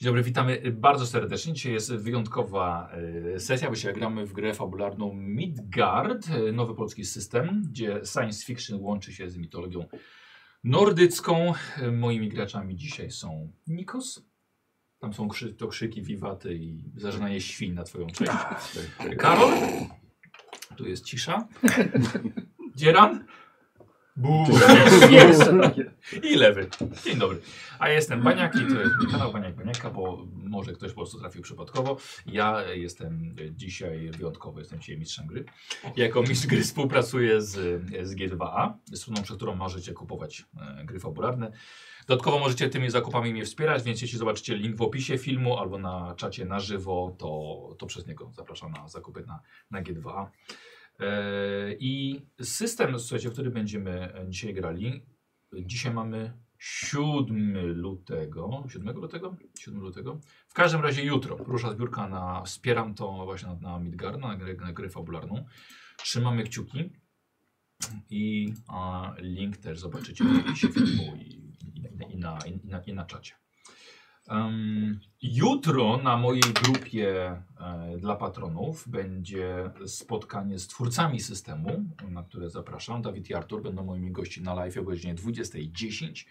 Dzień dobry, witamy bardzo serdecznie. Dzisiaj jest wyjątkowa e, sesja, bo dzisiaj gramy w grę fabularną Midgard, e, nowy polski system, gdzie science fiction łączy się z mitologią nordycką. E, Moimi graczami dzisiaj są Nikos. Tam są krzy to krzyki, wiwaty i zażynanie świn na twoją część. Karol. Tu jest cisza. Dzieran. Bu. Jest. I lewy. Dzień dobry. A jestem Baniak i to jest mój kanał Baniak Baniaka, bo może ktoś po prostu trafił przypadkowo. Ja jestem dzisiaj wyjątkowo, jestem dzisiaj mistrzem gry. Jako mistrz gry współpracuję z, z G2A, stroną, przez którą możecie kupować e, gry fabularne. Dodatkowo możecie tymi zakupami mnie wspierać, więc jeśli zobaczycie link w opisie filmu albo na czacie na żywo, to, to przez niego zapraszam na zakupy na, na G2A. E, I system, słuchajcie, w który będziemy dzisiaj grali, Dzisiaj mamy 7 lutego. 7 lutego? 7 lutego. W każdym razie jutro rusza zbiórka na wspieram to właśnie na, na Midgar, na grę, na grę fabularną. Trzymamy kciuki i a, link też zobaczycie w opisie filmu i, i, na- i, na, i, na, i na czacie. Em, jutro na mojej grupie e, dla patronów będzie spotkanie z twórcami systemu, na które zapraszam. Dawid i Artur będą moimi gości na live o godzinie 20.10.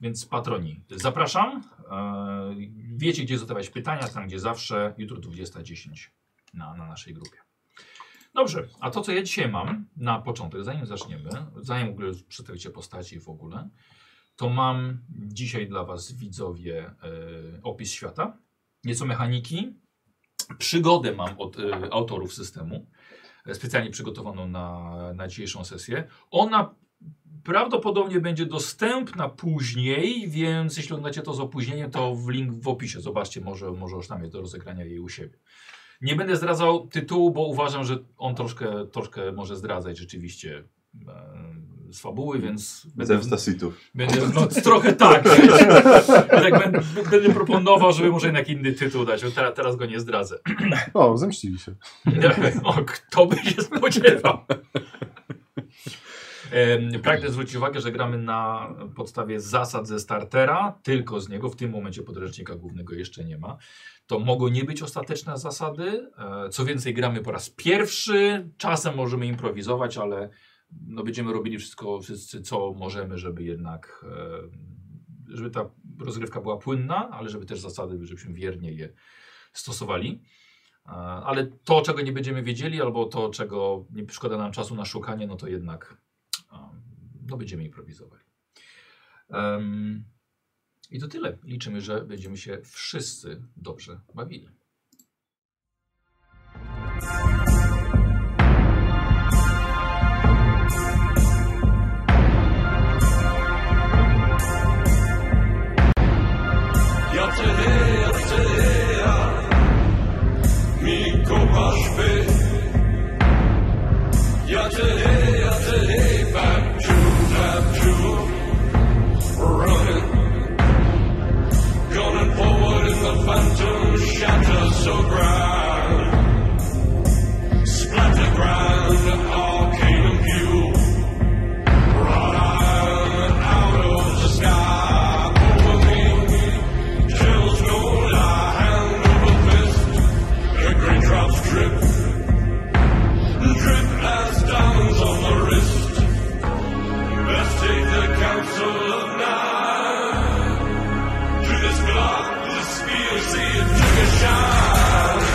Więc patroni, zapraszam. E, wiecie, gdzie zadawać pytania, tam gdzie zawsze. Jutro 20.10 na, na naszej grupie. Dobrze, a to co ja dzisiaj mam na początek, zanim zaczniemy, zanim w ogóle przedstawicie postaci w ogóle, to mam dzisiaj dla Was, widzowie, e, opis świata, nieco mechaniki, przygodę mam od e, autorów systemu, e, specjalnie przygotowaną na, na dzisiejszą sesję. Ona prawdopodobnie będzie dostępna później, więc jeśli oglądacie to z opóźnieniem, to w link w opisie, zobaczcie, może, może już tam jest do rozegrania jej u siebie. Nie będę zdradzał tytułu, bo uważam, że on troszkę, troszkę może zdradzać rzeczywiście e, z fabuły, więc Zemsta sitów. Będę, no, trochę tak. tak będę, będę proponował, żeby może jednak inny tytuł dać, bo teraz, teraz go nie zdradzę. O, zemścili się. o, kto by się spodziewał? Em, Pragnę zwrócić uwagę, że gramy na podstawie zasad ze startera, tylko z niego. W tym momencie podręcznika głównego jeszcze nie ma. To mogą nie być ostateczne zasady. E, Co więcej, gramy po raz pierwszy. Czasem możemy improwizować, ale no będziemy robili wszystko, wszyscy, co możemy, żeby jednak, e, żeby ta rozgrywka była płynna, ale żeby też zasady, żebyśmy wiernie je stosowali. E, Ale to, czego nie będziemy wiedzieli, albo to, czego nie szkoda nam czasu na szukanie, no to jednak um, no będziemy improwizowali. Em, I to tyle. Liczymy, że będziemy się wszyscy dobrze bawili. To this block, the spear, see it took a shot.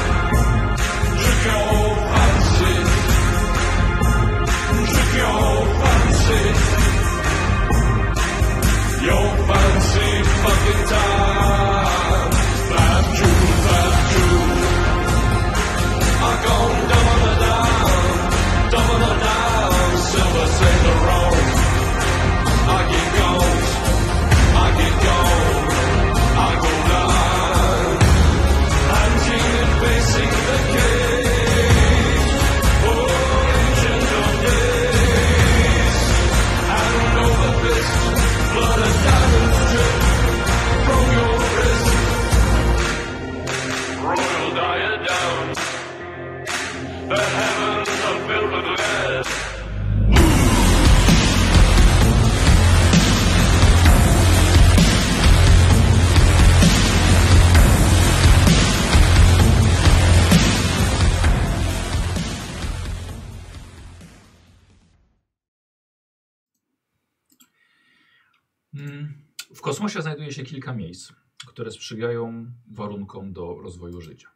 Mm, kosmosie znajduje się kilka miejsc, które sprzyjają warunkom do rozwoju życia.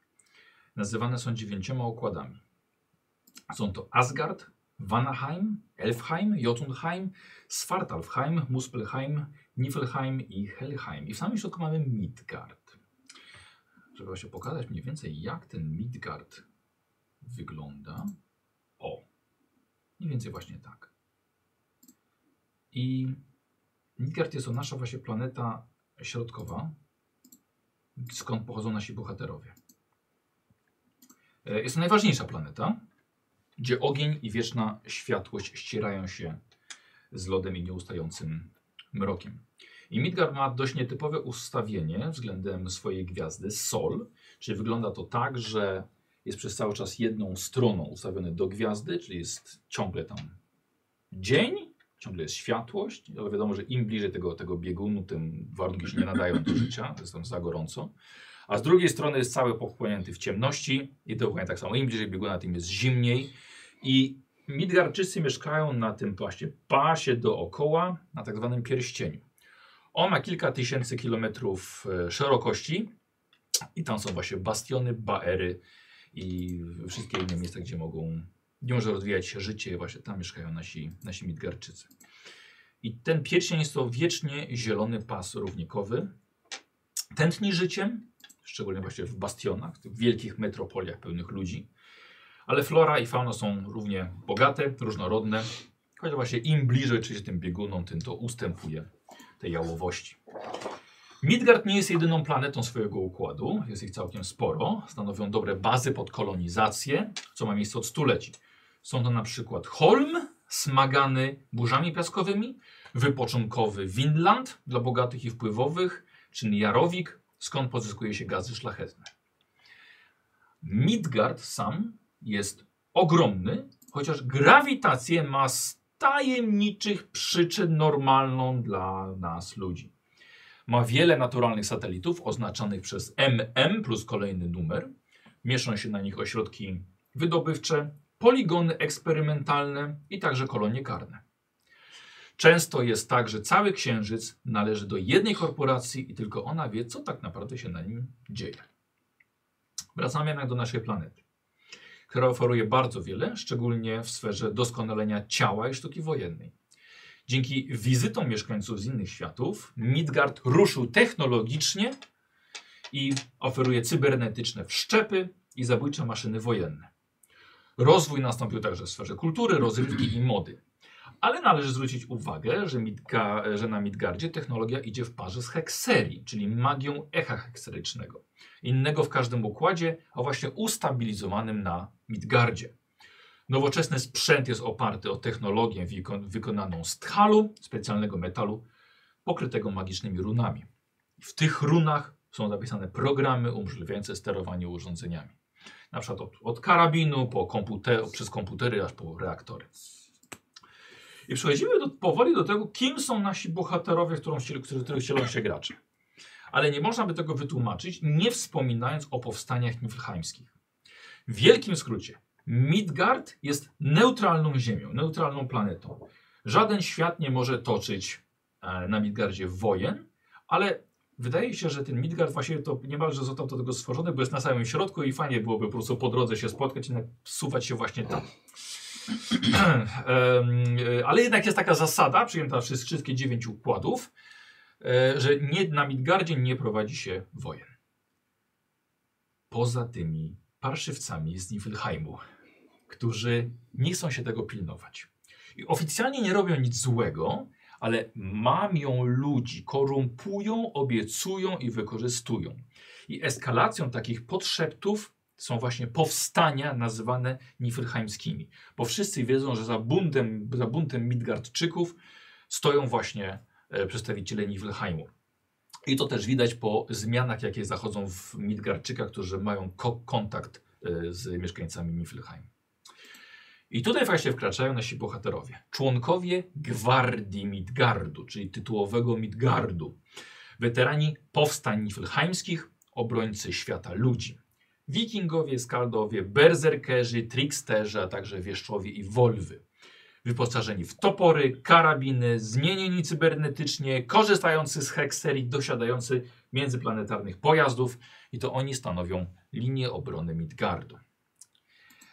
Nazywane są dziewięcioma okładami. Są to Asgard, Vanaheim, Elfheim, Jotunheim, Svartalfheim, Muspelheim, Niflheim i Helheim. I w samym środku mamy Midgard. Żeby właśnie pokazać mniej więcej, jak ten Midgard wygląda. O, mniej więcej właśnie tak. I Midgard jest to nasza właśnie planeta środkowa, skąd pochodzą nasi bohaterowie. E, Jest to najważniejsza planeta, gdzie ogień i wieczna światłość ścierają się z lodem i nieustającym mrokiem. I Midgard ma dość nietypowe ustawienie względem swojej gwiazdy Sol, czyli wygląda to tak, że jest przez cały czas jedną stroną ustawiony do gwiazdy, czyli jest ciągle tam dzień, ciągle jest światłość, ale wiadomo, że im bliżej tego, tego biegunu, tym warunki się nie nadają do życia, to jest tam za gorąco. A z drugiej strony jest cały pochłonięty w ciemności i dokładnie tak samo. Im bliżej bieguna, tym jest zimniej. I Midgarczycy mieszkają na tym właśnie pasie dookoła, na tak zwanym pierścieniu. On ma kilka tysięcy kilometrów e, szerokości i tam są właśnie bastiony, baery i wszystkie inne miejsca, gdzie mogą, gdzie może rozwijać się życie i właśnie tam mieszkają nasi, nasi Midgarczycy. I ten pierścień jest to wiecznie zielony pas równikowy. Tętni życiem, szczególnie właśnie w bastionach, w tych wielkich metropoliach pełnych ludzi. Ale flora i fauna są równie bogate, różnorodne. Chociaż właśnie im bliżej czy się tym biegunom, tym to ustępuje tej jałowości. Midgard nie jest jedyną planetą swojego układu, jest ich całkiem sporo. Stanowią dobre bazy pod kolonizację, co ma miejsce od stuleci. Są to na przykład Holm, smagany burzami piaskowymi, wypoczynkowy Winland dla bogatych i wpływowych, czy Jarowik, skąd pozyskuje się gazy szlachetne. Midgard sam jest ogromny, chociaż grawitację ma z tajemniczych przyczyn normalną dla nas ludzi. Ma wiele naturalnych satelitów oznaczanych przez MM plus kolejny numer. Mieszczą się na nich ośrodki wydobywcze, poligony eksperymentalne i także kolonie karne. Często jest tak, że cały księżyc należy do jednej korporacji i tylko ona wie, co tak naprawdę się na nim dzieje. Wracamy jednak do naszej planety, która oferuje bardzo wiele, szczególnie w sferze doskonalenia ciała i sztuki wojennej. Dzięki wizytom mieszkańców z innych światów, Midgard ruszył technologicznie i oferuje cybernetyczne wszczepy i zabójcze maszyny wojenne. Rozwój nastąpił także w sferze kultury, rozrywki i mody. Ale należy zwrócić uwagę, że, Midga, że na Midgardzie technologia idzie w parze z hekserii, czyli magią echa hekserycznego. Innego w każdym układzie, a właśnie ustabilizowanym na Midgardzie. Nowoczesny sprzęt jest oparty o technologię wiko- wykonaną z tchalu, specjalnego metalu, pokrytego magicznymi runami. W tych runach są zapisane programy umożliwiające sterowanie urządzeniami. Na przykład od, od karabinu, po komputer, przez komputery, aż po reaktory. I przechodzimy do, powoli do tego, kim są nasi bohaterowie, którą, ściel- którzy- których cielą się gracze. Ale nie można by tego wytłumaczyć, nie wspominając o powstaniach niflheimskich. W wielkim skrócie, Midgard jest neutralną ziemią, neutralną planetą. Żaden świat nie może toczyć e, na Midgardzie wojen, ale wydaje się, że ten Midgard właściwie to niemalże został do tego stworzony, bo jest na samym środku i fajnie byłoby po prostu po drodze się spotkać i suwać się właśnie tam. Em, e, Ale jednak jest taka zasada przyjęta przez wszystkie dziewięć układów, e, że nie, na Midgardzie nie prowadzi się wojen. Poza tymi parszywcami z Niflheimu, którzy nie chcą się tego pilnować. I oficjalnie nie robią nic złego, ale mamią ludzi, korumpują, obiecują i wykorzystują. I eskalacją takich podszeptów są właśnie powstania nazywane niflheimskimi, bo wszyscy wiedzą, że za buntem, za buntem Midgardczyków stoją właśnie e, przedstawiciele Niflheimu. I to też widać po zmianach, jakie zachodzą w Midgardczykach, którzy mają ko- kontakt e, z mieszkańcami Niflheim. I tutaj właśnie wkraczają nasi bohaterowie. Członkowie Gwardii Midgardu, czyli tytułowego Midgardu. Weterani powstań niflheimskich, obrońcy świata ludzi. Wikingowie, skaldowie, berserkerzy, tricksterzy, a także wieszczowie i wolwy. wyposażeni w topory, karabiny, zmienieni cybernetycznie, korzystający z hekserii, dosiadający międzyplanetarnych pojazdów i to oni stanowią linię obrony Midgardu.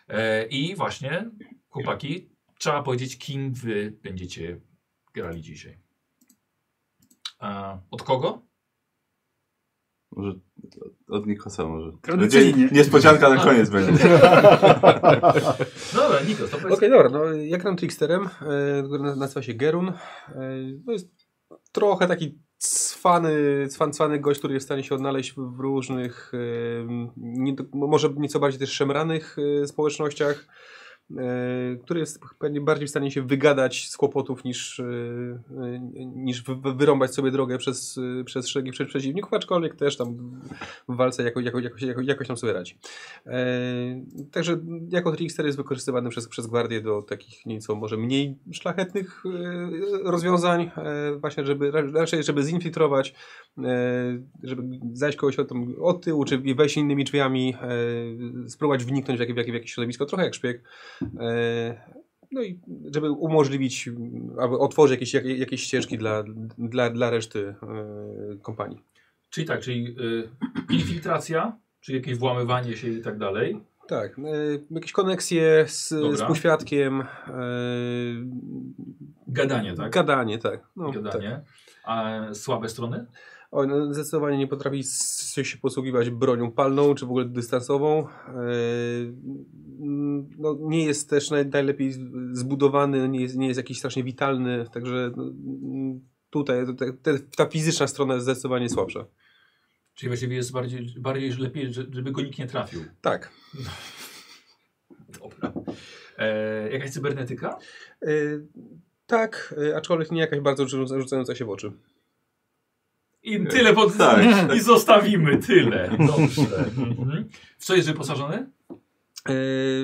E, I właśnie, chłopaki, trzeba powiedzieć, kim wy będziecie grali dzisiaj. E, od kogo? Może od Nikosa może. Tradycyjnie. Będzie Niespodzianka na koniec będzie. No dobra, Nikos, to Okej, powiedz. dobra, no ja gram Tricksterem, e, który na- nazywa się Gerun. E, to jest trochę taki cwany, cwan, cwany gość, który jest w stanie się odnaleźć w w różnych, e, nie, do- może nieco bardziej też szemranych e, społecznościach, e, który jest pewnie bardziej w stanie się wygadać z kłopotów niż, e, e, niż wy- wy- wyrąbać sobie drogę przez, e, przez szeregi przed przeciwników, aczkolwiek też tam w walce jako, jako, jakoś, jako, jakoś tam sobie radzi. E, także jako trickster jest wykorzystywany przez, przez gwardię do takich nieco może mniej szlachetnych e, rozwiązań, e, właśnie żeby ra- raczej żeby zinfiltrować, e, żeby zajść kogoś od, tam od tyłu, czy wejść innymi drzwiami, e, spróbować wniknąć w, jakie, w, jakie, w jakieś środowisko, trochę jak szpieg. E, no i żeby umożliwić, m, aby otworzyć jakieś, jak- jakieś ścieżki dla, dla, dla reszty e, kompanii. Czyli tak, czyli y, infiltracja, czyli jakieś włamywanie się i tak dalej. Tak, e, jakieś koneksje z, z Dobra. półświadkiem, e, Gadanie, tak? gadanie, tak. No, tak. Gadanie. A słabe strony? O, no, zdecydowanie nie potrafi s- się posługiwać bronią palną, czy w ogóle dystansową. E, mm, no, nie jest też naj, najlepiej z- zbudowany, nie jest, nie jest jakiś strasznie witalny, także no, mm, tutaj te, te, ta fizyczna strona jest zdecydowanie słabsza. Czyli właściwie jest bardziej, bardziej że lepiej, że- żeby go nikt nie trafił. Tak. Dobra. E, jakaś cybernetyka? E, tak, e, aczkolwiek nie jakaś bardzo rzu- rzucająca się w oczy. E, I tyle pod... Tak. I zostawimy tyle. Dobrze. Mhm. W co jest wyposażony? E,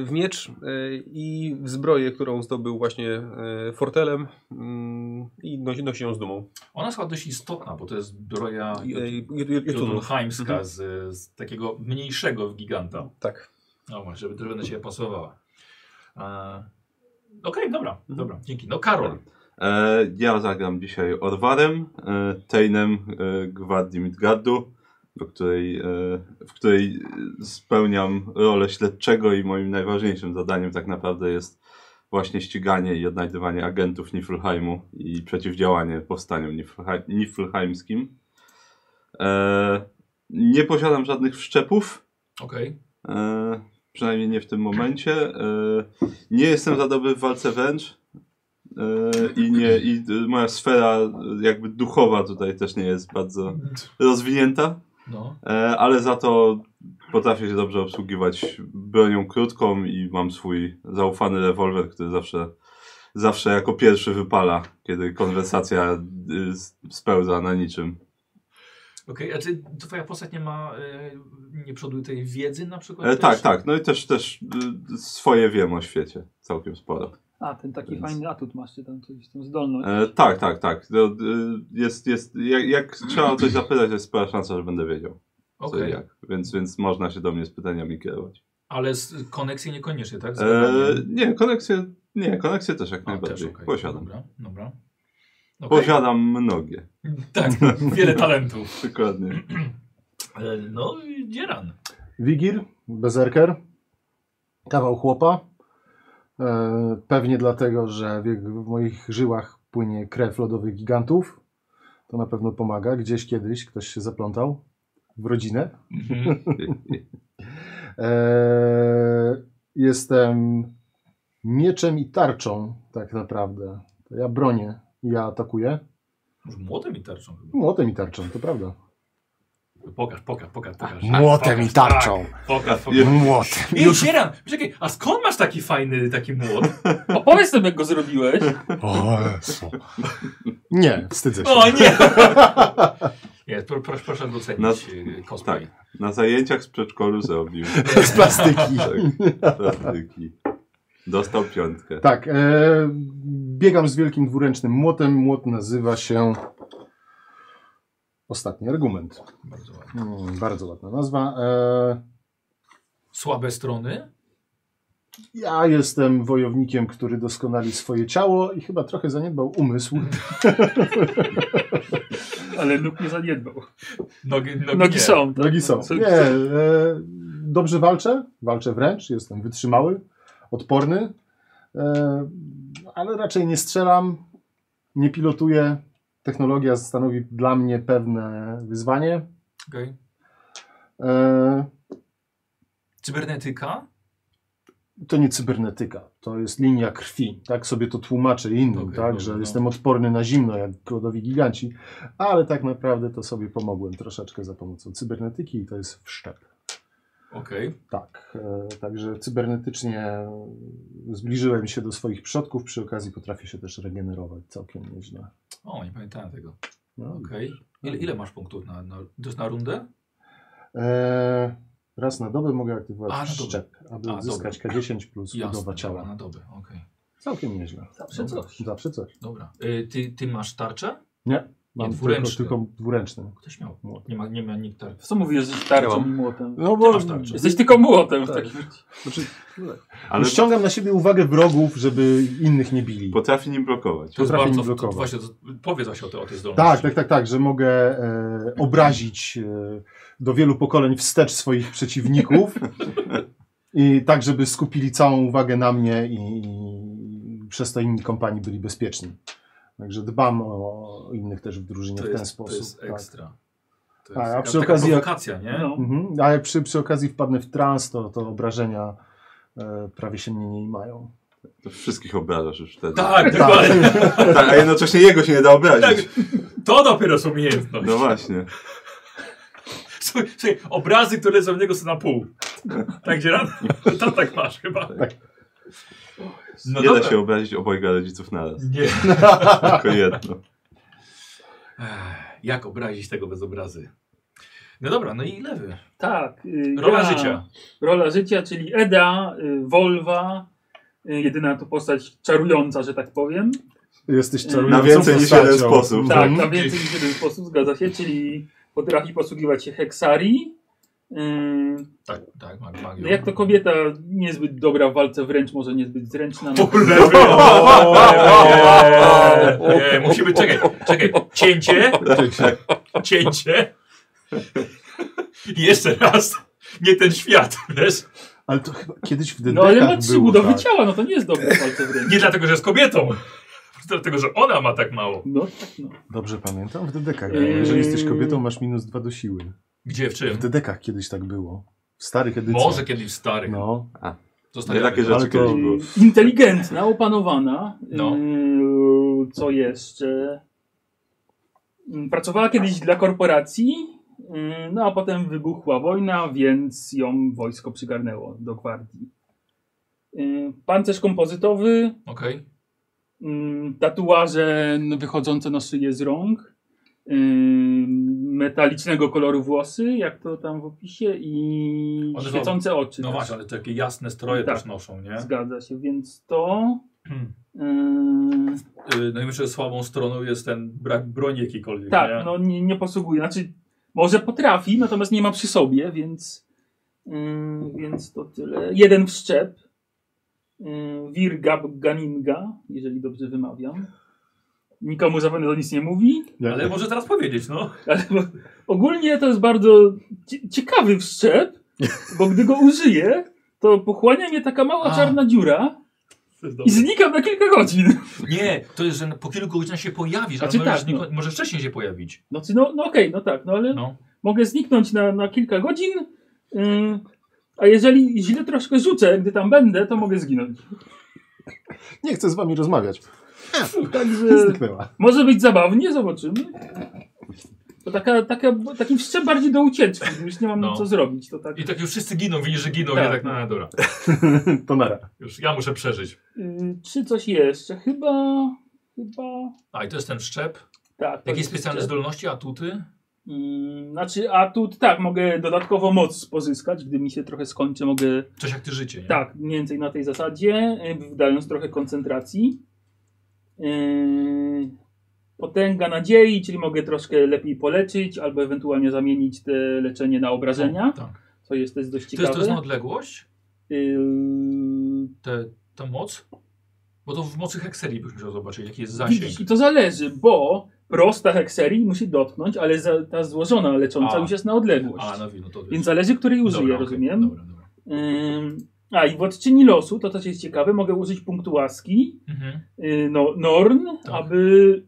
w miecz e, i w zbroję, którą zdobył właśnie e, fortelem mm, i nosi, nosi ją z dumą. Ona jest chyba dość istotna, bo to jest broja I- e, i- i- i- tunów. jotunheimska Mhm. z, z takiego mniejszego giganta. Tak. No właśnie, żeby trochę na siebie pasowała. E, Okej, dobra, dobra, dzięki. No Karol, E, ja zagram dzisiaj Orwarem, e, Tainem e, Gwardii Midgardu, do której, e, w której spełniam rolę śledczego i moim najważniejszym zadaniem tak naprawdę jest właśnie ściganie i odnajdywanie agentów Niflheimu i przeciwdziałanie powstaniom Niflheim, Niflheimskim. E, nie posiadam żadnych wszczepów, okej. E, przynajmniej nie w tym momencie. E, nie jestem za dobry w walce wręcz. E, I, nie, I e, moja sfera e, jakby duchowa tutaj też nie jest bardzo rozwinięta, No, e, ale za to potrafię się dobrze obsługiwać bronią krótką i mam swój zaufany rewolwer, który zawsze, zawsze jako pierwszy wypala, kiedy konwersacja y, s- spełza na niczym. okej, a czy twoja postać nie ma, e, nie przoduje tej wiedzy na przykład? E, też? tak, tak, no i też, też y, swoje wiem o świecie, całkiem sporo. A, ten taki Więc- fajny atut masz, czy tam coś, tą zdolność. E, tak, tak, tak. No, y, jest, jest, jak, jak trzeba o coś zapytać, jest spora szansa, że będę wiedział. Co i Okej, jak. Więc, więc można się do mnie z pytaniami kierować. ale z koneksji niekoniecznie, tak? Z E, zadaniem? nie, koneksję, nie, koneksję też jak A, najbardziej. okej. Posiadam. Dobra, dobra. Okej. Posiadam mnogie. Tak, wiele talentów. Dokładnie. E, No, dzieran. Wigir, bezerker, kawał chłopa. E, pewnie dlatego, że w, jego- w moich żyłach płynie krew lodowych gigantów. To na pewno pomaga. Gdzieś kiedyś ktoś się zaplątał w rodzinę. Mhm. Eee, jestem mieczem i tarczą, tak naprawdę. To ja bronię i ja atakuję. Może młotem i tarczą. chyba. Młotem i tarczą, to prawda. Pokaż, pokaż, pokaż, pokaż. Młotem i Pokaż, tarczą. tak. Pokaż, pokaż. Je- Młotem. Ej, Już... dzieran! Czekaj, a skąd masz taki fajny taki młot? Opowiedz nam, jak go zrobiłeś. O, Nie, wstydzę się. O nie! Nie, pro- proszę, proszę docenić No, e, cosplay. tak. Na zajęciach z przedszkolu zrobił Z plastyki. tak, praktyki. Dostał piątkę. Tak, e, biegam z wielkim dwuręcznym młotem. Młot nazywa się Ostatni Argument. Bardzo ładnie. Mm, bardzo ładna nazwa. E, Słabe strony? Ja jestem wojownikiem, który doskonali swoje ciało i chyba trochę zaniedbał umysł. Ale Luke nie zaniedbał. Nogi, nogi, Nogi nie. są. tak? Drogi są. Co- Nie, e, dobrze walczę, walczę wręcz, jestem wytrzymały, odporny, e, ale raczej nie strzelam, nie pilotuję. Technologia stanowi dla mnie pewne wyzwanie. Okej. E, Cybernetyka? to nie cybernetyka, to jest linia krwi. Tak sobie to tłumaczę innym, Okej, tak, dobra, że no. jestem odporny na zimno, jak klodowi giganci, ale tak naprawdę to sobie pomogłem troszeczkę za pomocą cybernetyki i to jest wszczep. Okej. Tak, e, także cybernetycznie zbliżyłem się do swoich przodków, przy okazji potrafię się też regenerować całkiem nieźle. O, nie pamiętałem tego. No. Okej. Ile, ile masz punktów na, na, to jest na rundę? E, raz na dobę mogę aktywować A, na dobę. szczep, aby A, uzyskać K10 plus budowa dobra, ciała. na dobę, okej. Całkiem nieźle. Zawsze coś. Zawsze coś. Dobra. Y, ty, ty masz tarczę? Mam tylko, dwuręczny. tylko dwuręczny. Ktoś miał. Młot. Nie ma, nie ma nikt tarczy. Co mówisz, że jesteś Ja tarczą mam. i młotem? No Ty bo masz tarczę. Jesteś tylko młotem Tak. w takim razie. Znaczy, Ale ściągam na siebie uwagę wrogów, żeby innych nie bili. potrafi nim blokować. To jest Potrafię bardzo, mi to, blokować. właśnie, to, powiedz właśnie o, te, o tej Tak, zdolności. tak, tak, tak, że mogę e, obrazić e, do wielu pokoleń wstecz swoich przeciwników i tak, żeby skupili całą uwagę na mnie i, i przez to inni kompanii byli bezpieczni. Także dbam o innych też w drużynie To w ten jest, sposób. to jest tak. ekstra. To A, jest a jakaś przy taka okazji jak- prowokacja, nie? No. Mhm. A jak przy, przy okazji wpadnę w trans, to, to obrażenia e, prawie się mnie nie mają. To wszystkich obrażasz już wtedy. Tá, Tak, dokładnie. tak, a jednocześnie jego się nie da obrazić. To dopiero są umiejętności. No właśnie. Słuchaj, słuchaj, obrazy, które lecą w niego są na pół. Tak, Dzieran? To tak masz chyba. Tak. No nie dobra. da się obrazić obojga rodziców naraz. Nie. Tylko jedno. Ech, Jak obrazić tego bez obrazy? No dobra, no i lewy. Tak. y, Rola ja- życia. Rola życia, czyli Eda, y, Volva, y, jedyna to postać czarująca, że tak powiem. Jesteś Na czarującą więcej niż jeden postacią. sposób. Tak, Mhm. na więcej niż jeden sposób, zgadza się, czyli potrafi posługiwać się heksari. Y, Tak, tak, mag, magią. No jak to kobieta niezbyt dobra w walce wręcz, może niezbyt zręczna. No, Lewy. Nie, nie, nie, Musimy, czekaj, czekaj. Cięcie, Tak, cięcie. I jeszcze raz. Nie ten świat, wiesz? Ale to chyba kiedyś w no ale ma DD-kach trzy było, budowy tak. ciała, no to nie jest dobre w walce wręcz. Nie dlatego, że jest kobietą. tylko Dlatego, że ona ma tak mało. No tak no. Dobrze pamiętam? W DDK-kach. Yy. Jeżeli jesteś kobietą, masz minus dwa do siły. Gdzie, w W czym? DDK-kach kiedyś tak było. W starych edycjach. Może kiedyś stary. No. No. Nie takie Ale rzeczy to- kiedyś były. Y, Inteligentna, opanowana. No. Y, Co jeszcze? Y, Pracowała kiedyś dla korporacji, y, no a potem wybuchła wojna, więc ją wojsko przygarnęło do gwardii. Y, Pancerz kompozytowy, Okej. Mm, Tatuaże n- wychodzące na szyję z rąk, yy, metalicznego koloru włosy, jak to tam w opisie, i One są- świecące oczy. No też. właśnie, ale takie jasne stroje Tak. też noszą, nie? Zgadza się, więc to. Hmm. Yy, Y, No i myślę, że słabą stroną jest ten brak broni jakiejkolwiek. tak, nie? no nie, nie posługuje. Znaczy, może potrafi, natomiast nie ma przy sobie, więc, yy, więc to tyle. Jeden wszczep. Yy, Virgab Ganinga, jeżeli dobrze wymawiam. Nikomu zapewne to nic nie mówi. Ja, Ale może teraz powiedzieć, no. Ale bo, ogólnie to jest bardzo cie- ciekawy wszczep, bo gdy go użyję, to pochłania mnie taka mała A. czarna dziura To jest i dobre. znikam na kilka godzin. Nie, to jest, że po kilku godzinach się pojawisz, ale Znaczy możesz, tak, nie- no. może wcześniej się pojawić. No, czy no, no okej, no tak, no ale No. mogę zniknąć na, na kilka godzin, yy, a jeżeli źle troszkę rzucę, gdy tam będę, to mogę zginąć. nie chcę z wami rozmawiać. Także Zniknęła. może być zabawnie, zobaczymy. To taka, taka, taki wszczep bardziej do ucieczki, gdy już nie mam No. co zrobić. To tak. I tak już wszyscy giną, widzisz, że giną, Tak. ja tak, no, no dobra. to nara. Już ja muszę przeżyć. Yy, czy coś jeszcze? Chyba. Chyba. A i to jest ten szczep. Tak. to Jakie jest specjalne jeszcze- zdolności, atuty? Mm, Znaczy, a tu tak, mogę dodatkowo moc pozyskać, gdy mi się trochę skończy, mogę. Coś jak ty życie, nie? Tak, mniej więcej na tej zasadzie, y, dając trochę koncentracji. Yy, potęga nadziei, czyli mogę troszkę lepiej poleczyć, albo ewentualnie zamienić te leczenie na obrażenia, Tak. co jest też dość To jest, to ciekawe. jest na odległość? Yy, tę tę moc? Bo to w mocy hekserii byś musiał zobaczyć, jaki jest Widzisz, zasięg. i to zależy, bo prosta hekserii musi dotknąć, ale za, ta złożona lecząca A. już jest na odległość. A, no, wi- no to Więc zależy, której użyję, Dobra, okej, rozumiem? Dobra, dobra. Ym, a i władczyni losu, to też jest ciekawe, mogę użyć punktu łaski, Mhm. yy, no, Norn, Tak. aby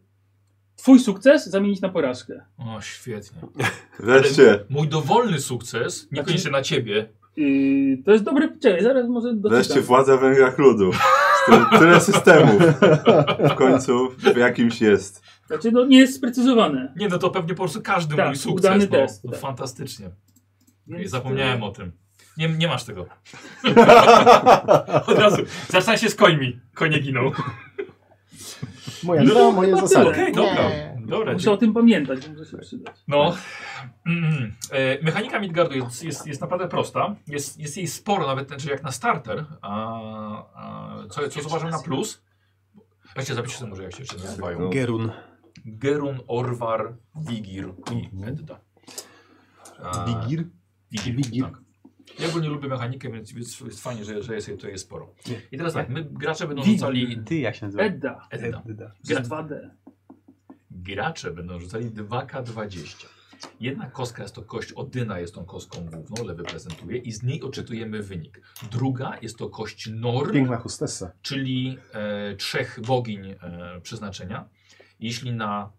twój sukces zamienić na porażkę. O, świetnie. Wreszcie, Mój dowolny sukces, Znaczy- niekoniecznie na ciebie. Yy, to jest dobre, czekaj, zaraz może wreszcie doczytam. władza węgrach ludu. Z tym- Tyle systemów. W końcu w jakimś jest. Znaczy, no nie jest sprecyzowane. Nie, no to pewnie po prostu każdy Tak, mój sukces. udany no, test, no, tak. Fantastycznie. Więc, y, Zapomniałem o tym. Nie, nie masz tego. Od razu. Zaczynaj się z końmi. Konie giną. Moja No, gra, moje chyba zasady. No tyle. Okej, dobra. Dobra, Muszę o tym pamiętać, może się przydać. No. Mm, e, Mechanika Midgardu jest, jest, jest naprawdę prosta. Jest, jest jej sporo, nawet znaczy jak na starter. A, a, co, co uważam na plus? Ja się zapiszę sobie może jak się jeszcze nazywają. Gerun. Gerun, Orvar, Vigir i Edda. A, Bigir? Wigil, Wigil. Tak. Ja ogólnie lubię mechanikę, więc więc jest fajnie, że, że jest jej tutaj sporo. I teraz tak, my gracze będą Wigil. rzucali... Ty jak się nazywa? Edda, Edda. za 2D. No. Gracze będą rzucali 2K20. Jedna kostka jest to kość Odyna, jest tą kostką główną, lewy prezentuje i z niej odczytujemy wynik. Druga jest to kość Nor, Piękna hostessa. czyli e, trzech bogiń e, przeznaczenia. Jeśli na.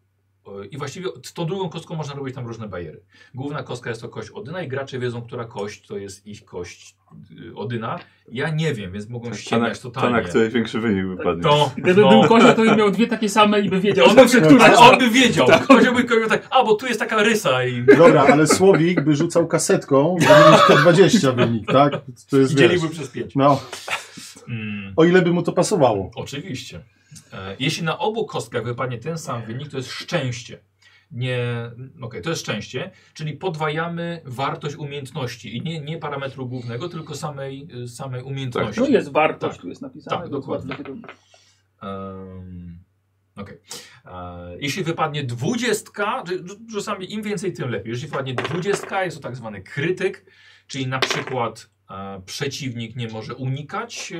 E, I właściwie z tą drugą kostką można robić tam różne bajery. Główna kostka jest to kość Odyna i gracze wiedzą, która kość to jest ich kość y, Odyna. Ja nie wiem, więc mogą Ta na, ściemniać ta, na totalnie. której większy wynik wypadnie. To, Gdyby no. był kozioł, to by miał dwie takie same i by wiedział, On by, że się, która ale jest. on by wiedział. Ktoś by kogoś tak, a bo tu jest taka rysa i Dobra, ale Słowik by rzucał kasetką, żeby mieć te 20 wynik, tak? To i jest wiesz, dzieliłby przez pięć. No, Mm, o ile by mu to pasowało. oczywiście. E, jeśli na obu kostkach wypadnie ten sam wynik, to jest szczęście. Nie, okej, to jest szczęście, czyli podwajamy wartość umiejętności i nie, nie parametru głównego, tylko samej, y, samej umiejętności. No jest wartość, Tak. tu jest napisane. Tak, więc dokładnie. łatwo się robi. Em, Okej. E, Jeśli wypadnie dwudziestka, czy- czy- czasami im więcej, tym lepiej. Jeśli wypadnie dwudziestka, jest to tak zwany krytyk, czyli na przykład e, przeciwnik nie może unikać.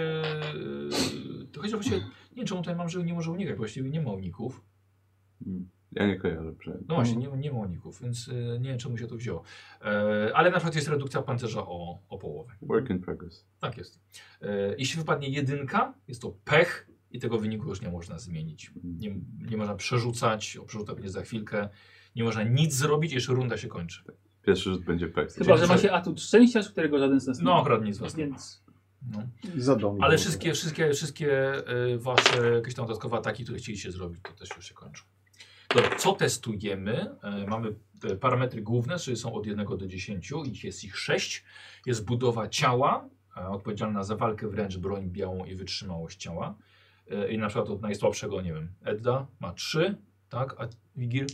E, to chociaż właśnie, nie wiem czemu tutaj mam, że nie może unikać, właściwie nie ma uników. Ja nie kojarzę przynajmniej. No właśnie, nie, nie ma uników, więc e, nie wiem czemu się to wzięło. E, ale na przykład jest redukcja pancerza o, o połowę. Work in progress. Tak jest. E, jeśli wypadnie jedynka, jest to pech i tego wyniku już nie można zmienić. Nie, nie można przerzucać, o przerzuta będzie za chwilkę. Nie można nic zrobić, jeszcze runda się kończy. Pierwszy rzut będzie peks. Chyba, że ma się atut szczęścia, z którego żaden z nas nie No, ma. akurat nic z was nie ma. Więc No. Zadał mi Ale to. wszystkie, wszystkie, wszystkie y, wasze jakieś tam dodatkowe ataki, które chcieliście zrobić, to też już się kończą. Dobra, co testujemy? E, mamy te parametry główne, czyli są od 1 do 10, ich jest ich 6. Jest budowa ciała, e, odpowiedzialna za walkę wręcz, broń białą i wytrzymałość ciała. E, I na przykład od najsłabszego, nie wiem, Edda ma 3, tak, a Wigil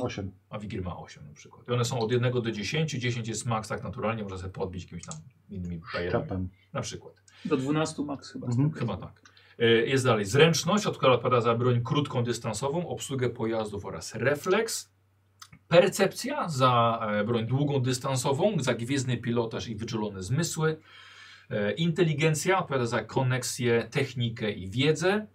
Osiem. a Wigil ma 8 na przykład. I one są od 1 do 10, 10 jest max, tak naturalnie, można sobie podbić jakimiś tam innymi bajerami, Kapem. na przykład. do 12 max chyba. Mhm. Chyba tak. E, Jest dalej zręczność, od której odpowiada za broń krótką dystansową, obsługę pojazdów oraz refleks. Percepcja za e, broń długą dystansową, za gwiezdny pilotaż i wyczulone zmysły. E, Inteligencja odpowiada za koneksję, technikę i wiedzę.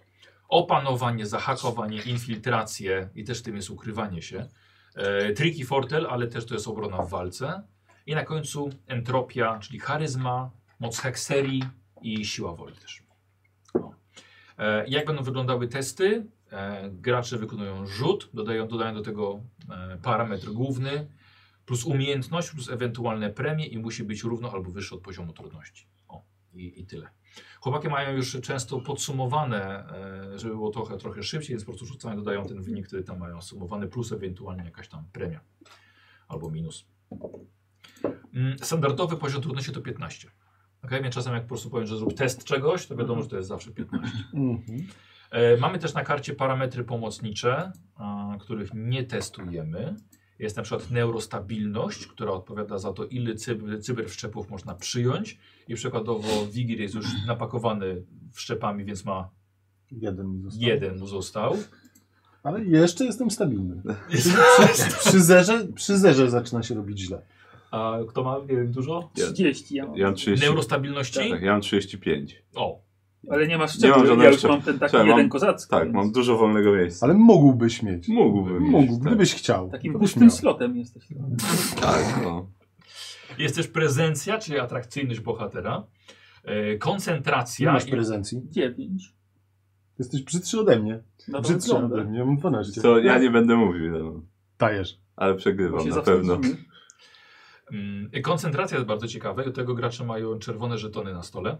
Opanowanie, zahakowanie, infiltrację i też tym jest ukrywanie się. E, Triki fortel, ale też to jest obrona w walce. I na końcu entropia, czyli charyzma, moc hekserii, i siła woli też. O. E, jak będą wyglądały testy? E, gracze wykonują rzut, dodają, dodają do tego e, parametr główny, plus umiejętność, plus ewentualne premie i musi być równo albo wyższy od poziomu trudności. O, i, i tyle. Chłopaki mają już często podsumowane, e, żeby było trochę, trochę szybciej, więc po prostu rzucają, dodają ten wynik, który tam mają sumowany, plus ewentualnie jakaś tam premia albo minus. Mm, Standardowy poziom trudności to 15. Ok, więc czasem jak po prostu powiem, że zrób test czegoś, to wiadomo, że to jest zawsze 15. Mhm. E, mamy też na karcie parametry pomocnicze, a, których nie testujemy. Jest na przykład neurostabilność, która odpowiada za to, ile cyber, cyberwszczepów można przyjąć. I przykładowo Wigir jest już napakowany wszczepami, więc ma Jeden mi został. jeden mu został. Ale jeszcze jestem stabilny. Przy, przy, zerze, przy zerze zaczyna się robić źle. A kto ma, nie wiem, dużo? Ja- 30 ja mam. Ja mam 30. Tak, Neurostabilności? Tak, ja mam 35. O, Ale nie masz Nie mam szczepu, ja żadnego już szczepu. mam ten taki Słuchaj, jeden mam- kozacki. Tak, więc mam dużo wolnego miejsca. Ale mógłbyś mieć. Mógłbym. mieć, Mógł, tak. gdybyś chciał. Takim to byś pustym miał. slotem jesteś. no, Tak, no. tak. Jest też prezencja, czyli atrakcyjność bohatera. e, Nie Koncentracja. masz i- prezencji. Dziewięć. Jesteś brzydszy ode mnie. No Brzydszy ode mnie, mam 12. To ja nie będę mówił, no. Dajesz. ale Tak przegrywam na pewno. Mm, Koncentracja jest bardzo ciekawa. i Do tego gracze mają czerwone żetony na stole.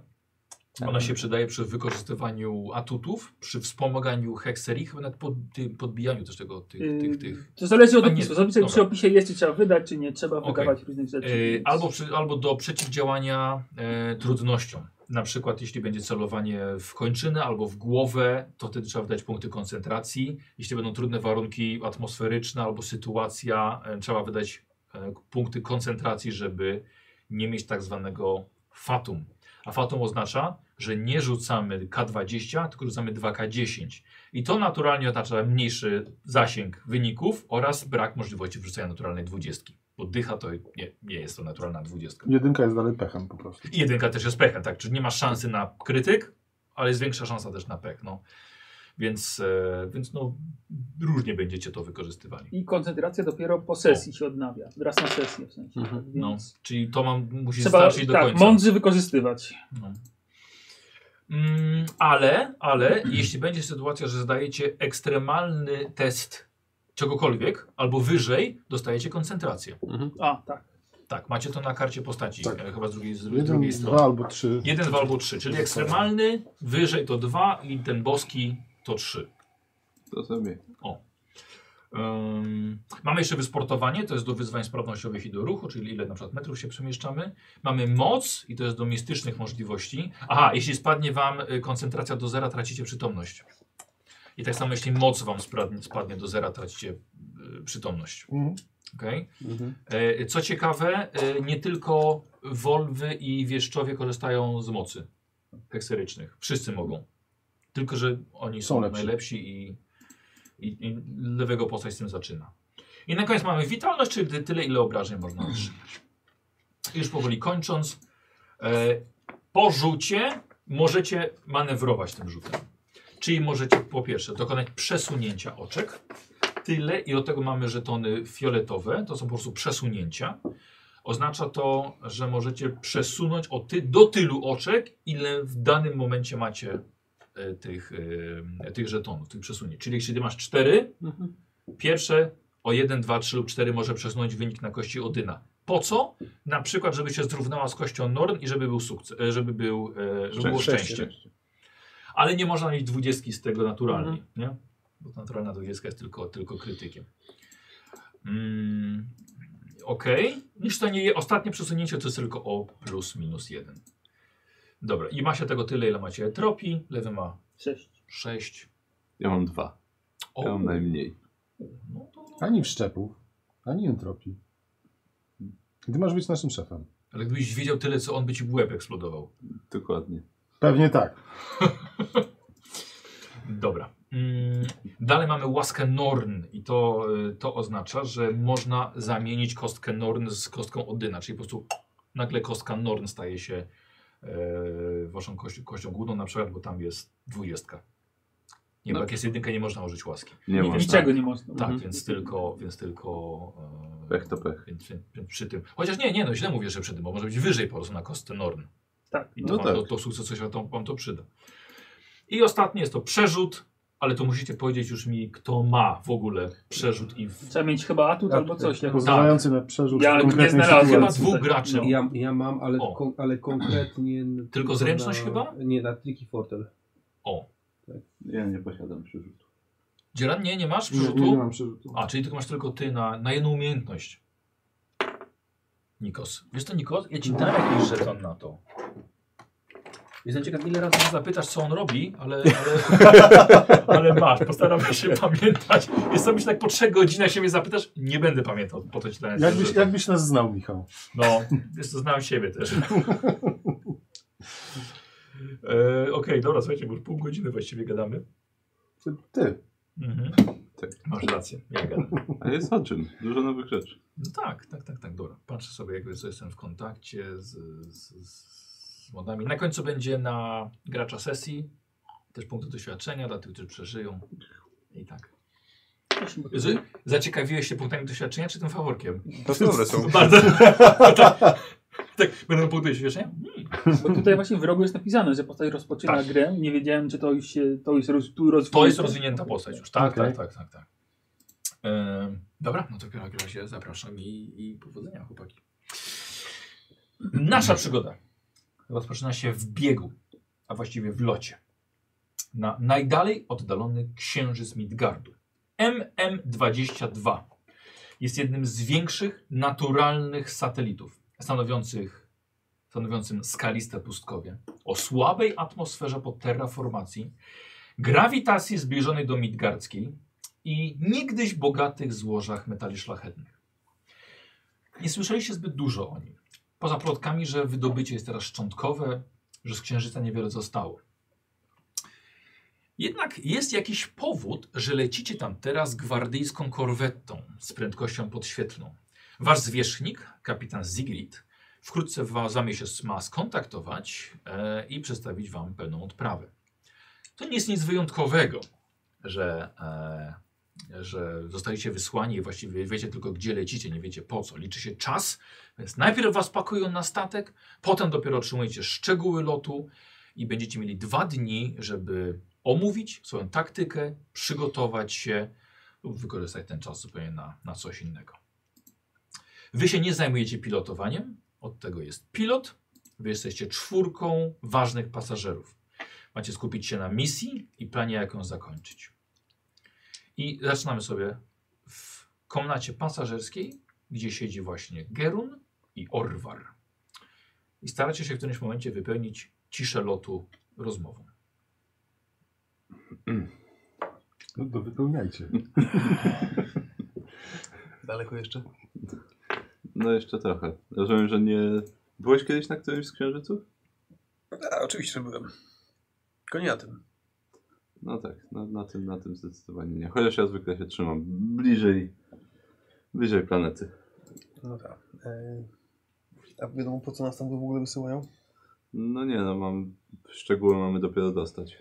Ona się przydaje przy wykorzystywaniu atutów, przy wspomaganiu hekserii, chyba nawet pod, tym podbijaniu też tego, tych, Yy, tych, tych. Y, To zależy od A nie, opisu. Zobaczcie, dobra. przy opisie jest, czy trzeba wydać, czy nie trzeba Okej. wydawać różnych rzeczy. E, więc- albo, przy, albo do przeciwdziałania e, trudnościom. Na przykład, jeśli będzie celowanie w kończynę albo w głowę, to wtedy trzeba wydać punkty koncentracji. Jeśli będą trudne warunki atmosferyczne albo sytuacja, e, trzeba wydać e, punkty koncentracji, żeby nie mieć tak zwanego fatum. A fatum oznacza, że nie rzucamy K20, tylko rzucamy 2K10. I to naturalnie oznacza mniejszy zasięg wyników oraz brak możliwości wrzucenia naturalnej dwudziestki. Bo dycha to nie, nie jest to naturalna dwudziestka. Jedynka jest dalej pechem po prostu. I jedynka też jest pechem, tak? Czyli nie masz szansy na krytyk, ale jest większa szansa też na pech. No. Więc, e, więc no, różnie będziecie to wykorzystywali. I koncentracja dopiero po sesji się odnawia. Raz na sesję w sensie. Mhm. No, Więc czyli to mam, musisz trzeba starczyć do tak, końca. mądrze wykorzystywać. No. Mm, ale, ale jeśli będzie sytuacja, że zdajecie ekstremalny test czegokolwiek albo wyżej, dostajecie koncentrację. A, tak. Tak, macie to na karcie postaci, Tak. e, chyba z drugiej, z Jeden, drugiej strony. dwa albo trzy. Jeden, dwa albo trzy, czyli ekstremalny, wyżej to dwa i ten boski to trzy. To sobie. Ym, mamy jeszcze wysportowanie, to jest do wyzwań sprawnościowych i do ruchu, czyli ile na przykład metrów się przemieszczamy. Mamy moc i to jest do mistycznych możliwości. Aha, jeśli spadnie wam y, koncentracja do zera, tracicie przytomność. I tak samo jeśli moc wam spradnie- spadnie do zera, tracicie y, przytomność. Mhm. Okej? E, Co ciekawe, e, nie tylko Wolwy i Wieszczowie korzystają z mocy hekserycznych. Wszyscy mogą. Tylko, że oni są, Są lepsi. najlepsi i, i, i lewego postać z tym zaczyna. I na koniec mamy witalność, czyli ty- tyle, ile obrażeń można otrzymać. I Już powoli kończąc. E, po rzucie możecie manewrować tym rzutem. Czyli możecie po pierwsze dokonać przesunięcia oczek tyle i do tego mamy żetony fioletowe, to są po prostu przesunięcia. Oznacza to, że możecie przesunąć o ty, do tylu oczek, ile w danym momencie macie e, tych, e, tych żetonów, tych przesunięć. Czyli jeśli ty masz cztery, Mhm. pierwsze o 1, 2, 3 lub 4 może przesunąć wynik na kości Odyna. Po co? Na przykład, żeby się zrównała z kością Norn i żeby był sukces, e, żeby, był, e, żeby było Szczęście. szczęście. Ale nie można mieć dwudziestki z tego naturalnie, nie? Bo naturalna dwudziestka jest tylko, tylko krytykiem. Mm, Okej. Zresztą nie, ostatnie przesunięcie to jest tylko o plus minus jeden. Dobra, i ma się tego tyle, ile macie etropii. Lewy ma Sześć. 6. Ja mam dwa. Ja mam najmniej. no to... Ani wszczepów, ani entropii. Ty masz być naszym szefem. Ale gdybyś wiedział tyle, co on by ci w łeb eksplodował. Dokładnie. Pewnie tak. Dobra. Mm, dalej mamy łaskę Norn i to, y, to oznacza, że można zamienić kostkę Norn z kostką Odyna, czyli po prostu nagle kostka Norn staje się e, waszą kości, kością główną, na przykład, bo tam jest dwudziestka. Nie, bo No. jak jest jedynka, nie można użyć łaski. Nie Nic- można. Niczego nie można. Tak, Mhm. więc tylko, więc tylko e, Pech to pech. Więc, więc przy tym. Chociaż nie, nie, no źle mówię, że przy tym, bo może być wyżej po prostu na kostce Norn. Tak. I No. to, No wam, tak. to, to sukces coś wam, wam to przyda. I ostatnie jest to przerzut, ale to musicie powiedzieć już mi, kto ma w ogóle przerzut i w... Trzeba mieć chyba atut albo coś. Jak... Pozwalający na przerzut Ja w nie konkretnej znalazłem. Chyba sytuacji. dwóch graczy. No. Ja, ja mam, ale, O. kon, ale konkretnie... Tylko zręczność chyba? Nie, na Tricky Fortel. O. Ja nie posiadam przerzutu. Dzieran, nie, nie masz Nie, przerzutu? nie, nie mam przerzutu. A, czyli tylko masz tylko ty na, na jedną umiejętność. Nikos. Wiesz to, Nikos? Ja ci dam jakiś żeton na to. Jestem ciekaw, ile razy mnie zapytasz, co on robi, ale, ale, ale masz. Postaram się pamiętać. Jest to myślę, tak po trzech godzinach się mnie zapytasz, nie będę pamiętał, po to ci dałem ten Jakbyś, żeton. jakbyś nas znał, Michał. No, jest to znam siebie też. e, E, Okej, dobra, słuchajcie, bo już pół godziny właściwie gadamy. Ty- Ty. Mhm. Tak. Masz rację, ja gadam. A jest o czym? Dużo nowych rzeczy. No tak, tak, tak, tak, dobra. Patrzę sobie, jak jest- jestem w kontakcie z, z, z z modami. Na końcu będzie na gracza sesji. Też punkty doświadczenia dla tych, którzy przeżyją. I tak. Właśnie, bo to- Z, zaciekawiłeś się punktami doświadczenia, czy tym faworkiem? To dobre są. Bardzo. tak, tak, będą punkty doświadczenia? Bo tutaj właśnie w rogu jest napisane, że postać rozpoczyna Tak. grę. Nie wiedziałem, czy to już się, to jest roz, tu rozwinięte. To jest rozwinięta postać już, tak, Okej. tak, tak, tak, tak. Em, dobra, no to w takim razie zapraszam i, i powodzenia chłopaki. Nasza przygoda rozpoczyna się w biegu, a właściwie w locie. Na najdalej oddalony księżyc Midgardu. MM22 jest jednym z większych naturalnych satelitów, stanowiących, stanowiącym skaliste pustkowie o słabej atmosferze po terraformacji grawitacji zbliżonej do midgardzkiej i niegdyś bogatych złożach metali szlachetnych. Nie słyszeliście zbyt dużo o nim. Poza plotkami, że wydobycie jest teraz szczątkowe, że z księżyca niewiele zostało. Jednak jest jakiś powód, że lecicie tam teraz gwardyjską korwetą z prędkością podświetlną. Wasz zwierzchnik, kapitan Zigrid, wkrótce wami się z- ma skontaktować e, i przedstawić wam pełną odprawę to nie jest nic wyjątkowego, że, e, że zostaliście wysłani i właściwie wiecie tylko gdzie lecicie, nie wiecie po co. Liczy się czas, więc najpierw was pakują na statek, potem dopiero otrzymujecie szczegóły lotu i będziecie mieli dwa dni, żeby omówić swoją taktykę, przygotować się lub wykorzystać ten czas zupełnie na, na coś innego. Wy się nie zajmujecie pilotowaniem, od tego jest pilot. Wy jesteście czwórką ważnych pasażerów. Macie skupić się na misji i planie, jak ją zakończyć. I zaczynamy sobie w komnacie pasażerskiej, gdzie siedzi właśnie Gerun i Orwar. I staracie się w którymś momencie wypełnić ciszę lotu rozmową. No to wypełniajcie. Daleko jeszcze? No jeszcze trochę. Rozumiem, że nie... Byłeś kiedyś na którymś z księżyców? A, oczywiście, że byłem. Koniatem. No tak, na, na, tym, na tym zdecydowanie nie. Chociaż ja zwykle się trzymam bliżej, bliżej planety. No tak. E, a wiadomo, po co nas tam w ogóle wysyłają? No nie no, mam... Szczegóły mamy dopiero dostać.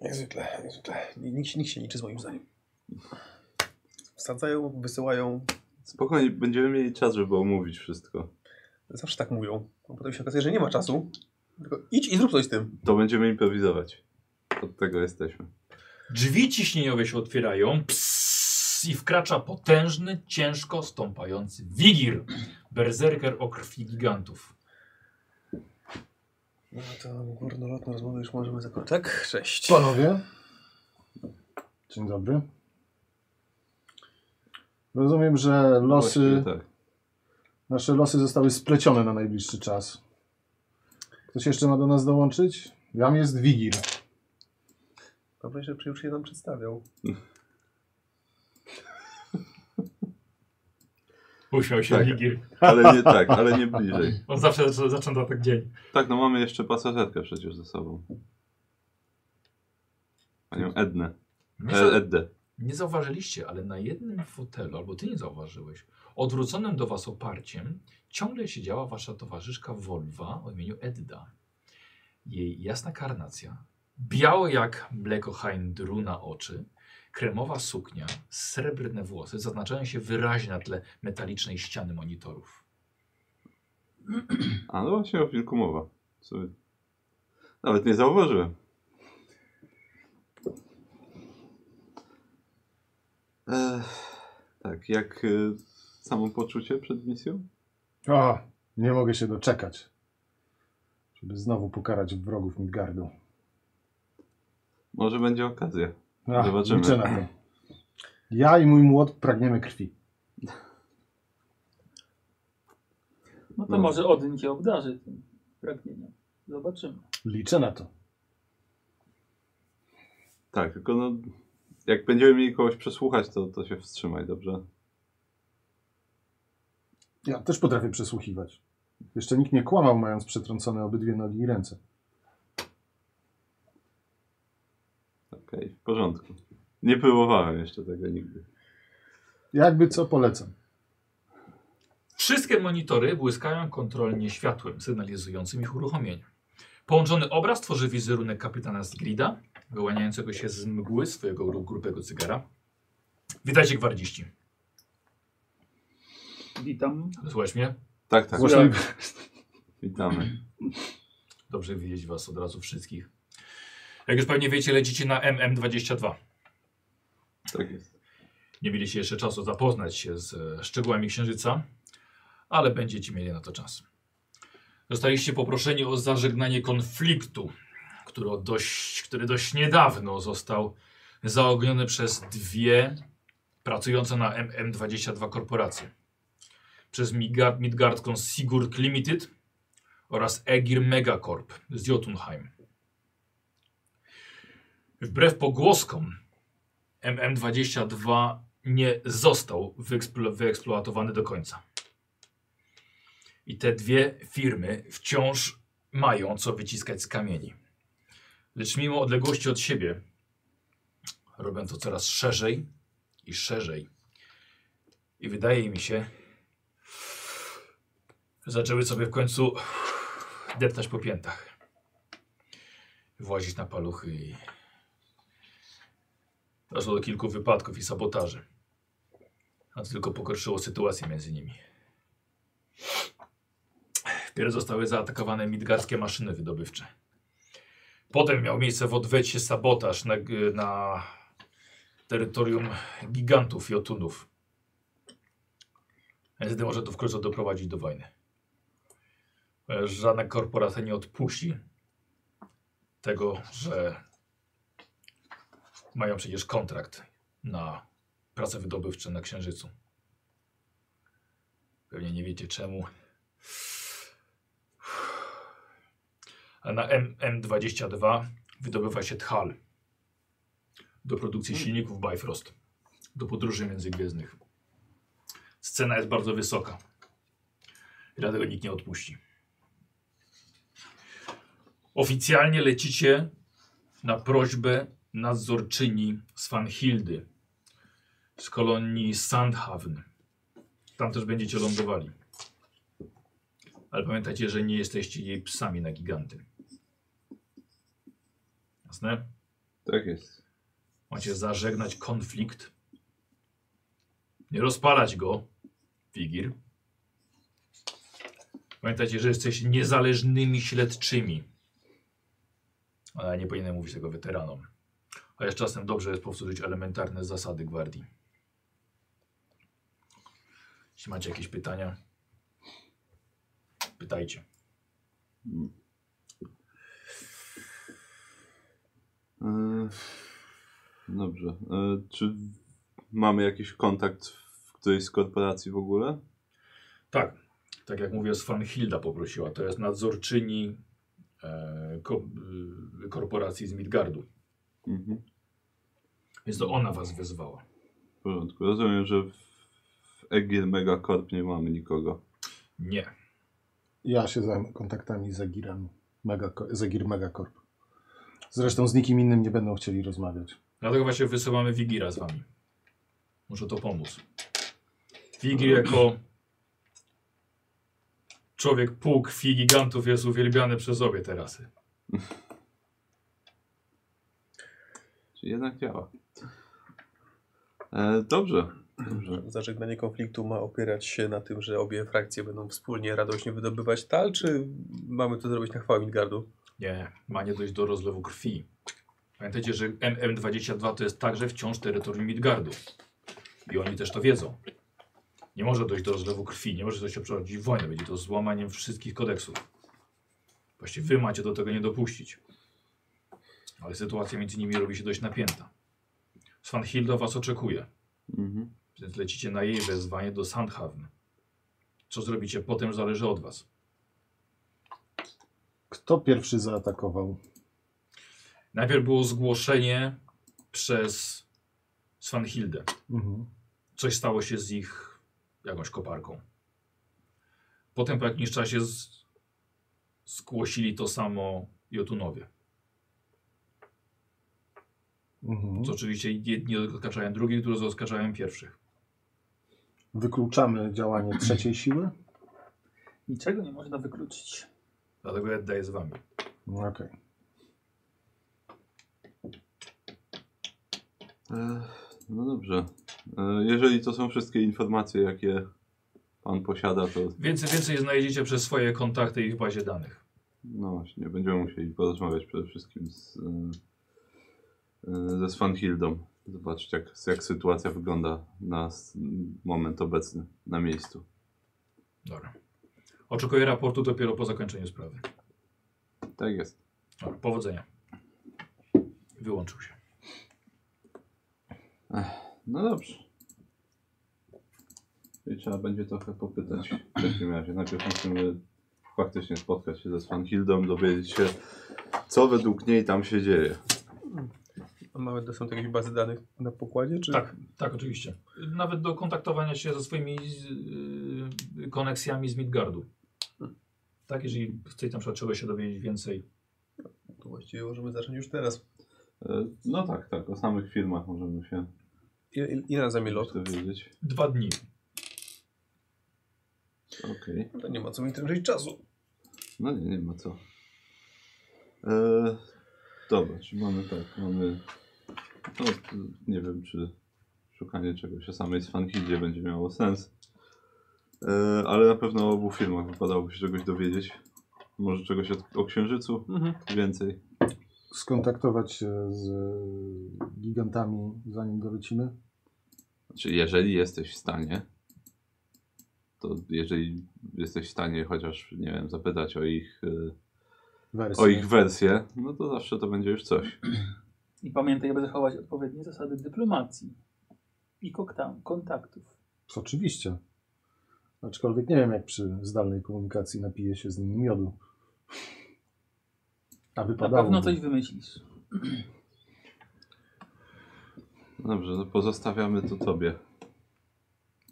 Jak zwykle, jak zwykle. Nikt, nikt się liczy z moim zdaniem. Wsadzają, wysyłają, Spokojnie, będziemy mieli czas, żeby omówić wszystko. zawsze tak mówią. A potem się okazuje, że nie ma czasu. Tylko idź i zrób coś z tym. To będziemy improwizować. Od tego jesteśmy. Drzwi ciśnieniowe się otwierają psss, i wkracza potężny, ciężko stąpający wigir. Berserker o krwi gigantów. No to górnolotną rozmowę już możemy zakończyć. Tak, cześć. Panowie. Dzień dobry. Rozumiem, że losy, Właściwie tak. nasze losy zostały splecione na najbliższy czas. Ktoś jeszcze ma do nas dołączyć? Jam jest Wigil. Dobrze, że już się nam przedstawiał. Uśmiał się Tak. wigir. Ale nie tak, ale nie bliżej. On zawsze zaczyna- zaczyna tak dzień. Tak, no mamy jeszcze pasażerkę przecież ze sobą. Panią Ednę. E, Eddę. Nie zauważyliście, ale na jednym fotelu, albo ty nie zauważyłeś, odwróconym do was oparciem, ciągle siedziała wasza towarzyszka Wolwa o imieniu Edda. Jej jasna karnacja, białe jak mleko hańdruna oczy, kremowa suknia, srebrne włosy zaznaczają się wyraźnie na tle metalicznej ściany monitorów. A no właśnie o wilku mowa. W sumie. Nawet nie zauważyłem. Ech, tak, jak y, samopoczucie przed misją? O, nie mogę się doczekać, żeby znowu pokarać wrogów Midgardu. Może będzie okazja. Ach, Zobaczymy. Liczę na to. Ja i mój młot pragniemy krwi. No to No. może Odyn cię obdarzy tym pragnieniem. Zobaczymy. Liczę na to. Tak, tylko no, jak będziemy mieli kogoś przesłuchać, to, to się wstrzymaj, dobrze? Ja też potrafię przesłuchiwać. Jeszcze nikt nie kłamał, mając przetrącone obydwie nogi i ręce. Okej, w porządku. Nie próbowałem jeszcze tego nigdy. Jakby co polecam. Wszystkie monitory błyskają kontrolnie światłem sygnalizującym ich uruchomienie. Połączony obraz tworzy wizerunek kapitana Zgrida, wyłaniającego się z mgły swojego gru- grubego cygara. Witajcie gwardziści. Witam. Słuchaj mnie? Tak, tak. Słuchaj. Głośliwy. Witamy. Dobrze widzieć was od razu wszystkich. Jak już pewnie wiecie, lecicie na MM22. Tak jest. Nie mieliście jeszcze czasu zapoznać się z e, szczegółami księżyca, ale będziecie mieli na to czas. Zostaliście poproszeni o zażegnanie konfliktu, który od dość, który dość niedawno został zaogniony przez dwie pracujące na MM22 korporacje. Przez Miga- Midgardką Sigurd Limited oraz Egir Megacorp z Jotunheim. Wbrew pogłoskom, MM22 nie został wyeksplo wyeksploatowany do końca. I te dwie firmy wciąż mają co wyciskać z kamieni. Lecz mimo odległości od siebie, robią to coraz szerzej i szerzej. I wydaje mi się, że zaczęły sobie w końcu deptać po piętach. Włazić na paluchy i Doszło do kilku wypadków i sabotaży. A to tylko pogorszyło sytuację między nimi. Wpierw zostały zaatakowane midgarskie maszyny wydobywcze. Potem miał miejsce w odwecie sabotaż na, na terytorium gigantów Jotunów. A Niestety może to wkrótce doprowadzić do wojny. Ponieważ Żadna korporacja nie odpuści tego, że mają przecież kontrakt na prace wydobywcze na Księżycu. Pewnie nie wiecie czemu. A na MM22 wydobywa się Thal do produkcji silników Bifrost, do podróży międzygwiezdnych. Scena jest bardzo wysoka. I Dlatego nikt nie odpuści. Oficjalnie lecicie na prośbę nadzorczyni Svanhildy z kolonii Sandhaven. Tam też będziecie lądowali. Ale pamiętajcie, że nie jesteście jej psami na giganty. Jasne? Tak jest. Macie zażegnać konflikt. Nie rozpalać go, Figir. Pamiętajcie, że jesteście niezależnymi śledczymi. Ale ja nie powinienem mówić tego weteranom. A jeszcze czasem dobrze jest powtórzyć elementarne zasady gwardii. Jeśli macie jakieś pytania, pytajcie. E, Dobrze. E, Czy mamy jakiś kontakt w którejś z korporacji w ogóle? Tak, tak jak mówię, Svanhilda poprosiła. To jest nadzorczyni e, ko, y, korporacji z Midgardu. Mhm. Więc to ona was wezwała. W porządku. Rozumiem, że w w Egir Megacorp nie mamy nikogo. Nie. Ja się zajmę kontaktami z Agirem Megako- z Agir Megacorp. Zresztą z nikim innym nie będą chcieli rozmawiać. Dlatego właśnie wysyłamy Wigira z wami. Może to pomóc. Wigir jako człowiek pół krwi gigantów jest uwielbiany przez obie terasy. Czyli jednak działa. E, dobrze. dobrze. Zażegnanie konfliktu ma opierać się na tym, że obie frakcje będą wspólnie radośnie wydobywać tal, czy mamy to zrobić na chwałę Midgardu? Nie, ma nie dojść do rozlewu krwi. Pamiętajcie, że MM22 to jest także wciąż terytorium Midgardu. I oni też to wiedzą. Nie może dojść do rozlewu krwi, nie może dojść do przeprowadzić wojny. Będzie to złamaniem wszystkich kodeksów. Właściwie wy macie do tego nie dopuścić. Ale sytuacja między nimi robi się dość napięta. Svanhilda was oczekuje, Mhm. więc lecicie na jej wezwanie do Sandhaven. Co zrobicie potem zależy od was. Kto pierwszy zaatakował? Najpierw było zgłoszenie przez Svanhildę. Mhm. Coś stało się z ich jakąś koparką. Potem po jakimś czasie z... zgłosili to samo Jotunowie. Mhm. Co oczywiście jedni odskaczają drugich, drudzy odskaczają pierwszych. Wykluczamy działanie trzeciej siły? Niczego nie można wykluczyć. Dlatego ja daję z wami. No, Okej. E, No dobrze. E, Jeżeli to są wszystkie informacje, jakie pan posiada, to Więcej, więcej znajdziecie przez swoje kontakty i w bazie danych. no właśnie, będziemy musieli porozmawiać przede wszystkim z, e, e, ze Svanhildą. Zobaczyć, jak, jak sytuacja wygląda na s- moment obecny, na miejscu. Dobra. Oczekuję raportu dopiero po zakończeniu sprawy. Tak jest. Dobra, powodzenia. Wyłączył się. No dobrze. I trzeba będzie trochę popytać w takim razie. Najpierw musimy faktycznie spotkać się ze Svanhildą, dowiedzieć się, co według niej tam się dzieje. A mamy dostęp do jakiejś bazy danych na pokładzie? Czy... Tak, tak, oczywiście. Nawet do kontaktowania się ze swoimi yy, koneksjami z Midgardu. Tak, jeżeli chcecie na przykład czegoś się dowiedzieć więcej. To właściwie możemy zacząć już teraz. E, No tak, tak. O samych filmach możemy się Ile, ile, ile nas zajmie lot? dowiedzieć. Dwa dni. Okej. To nie ma co mi trężyć czasu. No nie, nie ma co. E, dobra, czy mamy tak, mamy... No, t- nie wiem, czy szukanie czegoś o samej Sfanhidzie będzie miało sens. E, ale na pewno o obu filmach wypadałoby się czegoś dowiedzieć. Może czegoś o, o Księżycu Mhm. więcej. Skontaktować się z gigantami, zanim dolecimy. Znaczy, jeżeli jesteś w stanie, to jeżeli jesteś w stanie chociaż, nie wiem, zapytać o ich, e, Wersję. o ich wersję, no to zawsze to będzie już coś. I pamiętaj, aby zachować odpowiednie zasady dyplomacji i kokta- kontaktów. Oczywiście. Aczkolwiek nie wiem, jak przy zdalnej komunikacji napije się z nimi miodu. A Na wypadało. pewno coś wymyślisz. No Dobrze, to pozostawiamy to tobie.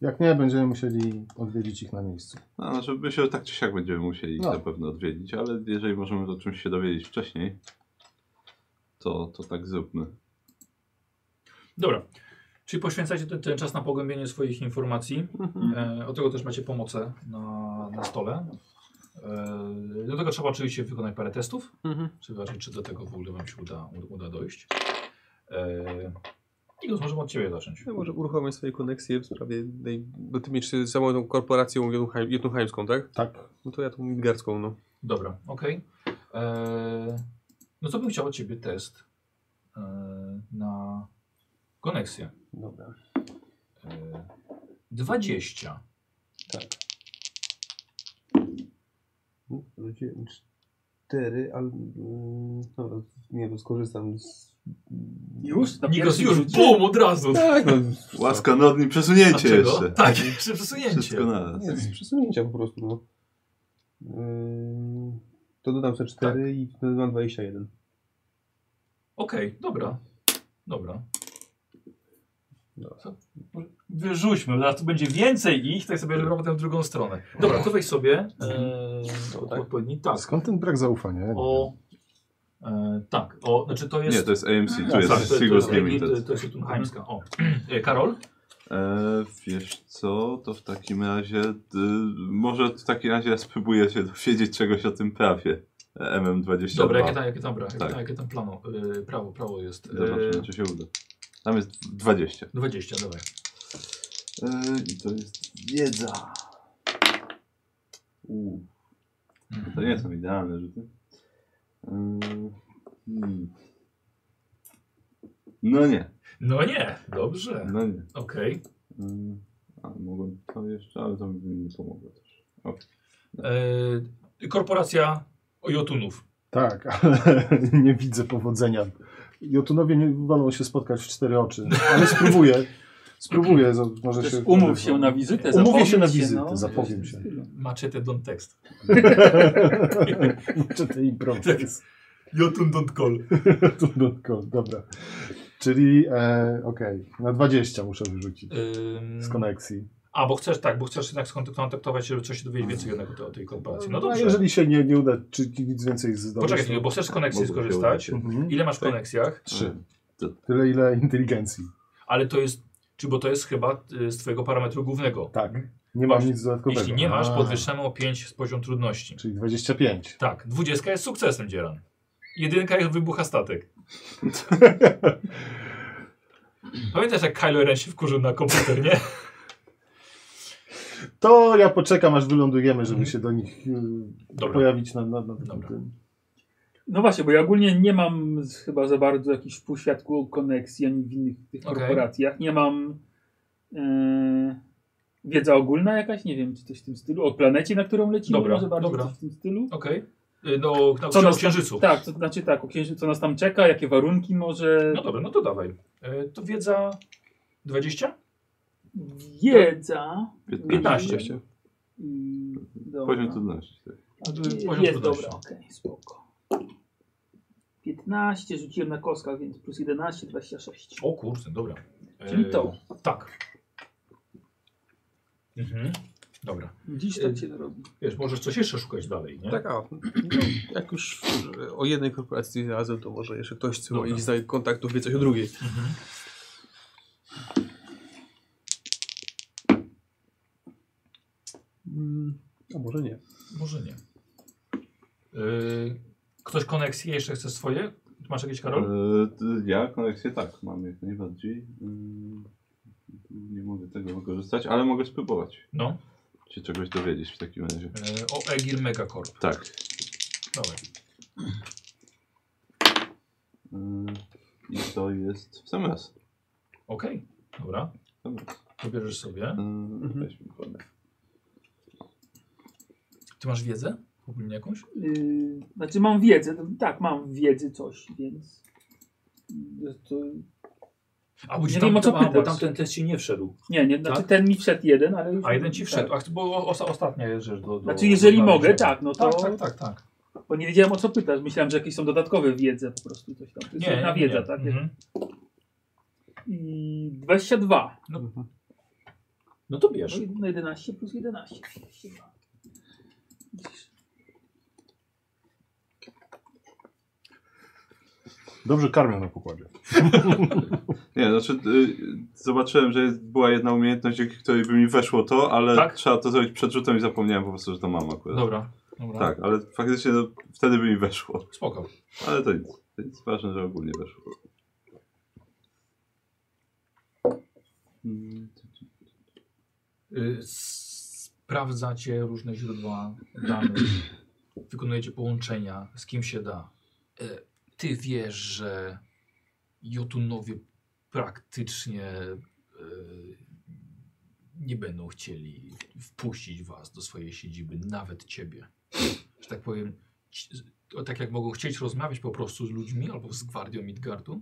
Jak nie, będziemy musieli odwiedzić ich na miejscu. No, znaczy, my się tak czy siak będziemy musieli ich No. na pewno odwiedzić, ale jeżeli możemy o czymś się dowiedzieć wcześniej, to, to tak zróbmy. Dobra. Czyli poświęcacie ten, ten czas na pogłębienie swoich informacji. E, od tego też macie pomocę na, na stole. E, do tego trzeba oczywiście wykonać parę testów. Mhm. Czy zobaczyć, czy do tego w ogóle Wam się uda, u- uda dojść. E, Igor, możemy od Ciebie zacząć. Ja może uruchomię swoje koneksje w sprawie tej... Bo ty mieć z samą tą korporacją jednuchaj- jednuchańską, tak? Tak. No to ja tą midgardzką, no. Dobra, okej. E, No to bym chciał od Ciebie test e, na koneksję. Dobra. E, 20. Rzuciłem cztery, ale... Dobra, nie wiem, skorzystam z... Już? Na Nikos pierwszym już, rzucie? bum, od razu. Tak, no. Łaska nodni, przesunięcie Dlaczego? jeszcze. Tak, jeszcze przesunięcie. Wszystko na raz. Nie, z przesunięcia po prostu, no. Yy, to dodam sobie 4 i wtedy mam 21. Okej, dobra. Dobra. Wyrzućmy, zaraz tu będzie więcej ich, tak sobie Biorę robotem w drugą stronę. Dobra, to weź sobie. E, To tak? odpowiedni task. Skąd ten brak zaufania? Ja nie wiem. O. E, tak, o, znaczy to jest. Nie, to jest AMC, tu Tak, jest tak, to- to Sigurd jest- To, Limited. to jest Tunheimska. O. E, Karol? E, wiesz co, to w takim razie, y, może w takim razie ja spróbuję się dowiedzieć czegoś o tym prawie e, MM22. Dobra, jakie tam, jakie tam, bra, Tak. jakie tam, jakie tam plano? E, prawo, prawo jest. E, Zobaczymy, czy się uda. Tam jest 20. 20, dawaj. E, I to jest wiedza. Uuu. To Mm. nie są idealne rzuty. Ym, Hmm. No nie, No nie, dobrze. no nie. Okej. Ym, A mogłem to jeszcze, ale to mi nie pomogło też. E, Korporacja Jotunów. Tak, ale nie widzę powodzenia. Jotunowie nie wolą się spotkać w cztery oczy, ale spróbuję. Spróbuję, za- może Też się... umów się na wizytę, Umówię się na zapowiedz wizytę, no. zapowiem się. Macie ten don't text. Czy te improwizy. Tak jest. Jotun don't call. To dodatkowo, Dobra. Czyli, e, okej, na 20 muszę wyrzucić Ym, z koneksji. a, bo chcesz, tak, bo chcesz jednak skontaktować się, żeby coś się dowiedzieć więcej jednak o, te- o tej korporacji. No A dobrze. jeżeli się nie, nie uda, czy nic więcej zdobyć... Poczekaj, to- chwilę, bo chcesz z koneksji Mogłoby się skorzystać. udać. Mhm. Ile masz w koneksjach? Trzy. To- Tyle, ile inteligencji. Ale to jest, czy bo to jest chyba y, z twojego e, parametru głównego. Tak. Nie mam Właśnie, nic dodatkowego. Jeśli nie masz, no. A, podwyższamy o 5 z poziom trudności. Czyli 25. Tak, 20 jest sukcesem, Dzieran. Jedynka jest wybucha statek. Pamiętasz, jak Kylo Ren się wkurzył na komputer, nie? To ja poczekam, aż wylądujemy, żeby się do nich y, Dobra. pojawić na, na, na tym. Dobra. tym. No właśnie, bo ja ogólnie nie mam z- chyba za bardzo jakichś w półświatku koneksji ani w innych tych Okej. korporacjach. Nie mam e, wiedza ogólna jakaś, nie wiem, czy coś w tym stylu. O planecie, na którą lecimy, Dobra, może bardziej dobra. coś w tym stylu. Okej. Y, No, na Co na nas księżycu. Tak, to znaczy tak, o księżycu, co nas tam czeka, jakie warunki może. No dobra, no to dawaj. Y, To wiedza 20? No. Wiedza. 15. Y, Dobra. Poziom trudności. Tak. Y, Poziom Jest trudności. dobra, okej, spoko. 15 rzuciłem na kostkach, więc plus 11, 26. O kurczę, dobra. Y, Czyli to. Tak. Mhm. Dobra. Dziś Y, tak się robi. Wiesz, możesz coś jeszcze szukać dalej, nie? Tak, a no, jak już o jednej korporacji razem, to może jeszcze ktoś z Dobra. moich znajomych kontaktów wie coś o drugiej. Mm, A może nie. Może nie. Y, ktoś koneksje jeszcze chce swoje? Masz jakieś, Karol? E, ty- Ja koneksję tak mam jak najbardziej. Ym, Nie mogę tego wykorzystać, ale mogę spróbować No. się czegoś dowiedzieć w takim razie. Y, o Egil Megacorp. Tak. Dawaj. Ym, I to jest w sam raz. Okej, dobra. W sam raz. Wybierzesz sobie. Ym, Weźmy konek. Ty masz wiedzę? Ogólnie jakąś? Yy, znaczy mam wiedzę, no, tak, mam wiedzy coś, więc... yy, To, A bo Nie ci wiem, o co a, bo pytasz. tamten test ci nie wszedł. nie, nie, znaczy ten mi wszedł jeden, ale już... Tak? A jeden ci wszedł. Tak. Ach, to była osta- ostatnia jest rzecz do, do Znaczy jeżeli do mogę, znalezienia. tak, no to... Tak, tak, tak, tak. Bo nie wiedziałem o co pytasz, myślałem, że jakieś są dodatkowe wiedze po prostu, coś tam. To jest jedna wiedza, tak? Mhm. I 22. No to bierz. No, i- no 11 plus 11. 32. Widzisz? Dobrze karmią na pokładzie. Nie, znaczy y, zobaczyłem, że jest, była jedna umiejętność, dzięki której by mi weszło to, ale Tak? trzeba to zrobić przed rzutem i zapomniałem po prostu, że to mam akurat. Dobra. Dobra. Tak, ale faktycznie no, wtedy by mi weszło. Spoko. Ale to nic. To nic ważne, że ogólnie weszło. Mm, Y, s- sprawdzacie różne źródła danych, wykonujecie połączenia z kim się da. Y, Ty wiesz, że Jotunowie praktycznie y, nie będą chcieli wpuścić was do swojej siedziby, nawet ciebie. Że tak powiem, ci- o, tak jak mogą chcieć rozmawiać po prostu z ludźmi albo z gwardią Midgardu,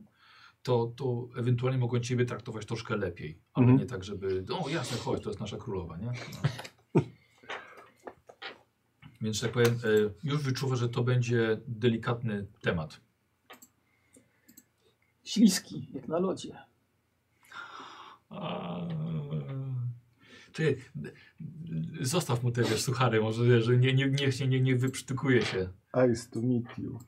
to, to ewentualnie mogą ciebie traktować troszkę lepiej, ale Mhm. nie tak, żeby o jasne, chodź, to jest nasza królowa, nie? No. Więc że tak powiem, y, już wyczuwa, że to będzie delikatny temat. Śliski, jak na lodzie. A... Ty, d- d- zostaw mu te wiesz, suchary, może wiesz, że nie, nie, niech się nie, nie wyprztykuje się. Ice to meet you.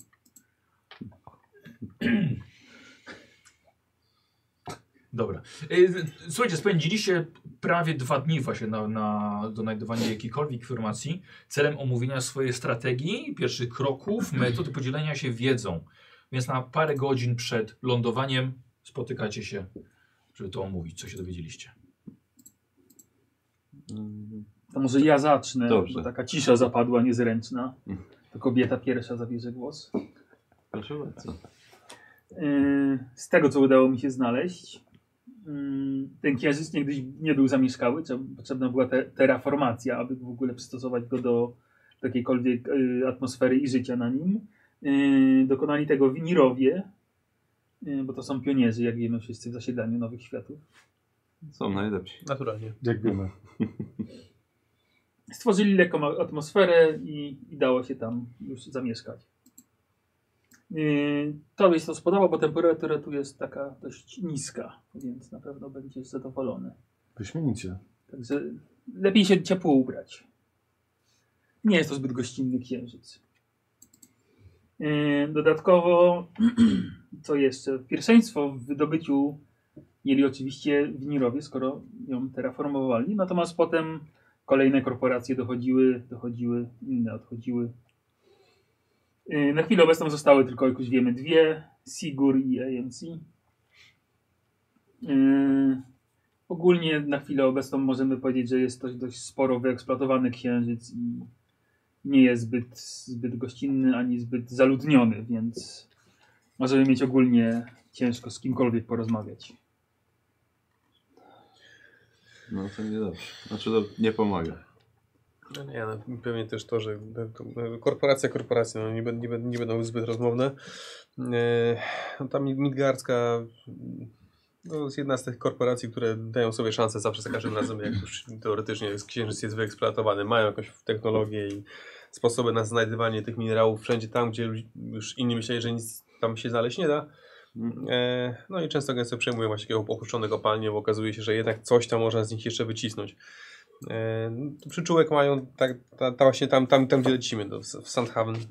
Dobra. Y, z- Słuchajcie, spędziliście prawie dwa dni właśnie na, na donajdowanie jakiejkolwiek informacji celem omówienia swojej strategii, pierwszych kroków, metody podzielenia się wiedzą. Więc na parę godzin przed lądowaniem spotykacie się, żeby to omówić, co się dowiedzieliście. mm, To może ja zacznę. Dobrze. Bo taka cisza zapadła niezręczna. To kobieta pierwsza zabierze głos. Proszę bardzo. Yy, z tego, co udało mi się znaleźć, yy, ten księżyc niegdyś nie był zamieszkały. trze- Potrzebna była te, terraformacja, aby w ogóle przystosować go do jakiejkolwiek yy, atmosfery i życia na nim. Yy, dokonali tego winirowie, yy, bo to są pionierzy, jak wiemy wszyscy, w zasiedlaniu nowych światów. Są najlepsi. Naturalnie. Jak wiemy. stworzyli lekką a- atmosferę i, i dało się tam już zamieszkać. Yy, tobie się to spodoba, bo temperatura tu jest taka dość niska, więc na pewno będziesz zadowolony. Wyśmienicie. Także lepiej się ciepło ubrać. Nie jest to zbyt gościnny księżyc. Yy, Dodatkowo, co jeszcze? Pierwszeństwo w wydobyciu mieli oczywiście winirowie, skoro ją terraformowali, natomiast potem Kolejne korporacje dochodziły, dochodziły, inne odchodziły. Yy, Na chwilę obecną zostały tylko, jak już wiemy, dwie. Sigur i AMC. Yy, Ogólnie na chwilę obecną możemy powiedzieć, że jest dość, dość sporo wyeksploatowany księżyc i nie jest zbyt, zbyt gościnny ani zbyt zaludniony, więc możemy mieć ogólnie ciężko z kimkolwiek porozmawiać. No to nie dobrze. Znaczy to nie pomaga. No nie, no, pewnie też to, że te- to, e, korporacja, korporacja, no, nie, bę- nie, bę- nie będą zbyt rozmowne. E, no, ta mi- Midgardzka mm, no, jest jedna z tych korporacji, które dają sobie szansę zawsze za każdym razem, jak już teoretycznie jest- księżyc jest wyeksploatowany, mają jakąś technologię i sposoby na znajdywanie tych minerałów wszędzie tam, gdzie ludzi- już inni myśleli, że nic tam się znaleźć nie da. E, No i często gęsto przejmują właśnie takie opuszczone kopalnie, bo okazuje się, że jednak coś tam można z nich jeszcze wycisnąć. E, no, Przyczółek mają tak, ta, ta właśnie tam, tam, tam gdzie lecimy, no, w w Sandhaven. E,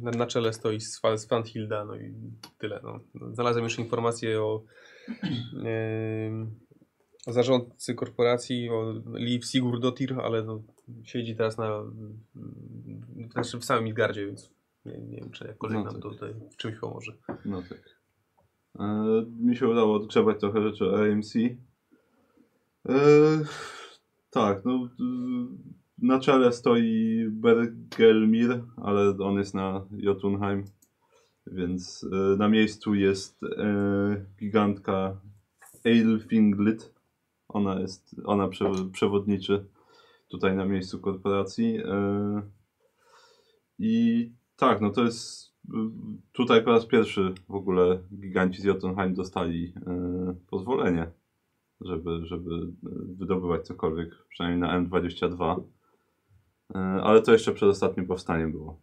Na, na czele stoi Swa- Svanhilda, no i tyle. No. Znalazłem już informacje o, em, o zarządcy korporacji, o Liv Sigurdotir, ale no, siedzi teraz na, mm, znaczy w samym Midgardzie, więc nie, nie wiem, czy jakkolwiek No nam tak. to tutaj w czymś pomoże. No tak. E, mi się udało odgrzebać trochę rzeczy o AMC. E, tak, no d- na czele stoi Bergelmir, ale on jest na Jotunheim. Więc e, na miejscu jest e, gigantka Eilfinglit. Ona jest, ona przew- przewodniczy tutaj na miejscu korporacji. E, I tak, no to jest. y, Tutaj po raz pierwszy w ogóle giganci z Jotunheim dostali y, pozwolenie, żeby, żeby y, wydobywać cokolwiek, przynajmniej na M22. Y, ale to jeszcze przed ostatnim powstaniem było.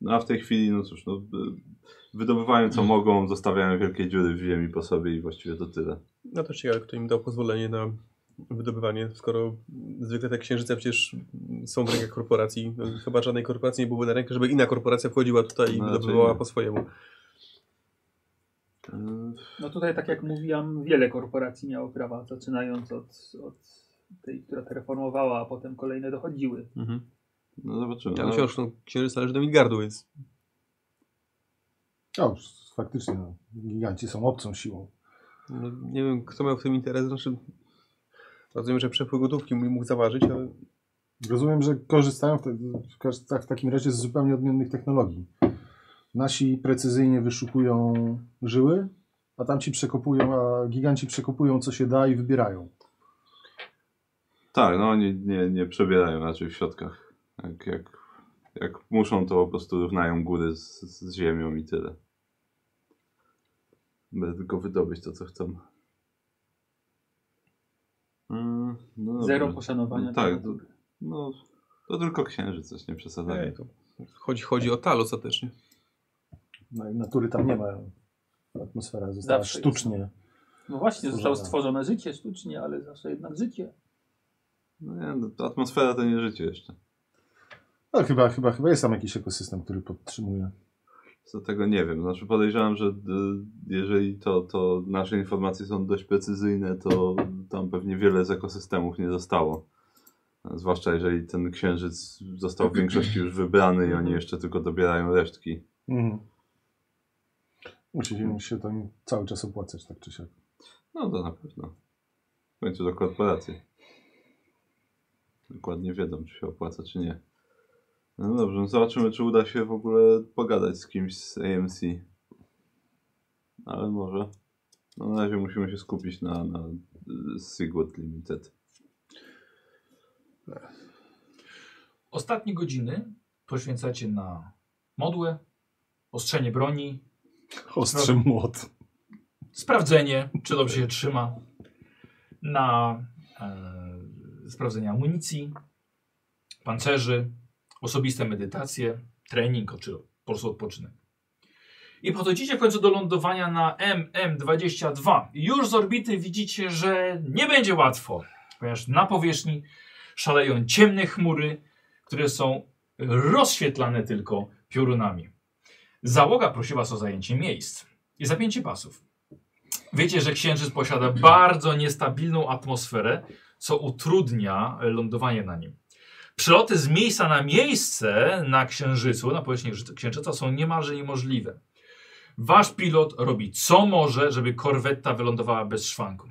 No a w tej chwili, no cóż, no, y, wydobywają co mogą, zostawiają wielkie dziury w ziemi po sobie i właściwie to tyle. No to ciekawe, kto im dał pozwolenie na wydobywanie, skoro zwykle te księżyce przecież są w rękach korporacji. No, Chyba żadnej korporacji nie byłoby na rękę, żeby inna korporacja wchodziła tutaj i No, wydobywała raczej nie. po swojemu. Y, No tutaj, tak jak mówiłam, wiele korporacji miało prawa, zaczynając od, od tej, która to reformowała, a potem kolejne dochodziły. Mhm. No zobaczymy. Ja No, wciąż no, księżyc należy do Midgardu, więc O, s- faktycznie, no, giganci są obcą siłą. no, nie wiem, kto miał w tym interes. Znaczy, rozumiem, że przepływ gotówki mógł mógł zaważyć, ale Rozumiem, że korzystają w, te, w, każ- tak- w takim razie z zupełnie odmiennych technologii. Nasi precyzyjnie wyszukują żyły, a tamci przekopują, a giganci przekopują co się da i wybierają. Tak, no oni nie, nie przebierają raczej w środkach. Jak, jak, jak muszą, to po prostu równają góry z, z ziemią i tyle. Będę tylko wydobyć to, co chcą. Mm, no dobra. Zero poszanowania. No tak, tego. to, no, to tylko księżyc, coś nie przesadzajmy. Ej, to chodzi, chodzi o tal ostatecznie. No i Natury tam nie ma. Atmosfera została Zawsze jest. sztucznie. No właśnie, zostało Zero. stworzone życie sztucznie, ale zawsze jednak życie. No nie, no, to atmosfera to nie życie jeszcze. No chyba, chyba, chyba jest tam jakiś ekosystem, który podtrzymuje. Co tego nie wiem. Znaczy podejrzewam, że y, jeżeli to, to nasze informacje są dość precyzyjne, to tam pewnie wiele z ekosystemów nie zostało. A Zwłaszcza jeżeli ten księżyc został w większości już wybrany i oni jeszcze tylko dobierają resztki. Mhm. Musi im się to im cały czas opłacać, tak czy siak. No to na pewno. W końcu do korporacji. Dokładnie wiedzą, czy się opłaca, czy nie. No dobrze, no zobaczymy, czy uda się w ogóle pogadać z kimś z AMC. Ale może. No na razie musimy się skupić na, na y, Sigurd Limited. Ostatnie godziny poświęcacie na modłę, ostrzenie broni, Ostrzy No. młot. sprawdzenie, czy dobrze się trzyma, na e, sprawdzenie amunicji, pancerzy, osobiste medytacje, trening, czy po prostu odpoczynek. I podchodzicie w końcu do lądowania na MM22. I Już z orbity widzicie, że nie będzie łatwo, ponieważ na powierzchni szaleją ciemne chmury, które są rozświetlane tylko piorunami. Załoga prosi Was o zajęcie miejsc i zapięcie pasów. Wiecie, że Księżyc posiada bardzo niestabilną atmosferę, co utrudnia e, lądowanie na nim. Przeloty z miejsca na miejsce na Księżycu, na powierzchni Księżyca- Księżyca są niemalże niemożliwe. Wasz pilot robi co może, żeby korwetta wylądowała bez szwanku.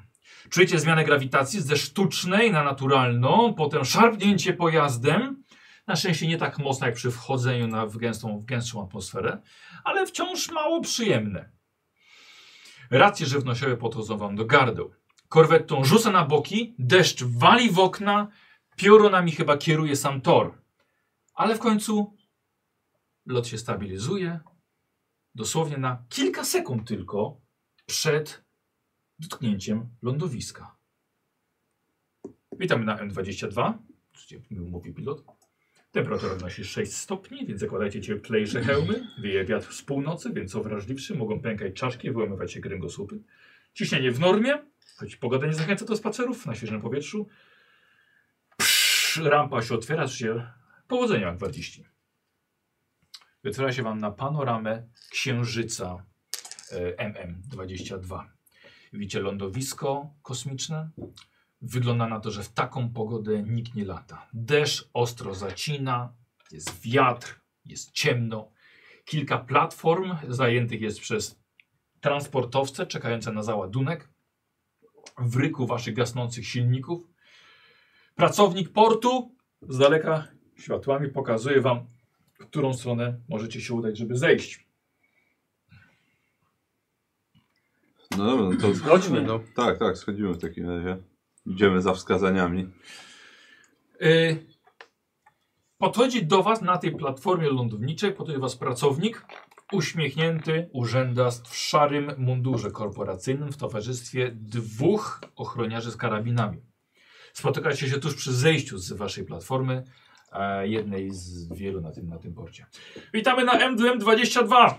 Czujecie zmianę grawitacji ze sztucznej na naturalną, potem szarpnięcie pojazdem. Na szczęście nie tak mocno jak przy wchodzeniu na, w, gęstą, w gęstszą atmosferę, ale wciąż mało przyjemne. Racje żywnościowe podchodzą wam do gardeł. Korwettą rzuca na boki, deszcz wali w okna, piorunami chyba kieruje sam tor. Ale w końcu lot się stabilizuje, dosłownie na kilka sekund tylko przed dotknięciem lądowiska. Witamy na M22, czyli mówi pilot. Temperatura wynosi 6 stopni, więc zakładajcie cieplejsze hełmy. Wieje wiatr z północy, więc co wrażliwszy, mogą pękać czaszki, wyłamywać się kręgosłupy. Ciśnienie w normie, choć pogoda nie zachęca do spacerów na świeżym powietrzu. Psz, rampa się otwiera, się powodzenia gwardziści. I Otwiera się Wam na panoramę Księżyca e, MM22. Widzicie lądowisko kosmiczne. Wygląda na to, że w taką pogodę nikt nie lata. Deszcz ostro zacina, jest wiatr, jest ciemno. Kilka platform zajętych jest przez transportowce czekające na załadunek. W ryku waszych gasnących silników. Pracownik portu z daleka światłami pokazuje wam, w którą stronę możecie się udać, żeby zejść. No dobra, no to Chodźmy. No. tak, tak, schodzimy w takim razie. Idziemy za wskazaniami. Yy, podchodzi do Was na tej platformie lądowniczej, podchodzi do Was pracownik, uśmiechnięty urzędast w szarym mundurze korporacyjnym w towarzystwie dwóch ochroniarzy z karabinami. Spotykacie się tuż przy zejściu z Waszej platformy, e, jednej z wielu na tym, na tym porcie. Witamy na MDM22.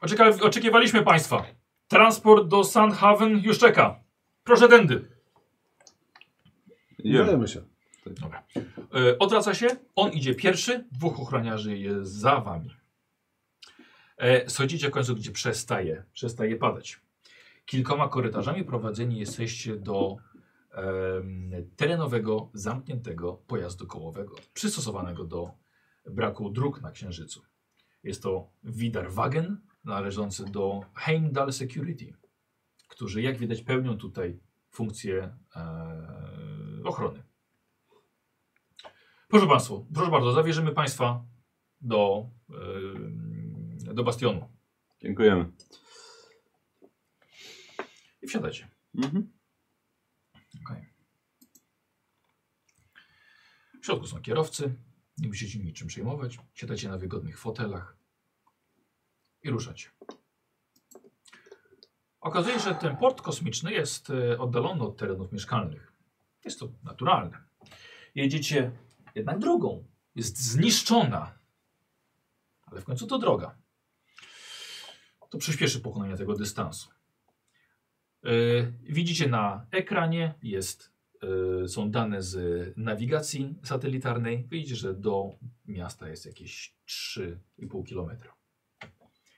Oczeka, oczekiwaliśmy Państwa. Transport do Sandhaven już czeka. Proszę tędy. No. Idziemy. Udajemy się. E, Odwraca się, on idzie pierwszy, dwóch ochroniarzy jest za wami. E, Schodzicie w końcu, gdzie przestaje, przestaje padać. Kilkoma korytarzami prowadzeni jesteście do em, terenowego, zamkniętego pojazdu kołowego, przystosowanego do braku dróg na Księżycu. Jest to Widarwagen należący do Heimdall Security, którzy jak widać pełnią tutaj funkcję e, ochrony. Proszę Państwa, proszę bardzo, zawierzymy Państwa do, yy, do bastionu. Dziękujemy. I wsiadajcie. Mhm. W środku są kierowcy, nie musicie niczym przejmować. Siadacie na wygodnych fotelach i ruszacie. Okazuje się, że ten port kosmiczny jest e, oddalony od terenów mieszkalnych. Jest to naturalne. Jedziecie jednak drogą. Jest zniszczona. Ale w końcu to droga. To przyspieszy pokonanie tego dystansu. E, widzicie na ekranie jest y, są dane z nawigacji satelitarnej. Widzicie, że do miasta jest jakieś 3,5 km.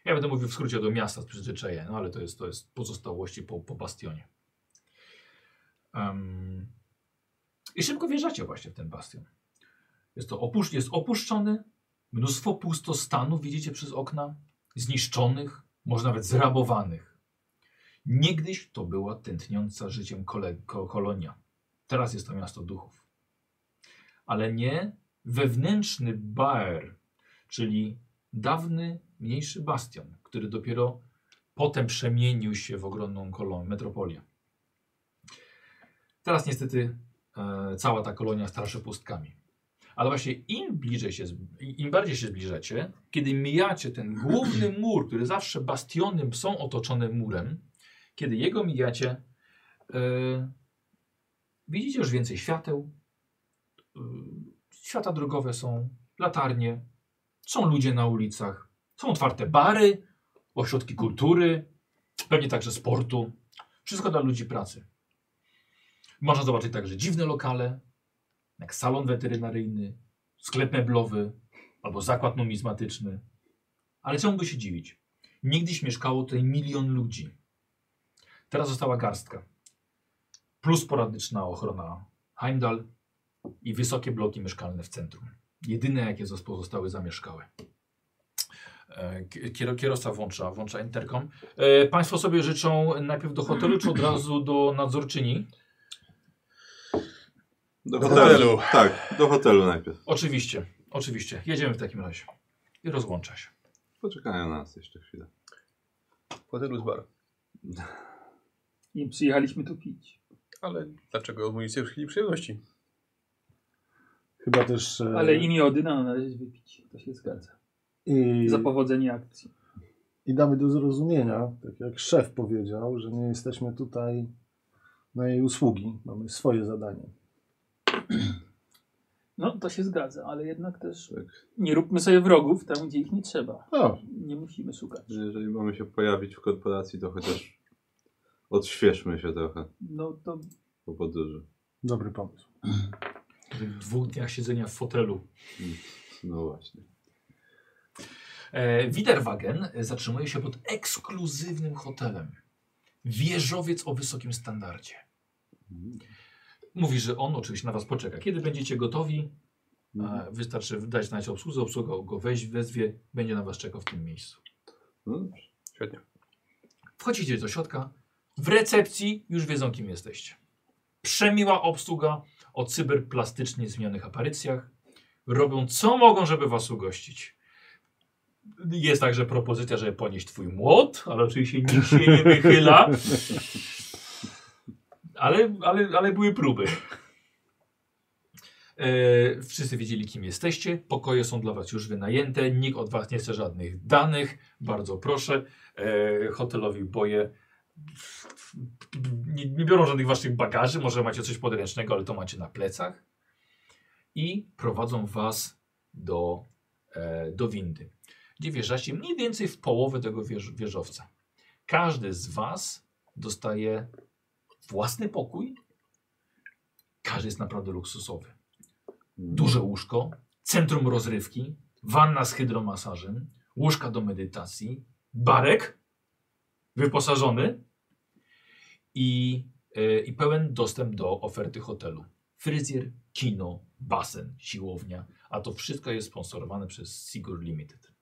Ja będę mówił w skrócie do miasta z przyzwyczajenia, no ale to jest, to jest pozostałości po, po bastionie. Em, I szybko wjeżdżacie właśnie w ten bastion. Jest to opusz jest opuszczony, mnóstwo pustostanów widzicie przez okna, zniszczonych, może nawet zrabowanych. Niegdyś to była tętniąca życiem kole, ko, kolonia. Teraz jest to miasto duchów. Ale nie wewnętrzny Baer, czyli dawny, mniejszy bastion, który dopiero potem przemienił się w ogromną kolonię, metropolię. Teraz niestety e, cała ta kolonia straszy pustkami. Ale właśnie im bliżej się, zb- im bardziej się zbliżacie, kiedy mijacie ten główny mur, który zawsze bastionem są otoczone murem, kiedy jego mijacie, e, Widzicie już więcej świateł. y, Świata drogowe są, latarnie, są ludzie na ulicach, są otwarte bary, ośrodki kultury, pewnie także sportu. Wszystko dla ludzi pracy. Można zobaczyć także dziwne lokale, jak salon weterynaryjny, sklep meblowy albo zakład numizmatyczny. Ale czemu by się dziwić? Niegdyś mieszkało tutaj milion ludzi. Teraz została garstka plus poradyczna ochrona Heimdall i wysokie bloki mieszkalne w centrum. Jedyne, jakie zos- pozostały zamieszkałe. E, ki- kiero- Kierowca włącza, włącza interkom. E, Państwo sobie życzą najpierw do hotelu, czy od razu do nadzorczyni? Do, Do hotelu. hotelu. Tak, do hotelu najpierw. Oczywiście, oczywiście. Jedziemy w takim razie. I rozłącza się. Poczekają na nas jeszcze chwilę. Hotelu z bar. I przyjechaliśmy tu pić. Ale dlaczego odmówicie chwili przyjemności? Chyba też. e, Ale i miodyna należy wypić. To się zgadza. i, Za powodzenie akcji. I damy do zrozumienia, tak jak szef powiedział, że nie jesteśmy tutaj na jej usługi. Mamy swoje zadanie. No, to się zgadza, ale jednak też Tak. nie róbmy sobie wrogów tam, gdzie ich nie trzeba. No, Nie musimy szukać. Że Jeżeli mamy się pojawić w korporacji, to chociaż odświeżmy się trochę No to po podróży. dobry pomysł. W tych dwóch dniach siedzenia w fotelu. No właśnie. E, Widerwagen zatrzymuje się pod ekskluzywnym hotelem. Wieżowiec o wysokim standardzie. Mówi, że on oczywiście na was poczeka. Kiedy będziecie gotowi, e, wystarczy dać znać obsłudze, obsługa go weź, wezwie, będzie na was czekał w tym miejscu. No, Świetnie. Wchodzicie do środka, w recepcji już wiedzą kim jesteście. Przemiła obsługa o cyberplastycznie zmienionych aparycjach. Robią co mogą, żeby was ugościć. Jest także propozycja, żeby ponieść twój młot, ale oczywiście nikt się nie wychyla. Ale, ale, ale były próby. E, wszyscy wiedzieli, kim jesteście. Pokoje są dla was już wynajęte. Nikt od was nie chce żadnych danych. Bardzo proszę. E, hotelowi boje. Nie, nie biorą żadnych waszych bagaży. Może macie coś podręcznego, ale to macie na plecach. I prowadzą was do, e, do windy. Gdzie wjeżdżacie mniej więcej w połowę tego wież, wieżowca. Każdy z was dostaje własny pokój. Każdy jest naprawdę luksusowy duże łóżko, centrum rozrywki, wanna z hydromasażem, łóżka do medytacji, barek wyposażony i, e, i pełen dostęp do oferty hotelu. Fryzjer, kino, basen, siłownia, a to wszystko jest sponsorowane przez Sigur Limited.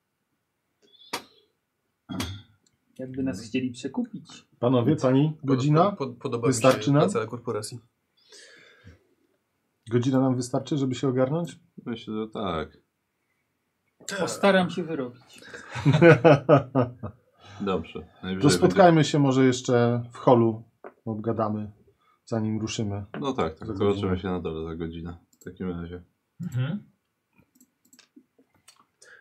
jakby nas chcieli przekupić. Panowie, pani, godzina? Pod, pod, podoba mi Wystarczy się nam? praca korporacji. Godzina nam wystarczy, żeby się ogarnąć? Myślę, że tak. Tak. Postaram się wyrobić. Dobrze. Najwyżej To będzie- spotkajmy się może jeszcze w holu, obgadamy, zanim ruszymy. No tak, tak. Za Zobaczymy godzinę. się na dole za godzinę. W takim razie. Mhm.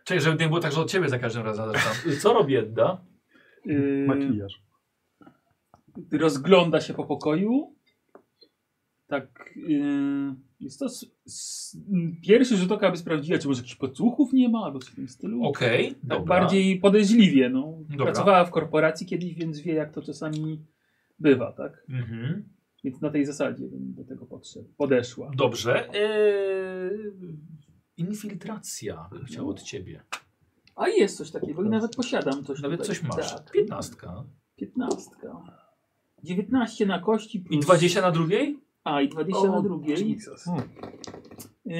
Czyli żeby nie było tak, że od ciebie za każdym razem zaczynam. Co robi Edda? Yy, Makijaż. rozgląda się po pokoju. Tak. Yy, jest to s, s, m, pierwszy rzut oka, aby sprawdziła, czy może jakichś podsłuchów nie ma, albo coś w tym stylu. Okej, tak dobra. bardziej podejrzliwie. No. Dobra. Pracowała w korporacji kiedyś, więc wie, jak to czasami bywa, tak? Mhm. Więc na tej zasadzie bym do tego podszedł. Podeszła. Dobrze. Yy, infiltracja bym chciał od ciebie. A jest coś takiego i nawet posiadam coś. Nawet tutaj. coś masz. Tak. Piętnastka. Piętnastka. 19 na kości. I plus- 20 na drugiej? A, i 20 na drugiej. Hmm. Yy,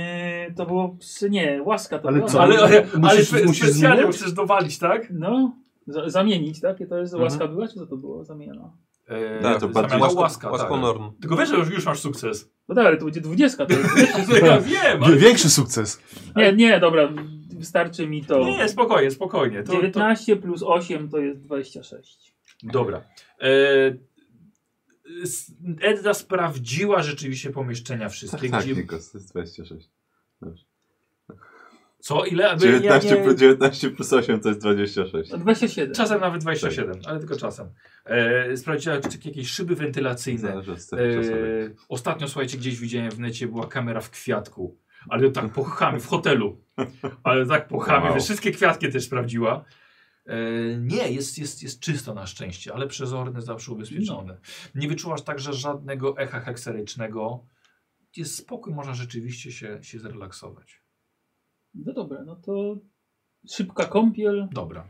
to było. psy- Nie, łaska to Ale była. co? Ale, ale, ale Musisz- spe- musisz specjalnie zmieniać? musisz dowalić, tak? No, za, zamienić, tak? To jest Mhm. łaska była, czy co to było? Zamiana. Eee, Tak, to bardziej- łaska. łaska, Łasko tak. Norn. Tylko wiesz, że już, już masz sukces. No tak, ale to będzie 20. To No Tak. ja wiem, ale... Większy sukces. nie, nie, dobra, wystarczy mi to. Nie, spokojnie, spokojnie. To, to... 19 plus 8 to jest 26. Dobra. Eee, s- Edda sprawdziła rzeczywiście pomieszczenia Tak, wszystkie. tak, gdzie... Nikos, to jest 26. Co? Ile? Bo ja 19, nie- plus 19 plus 8 to jest 26. No, A 27. Czasem nawet Tak. 27, ale tylko czasem. E, sprawdziła, czy jakieś szyby wentylacyjne. Zależy od E, Eee, tego czasowej. ostatnio, słuchajcie, gdzieś widziałem w necie, była kamera w kwiatku. Ale tak po chamie, w hotelu. Ale tak po chamie, Wow. wiesz, wszystkie kwiatki też sprawdziła. E, nie, jest, jest, jest czysto na szczęście, ale przezorne, zawsze ubezpieczone. Nie wyczuwasz także żadnego echa hekserycznego. Jest spokój, można rzeczywiście się, się zrelaksować. No dobra, no to szybka kąpiel. Dobra,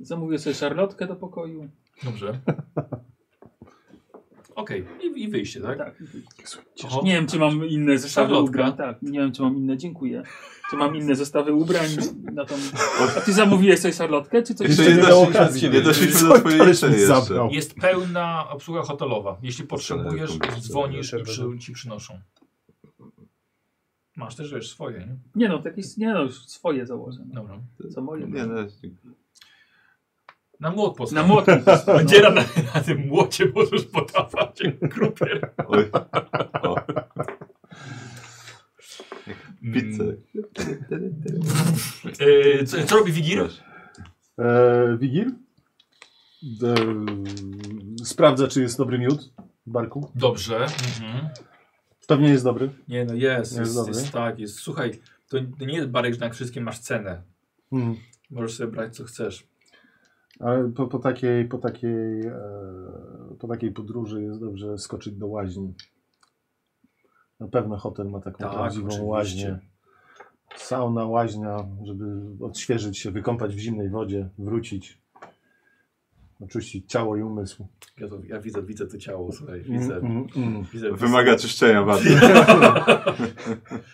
Zamówię sobie szarlotkę do pokoju. dobrze. Okej, i, i wyjście, tak? Tak. Oho. Nie wiem, czy mam inne zestawy Szarlotka. ubrań. Tak, nie wiem, czy mam inne, dziękuję. Czy mam inne zestawy ubrań na tą... A ty zamówiłeś sobie szarlotkę, czy coś? Jeszcze nie nie dało doszliśmy, okazji, nie więc- doszliśmy Co do twojej koleś mi jeszcze. zabrał? Jest pełna obsługa hotelowa. Jeśli potrzebujesz, dzwonisz i przy, ci przynoszą. Masz też wiesz, swoje, nie? Nie no, takie, nie no, już swoje założę. No. Dobra. Co moje? Nie, no, Na młot postaw. Na No, młotku. Dziera na, na tym młocie możesz podawać jak krupier. oj. O, pizzę. Mm. Mm. E, co, co robi Wigir? Proszę. E, Wigil? E, sprawdza, czy jest dobry miód w barku. Dobrze. Mhm. Pewnie jest dobry. Nie no, jest, Jest jest, dobry. jest tak, jest. Słuchaj, to to nie jest barek, że na wszystkie masz cenę. Mm. Możesz sobie brać co chcesz. Ale po, po, takiej, po, takiej, e, po takiej podróży jest dobrze skoczyć do łaźni. Na pewno hotel ma taką Tak, prawdziwą oczywiście. łaźnię. Sauna, łaźnia, żeby odświeżyć się, wykąpać w zimnej wodzie, wrócić, oczyścić ciało i umysł. Ja, to, ja widzę, widzę to ciało, słuchaj, Mm, widzę. mm, mm. widzę Wymaga czyszczenia bardzo.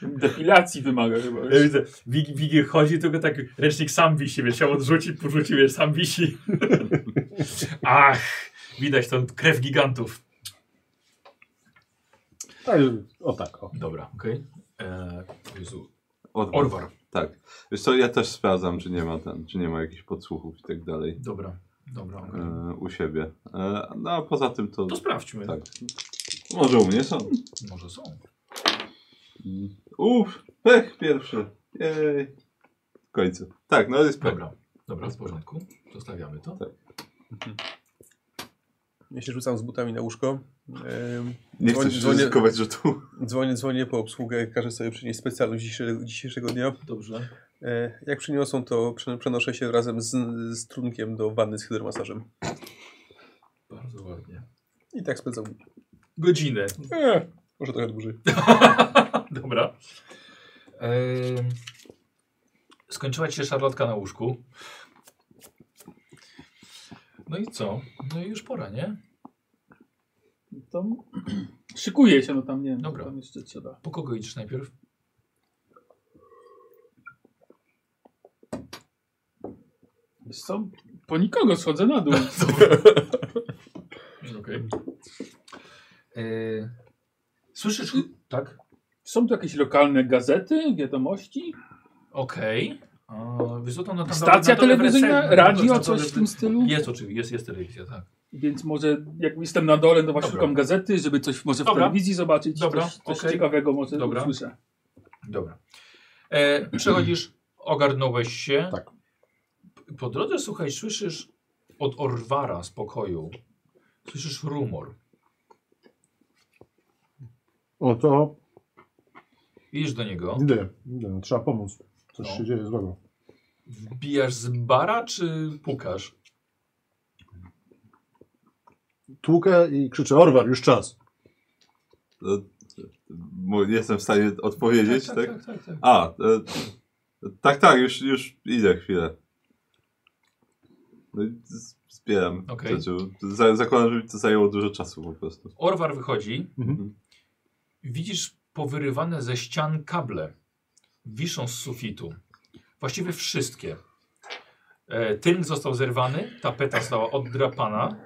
Depilacji wymaga chyba. E, Ja widzę, Wig, Wigil chodzi, tylko tak ręcznik sam wisi, wiesz, chciał odrzucić, porzucił, wiesz, sam wisi. Ach, widać tą krew gigantów. Tak, o tak, o. Dobra, okej. Okay. Jezu, Odwar. Orwar, Tak. Wiesz co, ja też sprawdzam, czy nie ma tam, czy nie ma jakichś podsłuchów i tak dalej dobra, dobra, okej. e, u siebie. E, no a poza tym to... To sprawdźmy. no. Tak. Może u mnie są. Może są. Uff, pech pierwszy. Jej. W końcu. Tak, no jest pech. Dobra, dobra, w porządku. Zostawiamy to. Ja się rzucam z butami na łóżko. Em, Nie Dzwoń- chcesz dzwonię- ryzykować, że tu... Dzwonię, dzwonię po obsługę, każę sobie przynieść specjalność dzisiejszego, dzisiejszego dnia. Dobrze. E, Jak przyniosą, to prze- przenoszę się razem z, z trunkiem do wanny z hydromasażem. Bardzo ładnie. I tak spędzam. Godzinę. E, może trochę dłużej. Dobra. Ehm, skończyła ci się szarlotka na łóżku. No i co? No i już pora, nie? To... Szykuje się, no tam nie wiem, Dobra. Dobra. tam jeszcze trzeba. Po kogo idziesz najpierw? Wiesz co? Po nikogo schodzę na dół. Okej. Eee, Słyszysz? Tak. Są tu jakieś lokalne gazety, wiadomości, Okej. Okay. Wysoko na tam stacja No na dole w no telewizyjna, recepcji- radio, na dole coś w tym stylu. Jest oczywiście, jest, jest telewizja, tak. Więc może jak jestem na dole, to właśnie Dobra. szukam gazety, żeby coś może w Dobra. telewizji zobaczyć, Dobra, coś, coś okej. ciekawego może Dobra. usłyszę. Dobra. E, przechodzisz, ogarnąłeś się. Tak. Po drodze, słuchaj, słyszysz od Orwara z pokoju, słyszysz rumor. O to Idziesz do niego, idę, idę, trzeba pomóc. Coś No. się dzieje złego. wbijasz z bara czy pukasz? Tłukę i krzyczę, Orwar, już czas. No, bo nie jestem w stanie odpowiedzieć, tak? tak, tak, tak. A, e, tak, tak, już, już idę chwilę. No i z- zbieram. Okej. rzeczy. Za- Zakładam, że mi to zajęło dużo czasu po prostu. Orwar wychodzi. Mhm. Widzisz powyrywane ze ścian kable. Wiszą z sufitu. Właściwie wszystkie. E, tynk został zerwany, tapeta została oddrapana.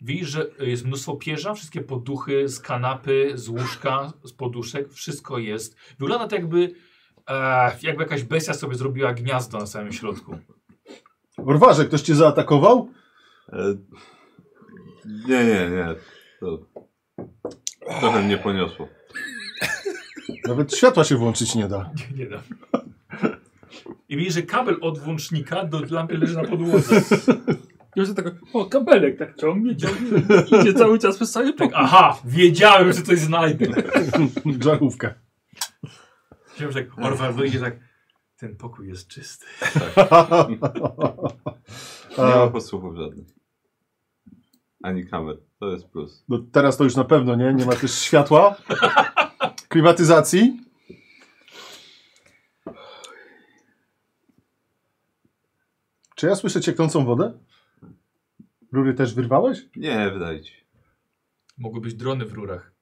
Widzisz, że jest mnóstwo pierza, wszystkie poduchy z kanapy, z łóżka, z poduszek, wszystko jest. Wygląda to jakby, e, jakby jakaś bestia sobie zrobiła gniazdo na samym środku. Orwarze, ktoś cię zaatakował? E, nie, nie, nie. To, trochę mnie poniosło. Nawet światła się włączyć nie da. Nie da. I widzisz, że kabel od włącznika do lampy leży na podłodze. Już tak, o kabelek tak ciągnie, ciągnie, idzie cały czas przez cały Tak, pokój. aha, wiedziałem, że coś znajdę. Żarówkę. Wiedziałem, że jak Orwell wyjdzie tak, ten pokój jest czysty. Nie ma A, posłuchów żadnych. Ani kamer. To jest plus. no teraz to już na pewno nie, nie ma też światła, klimatyzacji. Czy ja słyszę cieknącą wodę? Rury też wyrwałeś? Nie, wydaje ci. się. Mogły być drony w rurach.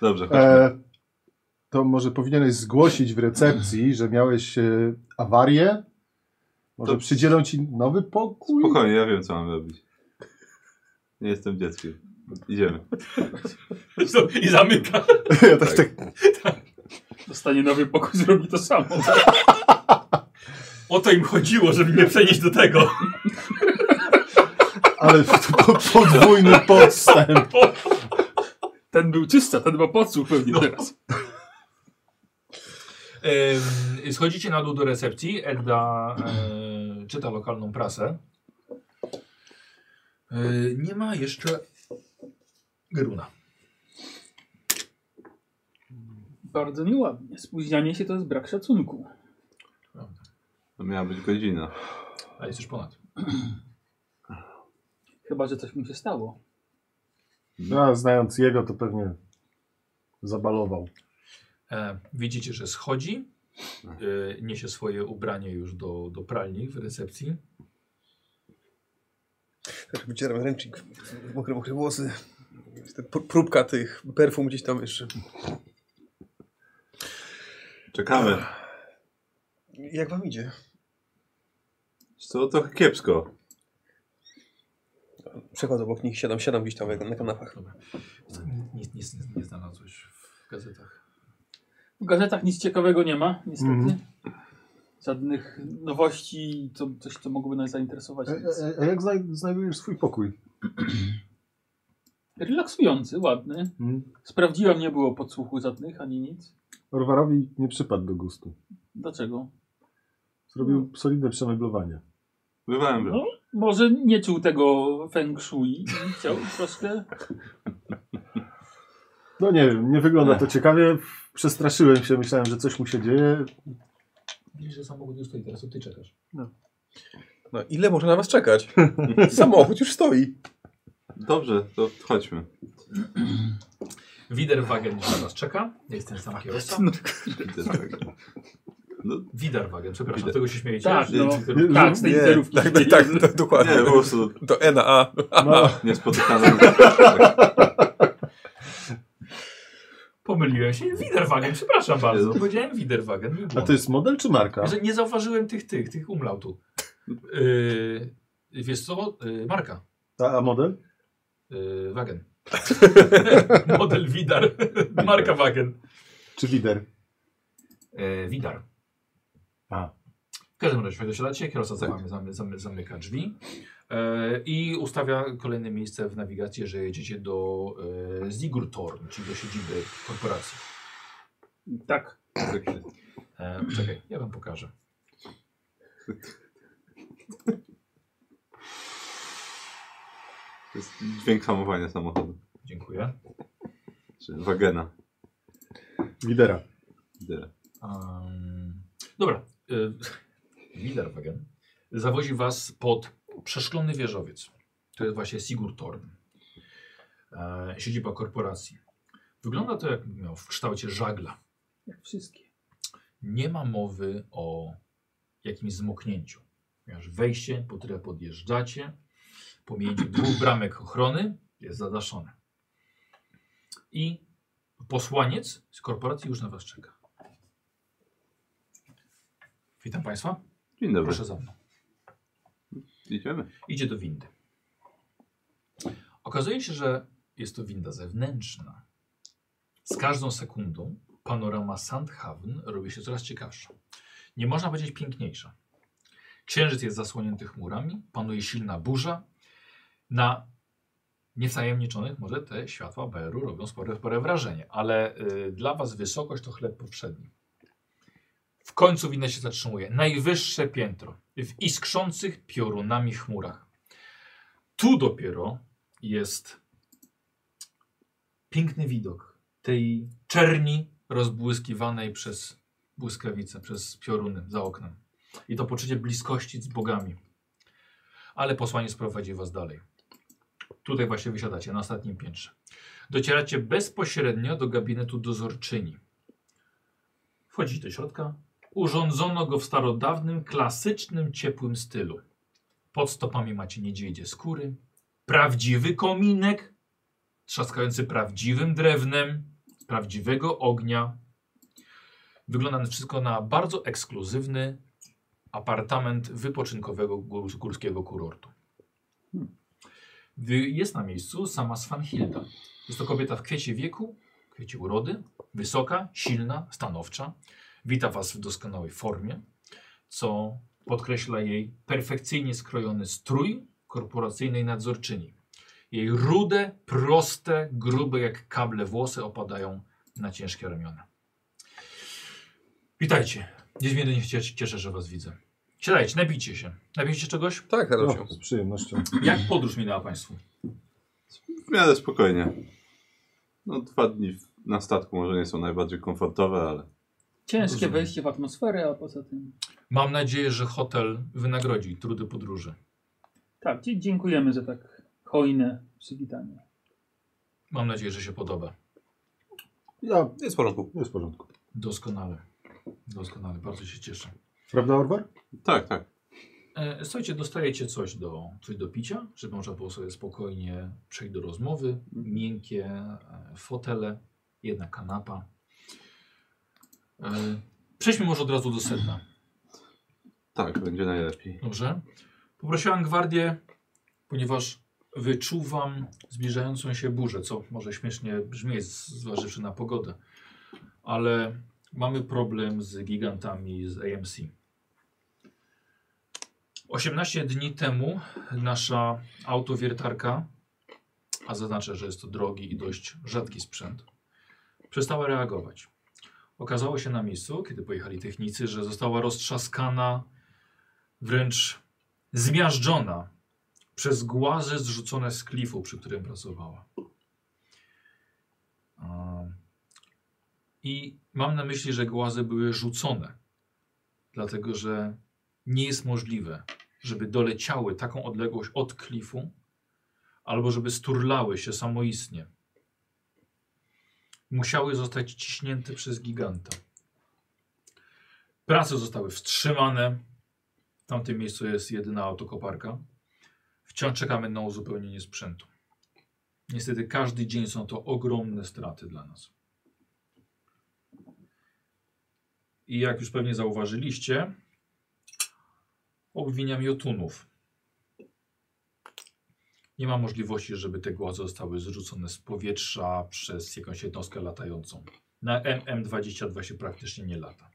Dobrze, chodźmy. E, to może powinieneś zgłosić w recepcji, że miałeś e, awarię. Może To- przydzielą ci nowy pokój? Spokojnie, ja wiem co mam robić. Nie jestem dzieckiem. Idziemy. I zamyka. ja tak, tak. Dostanie nowy pokój, zrobi to samo. O to im chodziło, żeby mnie przenieść do tego. Ale to po, podwójny podstęp. Ten był czysta, ten ma podsłuch pewnie No. teraz. Em, Schodzicie na dół do recepcji. Edda e, czyta lokalną prasę. E, nie ma jeszcze Geruna. Bardzo nieładnie. Spóźnianie się to jest brak szacunku. To miała być godzina. A jest już ponad. Chyba, że coś mu się stało. No, a znając jego, to pewnie zabalował. E, widzicie, że schodzi. E, niesie swoje ubranie już do, do pralni w recepcji. Też Wycieram ręcznik, mokre, mokre włosy. Te pr- Próbka tych perfum gdzieś tam jeszcze. Czekamy. Jak wam idzie? Co trochę kiepsko. Przechodzę obok nich, siadam, siadam gdzieś tam jak na kanapach. Dobra. Nic, nic, nic nie znalazłeś w gazetach. W gazetach nic ciekawego nie ma, niestety. Mhm. Żadnych nowości, co, coś, co mogłoby nas zainteresować. E, Więc... e, a jak znaj- znajdujesz swój pokój? Relaksujący, ładny. Hmm? Sprawdziłam, nie było podsłuchu żadnych, ani nic. Orwarowi nie przypadł do gustu. Dlaczego? Zrobił solidne przemeblowanie. Bywałem. No, może nie czuł tego feng shui i chciał troszkę... No nie wiem, nie wygląda to ciekawie. Przestraszyłem się, myślałem, że coś mu się dzieje. Widzisz, że samochód już stoi, teraz to ty czekasz. No ile można na was czekać? Samochód już stoi. Dobrze, to chodźmy. Widerwagen już na nas czeka. Jest ten sam kierowca. Idę tak. Widerwagen, przepraszam, Wider- tego się śmiejecie? Tak, Że- no. że- Tak, z tej Nie, literówki. tak, tak, tak, tak, dokładnie. Nie, po prostu Do E na A. No, niespotykane. Pomyliłem się. Widerwagen, przepraszam bardzo. Jezu. Powiedziałem Widerwagen. Mój a błąd. to jest model czy marka? Że nie zauważyłem tych, tych, tych umlautu. Yy, wiesz co? Yy, marka. A, a model? Yy, wagen. Model Widar. Marka Wagen. Czy wider? Yy, Widar. A. Tak. W każdym razie dosiadacie, kierowca zamy, zamy, zamy, zamyka drzwi e, i ustawia kolejne miejsce w nawigacji, że jedziecie do e, Zigurtorn, czyli do siedziby korporacji. Tak. E, czekaj, ja wam pokażę. To jest dźwięk hamowania samochodu. Dziękuję. Czy wagena. Widera. Idę. Um, dobra. y, Widerwagen zawozi was pod przeszklony wieżowiec. To jest właśnie Sigurtorn. E, siedziba korporacji. Wygląda to jak miał w kształcie żagla. Jak wszystkie. nie ma mowy o jakimś zmoknięciu. Ponieważ wejście, po które podjeżdżacie, pomiędzy dwóch bramek ochrony jest zadaszone. I posłaniec z korporacji już na Was czeka. Witam Państwa. Dzień dobry. Proszę za mną. Idziemy. Idzie do windy. Okazuje się, że jest to winda zewnętrzna. Z każdą sekundą panorama Sandhaven robi się coraz ciekawsza. Nie można powiedzieć piękniejsza. Księżyc jest zasłonięty chmurami, panuje silna burza. Na niewtajemniczonych może te światła BR-u robią spore, spore wrażenie, ale y, dla Was wysokość to chleb powszedni. W końcu winda się zatrzymuje. Najwyższe piętro w iskrzących piorunami chmurach. Tu dopiero jest piękny widok tej czerni rozbłyskiwanej przez błyskawice, przez pioruny za oknem. I to poczucie bliskości z bogami. Ale posłanie sprowadzi was dalej. Tutaj właśnie wysiadacie, na ostatnim piętrze. Docieracie bezpośrednio do gabinetu dozorczyni. Wchodzicie do środka, Urządzono go w starodawnym, klasycznym, ciepłym stylu. Pod stopami macie niedźwiedzie skóry, Prawdziwy kominek, trzaskający prawdziwym drewnem, z prawdziwego ognia. Wygląda na wszystko na bardzo ekskluzywny apartament wypoczynkowego gór- górskiego kurortu. Wy- Jest na miejscu sama Svanhilda. Jest to kobieta w kwiecie wieku, w kwiecie urody, wysoka, silna, stanowcza. Wita Was w doskonałej formie, co podkreśla jej perfekcyjnie skrojony strój korporacyjnej nadzorczyni. Jej rude, proste, grube jak kable włosy opadają na ciężkie ramiona. Witajcie. Niezmiernie się cieszę, że Was widzę. Siadajcie, napijcie się. Napijcie czegoś? Tak, No, radością. z przyjemnością. Jak podróż minęła Państwu? W miarę spokojnie. No dwa dni w- na statku może nie są najbardziej komfortowe, ale Ciężkie Rozumiem. wejście w atmosferę, a poza tym... Mam nadzieję, że hotel wynagrodzi trudy podróży. Tak, dzie- dziękujemy za tak hojne przywitanie. Mam nadzieję, że się podoba. Ja, Jest w porządku. jest w porządku. Doskonale. Doskonale, bardzo się cieszę. Prawda, Orwar? tak, tak. E, słuchajcie, dostajecie coś do, coś do picia, żeby można było sobie spokojnie przejść do rozmowy. Miękkie e, fotele, jedna kanapa. E, przejdźmy może od razu do sedna. Tak, będzie najlepiej. Dobrze. Poprosiłam gwardię, ponieważ wyczuwam zbliżającą się burzę, co może śmiesznie brzmi, z- zważywszy na pogodę. Ale mamy problem z gigantami z AMC. 18 dni temu nasza autowiertarka, a zaznaczę, że jest to drogi i dość rzadki sprzęt, przestała reagować. Okazało się na miejscu, kiedy pojechali technicy, że została roztrzaskana wręcz zmiażdżona przez głazy zrzucone z klifu, przy którym pracowała. A, I mam na myśli, że głazy były rzucone, dlatego że nie jest możliwe, żeby doleciały taką odległość od klifu, albo żeby sturlały się samoistnie. Musiały zostać ciśnięte przez giganta. Prace zostały wstrzymane, w tamtym miejscu jest jedyna autokoparka. Wciąż czekamy na uzupełnienie sprzętu. Niestety każdy dzień są to ogromne straty dla nas. I jak już pewnie zauważyliście, obwiniam jotunów. Nie ma możliwości, żeby te głazy zostały zrzucone z powietrza przez jakąś jednostkę latającą. Na MM22 się praktycznie nie lata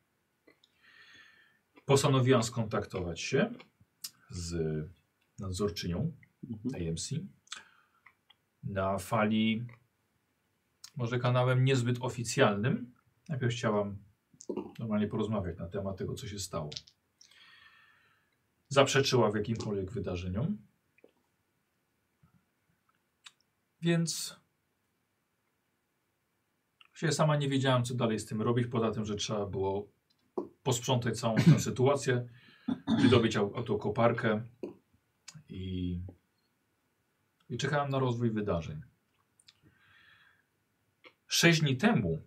postanowiłam skontaktować się z nadzorczynią AMC na fali, może kanałem niezbyt oficjalnym. Najpierw chciałam normalnie porozmawiać na temat tego, co się stało. Zaprzeczyła w jakimkolwiek wydarzeniom. Więc się sama nie wiedziałam, co dalej z tym robić, poza tym, że trzeba było posprzątać całą tę sytuację, wydobyć au- autokoparkę i, i czekałem na rozwój wydarzeń. Sześć dni temu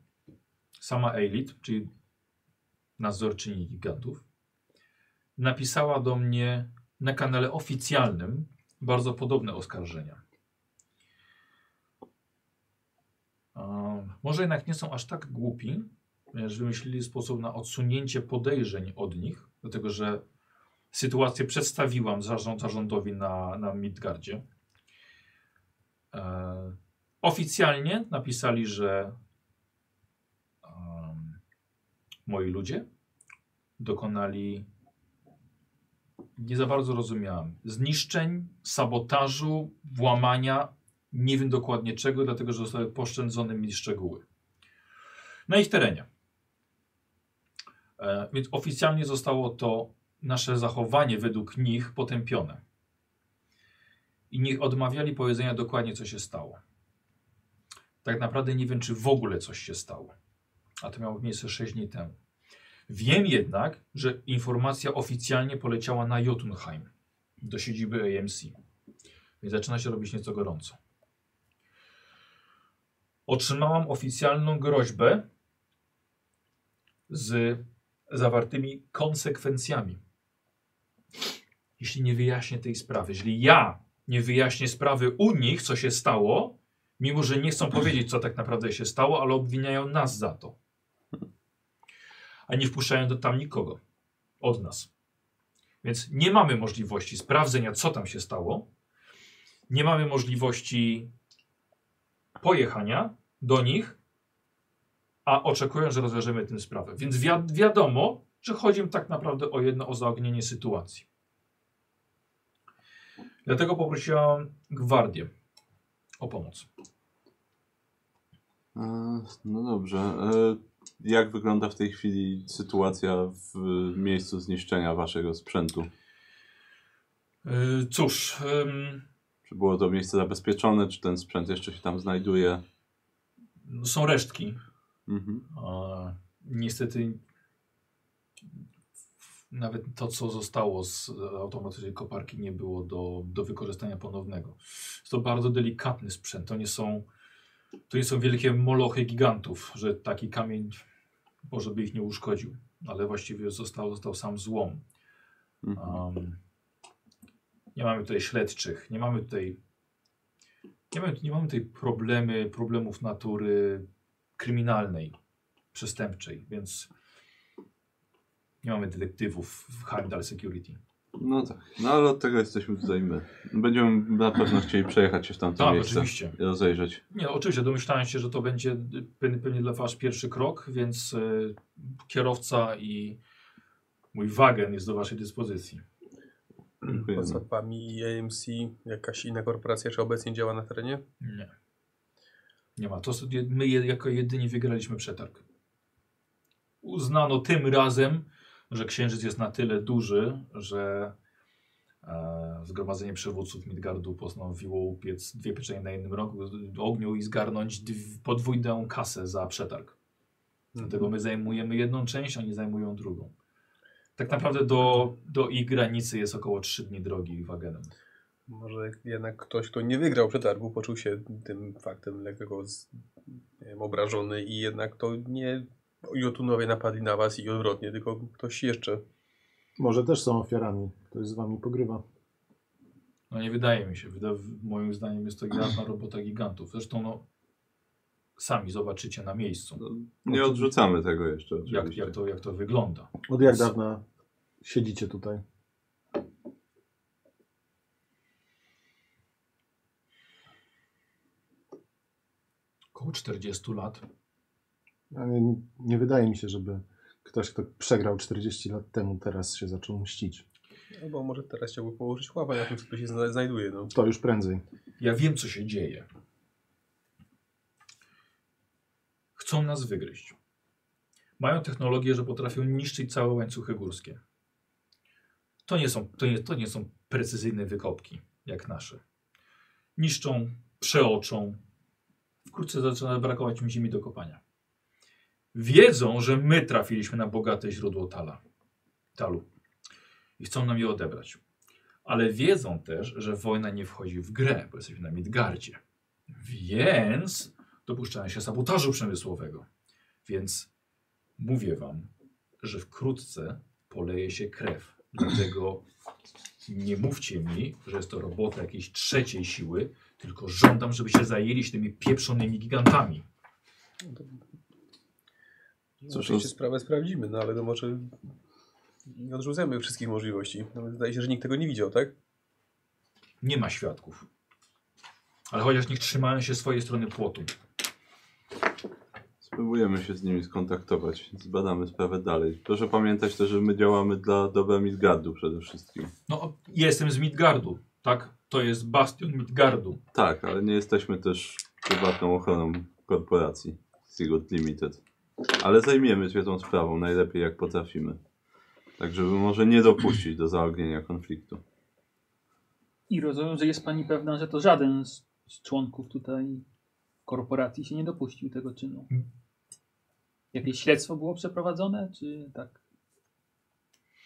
sama Elit, czyli nadzorczyni gigantów, napisała do mnie na kanale oficjalnym bardzo podobne oskarżenia. Um, może jednak nie są aż tak głupi, ponieważ wymyślili sposób na odsunięcie podejrzeń od nich, dlatego że sytuację przedstawiłam zarząd, zarządowi na, na Midgardzie. E, oficjalnie napisali, że em, moi ludzie dokonali nie za bardzo rozumiałem zniszczeń, sabotażu, włamania, nie wiem dokładnie czego, dlatego że zostały poszczędzone mi szczegóły. Na ich terenie. E, więc oficjalnie zostało to nasze zachowanie według nich potępione. I nie odmawiali powiedzenia dokładnie, co się stało. Tak naprawdę nie wiem, czy w ogóle coś się stało. A to miało miejsce 6 dni temu. Wiem jednak, że informacja oficjalnie poleciała na Jotunheim, do siedziby AMC. Więc zaczyna się robić nieco gorąco. Otrzymałam oficjalną groźbę z zawartymi konsekwencjami. Jeśli nie wyjaśnię tej sprawy, jeśli ja nie wyjaśnię sprawy u nich, co się stało, mimo że nie chcą powiedzieć, co tak naprawdę się stało, ale obwiniają nas za to. A nie wpuszczają do tam nikogo od nas. Więc nie mamy możliwości sprawdzenia, co tam się stało. Nie mamy możliwości pojechania do nich, a oczekują, że rozwiążemy tę sprawę. Więc wi wiadomo, że chodzi im tak naprawdę o jedno, o zaognienie sytuacji. Dlatego poprosiłam gwardię o pomoc. E, No dobrze. E, Jak wygląda w tej chwili sytuacja w miejscu zniszczenia waszego sprzętu? Yy, cóż, ym, Czy było to miejsce zabezpieczone? Czy ten sprzęt jeszcze się tam znajduje? są resztki. Mhm. A, niestety nawet to, co zostało z automatycznej koparki, nie było do, do wykorzystania ponownego. Jest to bardzo delikatny sprzęt. To nie są, to nie są wielkie molochy gigantów, że taki kamień może by ich nie uszkodził, ale właściwie został, został sam złom. Mhm. Um, nie mamy tutaj śledczych, nie mamy tutaj. Nie mamy, nie mamy tutaj problemy, problemów natury kryminalnej, przestępczej, więc nie mamy detektywów w Heimdall Security. No tak. No ale od tego jesteśmy tutaj my. Będziemy na pewno chcieli przejechać się w tamto Tak, miejsce. oczywiście. I rozejrzeć. Nie, no, oczywiście domyślałem się, że to będzie pe- pewnie dla Was pierwszy krok, więc y, kierowca i mój wagen jest do Waszej dyspozycji. Dziękujemy. Poza wami i AMC, jakaś inna korporacja jeszcze obecnie działa na terenie? Nie. Nie ma. To są- je- my je, jako jedyni wygraliśmy przetarg. Uznano tym razem, że księżyc jest na tyle duży, że e, zgromadzenie przywódców Midgardu postanowiło upiec dwie pieczenie na jednym rogu z- ogniu i zgarnąć dw- podwójną kasę za przetarg. Dlatego my zajmujemy jedną część, oni zajmują drugą. Tak naprawdę do, do ich granicy jest około 3 dni drogi wagenem. Może jednak ktoś, kto nie wygrał przetargu, poczuł się tym faktem lekko z, nie wiem, obrażony i jednak to nie Jotunowie napadli na was i odwrotnie, tylko ktoś jeszcze. Może też są ofiarami. Ktoś z wami pogrywa. No nie wydaje mi się. Wyda moim zdaniem jest to jasna robota gigantów. Zresztą no, sami zobaczycie na miejscu, Nie odrzucamy tego jeszcze jak, oczywiście. jak, to, jak to wygląda. Od jak dawna siedzicie tutaj? Około 40 lat. A Nie, nie wydaje mi się, żeby ktoś, kto przegrał 40 lat temu, teraz się zaczął mścić. Albo No może teraz chciałby położyć łapę na tym, co tu się zna- znajduje. No. To już prędzej. Ja wiem, co się dzieje. Chcą nas wygryźć. Mają technologię, że potrafią niszczyć całe łańcuchy górskie. To nie są, to nie, to nie są precyzyjne wykopki, jak nasze. Niszczą, przeoczą. Wkrótce zaczyna brakować im ziemi do kopania. Wiedzą, że my trafiliśmy na bogate źródło tala, talu i chcą nam je odebrać ale wiedzą też, że wojna nie wchodzi w grę, bo jesteśmy na Midgardzie. Więc dopuszczają się sabotażu przemysłowego. Więc mówię wam, że wkrótce poleje się krew. Dlatego nie mówcie mi, że jest to robota jakiejś trzeciej siły, tylko żądam, żebyście zajęli się tymi pieprzonymi gigantami. Cóż, oczywiście sprawę sprawdzimy, no ale to może nie odrzucamy wszystkich możliwości. Nawet zdaje się, że nikt tego nie widział, tak? Nie ma świadków. Ale chociaż niech trzymają się swojej strony płotu. Spróbujemy się z nimi skontaktować. Zbadamy sprawę dalej. Proszę pamiętać też, że my działamy dla dobra Midgardu przede wszystkim. No, jestem z Midgardu, tak? To jest bastion Midgardu. Tak, ale nie jesteśmy też prywatną ochroną korporacji Sigurd Limited. Ale zajmiemy się tą sprawą najlepiej jak potrafimy. Tak, żeby może nie dopuścić do zaognienia konfliktu. I rozumiem, że jest pani pewna, że to żaden z, z członków tutaj korporacji się nie dopuścił tego czynu. Hmm. Jakieś śledztwo było przeprowadzone, czy tak?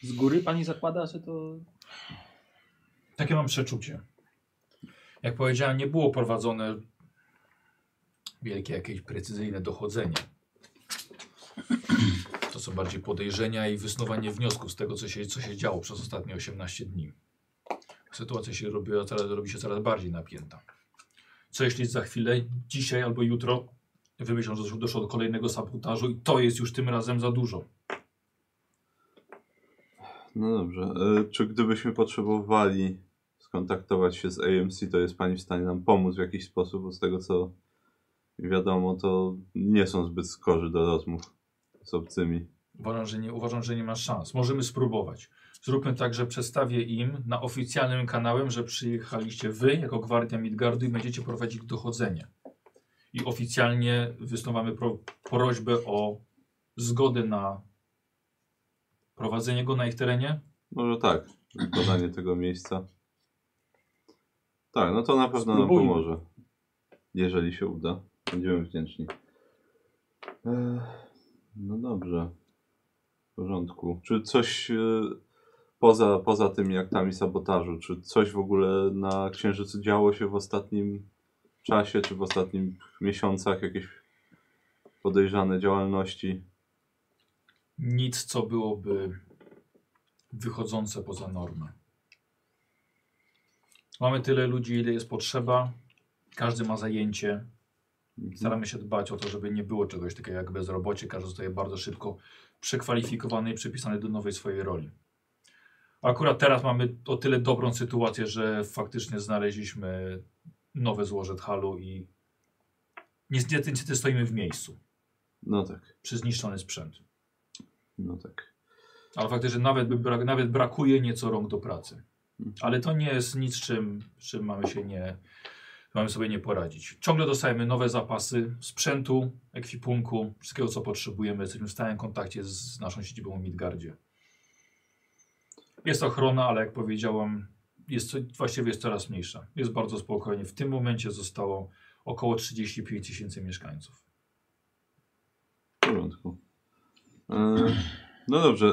Z góry pani zakłada, że to. Takie mam przeczucie. Jak powiedziałem, nie było prowadzone wielkie jakieś precyzyjne dochodzenie. To są bardziej podejrzenia i wysnuwanie wniosków z tego, co się, co się działo przez ostatnie 18 dni. sytuacja się robiła coraz, robi się coraz bardziej napięta. Co jeśli za chwilę, dzisiaj albo jutro wymyślą, że doszło- doszło do kolejnego sabotażu i to jest już tym razem za dużo. No dobrze. E, Czy gdybyśmy potrzebowali skontaktować się z AMC, to jest Pani w stanie nam pomóc w jakiś sposób? Bo z tego co wiadomo, to nie są zbyt skorzy do rozmów z obcymi. Uważam, że nie, uważam, że nie ma szans. Możemy spróbować. Zróbmy tak, że przedstawię im na oficjalnym kanałem, że przyjechaliście wy jako gwardia Midgardu i będziecie prowadzić dochodzenie. I oficjalnie wysnuwamy pro, prośbę o zgodę na prowadzenie go na ich terenie. Może tak, podanie tego miejsca. Tak, no to na pewno Spróbujmy. nam pomoże. Jeżeli się uda, będziemy wdzięczni. E, No dobrze. W porządku. Czy coś e, poza, poza tymi aktami sabotażu, czy coś w ogóle na Księżycu działo się w ostatnim czasie, czy w ostatnich miesiącach? Jakieś podejrzane działalności? Nic, co byłoby wychodzące poza normę. Mamy tyle ludzi, ile jest potrzeba. Każdy ma zajęcie. Staramy się dbać o to, żeby nie było czegoś takiego jak bezrobocie. Każdy zostaje bardzo szybko przekwalifikowany i przypisany do nowej swojej roli. Akurat teraz mamy o tyle dobrą sytuację, że faktycznie znaleźliśmy nowe złoże Thalu i niestety, niestety stoimy w miejscu No tak, przy zniszczony sprzęt. no tak. Ale faktycznie nawet, by brak, nawet brakuje nieco rąk do pracy. Ale to nie jest nic, czym, czym mamy się nie, mamy sobie nie poradzić. Ciągle dostajemy nowe zapasy sprzętu, ekwipunku, wszystkiego co potrzebujemy. Jesteśmy w stałym kontakcie z naszą siedzibą w Midgardzie. Jest ochrona, ale jak powiedziałam, jest, co- właściwie jest coraz mniejsza. Jest bardzo spokojnie. W tym momencie zostało około 35 tysięcy mieszkańców. W porządku. E, No dobrze,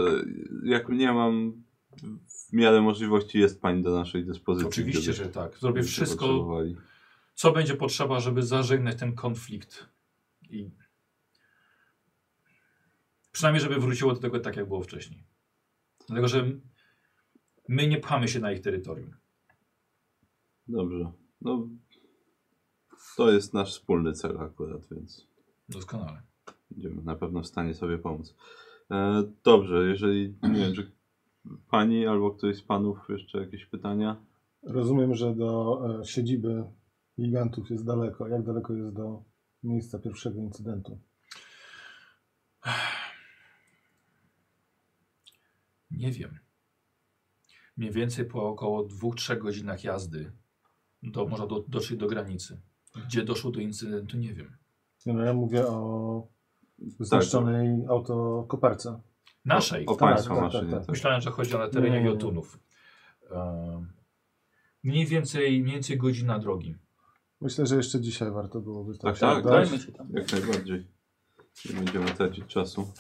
jak nie mam w miarę możliwości, jest Pani do naszej dyspozycji. Oczywiście, gdybyście- że tak. Zrobię gdybyście wszystko, potrzebowali. co będzie potrzeba, żeby zażegnać ten konflikt i przynajmniej, żeby wróciło do tego tak, jak było wcześniej. Dlatego, że my nie pchamy się na ich terytorium. Dobrze. No, to jest nasz wspólny cel akurat, więc Doskonale. będziemy na pewno w stanie sobie pomóc. E, dobrze, jeżeli nie wiem, czy Pani albo któryś z Panów jeszcze jakieś pytania? Rozumiem, że do e, siedziby gigantów jest daleko. Jak daleko jest do miejsca pierwszego incydentu? Nie wiem. Mniej więcej po około 2-3 godzinach jazdy do, można do, dotrzeć do granicy. Gdzie doszło do incydentu, nie wiem. Nie, no ja mówię o zniszczonej autokoparce. Naszej. O, o Tak, Państwa tak, maszynie, tak, tak. tak. Myślałem, że chodzi o terenie Nie, nie, nie. Jotunów. Ehm, Mniej więcej, mniej więcej godzina drogi. Myślę, że jeszcze dzisiaj warto byłoby tam Tak, się tak, udać. Dajmy się tam. Jak najbardziej. Nie będziemy tracić czasu.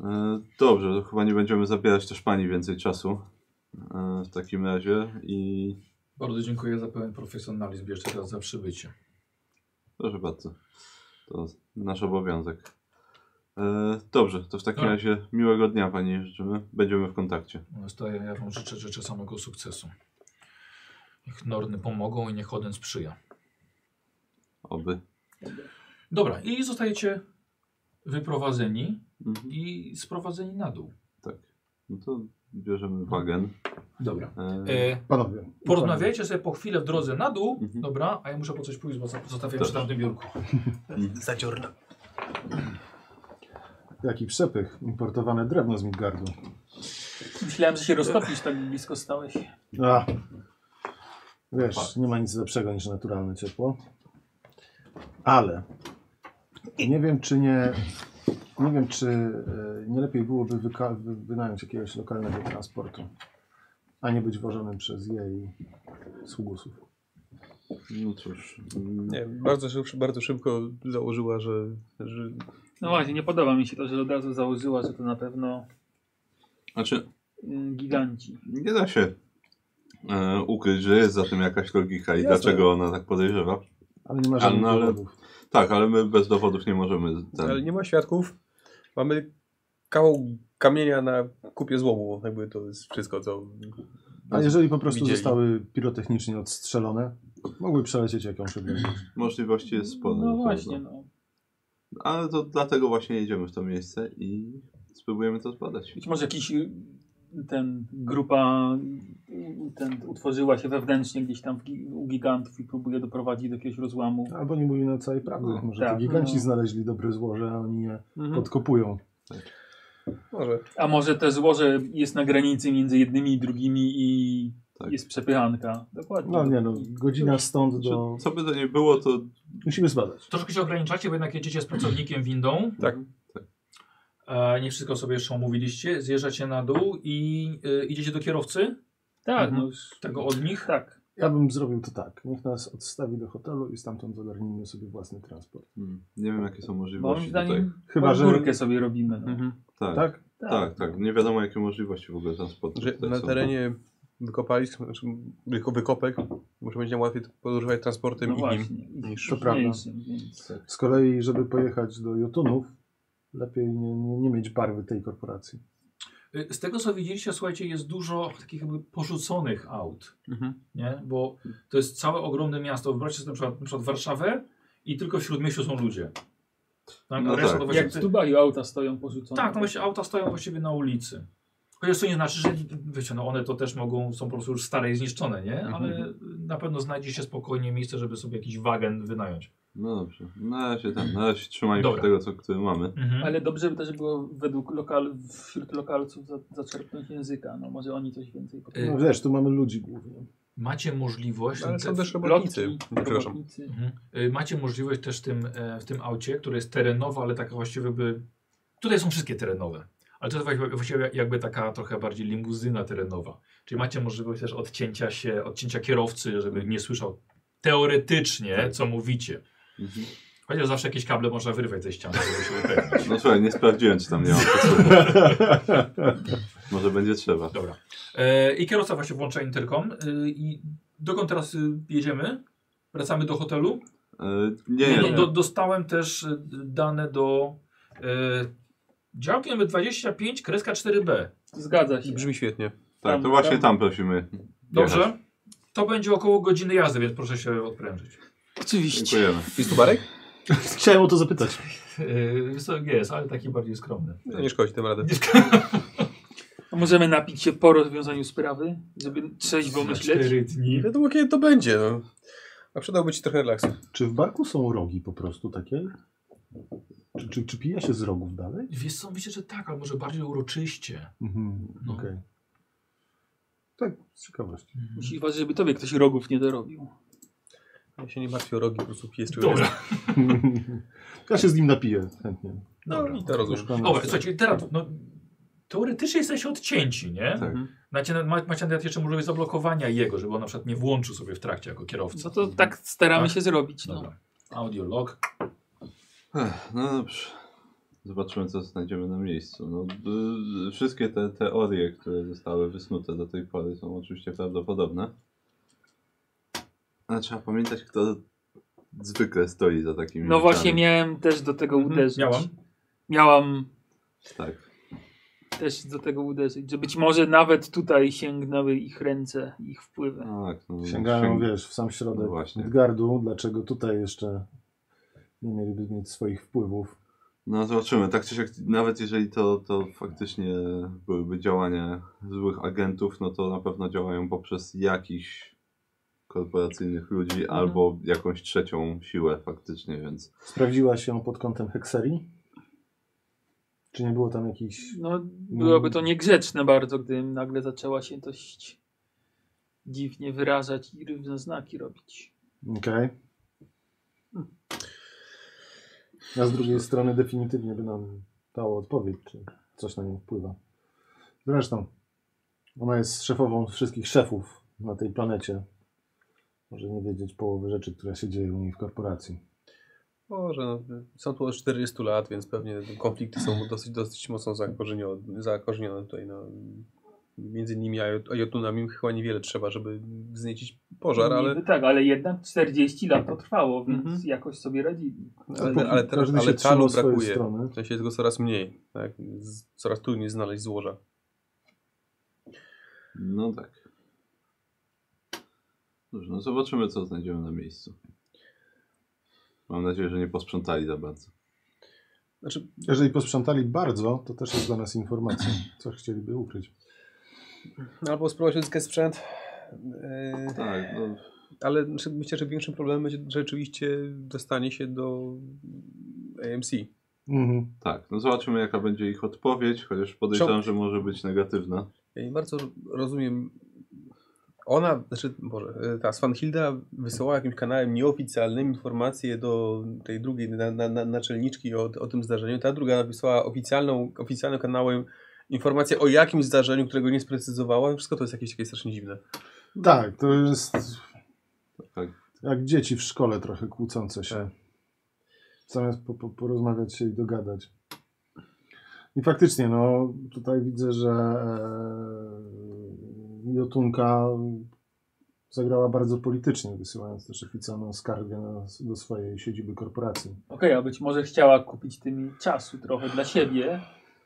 E, Dobrze, to chyba nie będziemy zabierać też pani więcej czasu. e, W takim razie i Bardzo dziękuję za pełen profesjonalizm jeszcze raz za przybycie. proszę bardzo. To nasz obowiązek. E, Dobrze, to w takim Dobra. razie miłego dnia pani życzymy. Będziemy w kontakcie. Staję, ja wam życzę, życzę samego sukcesu. Niech Norny pomogą i niech Oden sprzyja. Oby. Dobra, i zostajecie wyprowadzeni Mhm. i sprowadzeni na dół. Tak. No to bierzemy wagen. Dobra. E, E, Panowie. porozmawiajcie sobie po chwilę w drodze na dół, Mhm. dobra, a ja muszę po coś pójść, bo za- zostawiam Dobrze. przy tamtym biurku. Zaciorna. Jaki przepych. Importowane drewno z Midgardu. Myślałem, że się roztopisz, tak blisko stałeś. A, wiesz, nie ma nic lepszego niż naturalne ciepło. Ale nie wiem, czy nie. Nie wiem, czy e, nie lepiej byłoby wyka- wy- wynająć jakiegoś lokalnego transportu, a nie być wożonym przez jej sługusów. No cóż. mm, Nie, bardzo, szyb, bardzo szybko założyła, że, że No właśnie, nie podoba mi się to, że od razu założyła, że to na pewno Znaczy, mm, giganci. nie da się e, ukryć, że jest za tym jakaś logika i Jasne. dlaczego ona tak podejrzewa. Ale nie ma żadnych no, ale- dowodów. Tak, ale my bez dowodów nie możemy. Ten... ale nie ma świadków. Mamy kawał kamienia na kupie złomu. Jakby to jest wszystko, co A jeżeli po prostu widzieli. zostały pirotechnicznie odstrzelone, mogły przelecieć jakąś odległość. Możliwości jest sporo. No na pewno. właśnie, no. Ale to dlatego właśnie jedziemy w to miejsce i spróbujemy to zbadać. Być może jakiś y, ten grupa y, ten, utworzyła się wewnętrznie gdzieś tam w, gi- u gigantów i próbuje doprowadzić do jakiegoś rozłamu. Albo nie mówimy na całej prawdy. Może tak, to giganci no. znaleźli dobre złoże, a oni je Mhm. podkopują. Może. A może te złoże jest na granicy między jednymi i drugimi i Tak. jest przepychanka. Dokładnie. No nie no, godzina stąd Znaczy, No. do... Co by to nie było, to Musimy zbadać. Troszkę się ograniczacie, bo jednak jedziecie z pracownikiem windą. Tak. E, nie wszystko sobie jeszcze omówiliście. Zjeżdżacie na dół i e, idziecie do kierowcy, Tak, Mhm. no już. tego od nich. Tak. Ja bym zrobił to tak. Niech nas odstawi do hotelu i stamtąd ogarnijmy sobie własny transport. hmm, nie wiem jakie są Moim możliwości tutaj. zdaniem Chyba, że... górkę sobie robimy. No. Mhm. Tak, tak, Tak? tak, Nie wiadomo jakie możliwości w ogóle transportu Że tutaj na są. terenie wykopalisk, znaczy wyko- wykopek, może będzie nam łatwiej podróżować transportem No i nim. właśnie. I niż- To prawda. mniejszym, więc- Z kolei, żeby pojechać do Jotunów, lepiej nie, nie, nie mieć barwy tej korporacji. E, Z tego co widzieliście, słuchajcie, jest dużo takich jakby porzuconych aut. Mhm. Nie? Bo to jest całe ogromne miasto. Wyobraźcie sobie na przykład, na przykład Warszawę i tylko w śródmieściu są ludzie. Tak, No no reszta tak. to właśnie Jak w Dubaju auta stoją porzucone. Tak, no właśnie auta stoją właściwie na ulicy. Chociaż to nie znaczy, że wiecie, no one to też mogą, są po prostu już stare i zniszczone, nie? Ale na pewno znajdzie się spokojnie miejsce, żeby sobie jakiś wagen wynająć. No dobrze, na razie tam, na razie trzymajmy Dobra. się tego, co który mamy. Ale Ale dobrze by też było według lokal, wśród lokalców za, zaczerpnąć języka. No może oni coś więcej Y- potrafią. No wiesz, tu mamy ludzi głównie. macie możliwość, Ale są te- też Plotki, robotnicy. Przepraszam. robotnicy. Mhm. Y, macie możliwość też tym, e, w tym aucie, które jest terenowe, ale taka właściwie by... Tutaj są wszystkie terenowe. Ale to jest właściwie- właściwie jakby taka trochę bardziej limuzyna terenowa. Czyli macie możliwość też odcięcia się, odcięcia kierowcy, żeby nie słyszał teoretycznie, co mówicie. Mhm. Chociaż zawsze jakieś kable można wyrwać ze ściany, żeby się upewnić. No słuchaj, nie sprawdziłem, czy tam nie ma Może będzie trzeba. Dobra. E, I kierowca właśnie włącza interkom. Y, I dokąd teraz y, jedziemy? Wracamy do hotelu? E, nie, No, nie, do, do, dostałem też y, dane do e, działki numer 25, kreska 4B. Zgadza się. Brzmi świetnie. tak, tam- to właśnie tam- tam prosimy. Dobrze? jechać. To będzie około godziny jazdy, więc proszę się odprężyć. Oczywiście. Dziękujemy. Jest tu barek? Chciałem o to zapytać. Yy, Wysoki jest, ale taki bardziej skromny. No, nie szkodzi tym radę. A Możemy napić się po rozwiązaniu sprawy, żeby trzeźwo myśleć. dni. Nie wiadomo kiedy to będzie. No. A przydałoby ci trochę relaksu. Czy w barku są rogi po prostu takie? Czy, czy, czy pija się z rogów dalej? Wiesz co, myślę, że tak, ale może bardziej uroczyście. Mhm, No. okej. Tak, z ciekawości. Musisz uważać, żeby tobie ktoś rogów nie dorobił. Ja się nie martwię o rogi, po prostu piję z człowieka. Dobra. ja się z nim napiję chętnie. No i to rozumiem. Dobra, słuchajcie, teraz no, teoretycznie jesteście odcięci, nie? Tak. Macie, na- ma- macie nawet jeszcze możliwość zablokowania jego, żeby on na przykład nie włączył sobie w trakcie jako kierowca. No to tak staramy Tak? się zrobić. No. Dobra. Audio log. Ech, No dobrze. Zobaczymy, co znajdziemy na miejscu. No, y, wszystkie te teorie, które zostały wysnute do tej pory, są oczywiście prawdopodobne. Ale trzeba pamiętać, kto zwykle stoi za takimi. no właśnie rzeczami. miałem też do tego Mhm. uderzyć. Miałam. Miałam Tak. też do tego uderzyć, że być może nawet tutaj sięgnęły ich ręce, ich wpływy. tak no, Sięgają, sięg- wiesz, w sam środek No właśnie. Midgardu. Dlaczego tutaj jeszcze nie mieliby mieć swoich wpływów? No zobaczymy. Tak czy siak, nawet jeżeli to, to faktycznie byłyby działania złych agentów, no to na pewno działają poprzez jakichś korporacyjnych ludzi albo jakąś trzecią siłę faktycznie, więc Sprawdziła się pod kątem hekserii? Czy nie było tam jakichś... No, byłoby to niegrzeczne bardzo, gdybym nagle zaczęła się dość dziwnie wyrażać i różne znaki robić. Okej. A z drugiej strony definitywnie by nam dało odpowiedź, czy coś na nią wpływa. Zresztą, ona jest szefową wszystkich szefów na tej planecie. Może nie wiedzieć połowy rzeczy, które się dzieją u niej w korporacji. Może, no, są tu od 40 lat, więc pewnie konflikty są dosyć, dosyć mocno zakorzenione, zakorzenione tutaj. No. Między nimi a Jot- a Jotunami chyba niewiele trzeba, żeby wzniecić No, pożar, ale, Niby tak, ale jednak 40 lat to trwało, więc Mhm. jakoś sobie radzili. ale, ale, teraz, Każdy ale się trzymał czaru swojej brakuje. strony. W sensie jest go coraz mniej. Tak? Z, coraz trudniej znaleźć złoża. no tak. Dobrze, no zobaczymy, co znajdziemy na miejscu. Mam nadzieję, że nie posprzątali za bardzo. Znaczy, jeżeli posprzątali bardzo, to też jest dla nas informacja, co chcieliby ukryć. Albo spróbować odzyskać sprzęt. Yy, Tak, no, Ale znaczy, myślę, że większym problemem będzie rzeczywiście dostanie się do AMC. Mhm. tak, no zobaczymy, jaka będzie ich odpowiedź, chociaż podejrzewam, że może być negatywna. Ja nie bardzo rozumiem. Ona, znaczy, Boże, e, ta Swanhilda wysyłała jakimś kanałem nieoficjalnym informacje do tej drugiej na, na, na, naczelniczki o, o tym zdarzeniu. Ta druga wysłała oficjalną, oficjalnym kanałem informację o jakimś zdarzeniu, którego nie sprecyzowała. Wszystko to jest jakieś takie strasznie dziwne. Tak, to jest Tak. jak dzieci w szkole trochę kłócące Tak. się. Zamiast po, po, porozmawiać się i dogadać. I faktycznie, no tutaj widzę, że e, Jotunka zagrała bardzo politycznie, wysyłając też oficjalną skargę na, do swojej siedziby korporacji. Okej, a być może chciała kupić tym czasu trochę dla siebie,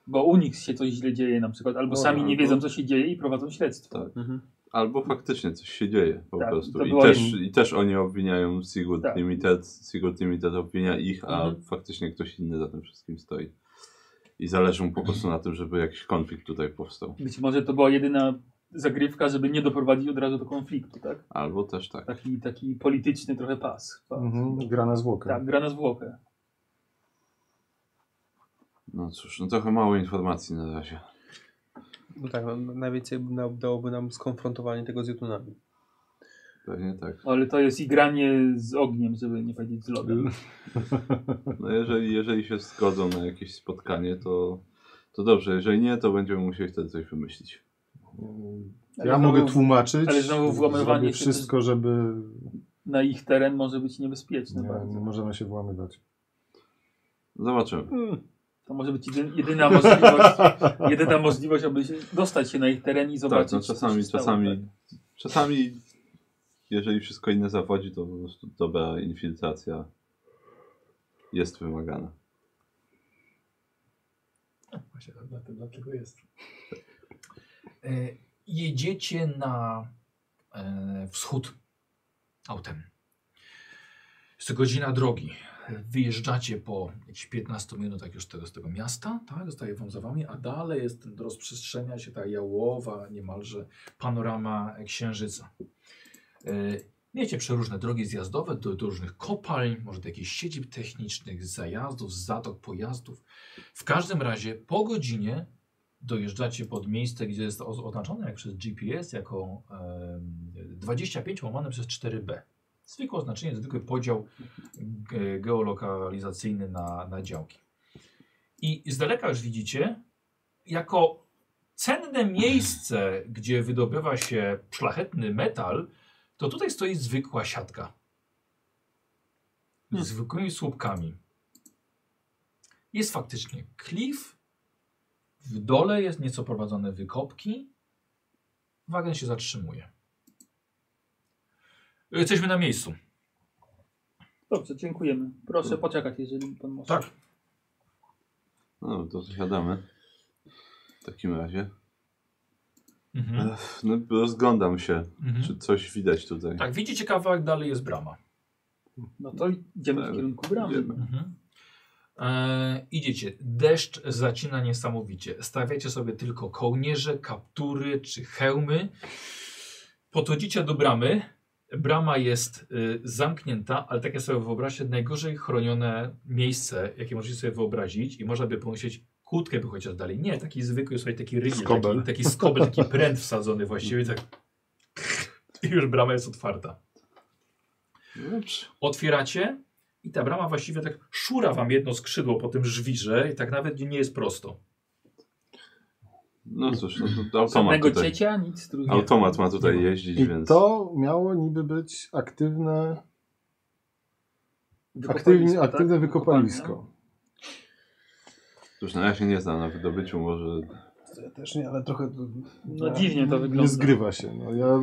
bo u nich się coś źle dzieje na przykład, albo Może, sami nie albo- wiedzą, co się dzieje i prowadzą śledztwo. Tak. Mhm. Albo faktycznie coś się dzieje po Tak, prostu. to I było też, im- I też oni obwiniają Sigurd Tak. Limited, Sigurd Limited obwinia ich, a Mhm. faktycznie ktoś inny za tym wszystkim stoi. I zależy mu po prostu na tym, żeby jakiś konflikt tutaj powstał. Być może to była jedyna zagrywka, żeby nie doprowadzić od razu do konfliktu, tak? Albo też tak. Taki, taki polityczny trochę pas. pas. Mhm, gra na zwłokę. Tak, gra na zwłokę. No cóż, no trochę mało informacji na razie. No tak, no, najwięcej na, dałoby nam skonfrontowanie tego z Jotunami. Pewnie tak. Ale to jest i granie z ogniem, żeby nie powiedzieć z lodem. No jeżeli, jeżeli się zgodzą na jakieś spotkanie, to, to dobrze. Jeżeli nie, to będziemy musieli wtedy coś wymyślić. Ja Ale mogę znowu tłumaczyć. ale znowu włamywanie zrobię się wszystko, żeby Na ich teren może być niebezpieczne nie, bardzo. nie możemy się włamywać. Zobaczymy. To może być jedy- jedyna możliwość, jedyna możliwość, aby się dostać się na ich teren i zobaczyć. tak, no co się czasami, stało, czasami, tak. czasami, jeżeli wszystko inne zawodzi, to po prostu dobra infiltracja jest wymagana. Właśnie dla- dla- dlaczego jest. E, jedziecie na e, wschód autem. Jest to godzina drogi. Wyjeżdżacie po jakichś 15 minutach tak już tego, z tego miasta, tak? Zostaje wam za wami, a dalej jest, rozprzestrzenia się ta jałowa niemalże panorama księżyca. E, Miecie przeróżne drogi zjazdowe do, do różnych kopalń, może do jakichś siedzib technicznych, zajazdów, zatok pojazdów. W każdym razie po godzinie dojeżdżacie pod miejsce, gdzie jest oz- oznaczone jak przez GPS jako em, 25 łamane przez 4B. Zwykłe oznaczenie, zwykły podział ge- geolokalizacyjny na, na działki. I z daleka już widzicie, jako cenne miejsce, gdzie wydobywa się szlachetny metal, to tutaj stoi zwykła siatka. Z zwykłymi słupkami jest faktycznie klif. W dole jest nieco prowadzone wykopki. Wagen się zatrzymuje. Jesteśmy na miejscu. Dobrze, dziękujemy. Tak. Proszę poczekać, jeżeli pan może. Tak. No to zasiadamy. W takim razie. Mhm. Ech, No, rozglądam się, Mhm. czy coś widać tutaj. Tak, widzicie kawałek dalej jest brama. No to idziemy w kierunku bramy. Tak. Idziemy. Mhm. E, idziecie. Deszcz zacina niesamowicie. Stawiacie sobie tylko kołnierze, kaptury czy hełmy. Podchodzicie do bramy. Brama jest y, zamknięta, ale tak jak sobie wyobraźcie, najgorzej chronione miejsce, jakie możecie sobie wyobrazić i można by pomyśleć, kłódkę by chociaż dali. Nie, taki zwykły, słuchaj, taki rygiel, taki, Skobel. taki skobel, taki pręt wsadzony właściwie. Tak. I już brama jest otwarta Dobrze. otwieracie i ta brama właściwie tak szura wam jedno skrzydło po tym żwirze i tak nawet nie jest prosto. No cóż, no to automat Żadnego tutaj. ciecia, nic trudnego. Automat ma Nie tutaj ma. jeździć, I więc... to miało niby być aktywne, Wykopalisko, aktywnie, tak? aktywne wykopalisko. Cóż, no ja się nie znam na wydobyciu, może... Ja też nie, ale trochę... No dziwnie to wygląda. Nie zgrywa się. No, ja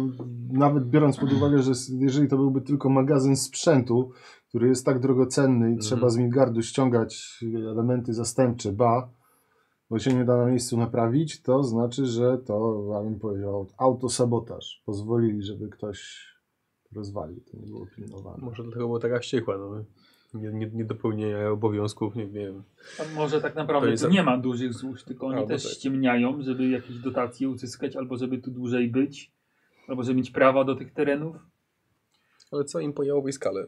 nawet biorąc pod uwagę, że s- jeżeli to byłby tylko magazyn sprzętu, który jest tak drogocenny i Mhm. trzeba z Midgardu ściągać elementy zastępcze, ba, bo się nie da na miejscu naprawić, to znaczy, że to, ja bym powiedział, autosabotaż. Pozwolili, żeby ktoś rozwalił, to nie było pilnowane. Może dlatego była taka wściekła, no. Nie, nie, nie dopełnienia obowiązków, nie wiem. A Może tak To naprawdę jest- tu nie ma dużych złóż, tylko oni Albo też tak. ściemniają, żeby jakieś dotacje uzyskać, albo żeby tu dłużej być, albo żeby mieć prawa do tych terenów. Ale co im po jałowej skale?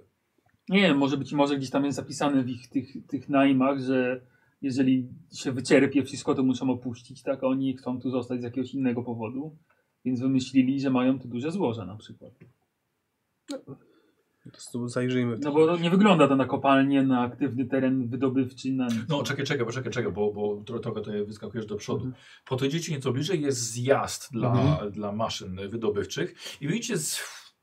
Nie wiem, może być może gdzieś tam jest zapisane w ich tych, tych najmach, że jeżeli się wyczerpie wszystko, to muszą opuścić, tak? A oni chcą tu zostać z jakiegoś innego powodu, więc wymyślili, że mają tu duże złoże na przykład. Po prostu zajrzyjmy. No bo nie wygląda to na kopalnię, na aktywny teren wydobywczy, na nic. No czekaj, czekaj, czekaj, czekaj, bo, bo tro- trochę tutaj wyskakujesz do przodu. Po to idziecie nieco bliżej, jest zjazd dla, dla maszyn wydobywczych i widzicie, z-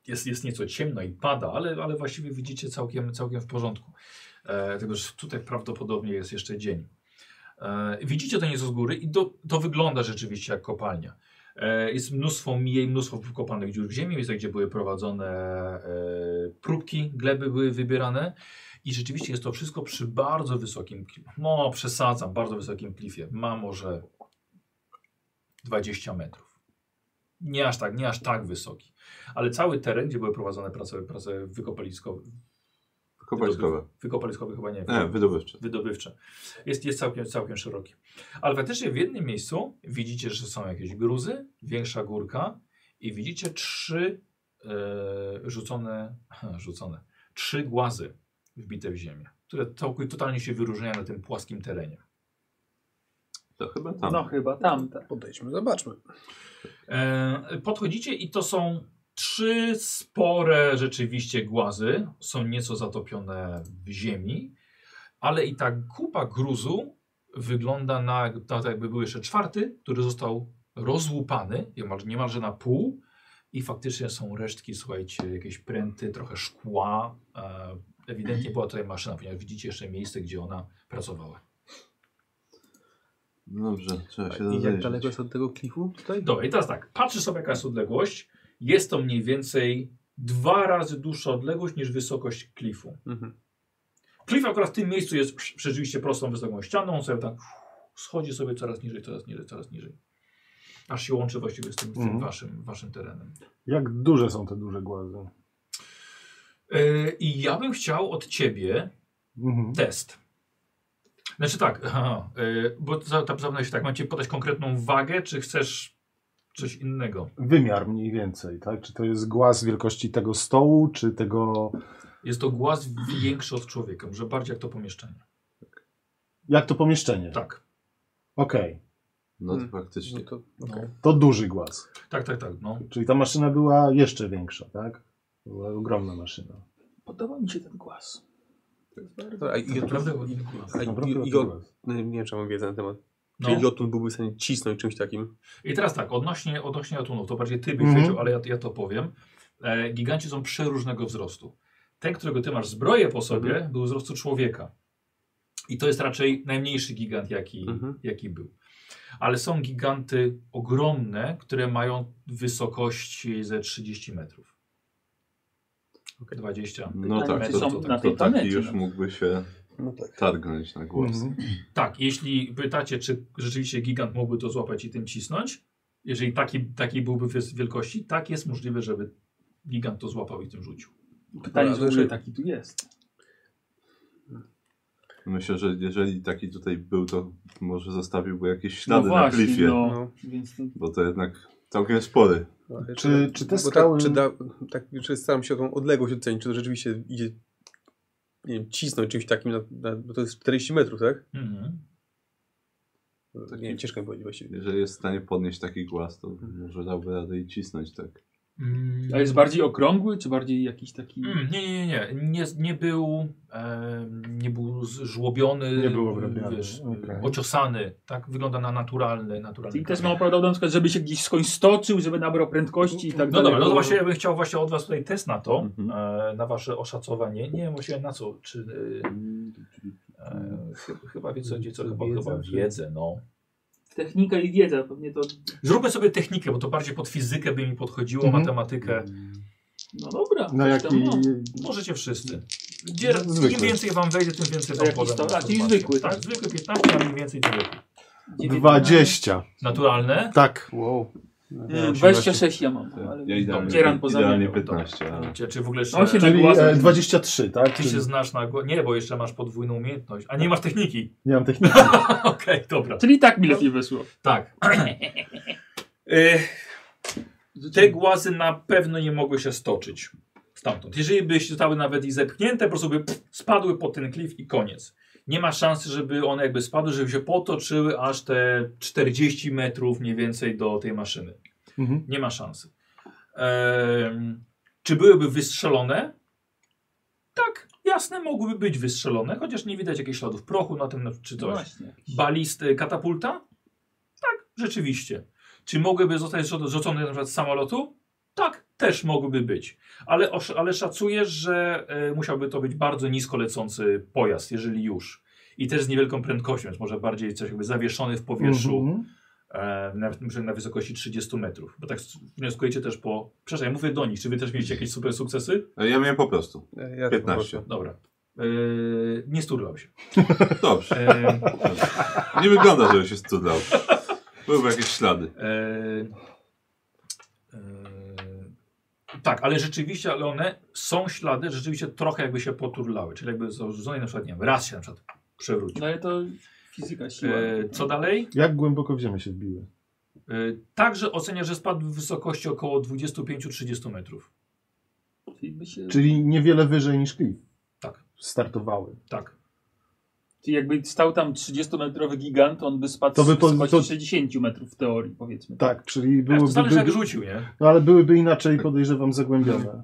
jest, jest nieco ciemno i pada, ale, ale właściwie widzicie całkiem, całkiem w porządku. E, tylko, że tutaj prawdopodobnie jest jeszcze dzień. E, widzicie to nieco z góry i do, to wygląda rzeczywiście jak kopalnia. E, jest mnóstwo jej, mnóstwo kopanych dziur w ziemi, miejsca, gdzie były prowadzone e, próbki, gleby były wybierane. I rzeczywiście jest to wszystko przy bardzo wysokim, kli- no przesadzam, bardzo wysokim klifie. Ma może 20 metrów. Nie aż tak, nie aż tak wysoki. Ale cały teren, gdzie były prowadzone prace, prace wykopaliskowe, Kopaliskowe. wykopaliskowe chyba nie, Nie, E, wydobywcze. wydobywcze, jest, jest całkiem, całkiem szeroki. Ale faktycznie w jednym miejscu widzicie, że są jakieś gruzy, większa górka i widzicie trzy e, rzucone, rzucone, trzy głazy wbite w ziemię, które całkowicie totalnie się wyróżniają na tym płaskim terenie. To chyba tam. No chyba tam, tak. Podejdźmy, zobaczmy. E, podchodzicie i to są trzy spore rzeczywiście głazy. Są nieco zatopione w ziemi, ale i ta kupa gruzu wygląda na, na to jakby był jeszcze czwarty, który został rozłupany niemal, niemalże na pół i faktycznie są resztki, słuchajcie, jakieś pręty, trochę szkła. E, ewidentnie była tutaj maszyna, ponieważ widzicie jeszcze miejsce, gdzie ona pracowała. Dobrze, trzeba Tak się I jak rozejrzeć. daleko jest od tego klifu tutaj? Dobra, i teraz tak, patrzysz sobie jaka jest odległość. Jest to mniej więcej dwa razy dłuższa odległość niż wysokość klifu. Mhm. Klif akurat w tym miejscu jest przy- rzeczywiście prostą, wysoką ścianą, on sobie tak schodzi sobie coraz niżej, coraz niżej, coraz niżej. Aż się łączy właściwie z tym, z tym Mhm. waszym, waszym terenem. Jak duże są te duże głazy? Yy, I ja bym chciał od ciebie Mhm. test. Znaczy tak, aha, yy, bo za- ta- zapytałem się tak, macie podać konkretną wagę, czy chcesz coś innego? Wymiar mniej więcej, tak? Czy to jest głaz wielkości tego stołu, czy tego... Jest to głaz większy od człowieka, może bardziej jak to pomieszczenie. Jak to pomieszczenie? Tak, Okej, No to Hmm. Mm. No faktycznie. to no. to duży głaz. tak, tak, tak, no. Czyli ta maszyna była jeszcze większa, tak? Była ogromna maszyna. Podoba mi się ten głaz. Dobra, No, a i Tak, od, Naprawdę a i, Naprawdę i duży od, głaz. nie wiem, czy mam wiedzę na temat. no. Czyli Jotun byłby w stanie cisnąć czymś takim. I teraz tak, odnośnie, odnośnie ratunów, to bardziej ty byś Mhm. wiedział, ale ja, ja to powiem. E, giganci są przeróżnego wzrostu. Ten, którego ty masz zbroję po sobie, Mhm. był wzrostu człowieka. I to jest raczej najmniejszy gigant, jaki, Mhm. jaki był. Ale są giganty ogromne, które mają wysokości ze 30 metrów. 20. No Pytanie, tak, czy to, są to, na to, taki tej planecie, już no. mógłby się No tak. targnąć na głos. Mhm. Tak, jeśli pytacie, czy rzeczywiście gigant mógłby to złapać i tym cisnąć, jeżeli taki, taki byłby wys- wielkości, tak jest możliwe, żeby gigant to złapał i tym rzucił. Pytanie, Dobra, że w ogóle znaczy- taki tu jest. Myślę, że jeżeli taki tutaj był, to może zostawiłby jakieś No ślady na właśnie, klifie. no. No. Więc to Bo to jednak całkiem spory. Ale Czy- czy te bo skały- Tak, czy, da, tak, czy staram się tą odległość ocenić, czy to rzeczywiście idzie nie wiem, cisnąć czymś takim, na, na, bo to jest 40 metrów, tak? Mhm. To nie wiem, ciężko mi powiedzieć właściwie. Jeżeli jest w stanie podnieść taki głaz, to może dałby radę i cisnąć tak. Mm. A jest bardziej okrągły, czy bardziej jakiś taki... Mm, nie, nie, nie, nie, nie, nie był, e, nie był żłobiony, Nie był obrabiany, wiesz, okej. ociosany, tak? Wygląda na naturalny, naturalny. Czyli też kamień. mało prawdopodobne, na przykład, żeby się gdzieś skądś stoczył, żeby nabrał prędkości i tak No dalej. dobra, no to bo- właśnie ja bym chciał właśnie od was tutaj test na to, Mhm. e, na wasze oszacowanie. Nie wiem właśnie na co, czy e, e, chy- chyba wiedzę, gdzie co, chyba, Wiedzę, chyba czy- wiedzę, no. Technika i wiedza, pewnie to... Zróbmy sobie technikę, bo to bardziej pod fizykę by mi podchodziło, Mhm. matematykę. No dobra. No coś tam, jaki... no. Możecie wszyscy. Gdzie, Zwykły. Im więcej wam wejdzie, tym więcej A wam jakiś podam. No, to- a, czyli informacji. zwykły, Tak, tak? zwykły 15, a mniej więcej tyle. 19. 20. Naturalne. Tak. Wow. Nie, 26 ja mam, No, ale Ja idealnie, Dzieran poza idealnie mną. 15, ale... Czy, czy w ogóle jeszcze... On się Czyli nagłasza. e, 23, tak? Ty Czyli się znasz na głowie. Nie, bo jeszcze masz podwójną umiejętność. A nie masz techniki. Nie mam techniki. Okej, dobra. Czyli tak mi lepiej wyszło. Tak. E, Te głazy na pewno nie mogły się stoczyć stamtąd. Jeżeli by się zostały nawet i zepchnięte, po prostu by pff, spadły po ten klif i koniec. Nie ma szansy, żeby one jakby spadły, żeby się potoczyły aż te 40 metrów mniej więcej do tej maszyny. Mhm. Nie ma szansy. Em, czy byłyby wystrzelone? Tak, jasne, mogłyby być wystrzelone, chociaż nie widać jakichś śladów prochu na tym na- czy No coś. właśnie. Balisty katapulta? Tak, rzeczywiście. Czy mogłyby zostać zrzu- zrzucone na przykład z samolotu? Tak, też mogłyby być. Ale, osz- ale szacuję, że e, musiałby to być bardzo nisko lecący pojazd, jeżeli już. I też z niewielką prędkością, więc może bardziej coś jakby zawieszony w powietrzu Mhm. e, na, myślę, na wysokości 30 metrów. Bo tak s- wnioskujecie też po. Przepraszam, ja mówię do nich. Czy wy też mieliście jakieś super sukcesy? Ja miałem po prostu. E, Ja 15. Dobra. Yy, nie sturlał się. Dobrze. E, Nie wygląda, żeby się studlał. Byłyby jakieś ślady. e, e, tak, ale rzeczywiście, ale one są ślady, rzeczywiście trochę jakby się poturlały. Czyli jakby zarzucone na przykład, nie wiem, raz się na przykład przewrócił. No ale to fizyka siła. E, co dalej? Jak głęboko w ziemię się wbiły? E, także ocenia, że spadł w wysokości około 25-30 metrów. Czyli, by się, czyli... Czyli niewiele wyżej niż klif. Tak. Startowały. Tak. jakby stał tam 30-metrowy gigant, on by spadł To to by by po- z wysokości to- 60 metrów w teorii, powiedzmy. Tak, czyli Byłoby, to byłyby, zależy jak by, rzucił, nie? no, ale byłyby inaczej, podejrzewam, zagłębione.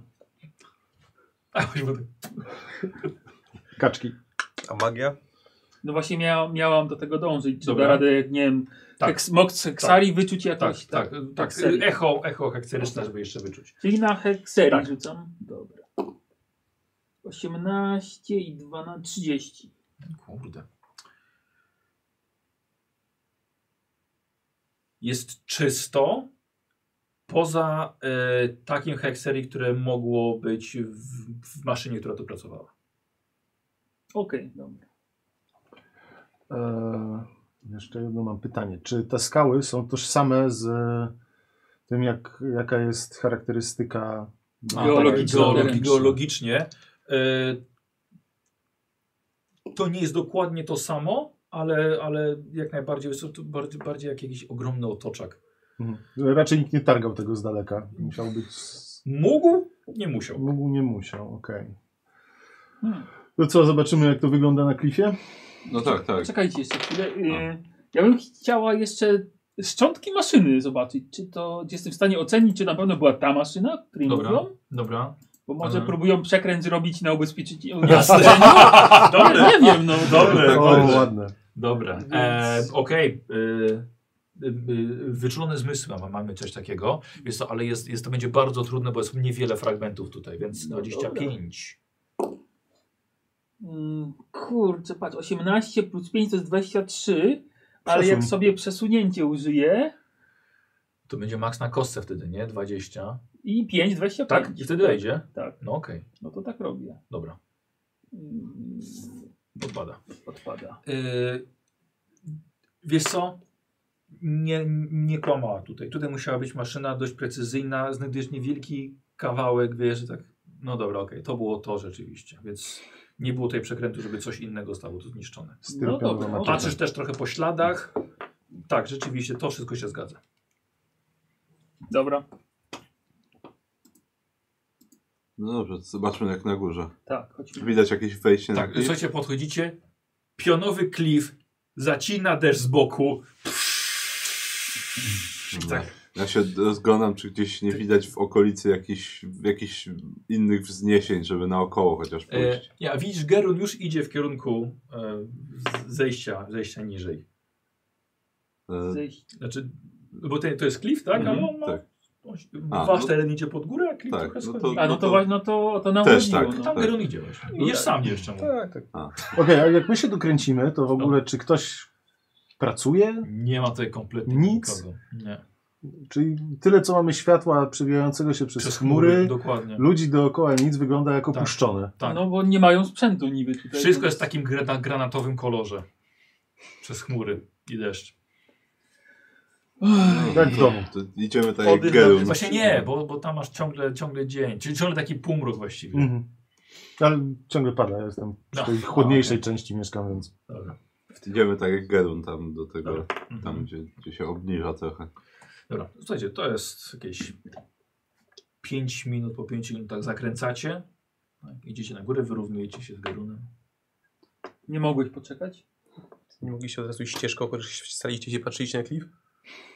A, choćby tak. Kaczki. A magia? No właśnie miał, miałam do tego dążyć. Czy Dobra. da radę, jak nie wiem, Tak. tak. heks, moc heksari wyczuć Tak, jakoś? tak, tak. serii. echo, echo hekceryczne, żeby jeszcze wyczuć. Czyli na hekserii Tak. rzucam? Dobra. 18 i 12, 30. Kurde. Jest czysto. Poza e, takim hekserii, które mogło być w, w maszynie, która tu pracowała. Okej, dobra. E, jeszcze jedno mam pytanie. Czy te skały są tożsame z e, tym, jak, jaka jest charakterystyka tak, Geologicznie. Geologi- geologicznie. E, to nie jest dokładnie to samo, ale, ale jak najbardziej jest to tu bardziej, bardziej jak jakiś ogromny otoczak. Mhm. Raczej nikt nie targał tego z daleka. Musiał być. z- Mógł? Nie musiał. Mógł, nie musiał, okej. Hmm. To co, zobaczymy, jak to wygląda na klifie? No tak, tak. Czekajcie jeszcze chwilę. No. Yy, ja bym chciała jeszcze szczątki maszyny zobaczyć. Czy to, czy jestem w stanie ocenić, czy na pewno była ta maszyna, o której Dobra. mówią? Dobra. Bo może Mhm. próbują przekręt zrobić na ubezpieczenie. Jasne. Dobra, nie wiem, no. Dobre. o, ładne. Dobra. Więc- E, Okej. E, e, Wyczulone zmysły ma- mamy coś takiego. Jest to, ale jest, jest to będzie bardzo trudne, bo jest niewiele fragmentów tutaj, więc No 25. Mm, Kurczę, patrz, 18 plus 5 to jest 23, ale jak Przesuń. sobie przesunięcie użyję To będzie maks na kostce wtedy, nie? 20. i 5, 25. Tak? I wtedy wejdzie? Tak, No okej. no to tak robię. Dobra. Mm, Odpada. Odpada. Yy, wiesz co? Nie, nie kłamała tutaj. Tutaj musiała być maszyna dość precyzyjna, znajdujesz niewielki kawałek, wiesz, że tak. No dobra, okej, to było to rzeczywiście, więc nie było tutaj przekrętu, żeby coś innego zostało tu zniszczone. No Styrka dobra, no no. Patrzysz też trochę po śladach. Tak, rzeczywiście, to wszystko się zgadza. Dobra, No dobrze, zobaczmy jak na górze. tak, chodźmy. Widać jakieś wejście na Tak, klif. słuchajcie, podchodzicie, pionowy klif, zacina deszcz z boku. Tak. No. Ja się rozglądam, czy gdzieś nie widać w okolicy jakichś, jakichś innych wzniesień, żeby naokoło chociaż E, pójść. ja, widzisz, Gerun już idzie w kierunku e, z- zejścia, zejścia niżej. E, Zejść. Znaczy, no bo ten, to jest klif, tak? Mhm, Ale on ma, tak. on się, A, wasz no- teren idzie pod górę, a klif tak, trochę no schodzi. to- A no to, wa- no to, to nam Też chodziło, tak. no. Tam Geron idzie właśnie. Idziesz sam jeszcze mu. Tak, tak. Okej, a jak my się dokręcimy, to w ogóle czy ktoś pracuje? Nie ma tutaj kompletnie Nic? nikogo. Nie. Czyli tyle, co mamy światła przewijającego się przez, Przez chmury, chmury, dokładnie. ludzi dookoła nic wygląda jak Tak. opuszczone. Tak. No bo nie mają sprzętu niby tutaj. Wszystko jest w takim gra- granatowym kolorze. Przez chmury i deszcz. Oj, Jak w domu. To idziemy tak Oddych jak Gerun. Właśnie nie, bo, bo tam masz ciągle, ciągle dzień, czyli ciągle taki półmrok właściwie. Mhm. Ale ciągle pada, ja jestem w No. tej chłodniejszej części mieszkam, więc Dobra. Idziemy tak jak Gerun tam do tego, Dobra. tam Mhm. gdzie, gdzie się obniża trochę. Dobra, słuchajcie, to jest jakieś 5 minut, po 5 minutach zakręcacie. Tak, idziecie na górę, wyrównujecie się z Gerunem. Nie mogłeś poczekać? Nie mogliście od razu iść ścieżką, chociaż staliście się, patrzyliście na klif?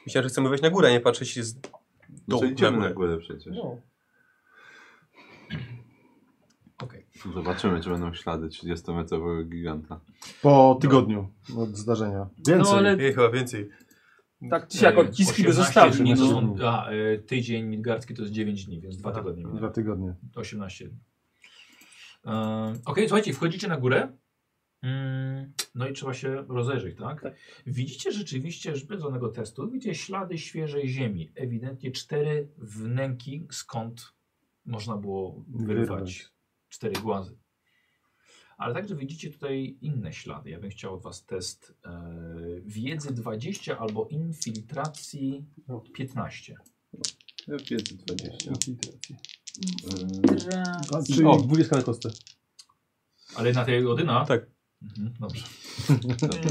Myślałem, że chcemy wejść na górę, a nie patrzeć się z... No to Dół, idziemy na na górę przecież. No. Okej. Zobaczymy, czy będą ślady 30-metrowego giganta. po tygodniu od zdarzenia. Więcej. No ale Nie, chyba więcej. tak czy siak E, odciski by 18 zostawił. to No. są- A, e, tydzień midgardzki to jest 9 dni, więc dwa tygodnie. minęły. Dwa tygodnie. 18. Ym, E, Okej, słuchajcie, wchodzicie na górę. Mm, No i trzeba się rozejrzeć, tak? Tak. Widzicie rzeczywiście, że bez żadnego testu, widzicie ślady świeżej ziemi. Ewidentnie cztery wnęki, skąd można było wyrwać Wyrwać. cztery głazy. Ale także widzicie tutaj inne ślady. Ja bym chciał od Was test e, wiedzy 20 albo infiltracji 15. Wiedzy 20. E, A, Raz. czyli O, 20 na kostce. Ale na tej Odyna? Tak. Mhm, dobrze. Mm,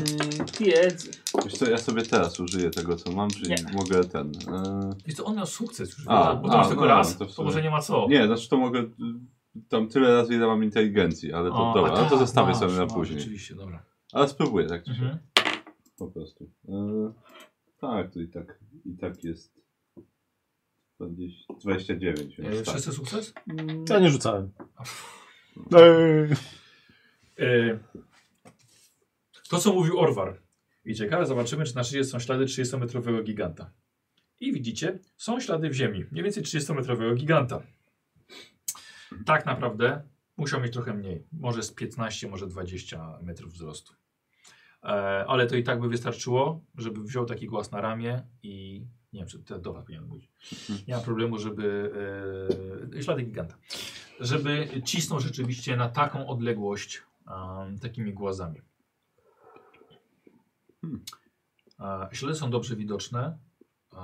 Wiedzy. Wiesz co, ja sobie teraz użyję tego, co mam, czyli Nie. mogę ten... e, Wiesz co, No on miał sukces już, A, bo to już a, tylko no, raz, to to, w sumie. może nie ma co. Nie, znaczy to mogę y, tam tyle razy, ile mam inteligencji, ale to A, dobra, a ale to tak, zostawię masz, sobie na masz, później. Rzeczywiście, dobra. Ale spróbuję tak czy siak, Mhm. po prostu. E, tak, to i tak, i tak jest 20, 29, więc E, tak. wszyscy sukces? Mm, Ja nie rzucałem. Eee, E, to, co mówił Orwar. I ciekawe, zobaczymy, czy na szczycie są ślady 30-metrowego giganta. I widzicie, są ślady w ziemi. Mniej więcej 30-metrowego giganta. Tak naprawdę musiał mieć trochę mniej. Może z 15, może 20 metrów wzrostu. E, ale to i tak by wystarczyło, żeby wziął taki głaz na ramię i nie wiem, czy to do was powinien być. Nie ma problemu, żeby e, ślady giganta. Żeby cisnął rzeczywiście na taką odległość em, takimi głazami. E, ślady są dobrze widoczne. E,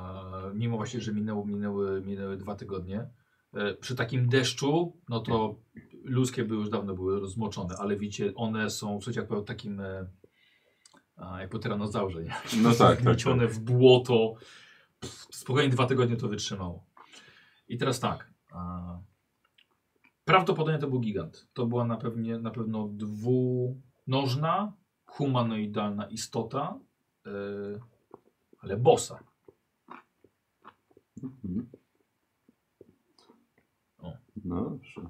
mimo właśnie, że minęło, minęły, minęły dwa tygodnie. E, przy takim deszczu, no to ludzkie były już dawno były rozmoczone, ale widzicie, one są w jak po takim e, a, jak po tyranozaurze, nie? No tak, tak, tak. Wmiecione w błoto. Pff, Spokojnie dwa tygodnie to wytrzymało. I teraz tak. a, Prawdopodobnie to był gigant. To była na, pewnie, na pewno dwunożna, humanoidalna istota, y, ale bosa. Mhm. O. No dobrze.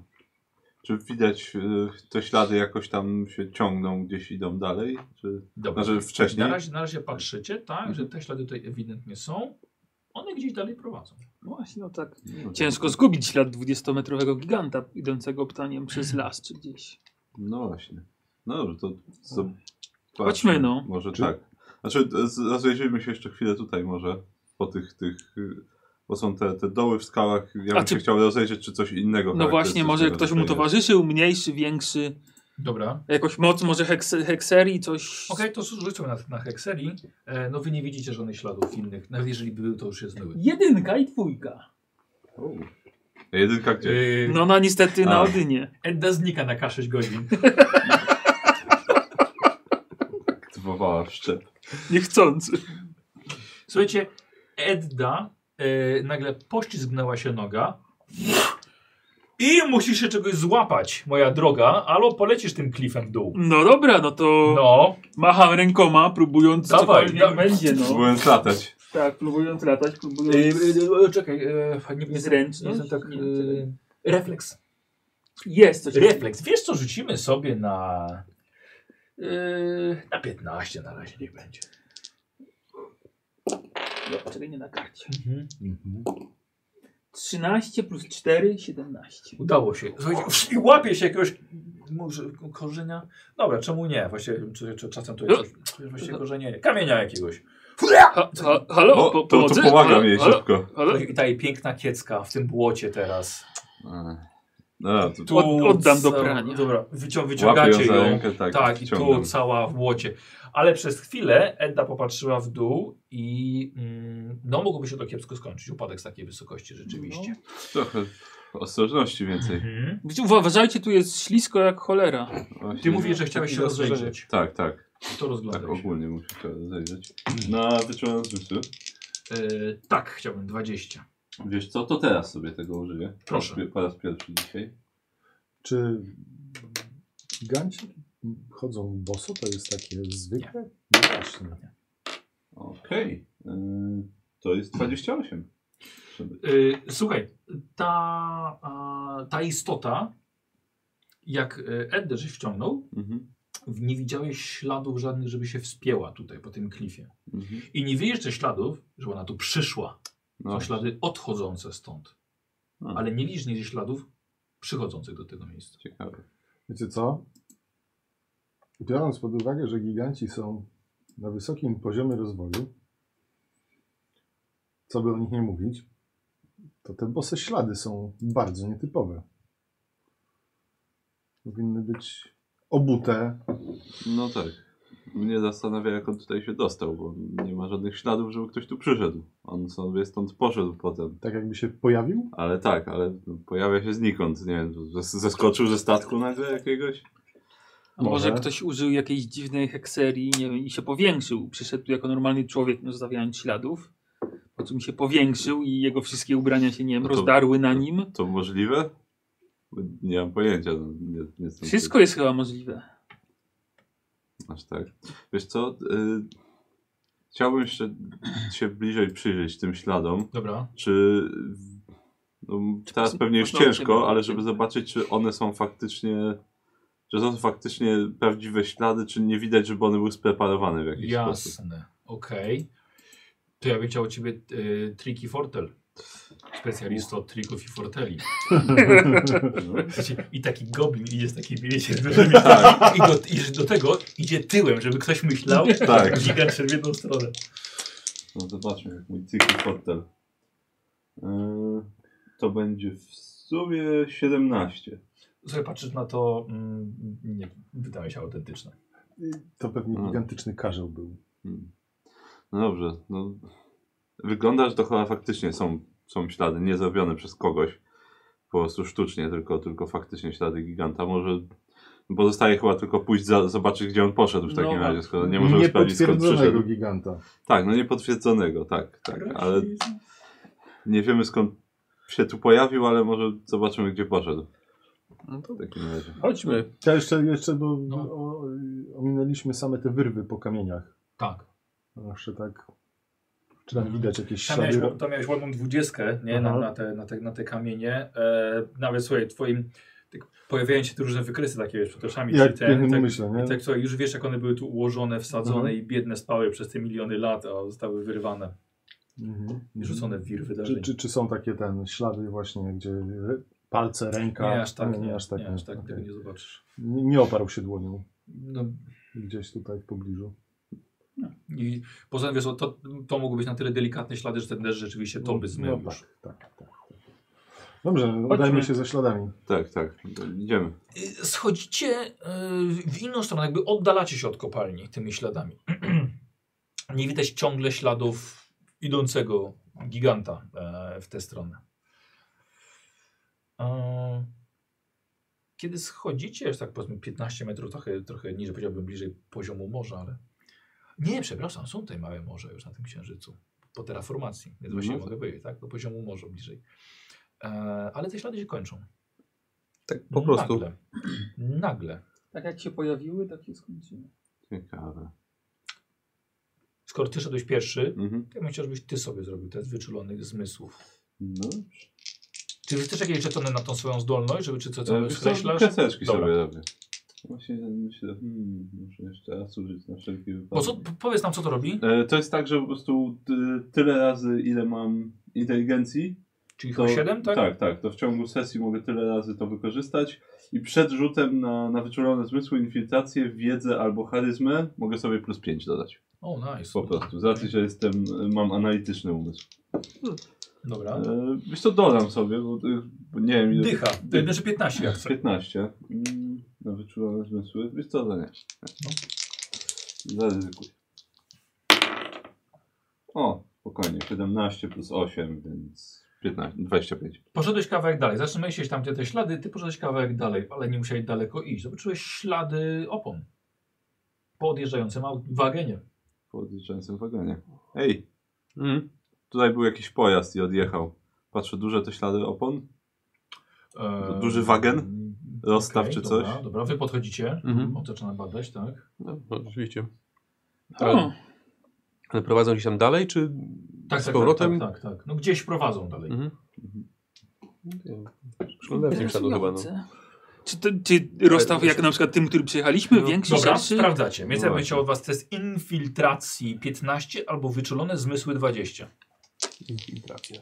Czy widać y, te ślady jakoś tam się ciągną, gdzieś idą dalej? Czy... Dobra. Znaczy wcześniej? Mhm. Na razie, na razie patrzycie, tak, że te ślady tutaj ewidentnie są. One gdzieś dalej prowadzą. No Właśnie, no tak. No, Ciężko zgubić ślad 20-metrowego giganta idącego ptaniem przez las czy gdzieś. No właśnie. No dobrze, Tak. to zobaczmy. Chodźmy, no. Może tak. Znaczy z- rozejrzyjmy się jeszcze chwilę tutaj może po tych, tych y, bo są te, te doły w skałach. Ja A bym ty- się chciał rozejrzeć, czy coś innego No właśnie, może charakterystycznego ktoś mu tutaj jest. towarzyszył, mniejszy, większy, Dobra. jakąś moc, może heks hekserii, coś. Okej, to rzucą na, na hekseli. E, no wy nie widzicie żadnych śladów innych. Nawet jeżeli były, to już się zmyły. Jedynka i dwójka. U. A Jedynka gdzie? Yy, No, no niestety na A. Odynie. Edda znika na K6 godzin. Aktywowała wszczep. Niechcący. Słuchajcie, Edda e, nagle poślizgnęła się noga i musisz się czegoś złapać, moja droga, albo polecisz tym klifem w dół. No dobra, no to No, macham rękoma, próbując Dawaj, cokolwiek dawaj. będzie, no. Próbowałem latać. Tak, próbując latać, próbując... czekaj, e, nie, Zręczność? jestem tak, Nie, czekaj. e, refleks. Jest coś. Refleks. Wiesz co, rzucimy sobie na e, na 15 na razie niech będzie. No, Czekaj, nie na karcie. Mhm. 13 plus 4, 17. Udało się. Słuchajcie, I łapie się jakiegoś może korzenia. Dobra, czemu nie? Właśnie czy, czy czasem to jest coś, właśnie No. korzenie kamienia jakiegoś. Ha, ha, halo, O, po, No, to, to pomocy? pomagam Halo, jej halo, szybko. halo? I ta jej piękna kiecka w tym błocie teraz. A, A, to Tu Od- oddam do ca- prania. Dobra, wycią, łapię ją wyciągacie za ją. rękę, tak, Tak, i tu wciągam. cała w łocie. Ale przez chwilę Edda popatrzyła w dół i mm, no mogłoby się to kiepsko skończyć. Upadek z takiej wysokości rzeczywiście. Trochę ostrożności No. więcej. Mhm. Widzicie, Uważajcie, tu jest ślisko jak cholera. Właśnie- Ty mówisz, że chciałeś się Takie zastrzeżenie. rozejrzeć. Tak, tak. To rozglądaj Tak się. ogólnie muszę to zajrzeć. Na wyczułem zmysły. E, tak, chciałbym 20. Wiesz co, to teraz sobie tego użyję. Proszę. Po raz- Po raz pierwszy dzisiaj. Czy giganci chodzą boso? To jest takie zwykłe? Nie. Właśnie. Okej. Yy, To jest 28. Y, słuchaj, ta, a, ta istota, jak y, Edder żeś wciągnął, Mhm. w- nie widziałeś śladów żadnych, żeby się wspięła tutaj po tym klifie. Mhm. I nie widzisz jeszcze śladów, że ona tu przyszła. No, Są ślady odchodzące stąd. A. Ale nie widzisz nigdzie śladów przychodzących do tego miejsca. ciekawe. Wiecie co? Biorąc pod uwagę, że giganci są na wysokim poziomie rozwoju, co by o nich nie mówić, to te bose ślady są bardzo nietypowe. Powinny być obute. No tak. Mnie zastanawia, jak on tutaj się dostał, bo nie ma żadnych śladów, żeby ktoś tu przyszedł. On sobie stąd poszedł potem. Tak jakby się pojawił? Ale tak, ale pojawia się znikąd. Nie wiem, zes- zeskoczył ze statku nagle jakiegoś? A może Może. ktoś użył jakiejś dziwnej hekserii nie wiem, i się powiększył. Przyszedł tu jako normalny człowiek, nie zostawiając śladów. Po czym się powiększył i jego wszystkie ubrania się, nie wiem, No to- rozdarły na nim. To możliwe? Nie mam pojęcia. no, Nie, nie jestem Wszystko jest chyba możliwe. Aż tak. Wiesz co? y, chciałbym jeszcze się bliżej przyjrzeć tym śladom. Dobra. Czy. No, teraz pos- pewnie już poznał ciężko, ciebie? ale żeby zobaczyć, czy one są faktycznie. Czy to są faktycznie prawdziwe ślady, czy nie widać, żeby one były spreparowane w jakiś sposób. Jasne. Okej. To ja bym chciał od ciebie y, triki fortel. Specjalista od trików i forteli. Słuchajcie, I taki goblin idzie z takimi, wiecie, dużymi i, do, i do tego idzie tyłem, żeby ktoś myślał, Tak. gigant szedł w jedną stronę. No zobaczmy, jak mój cykl portal. Yy, to będzie w sumie 17. Słuchaj, patrzysz na to, mm, nie, wydaje się autentyczne. To pewnie Hmm. gigantyczny karzeł był. Hmm. No dobrze. No. Wygląda, że to chyba faktycznie są, są ślady, nie zrobione przez kogoś. Po prostu sztucznie, tylko, tylko faktycznie ślady giganta. Może. Bo zostaje chyba tylko pójść, za, zobaczyć, gdzie on poszedł w takim No, razie, skoro nie możemy sprawdzić, skąd Niepotwierdzonego przyszedł. giganta. Tak, no niepotwierdzonego, tak, tak. Ale nie wiemy, skąd się tu pojawił, ale może zobaczymy, gdzie poszedł. No to W takim razie. chodźmy. Ja jeszcze, jeszcze bo No. o, ominęliśmy same te wyrwy po kamieniach. Tak. Zawsze tak. Czy tam widać jakieś Tam miałeś, ślady? tam miałeś ładną dwudziestkę nie? Na, Aha. na, te, na, te, na te kamienie. E, nawet słuchaj, twoim tak, pojawiają się te różne wykresy takie wiesz, pod oczami. Jak te, pięknym te, myślę, nie? tak, słuchaj, już wiesz, jak one były tu ułożone, wsadzone Mhm. i biedne spały przez te miliony lat, a zostały wyrwane Mhm. i rzucone w wir wydarzeń. Czy, czy, czy są takie ten ślady właśnie, gdzie re- palce, ręka? nie aż tak, nie, aż tak. nie, aż tak Okej. tego nie zobaczysz. nie, nie oparł się dłonią No, gdzieś tutaj w pobliżu. I poza tym, wiesz, o, to, to mogły być na tyle delikatne ślady, że ten deszcz rzeczywiście to by zmył No już. tak, tak, tak, tak. Dobrze, udajmy się ze śladami. Tak, tak. Idziemy. Y, Schodzicie y, w inną stronę, jakby oddalacie się od kopalni tymi śladami. Nie widać ciągle śladów idącego giganta e, w tę stronę. E, Kiedy schodzicie, już tak powiedzmy 15 metrów, trochę, trochę niżej, powiedziałbym bliżej poziomu morza, ale... Nie, przepraszam, są tutaj małe morze już na tym księżycu. Po terraformacji, więc właśnie Mhm. mogę powiedzieć, tak? Do poziomu morza bliżej. E, ale te ślady się kończą. Tak po prostu. Nagle. Nagle. Tak jak się pojawiły, tak się skończyły. Ciekawe. Skoro ty szedłeś pierwszy, Mhm. to ja bym chciał, żebyś ty sobie zrobił test wyczulonych zmysłów. No. Czy jesteś jakieś rzeczone na tą swoją zdolność, żeby czy co, co E, Wiesz co, skreślasz? Kreseczki Dobra. sobie robię. Właśnie tak myślę, hmm, muszę jeszcze raz użyć na wszelki Bo wypadek. co, po- powiedz nam, co to robi? E, To jest tak, że po prostu ty- tyle razy, ile mam inteligencji. Czyli To, to, 7, tak? Tak, tak. To w ciągu sesji mogę tyle razy to wykorzystać. I przed rzutem na, na wyczulone zmysły, infiltrację, wiedzę albo charyzmę mogę sobie plus 5 dodać. O, nice. Po prostu. Z racji, że jestem, mam analityczny umysł. Dobra. E, Wiesz co, dodam sobie, bo, y, bo nie wiem ile... Dycha. Dy- To znaczy 15 jak chcę. 15. Mm, Na wyczuwalne zmysły. Wiesz co, to nie. Zaryzykuj. O, spokojnie. 17 plus 8, więc 15, 25. Poszedłeś kawałek dalej. Zatrzymałeś się tam gdzie te ślady, ty poszedłeś kawałek dalej, ale nie musiałeś daleko iść. Zobaczyłeś ślady opon. Po odjeżdżającym aut- wagenie. Po odjeżdżającym wagonie. Ej, Mm. tutaj był jakiś pojazd i odjechał. Patrzę, duże te ślady opon. Eee, Duży wagen? mm, Rozstaw okej, czy dobra, coś? Dobra, wy podchodzicie. Mhm. On zaczyna badać, tak? No, no, oczywiście. O, Ale prowadzą gdzieś tam dalej, czy Tak, z tak, powrotem? Tak, tak, tak, tak. No gdzieś prowadzą dalej. Mhm. Szkoda w nim siadł chyba, no. interesujące. Czy, to, czy rozstaw jak na przykład tym, który przyjechaliśmy, No, większy, Dobra, szerszy? sprawdzacie. Więc ja bym Właśnie. chciał od was test infiltracji 15 albo wyczulone zmysły 20. Infiltracja.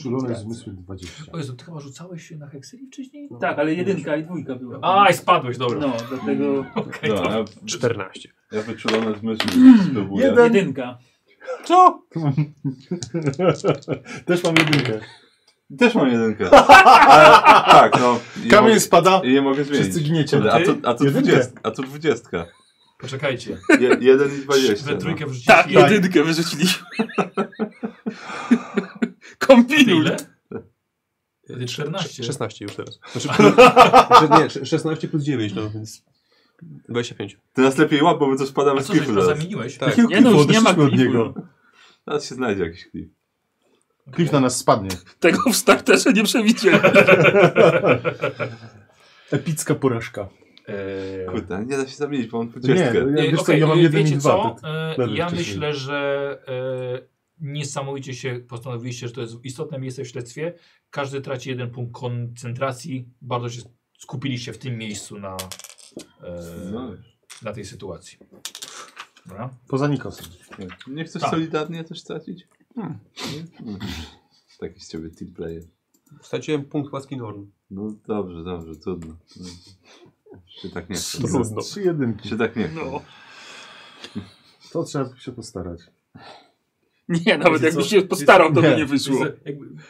Czulone zmysły 20. O Jezu, ty chyba rzucałeś się na heksyli wcześniej? Tak, ale jedynka i dwójka była. Aj, spadłeś, dobra. No, dlatego Okej, No, to- ja, 14. ja wyczulone zmysły spróbuję. jedynka. Co? Też mam jedynkę. Też mam jedynkę. Ale, tak, no. i Kamień mogę- spada. I nie mogę zmienić. Wszyscy giniecie. Kurde, A to, a to, Jedynkę. dwudziestka, a to dwudziestka. Poczekajcie. Je, jeden i dwadzieścia. We No. trójkę wrzucicie. Tak, jedynkę wyrzuciliśmy. Kombinuj. Ile? Wtedy 14. 16 już teraz. Znaczy, plus, nie, sz- 16 plus 9, no więc 25. Teraz lepiej łap, bo my to A spadamy z co, żeś klifu go zaraz. zamieniłeś? Tak. Nie no, już nie Odeszliśmy ma od klifu. niego. Teraz się znajdzie jakiś klif. Klif na nas spadnie. Tego w starterze nie przewidziałem. Epicka porażka. Eee, Kurde, nie da się zamienić, bo mam Nie, no dwudziestkę. ja, e, wiesz co, okej, ja mam e, jeden i wiecie dwa. co? Eee, lewy Ja wcześniej. myślę, że eee, niesamowicie się postanowiliście, że to jest istotne miejsce w śledztwie. Każdy traci jeden punkt koncentracji. Bardzo się skupiliście w tym miejscu na, eee, No. na tej sytuacji. Dobra. Poza Nikosem. Nie chcesz Tak. solidarnie coś stracić? Nie? Mm. Taki z ciebie team player. Straciłem punkt łaski Norn. No dobrze, dobrze, trudno. No. Się tak nie chce. Trudno. Trzy jedynki. Się tak nie chce. No. To trzeba się postarać. Nie, nawet Wiecie jakbyś co? się postarał, to by Nie. nie wyszło.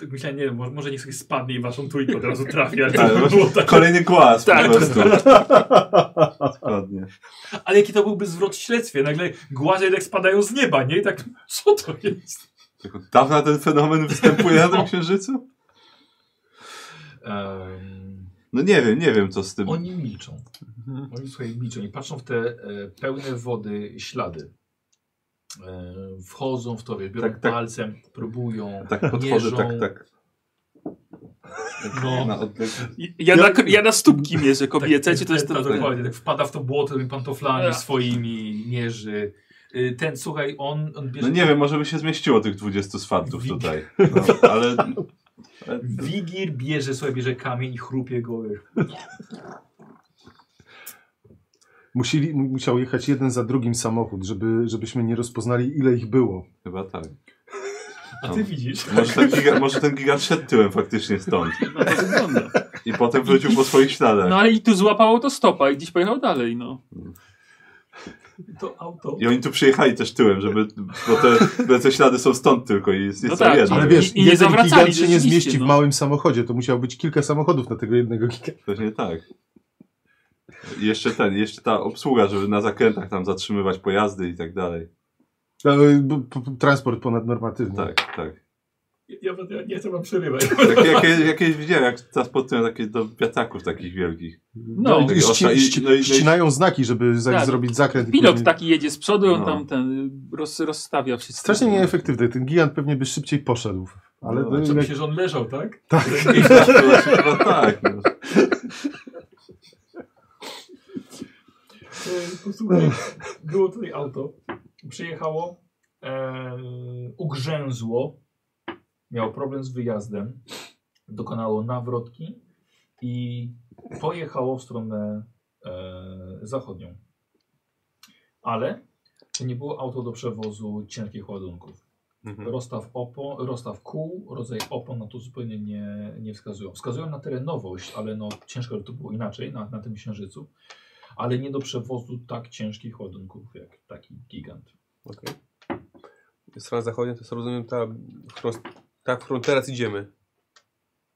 tak myślałem, nie wiem, może niech sobie spadnie i waszą trójkę od razu trafi, ale Ale Tak, właśnie Kolejny głaz Tak. po prostu. Dokładnie. Ale jaki to byłby zwrot w śledztwie? Nagle głazie jednak spadają z nieba, nie? I tak, co to jest? Tak od dawna ten fenomen występuje na tym księżycu? No nie wiem, nie wiem co z tym. oni milczą. Oni słuchaj, milczą. Oni patrzą w te e, pełne wody ślady. E, wchodzą w to, wiesz, biorą Tak, tak. palcem, próbują. Tak podchodzę, mierzą. tak, tak. No. Na odległość. Ja na, ja na stópki mierzę E kobiece, czy to jest tak, to... dokładnie, tak wpada w to błoto tymi pantoflami Ja. swoimi, mierzy. Y, Ten, słuchaj, on, on bierze... No nie wiem, może by się zmieściło tych 20 swatów tutaj. No, ale... ale Wigir bierze sobie, bierze kamień i chrupie go. wiesz. Musieli, mu- musiał jechać jeden za drugim samochód, żeby, żebyśmy nie rozpoznali, ile ich było. Chyba tak. A No. ty widzisz? Może ten, giga, może ten gigant szedł tyłem faktycznie stąd. tak, No, to wygląda. I potem wrócił po swoich śladach. no ale i tu złapało to stopa i gdzieś pojechał dalej, no. To auto. I oni tu przyjechali też tyłem, żeby. Bo te, bo te ślady są stąd tylko i jest, No jest tak, tam jedno. Ale I- wiesz, i nie jeden zawracali, gigant się nie rzeczywiście, zmieści no. w małym samochodzie, to musiało być kilka samochodów na tego jednego giganta. Pewnie tak. I jeszcze ten, jeszcze ta obsługa, żeby na zakrętach tam zatrzymywać pojazdy i tak dalej. E, b- p- p- Transport ponadnormatywny. Tak, tak. Ja, ja nie chcę wam przerywać. Tak jak, jak, jak widziałem, jak transportują takie do wiatraków takich wielkich. No, I Takie ści, ostra- i- ści, no i- no i- ścinają znaki, żeby za, Tak. zrobić zakręt. i Pilot później- taki jedzie z przodu, on No. tam ten roz, rozstawia wszystko. Strasznie nieefektywny. Ten gigant pewnie by szybciej poszedł. Ale No, to a co jak- Myślę, że on leżał, tak? Tak. No tak. No. E, Posłuchaj, było tutaj auto, przyjechało, e, ugrzęzło, miało problem z wyjazdem, dokonało nawrotki i pojechało w stronę e, zachodnią. Ale to nie było auto do przewozu ciężkich ładunków. Mhm, Rozstaw, opon, rozstaw kół, rodzaj opon na to zupełnie nie, nie wskazują. Wskazują na terenowość, ale no ciężko by to było inaczej na, na tym księżycu ale nie do przewozu tak ciężkich ładunków jak taki gigant. Okej. Strona zachodnia to jest, rozumiem, ta, w którą Ta, w którą teraz idziemy.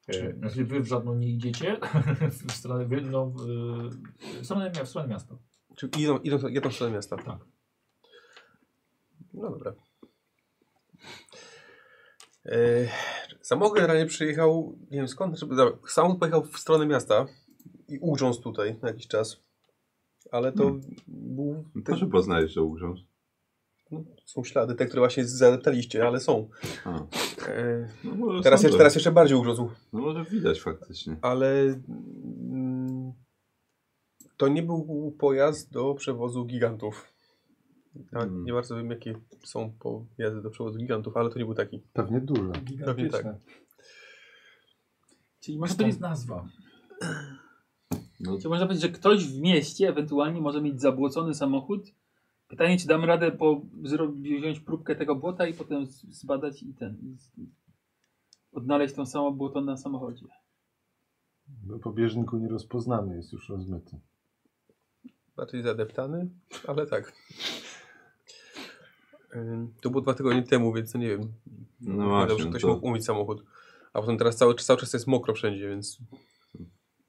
E, Znaczy wy w żadną nie idziecie, w stronę, wy, no, w, e, w, stronę, mia- w stronę miasta. Czy idą, idą, jadą w stronę miasta. Tak. No dobra. E, samochód generalnie przyjechał, nie wiem skąd, żeby, dobra, samochód pojechał w stronę miasta i ugrzązł tutaj na jakiś czas. Ale to Hmm. był, no, Też poznajesz, że ugrząz. są ślady, te, które właśnie zadeptaliście, ale są. A, E, no może teraz, są jeszcze, te- teraz jeszcze bardziej ugrzązł. No może widać faktycznie. Ale mm, to nie był pojazd do przewozu gigantów. Ja Hmm. Nie bardzo wiem, jakie są pojazdy do przewozu gigantów, ale to nie był taki. Pewnie duże. Pewnie tak. Czyli Może można to jest powiedzieć, nazwa. czyli można powiedzieć, że ktoś w mieście ewentualnie może mieć zabłocony samochód. Pytanie, czy dam radę po zrobić, wziąć próbkę tego błota i potem z- zbadać i ten. i z- Odnaleźć tą samą błoto na samochodzie. Bo No, Po bieżniku nierozpoznany jest już rozmyty. Raczej zadeptany, ale tak. Ym, To było dwa tygodnie temu, więc no nie wiem. No Nie właśnie, Dobrze, no ktoś to- mógł umyć samochód. A potem teraz cały, cały czas jest mokro wszędzie, więc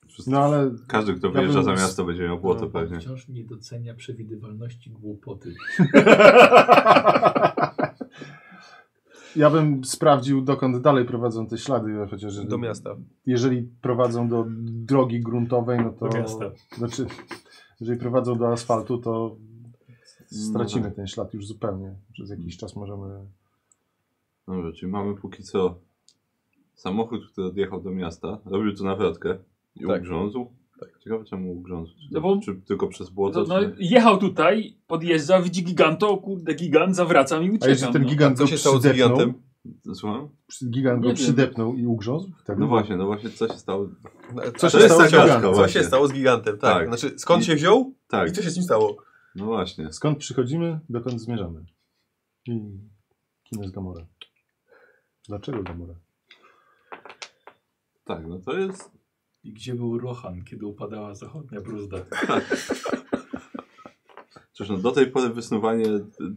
Wszyscy- No ale Każdy, kto Ja wyjeżdża bym- za miasto, będzie miał błoto Pan pewnie. wciąż nie docenia przewidywalności głupoty. ja bym sprawdził, dokąd dalej prowadzą te ślady, chociaż do miasta. jeżeli prowadzą do drogi gruntowej, no to Do miasta. znaczy, jeżeli prowadzą do asfaltu, to stracimy No tak. ten ślad już zupełnie. Przez jakiś czas możemy Dobrze, czyli mamy póki co samochód, który odjechał do miasta, robił tu nawrotkę i Tak. ugrzązł. Ciekawe czemu ugrzązł. Czy, No bo- czy tylko przez błoto? No, no, czy... jechał tutaj, podjeżdża, widzi giganto, o kurde, gigant, zawracam i A uciekam. jeżeli ten no. gigant Co go się stało z przydepnął, gigantem? Słucham? przy- gigant go Nie wiem. przydepnął i ugrzązł? Tak, No właśnie, no właśnie, co się stało? No, Co się to jest stało ta z książka, gigantem? Co tak Właśnie. się stało z gigantem? Tak. Tak. Znaczy, skąd I- się wziął Tak, i co się z nim stało? no właśnie. Skąd przychodzimy, dokąd zmierzamy? I kim jest Gamora? Dlaczego Gamora? Tak, no to jest... I gdzie był Rohan, kiedy upadała zachodnia bruzda? Cóż, no do tej pory wysnuwanie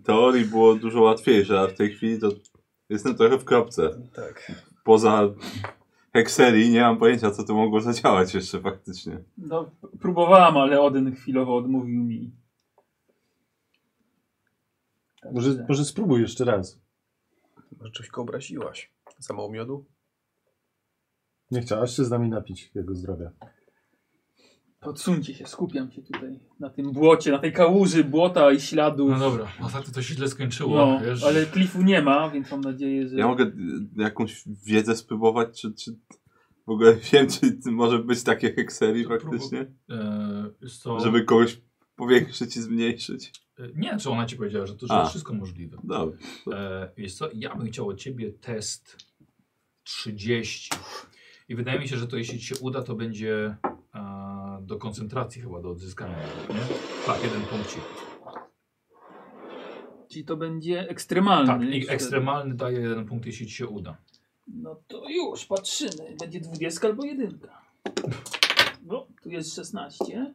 teorii było dużo łatwiejsze, a w tej chwili to jestem trochę w kropce. Tak. Poza hekserii nie mam pojęcia, co tu mogło zadziałać jeszcze faktycznie. No, próbowałam, ale Odyn chwilowo odmówił mi. Także- Może, może spróbuj jeszcze raz. Może coś go obraziłaś. Za mało miodu? Nie chciałaś się z nami napić jego zdrowia. Podsuńcie się, skupiam się tutaj na tym błocie, na tej kałuży błota i śladów. No dobra, ostatnio to się źle skończyło. No, wiesz? ale klifu nie ma, więc mam nadzieję, że. Ja mogę y, jakąś wiedzę spróbować, czy, czy w ogóle wiem, czy ty- może być takie hekserii To faktycznie? E, wiesz co, Żeby kogoś powiększyć i zmniejszyć. e, Nie wiem, czy ona ci powiedziała, że to że A. jest wszystko możliwe. Dobra. E, wiesz co, ja bym chciał od ciebie test 30. I wydaje mi się, że to jeśli ci się uda, to będzie e, do koncentracji chyba, do odzyskania. Nie? Tak, jeden punkcik. Czyli to będzie ekstremalny. Tak, i wtedy. ekstremalny daje jeden punkt, jeśli ci się uda. No to już, patrzymy. Będzie dwudziestka albo jedynka. No, tu jest 16,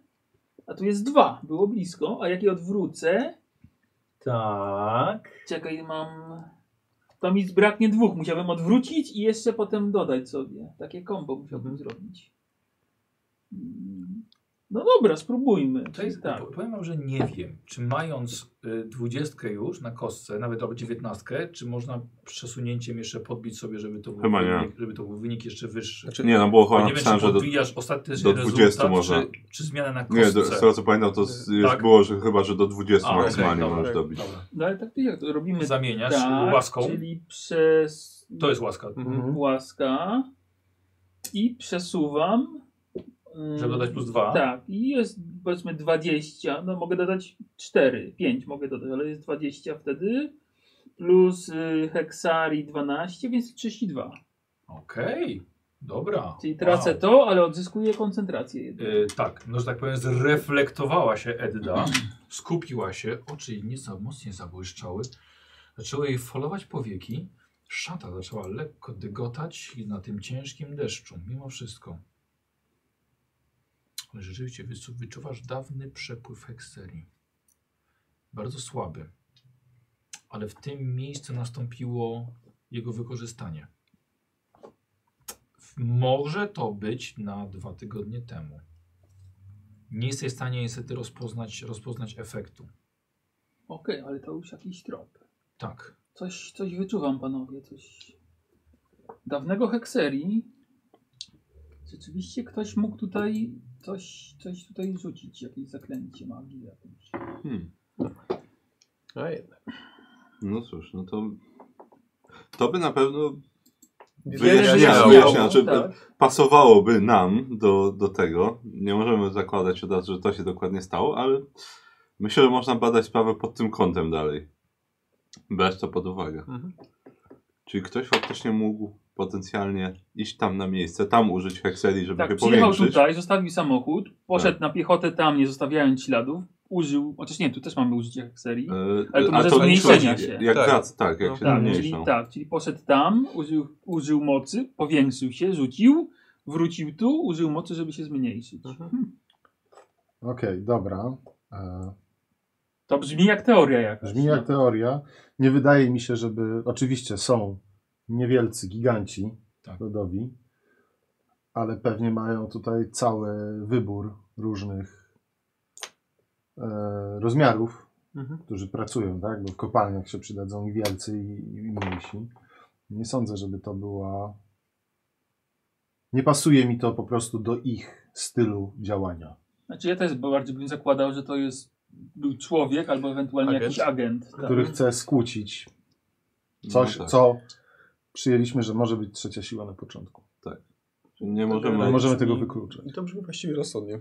a tu jest 2. Było blisko. A jak je odwrócę, Tak. czekaj, mam. To mi braknie dwóch. Musiałbym odwrócić i jeszcze potem dodać sobie. Takie kombo musiałbym Mhm. zrobić. Mm. No dobra, spróbujmy. To jest, tak. po- Powiem wam, że nie wiem, czy mając y, dwudziestkę już na kostce, nawet albo dziewiętnastkę, czy można przesunięciem jeszcze podbić sobie, żeby to był, Chyba nie. wynik, żeby to był wynik jeszcze wyższy. Znaczy, Nie, no było Bo chyba nie wiem, czy napisane, że do, podbijasz ostatecznie do 20 rezultat, można. Czy, czy zmiana na Nie, do, kostce. z tego co pamiętam, to z, już Tak. było, że chyba, że do 20 A, maksymalnie okej, możesz dobra. dobić. Dobra. No ale tak to jak to robimy? Zamieniasz tak, łaską. Czyli Mm. przez. To jest łaska. Mhm. łaska i przesuwam. Ym, Żeby dodać plus dwa. Tak, i jest powiedzmy 20, no mogę dodać 4, 5 mogę dodać, ale jest 20 wtedy, plus y, heksari 12, więc 32. Okej, dobra. Czyli tracę to, ale odzyskuję koncentrację. jednak. Y, tak, no że tak powiem, zreflektowała się Edda, skupiła się, oczy jej nieco mocniej zabłyszczały, zaczęły jej falować powieki, szata zaczęła lekko dygotać na tym ciężkim deszczu, mimo wszystko. Ale rzeczywiście wysu- wyczuwasz dawny przepływ hekserii. Bardzo słaby. Ale w tym miejscu nastąpiło jego wykorzystanie. Może to być na dwa tygodnie temu. Nie jesteś w stanie niestety rozpoznać, rozpoznać efektu. Okej, ale to już jakiś trop. Tak. Coś, coś wyczuwam, panowie, coś... Dawnego hekserii rzeczywiście ktoś mógł tutaj coś, coś tutaj rzucić, jakieś zaklęcie magii jakieś. Hmm. A jednak. No cóż, no to... To by na pewno Wiele Wyjaśniało, wyjaśniało. wyjaśniało. Znaczy, tak. pasowałoby nam do, do tego. Nie możemy zakładać od razu, że to się dokładnie stało, ale myślę, że można badać sprawę pod tym kątem dalej. Brać to pod uwagę. Mhm. Czyli ktoś faktycznie mógł potencjalnie iść tam na miejsce, tam użyć hekserii, żeby tak, się przyjechał powiększyć. Tak. tutaj, zostawił samochód, poszedł na piechotę tam, nie zostawiając śladów, użył, chociaż nie, tu też mamy użycie hekserii. E, Ale to a może zmniejszenia się. Jak Tak. tak, tak jak No. się Tak, czyli, zmniejszą. tak, czyli poszedł tam, użył, użył mocy, powiększył się, rzucił, wrócił tu, użył mocy, żeby się zmniejszyć. Mhm. Okej, dobra. E, To brzmi jak teoria jakaś. Brzmi jak teoria. Nie wydaje mi się, żeby. Oczywiście są niewielcy giganci Tak. lodowi, ale pewnie mają tutaj cały wybór różnych e, rozmiarów, Mhm. którzy pracują, tak? Bo w kopalniach się przydadzą i wielcy, i, i mniejsi. Nie sądzę, żeby to była. Nie pasuje mi to po prostu do ich stylu działania. Znaczy ja też bardziej bym zakładał, że to jest był człowiek albo ewentualnie Agent. jakiś agent. Tak. Który chce skłócić coś, No tak. co przyjęliśmy, że może być trzecia siła na początku. Nie Ale możemy. możemy tego wykluczyć. I to brzmi właściwie rozsądnie.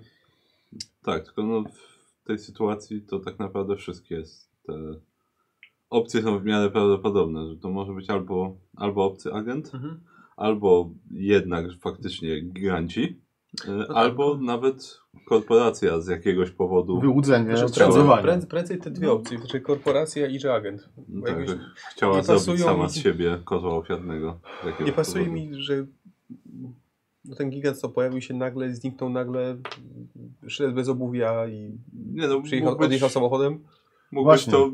Tak, tylko no w tej sytuacji to tak naprawdę wszystkie s- te opcje są w miarę prawdopodobne, że to może być albo, albo obcy agent, Mhm. albo jednak faktycznie giganci, y, tak. albo nawet korporacja z jakiegoś powodu. Wyłudzenie, Znaczy, prędzej, przebywanie. prędzej, prędzej te dwie opcje, znaczy korporacja i że agent. No Bo tak, jakoś że chciała nie zrobić pasują sama mi- z siebie kozła ofiarnego. z jakiegoś Nie pasuje powodu. mi, że no, ten gigant co pojawił się nagle, zniknął nagle, szedł bez obuwia i Nie, no, przyjechał, mógłbyś, odjechał samochodem. mógłbyś, Właśnie. to,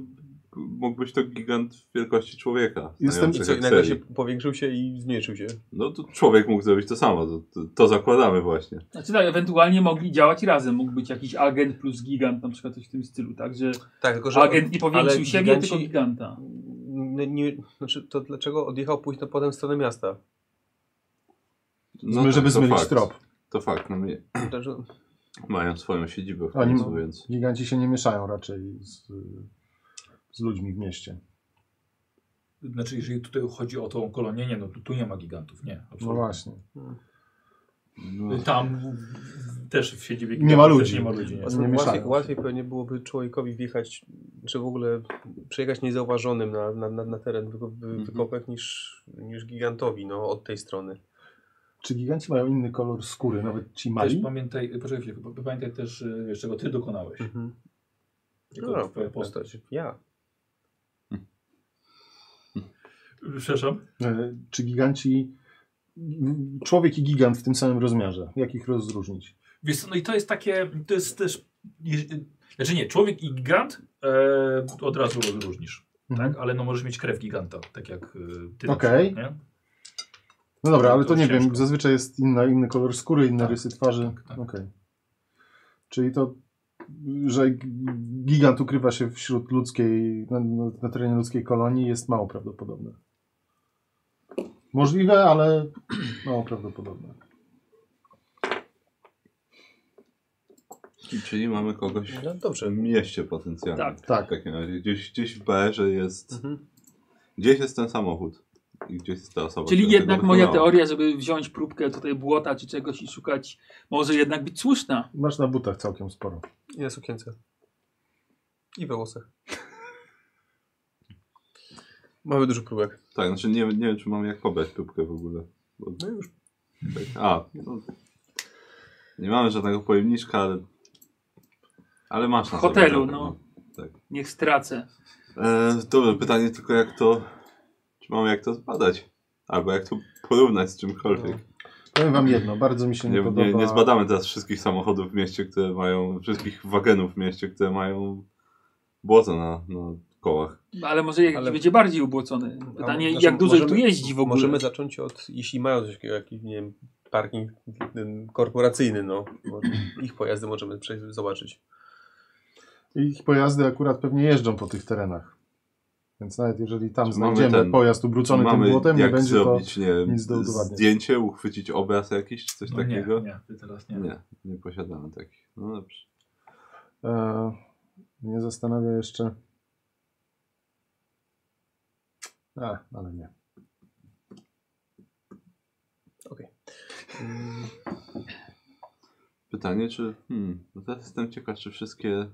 mógłbyś to gigant wielkości człowieka. Jestem- I znający co, i nagle się Hekserii. powiększył się i zmniejszył się. No to człowiek mógł zrobić to samo, to, to, to zakładamy właśnie. Znaczy tak, ewentualnie mogli działać razem. Mógł być jakiś agent plus gigant, na przykład coś w tym stylu, tak? Że Tak, tylko że... agent nie powiększył ale siebie, giganci- tylko giganta. Nie, nie, znaczy, to dlaczego odjechał późno potem w stronę miasta? No Zmy- żeby tak, to zmylić fakt. trop. To fakt, no mi- Dlaczego- mają swoją siedzibę w Oni- końcu, więc Giganci się nie mieszają raczej z, z ludźmi w mieście. Znaczy, jeżeli tutaj chodzi o tą kolonię, nie, no tu, tu nie ma gigantów, nie. No Absolutnie. właśnie. no, Tam w, w, też w siedzibie Nie ma też ludzi. Nie ma ludzi nie. Nie Łatwiej, mieszają łatwiej, się. łatwiej pewnie byłoby człowiekowi wjechać, czy w ogóle przejechać niezauważonym na, na, na, na teren wy- wy- Mhm. wykopek niż, niż gigantowi, no, od tej strony. Czy giganci mają inny kolor skóry, nawet ci Też mali? pamiętaj, poczekaj chwilę, p- pamiętaj też, y, wiesz, czego ty dokonałeś. Mhm. Jako No, twoja postać. postać. Ja. Przepraszam. E, Czy giganci... Człowiek i gigant w tym samym rozmiarze. Jak ich rozróżnić? Wiesz, co, no i to jest takie, to jest też, jeż- znaczy nie, człowiek i gigant e, od razu rozróżnisz, Mhm. tak? Ale no możesz mieć krew giganta, tak jak e, ty na Okej. przykład, nie? No dobra, ale To to nie ciężko. wiem. Zazwyczaj jest inna, inny kolor skóry, inne Tak, rysy twarzy. tak, tak. Okej. Czyli to, że g- gigant ukrywa się wśród ludzkiej, na, na- na terenie ludzkiej kolonii jest mało prawdopodobne. Możliwe, ale mało prawdopodobne. Czyli mamy kogoś No w dobrze. mieście potencjalnie. Tak. Tak. W takim razie gdzieś, gdzieś w BR-ze jest, Mhm. gdzieś jest ten samochód i gdzieś jest ta osoba. Czyli która tego jednak moja dokonała. teoria, żeby wziąć próbkę tutaj błota czy czegoś i szukać, może jednak być słuszna. Masz na butach całkiem sporo. I na sukience. I we włosach. Mamy dużo próbek. Tak, znaczy nie, nie wiem, czy mam jak pobrać próbkę w ogóle. Bo, No już. tak, a, no, nie mamy żadnego pojemniczka, ale, ale masz na W hotelu, sobie, no. tak. Niech stracę. E, dobrze, pytanie tylko jak to, czy mamy jak to zbadać? Albo jak to porównać z czymkolwiek. Powiem wam jedno, bardzo mi się nie, Nie, podoba. nie, nie zbadamy teraz wszystkich samochodów w mieście, które mają, wszystkich wagonów w mieście, które mają błoto na, na kołach. Ale może jak Ale- będzie bardziej ubłocony. Pytanie, jak dużo możemy- tu jeździ w ogóle. Możemy zacząć od, jeśli mają coś takiego, jakiś, nie wiem, parking ten, korporacyjny, no. bo Ich pojazdy możemy przejść, zobaczyć. Ich pojazdy akurat pewnie jeżdżą po tych terenach. Więc nawet jeżeli tam Mamy znajdziemy ten- pojazd ubrucony tym Mamy błotem, nie jak będzie zrobić, nie wiem, nic do udowodnienia. zdjęcie, uchwycić obraz jakiś, czy coś No nie, takiego? nie, ty teraz nie. Nie. nie, posiadamy takich. No dobrze. to... E, mnie zastanawia jeszcze... A, ale nie. Pytanie, czy... Hmm, no teraz jestem ciekaw, czy wszystkie...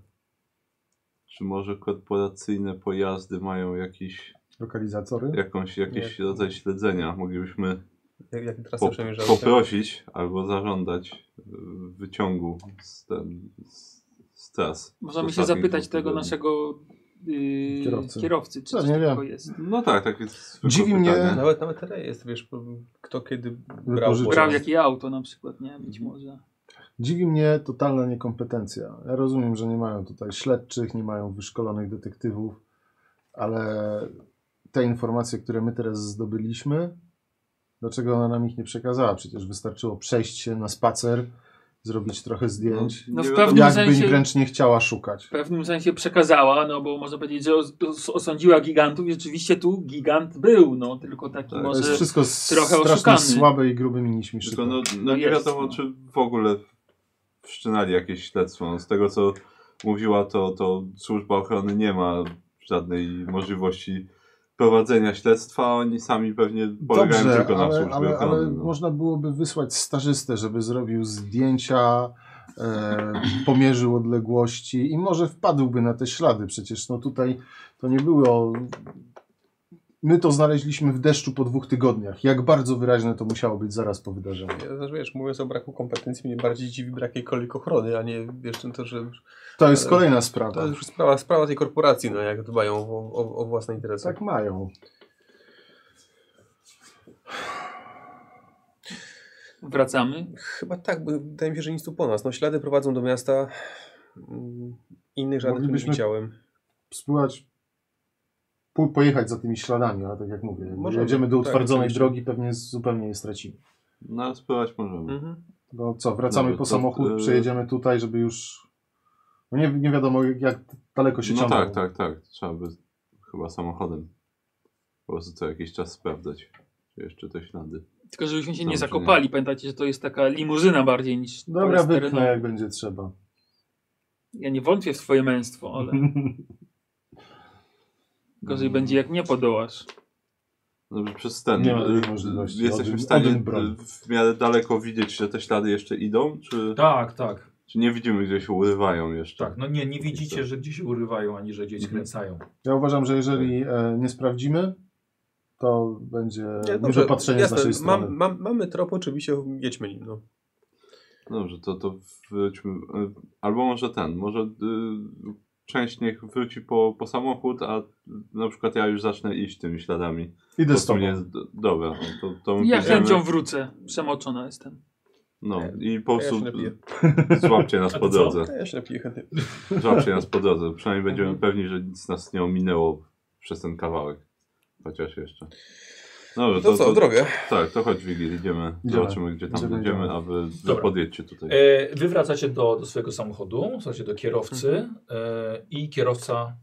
Czy może korporacyjne pojazdy mają jakiś, Lokalizatory? jakąś, jakiś rodzaj śledzenia? Moglibyśmy Jak, jak trasy po, przemierzamy. poprosić albo zażądać y, wyciągu z, ten, z, z tak tras. Możemy z się ostatnich zapytać dwóch tego tygodni. naszego Kierowcy. yy, kierowcy. kierowcy, czy Tak, coś nie takiego wiem. jest. No tak, tak jest. zwykłe Dziwi mnie- pytanie. Nawet, nawet tyle jest, wiesz, po- kto kiedy brał Wypożyczył. pojazd. Brał jakie auto na przykład, nie? Być może. Dziwi mnie totalna niekompetencja. Ja rozumiem, że nie mają tutaj śledczych, nie mają wyszkolonych detektywów, ale te informacje, które my teraz zdobyliśmy, dlaczego ona nam ich nie przekazała? Przecież wystarczyło przejść się na spacer, zrobić trochę zdjęć, No Nie w wiadomo. pewnym jakby sensie... wręcz nie chciała szukać. W pewnym sensie przekazała, no bo można powiedzieć, że os- os- osądziła gigantów i rzeczywiście tu gigant był, no tylko taki Tak. To jest może... wszystko trochę strasznie oszukany. słabe i grubymi nićmi Tylko szyte. no, no nie jest, wiadomo, no. czy w ogóle wszczynali jakieś śledztwo. No, Z tego co mówiła, to, to służba ochrony nie ma żadnej możliwości prowadzenia śledztwa. Oni sami pewnie polegają Dobrze, tylko na ale, służbie ale, ochrony. ale no. można byłoby wysłać stażystę, żeby zrobił zdjęcia, e, pomierzył odległości i może wpadłby na te ślady. Przecież no tutaj to nie było... My to znaleźliśmy w deszczu po dwóch tygodniach. Jak bardzo wyraźne to musiało być zaraz po wydarzeniu. Ja, też, wiesz, mówiąc o braku kompetencji, mnie bardziej dziwi brak jakiejkolwiek ochrony, a nie wiesz, no to, że To jest kolejna E, to sprawa. jest już sprawa, sprawa tej korporacji, no jak dbają o, o, o własne interesy. Tak mają. Wracamy. Chyba tak, bo wydaje mi się, że nic tu po nas. No ślady prowadzą do miasta, mm, innych żadnych tu Moglibyśmy- nie widziałem. Spływać, po- pojechać za tymi śladami, ale tak jak mówię, Możemy, Możemy, jedziemy do tak, utwardzonej oczywiście. drogi, pewnie zupełnie je stracimy. No ale spływać możemy. Mhm. No co, wracamy Dobra, po to, samochód, y- przejedziemy tutaj, żeby już. No nie, nie wiadomo, jak daleko się No ciągnie. tak, tak, tak. Trzeba by chyba samochodem po prostu co jakiś czas sprawdzać, czy jeszcze te ślady. Tylko żebyśmy się nie Dobrze. zakopali. Pamiętajcie, że to jest taka limuzyna bardziej niż to Dobra, jest wypchnę terenowy. jak będzie trzeba. Ja nie wątpię w swoje męstwo, Mhm. ale gorzej będzie jak nie podołasz. Dobrze, No, przez ten. Nie ma takiej y, możliwości. Jesteśmy Odyn- w stanie Odyn broń. y, w miarę daleko widzieć, że te ślady jeszcze idą, czy, Tak, tak, czy nie widzimy, gdzie się urywają jeszcze? tak. No nie, nie widzicie, że gdzieś urywają, ani że gdzieś Mhm. skręcają. Ja uważam, że jeżeli Tak. e, nie sprawdzimy, to będzie Nie, dobrze, niedopatrzenie z jasne, naszej mam, strony. mam, mamy trop, oczywiście jedźmy nim. No. Dobrze, to, to wróćmy. y, Albo może ten, może y, część niech wróci po, po samochód, a y, na przykład ja już zacznę iść tymi śladami. Idę Po z prostu tobą. mnie- d- Dobra, no to, to my Ja pójdziemy. chęcią wrócę. Przemoczona jestem. No i po Ja się prostu napiję. złapcie nas A po ty co? drodze. Ja się napiję chętnie. Złapcie nas po drodze. Przynajmniej będziemy pewni, że nic nas nie ominęło przez ten kawałek. Chociaż jeszcze. Dobrze, No To co, w drogę? Tak, to chodź Wigil, idziemy. Zobaczymy, gdzie tam Idziemy, będziemy, idziemy. a wy, wy Dobra. podjedźcie tutaj. E, wy wracacie do, do swojego samochodu, słuchajcie, do kierowcy Mhm. e, i kierowca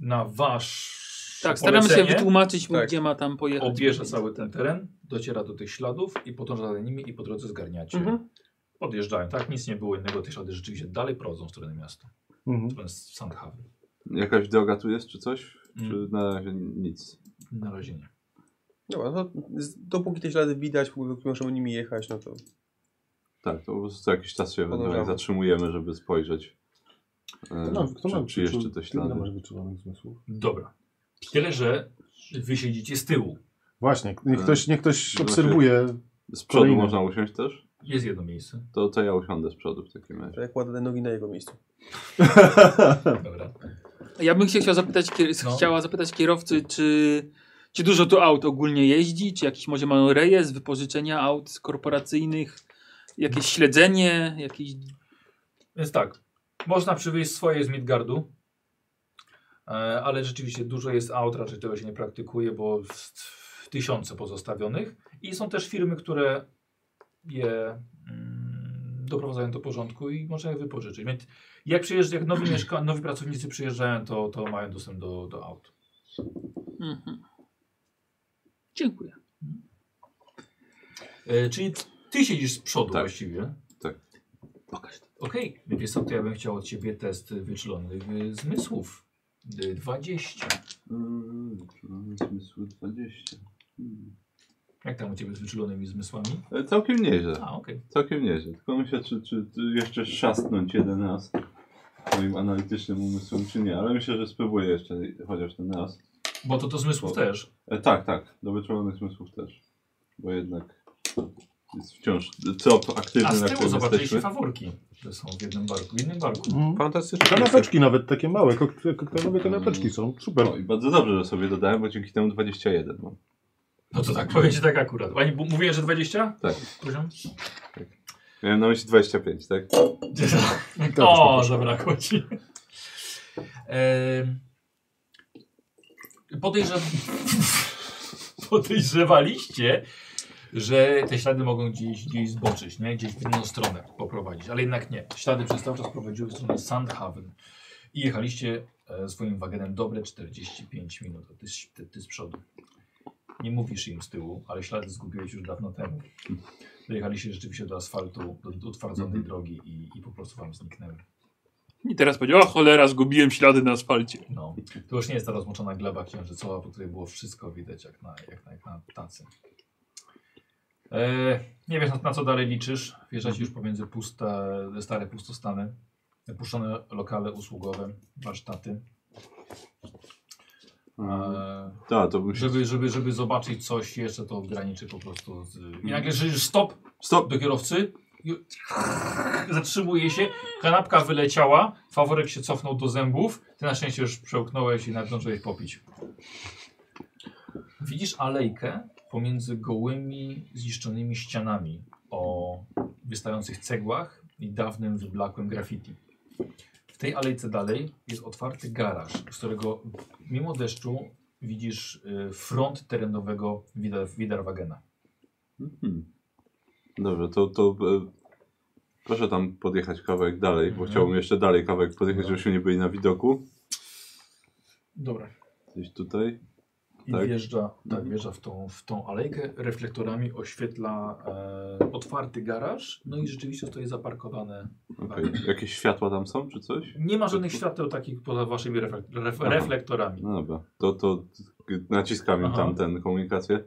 na wasz Tak, staramy się polecenie wytłumaczyć mu, Tak. gdzie ma tam pojechać. objeżdża cały ten teren, dociera do tych śladów i podąża za nimi i po drodze zgarniacie. Mhm. Podjeżdżają, tak, nic nie było innego, te ślady rzeczywiście dalej prowadzą w stronę miasta, w Mhm. stronę Sandhaven. Jakaś droga tu jest, czy coś? Mm. Czy na razie nic? Na razie nie. Dobra, no, z- dopóki te ślady widać, póki możemy nimi jechać, no to Tak, to po prostu co jakiś czas się ewentualnie Podążamy. zatrzymujemy, żeby spojrzeć. e, Kto ma, No, kto ma czy, czy jeszcze te Ty ile ślady? masz wyczulonych zmysłów? Dobra. Tyle, że wy siedzicie z tyłu. Właśnie, niech E, ktoś, niech ktoś właśnie- obserwuje. Mhm. Z przodu Kolejne. można usiąść też? Jest jedno miejsce. To, to ja usiądę z przodu w takim razie. to ja kładę te nogi na jego miejscu. Tak. Dobra. Ja bym się chciał zapytać, kier- No. chciała zapytać kierowcy, czy, czy dużo tu aut ogólnie jeździ, czy jakiś może mają rejestr wypożyczenia aut korporacyjnych, jakieś śledzenie, jakieś... Więc tak, można przywieźć swoje z Midgardu. E, ale rzeczywiście dużo jest aut, raczej tego się nie praktykuje, bo w tysiące pozostawionych. I są też firmy, które je mm, doprowadzają do porządku i można je wypożyczyć. Więc jak, przyjeżdż- jak nowi, mieszka- nowi pracownicy przyjeżdżają, to, to mają dostęp do, do aut. Mhm. Dziękuję. E, czyli ty siedzisz z przodu Tak. właściwie. Tak. Pokaż to. Okej, okay. wiesz co, to ja bym chciał od ciebie test wyczlonych y, zmysłów. Y, 20. Yy, zmysły 20. Hmm. Jak tam u ciebie z wyczulonymi zmysłami? E, Całkiem nieźle, A, okej. całkiem nieźle. Tylko myślę, czy, czy, czy jeszcze szastnąć jeden raz moim analitycznym umysłem, czy nie. Ale myślę, że spróbuję jeszcze chociaż ten raz. Bo to do zmysłów też. E, tak, tak. Do wyczulonych zmysłów też. Bo jednak jest wciąż trop aktywny, A z na tyłu którym zobaczyliście jesteśmy. faworki. To są w jednym barku. W jednym barku. Mhm. Fantastycznie. Kanapeczki nawet takie małe, kok- koktajlowe kanapeczki są. Super. No i bardzo dobrze, że sobie dodałem, bo dzięki temu 21 mam. No to tak, powiem ci tak akurat. Pani, bu- mówiłem, że 20? Tak. Poziom? Miałem na myśli 25, tak? o, zabrakło ci. Em, Podejrzew... Podejrzewaliście, że te ślady mogą gdzieś, gdzieś zboczyć, nie? gdzieś w inną stronę poprowadzić, ale jednak nie. Ślady przez cały czas prowadziły w stronę Sandhaven i jechaliście e, swoim wagonem dobre 45 minut. A Ty, z- ty, ty z przodu. Nie mówisz im z tyłu, ale ślady zgubiłeś już dawno temu. Dojechaliście rzeczywiście do asfaltu, do, do utwardzonej drogi i, i po prostu wam zniknęły. I teraz powiedział, o cholera, zgubiłem ślady na asfalcie. No. To już nie jest ta rozmoczona gleba księżycowa, po której było wszystko widać jak na, jak na, jak na tacy. E, nie wiesz na, na co dalej liczysz. Wjeżdżacie już pomiędzy puste, stare pustostany, opuszczone lokale usługowe, warsztaty. E, Tak, to bym się... żeby, żeby, żeby zobaczyć coś jeszcze, to graniczy po prostu z... I nagle żyjesz stop Stop! do kierowcy. i- Zatrzymuje się, kanapka wyleciała, faworek się cofnął do zębów. Ty na szczęście już przełknąłeś i nadążyłeś popić. Widzisz alejkę pomiędzy gołymi, zniszczonymi ścianami o wystających cegłach i dawnym, wyblakłym graffiti. W tej alejce dalej jest otwarty garaż, z którego mimo deszczu widzisz y, front terenowego Widar- Widarwagena. Mhm. Dobrze, to, to e, proszę tam podjechać kawałek dalej, bo Mhm. No. chciałbym jeszcze dalej kawałek podjechać, żebyśmy nie byli na widoku. Dobra. Gdzieś tutaj. I Tak? wjeżdża, tak, Mhm. wjeżdża w, tą, w tą alejkę, reflektorami oświetla e, otwarty garaż, no i rzeczywiście stoi zaparkowane. Okej. Tak. Jakieś światła tam są, czy coś? Nie ma żadnych świateł takich poza waszymi reflek ref Mhm. Aha. reflektorami. No dobra, to, to naciskam im Aha. tam ten komunikację.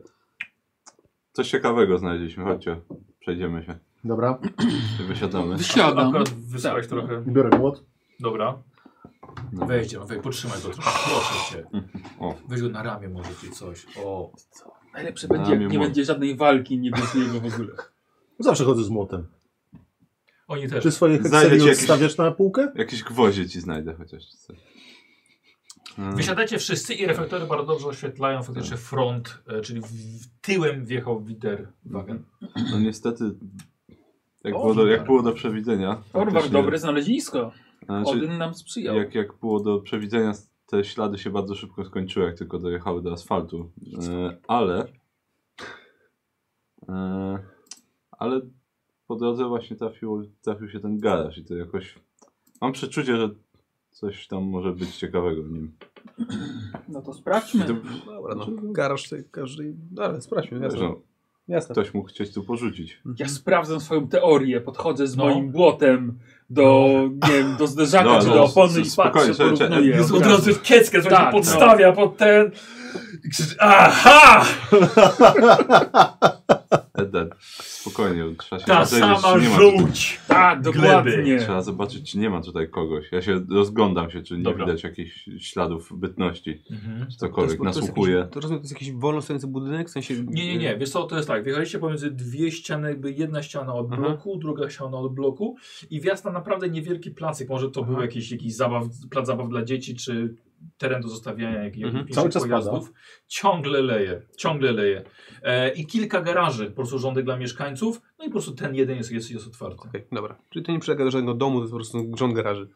Coś ciekawego znaleźliśmy, chodźcie, przejdziemy się. Dobra, I Wysiadamy. Wysiadam. Akurat wysyłałeś trochę. biorę młot. Dobra. Tak. No. Wejdź, no, wejdź, potrzymaj go trochę, proszę cię. O. Weź go na ramię może czy coś. O, Najlepsze Na będzie, jak mnie nie mów. będzie żadnej walki, nie będzie jego w ogóle. Zawsze chodzę z młotem. oni też. Czy swoje Znajdę hekseli ci jakieś- odstawiasz na półkę? Jakieś gwoździe ci znajdę chociaż. czy coś. Mm. Wysiadacie wszyscy i reflektory bardzo dobrze oświetlają Tak. faktycznie front, e, czyli w, w tyłem wjechał Witterwagen. No niestety, jak, O, było, do, jak witam. było do przewidzenia. Orwar, faktycznie- dobre znalezisko. Znaczy, Odyn nam sprzyjał. jak, jak było do przewidzenia, te ślady się bardzo szybko skończyły, jak tylko dojechały do asfaltu. E, ale. E, ale po drodze właśnie trafił, trafił się ten garaż i to jakoś. Mam przeczucie, że coś tam może być ciekawego w nim. No to sprawdźmy. To, Dobra, no. Garaż sobie każdy... Dobra, sprawdźmy, wiesz, jasne. Tak. no, jasne. ktoś mógł chcieć tu porzucić. Ja sprawdzam swoją teorię, podchodzę z No. moim błotem do, nie wiem, do zderzaka No, czy no, do opony i spokojnie, patrzę, czekaj, czekaj. porównuję. Tak, no. Jest od razu. w kieckę, słuchajcie, podstawia pod ten... Aha! Eda, spokojnie, trzeba się Ta sama rozejrzeć, czy nie ma tutaj- żółć! Tak, dokładnie. Trzeba zobaczyć, czy nie ma tutaj kogoś. Ja się rozglądam się, czy nie Dobra. widać jakichś śladów bytności, Mhm. czy To jest- cokolwiek, to jest nasłuchuję. jakiś- To rozumiem, to jest jakiś wolno stojący budynek, w sensie... Nie, nie, Yy. nie. Wiesz co, to jest tak. Wjechaliście pomiędzy dwie ściany, jakby jedna ściana od Aha. bloku, druga ściana od bloku i wjazd na naprawdę niewielki placek. Może to był jakiś, jakiś zabaw, plac zabaw dla dzieci, czy teren do zostawiania jak, Mhm. jakichś Cały czas pojazdów. Ciągle leje, ciągle leje. E, I kilka garaży po prostu rządek dla mieszkańców, no i po prostu ten jeden jest, jest, jest otwarty. Okej, dobra. Czyli to nie przylega do żadnego domu, to jest po prostu rząd garaży.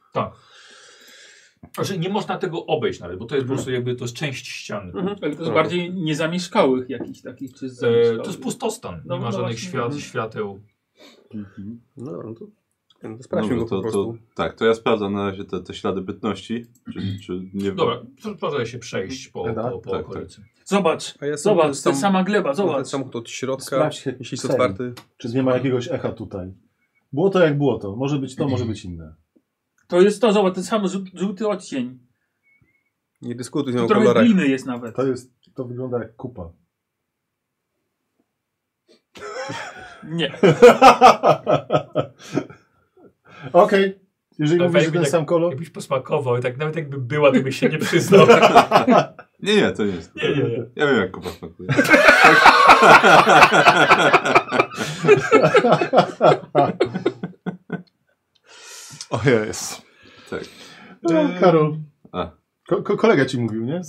Znaczy, Tak. nie można tego obejść nawet, bo to jest po prostu jakby to jest część ściany. Mhm. Ale to jest bardziej niezamieszkałych jakichś takich, czy E, zamieszkałych. to jest pustostan. No, Nie ma no żadnych właśnie. świat, świateł. No dobra, no to, no to sprawdźmy Dobrze, go po to, prostu. to, tak, to ja sprawdzam na razie te, te ślady bytności. Mhm. Czy, czy nie Dobra, to proszę się przejść po, Dobra. po, po Tak, okolicy. Zobacz, A ja sam- zobacz, to sam- jest sama gleba, No, ten zobacz. samochód od środka, Sprawdź, jeśli jest Sejm. otwarty. Czy nie ma jakiegoś echa tutaj? Było to jak było to. Może być to, może być inne. To jest to, zobacz, ten sam żół- żółty odcień. Nie dyskutuj z nią Tu o trochę kolorach. gliny jest nawet. To jest, to wygląda jak kupa. Nie. Okej. Jeżeli Ale mówisz, że fajnie, ten jak- tak- sam kolor. Jakbyś posmakował, i tak nawet jakby była, to byś się nie przyznał. Tak, Nie, nie, to nie jest. Nie, nie, nie. Ja wiem jak kupa smakuje. O jest. Tak. No, Karol. A. Ko ko kolega ci mówił, nie?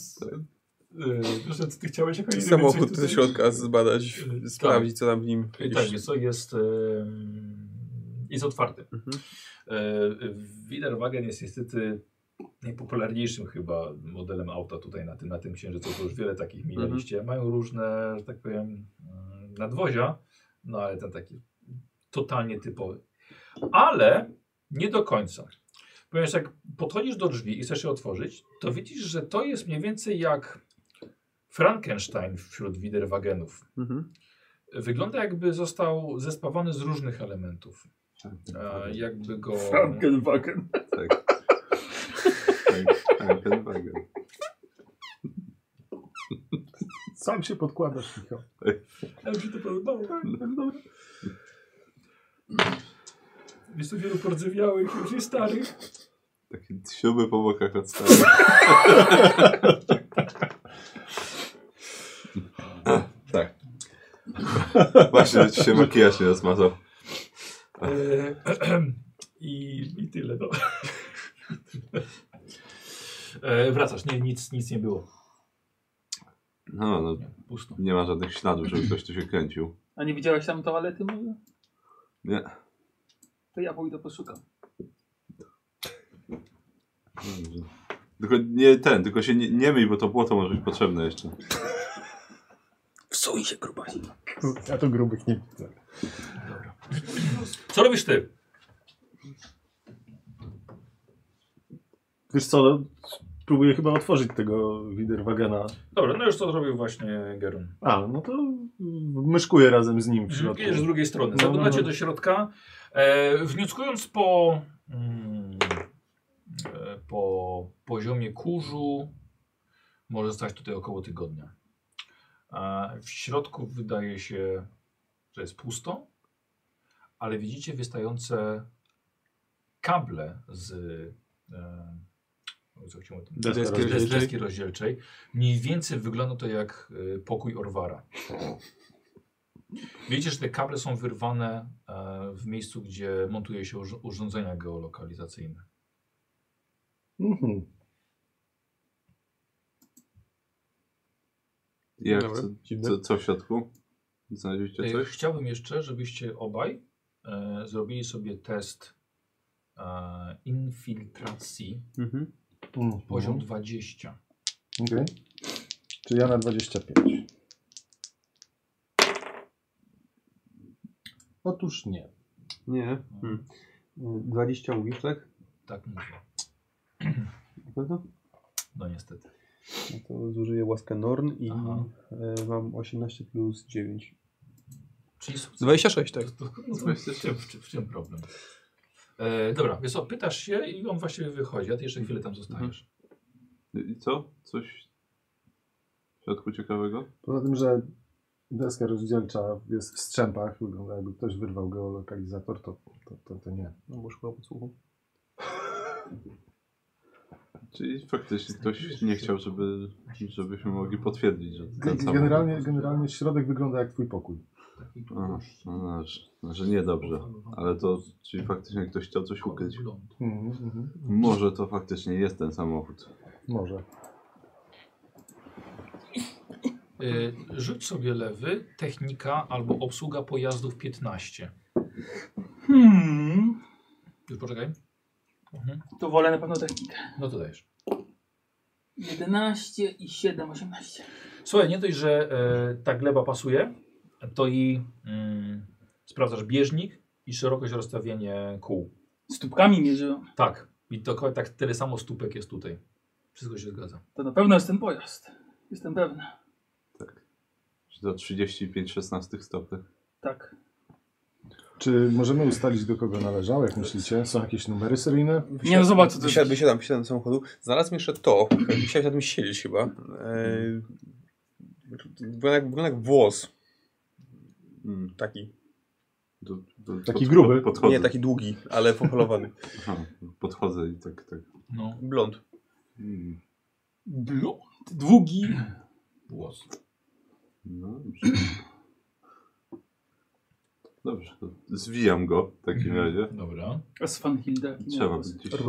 Yy, Proszę, ty chciałeś jakoś Ten innym coś samochód ze tutaj- środka zbadać, Tam. sprawdzić co tam w nim. Tak. I Tak, jest, jest, em, jest otwarty. Mhm. E, Widerwagen jest niestety najpopularniejszym chyba modelem auta tutaj na tym, na tym księżycu, to już wiele takich mieliście. Mają różne, że tak powiem, mm, nadwozia, no ale ten taki totalnie typowy. Ale nie do końca. Ponieważ jak podchodzisz do drzwi i chcesz je otworzyć, to widzisz, że to jest mniej więcej jak Frankenstein wśród Widerwagenów. Mhm. Wygląda jakby został zespawany z różnych elementów. E, jakby go... Frankenwagen. Tak. Tak, tak, ten wagon. Sam się podkładasz, Michał. Ale mi się to podobało. Jest tu wielu pordzewiałych, już i starych. Takie śruby po bokach od starych. tak. Właśnie ci się makijaż nie rozmazał. Eee, I, I tyle, no. E, wracasz, nie, nic, nic nie było. No, no, Nie, pusto. nie ma żadnych śladów, żeby ktoś tu się kręcił. A nie widziałeś tam toalety może? Nie. To ja pójdę poszukam. Tylko nie ten, tylko się nie, nie myj, bo to błoto może być potrzebne jeszcze. Wsuj się, grubasi. Ja to grubych nie widzę. Co robisz ty? Wiesz co, no, próbuję chyba otworzyć tego Widerwagena. Dobra, no już to zrobił właśnie Gerun. A, no to myszkuję razem z nim w środku. Idziesz z drugiej strony. No, Zaglądacie no, no. do środka. E, wnioskując po, mm, e, po poziomie kurzu, może stać tutaj około tygodnia. A w środku wydaje się, że jest pusto, ale widzicie wystające kable z. E, co chciałem o tym- Deski deski rozdzielczej. deski rozdzielczej. Mniej więcej wygląda to jak e, pokój Orwara. Widzicie, że te kable są wyrwane e, w miejscu, gdzie montuje się urz- urządzenia geolokalizacyjne. Mhm. Jak, Dobra, co, dziwne. co, co w środku? Znaleźliście E, coś? chciałbym jeszcze, żebyście obaj e, zrobili sobie test e, infiltracji Mhm. Mhm. poziom 20. Okej. Czyli ja na 25. Otóż nie. Nie. Hmm. 20 mówisz, tak? Tak mówię. Na pewno? No niestety. No to zużyję łaskę Norn i Aha. e, mam 18 plus 9. Czyli sukces. 26, tak. To- to- no to w, czym, w, czym, w czym problem? E, dobra, więc pytasz się i on właściwie wychodzi, a ty jeszcze chwilę tam zostajesz. I co? Coś w środku ciekawego? Poza tym, że deska rozdzielcza jest w strzępach, wygląda jakby ktoś wyrwał geolokalizator, to, to, to, to nie. No bo szkoda podsłuchu. Czyli faktycznie ktoś nie chciał, żeby, żebyśmy mogli potwierdzić, że ten Gen- samochód- Generalnie, generalnie środek wygląda jak twój pokój. Mhm. A, no, że- że niedobrze. Ale to, czyli faktycznie ktoś chciał coś ukryć. Mhm, mhm. Może to faktycznie jest ten samochód. Może. Y, rzuć sobie lewy, technika albo obsługa pojazdów 15. Hmm. Już poczekaj. To wolę na pewno technikę. No to dajesz. 11 i 7, 18. Słuchaj, nie dość, że e, ta gleba pasuje, to i mm, sprawdzasz bieżnik i szerokość rozstawienie kół. Stópkami mierzyłem. Tak. I dokładnie tak tyle samo stópek jest tutaj. Wszystko się zgadza. To na pewno jest ten pojazd. Jestem pewna. Czy to 35 16 stopy. Tak. Czy możemy ustalić, do kogo należał, jak myślicie? Są jakieś numery seryjne? Nie no zobacz, co to Wysiadłem, jest. wysiadłem, wysiadłem z samochodu. Znalazłem jeszcze to. Musiałeś na tym siedzieć chyba. E, Wygląda jak, wygląda jak włos. Hmm. Mm. Taki. Do, do, Taki gruby? Podchodzę. Nie taki długi, ale poholowany. Aha, podchodzę i tak, tak. No. Blond. Mm. Blond, długi. Głos. No dobrze. Dobrze, to zwijam go w takim Mhm. razie. Dobra. Z Van Hilde. Nie, Trzeba po prostu. być gdzieś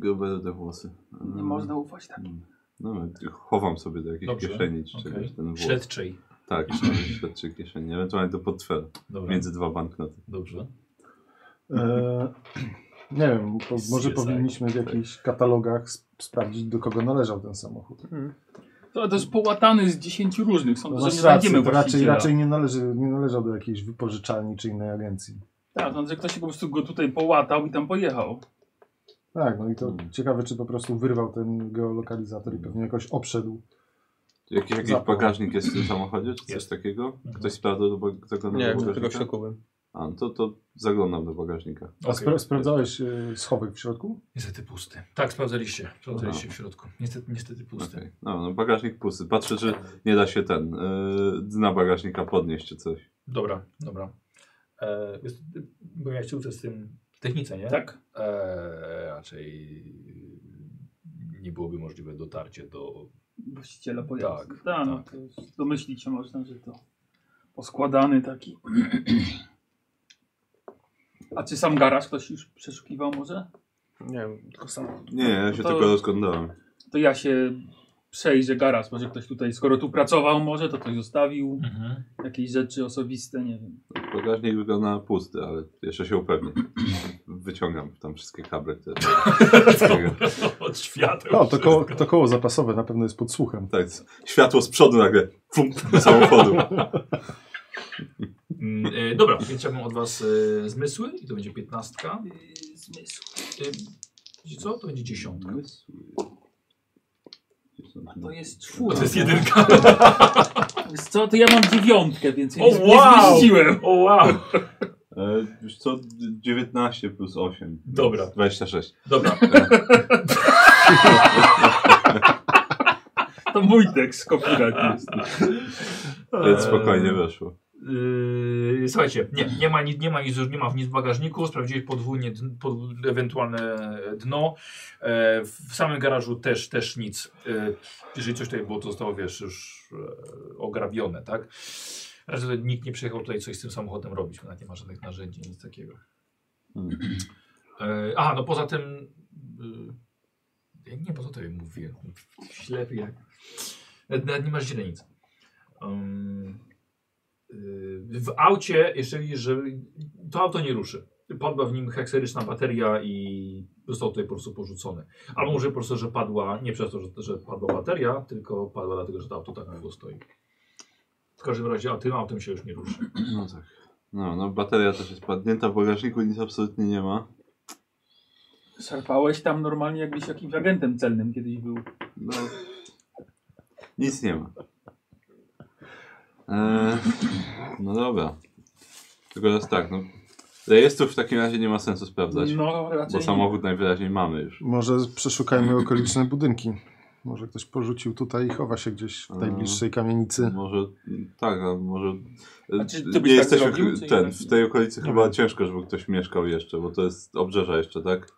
grube do te włosy. nie można ufać tak. Mm. No, no, chowam sobie do jakiejś Dobrze, kieszeni czy okej. czegoś ten włos. Śledczej. Tak, jeszcze do śledczej kieszeni. Ewentualnie do portfela. Dobra. Między dwa banknoty. Dobrze. E, nie wiem, po, może CSI. powinniśmy w jakichś katalogach sp- sprawdzić, do kogo należał ten samochód. To, to jest połatany z 10 różnych. Sądzę, No że nie masz znajdziemy rację, to właściciela. raczej, raczej nie, należy, nie należał do jakiejś wypożyczalni czy innej agencji. Tak, sądzę, że ktoś się po prostu go tutaj połatał i tam pojechał. Tak, no i to Hmm. ciekawe, czy po prostu wyrwał ten geolokalizator i pewnie jakoś obszedł. Jaki, jakiś Zapał. bagażnik jest w tym samochodzie, czy coś Jest. takiego? Mhm. Ktoś sprawdzał do bag- tego Nie, jak bagażnika? do tego w tak? środku byłem. A, no to, to zaglądam do bagażnika. A spra sprawdzałeś e, schowek w środku? Niestety pusty. Tak, sprawdzaliście. Sprawdzaliście w środku. Niestety, niestety pusty. Tak. Okej. No, no, bagażnik pusty. Patrzę, czy nie da się ten yy, dna bagażnika podnieść, czy coś. Dobra, dobra. E, jest, bo miałeś uczę z tym w technice, nie? Tak? E, raczej nie byłoby możliwe dotarcie do... Właściciela pojazdu. Tak, no, tak. to już domyślić się można, że to poskładany taki. A czy sam garaż ktoś już przeszukiwał może? Nie wiem, tylko samochód. Nie, No, ja się To- tylko rozglądałem. To ja się przejrzę garaż, może ktoś tutaj, skoro tu pracował może, to ktoś zostawił Mhm. jakieś rzeczy osobiste, nie wiem. Bagażnik wygląda na pusty, ale jeszcze się upewnię. Wyciągam tam wszystkie kable, które... Od świateł. No, to koło, to koło zapasowe na pewno jest pod słuchem. tak, światło z przodu nagle, pum, do samochodu. Mm, e, dobra, więc chciałbym od was e, zmysły i to będzie piętnastka. Yy, Zmysł. E, wiecie co? To będzie dziesiątka. To jest czwórka. To jest jedynka. Wiesz co, to ja mam dziewiątkę, więc ja O, nie, nie wow! zmieściłem. O wow. E, Wiesz co, 19 plus 8. Dobra. 26. Dobra, To mój tekst, copyright jest. E- Więc spokojnie weszło. Yy, słuchajcie, nie, nie ma, nic, nie ma nic, nie ma nic w bagażniku, sprawdziłeś podwójnie dn, pod, ewentualne dno. E, w samym garażu też, też nic. E, jeżeli coś tutaj było, to zostało, wiesz, już e, ograbione, tak? Raczej tutaj nikt nie przyjechał tutaj coś z tym samochodem robić, bo nawet nie ma żadnych narzędzi, nic takiego. Mm. E, aha, no poza tym... E, nie, po to tobie mówię. Ślepy jak... Nawet, nawet nie masz źle nic. Em, Yy, W aucie jeszcze widzisz, że to auto nie ruszy. Padła w nim hekseryczna bateria i został tutaj po prostu porzucony. Albo może po prostu, że padła nie przez to, że, że padła bateria, tylko padła dlatego, że to auto tak długo stoi. W każdym razie a tym autem się już nie ruszy. No tak. No, no bateria też jest padnięta, w bagażniku nic absolutnie nie ma. Szarpałeś tam normalnie jakbyś jakimś agentem celnym kiedyś był. No. Nic nie ma. E, no dobra. Tylko teraz tak, no. Rejestrów w takim razie nie ma sensu sprawdzać. No raczej Bo samochód najwyraźniej mamy już. Może przeszukajmy okoliczne budynki. Może ktoś porzucił tutaj i chowa się gdzieś w najbliższej kamienicy. Może tak, a może. e, A czy ty byś nie tak jesteśmy zrobił, ch- czy No. ten, jednak w nie? tej okolicy chyba ciężko, żeby ktoś mieszkał jeszcze, bo to jest obrzeża jeszcze, tak?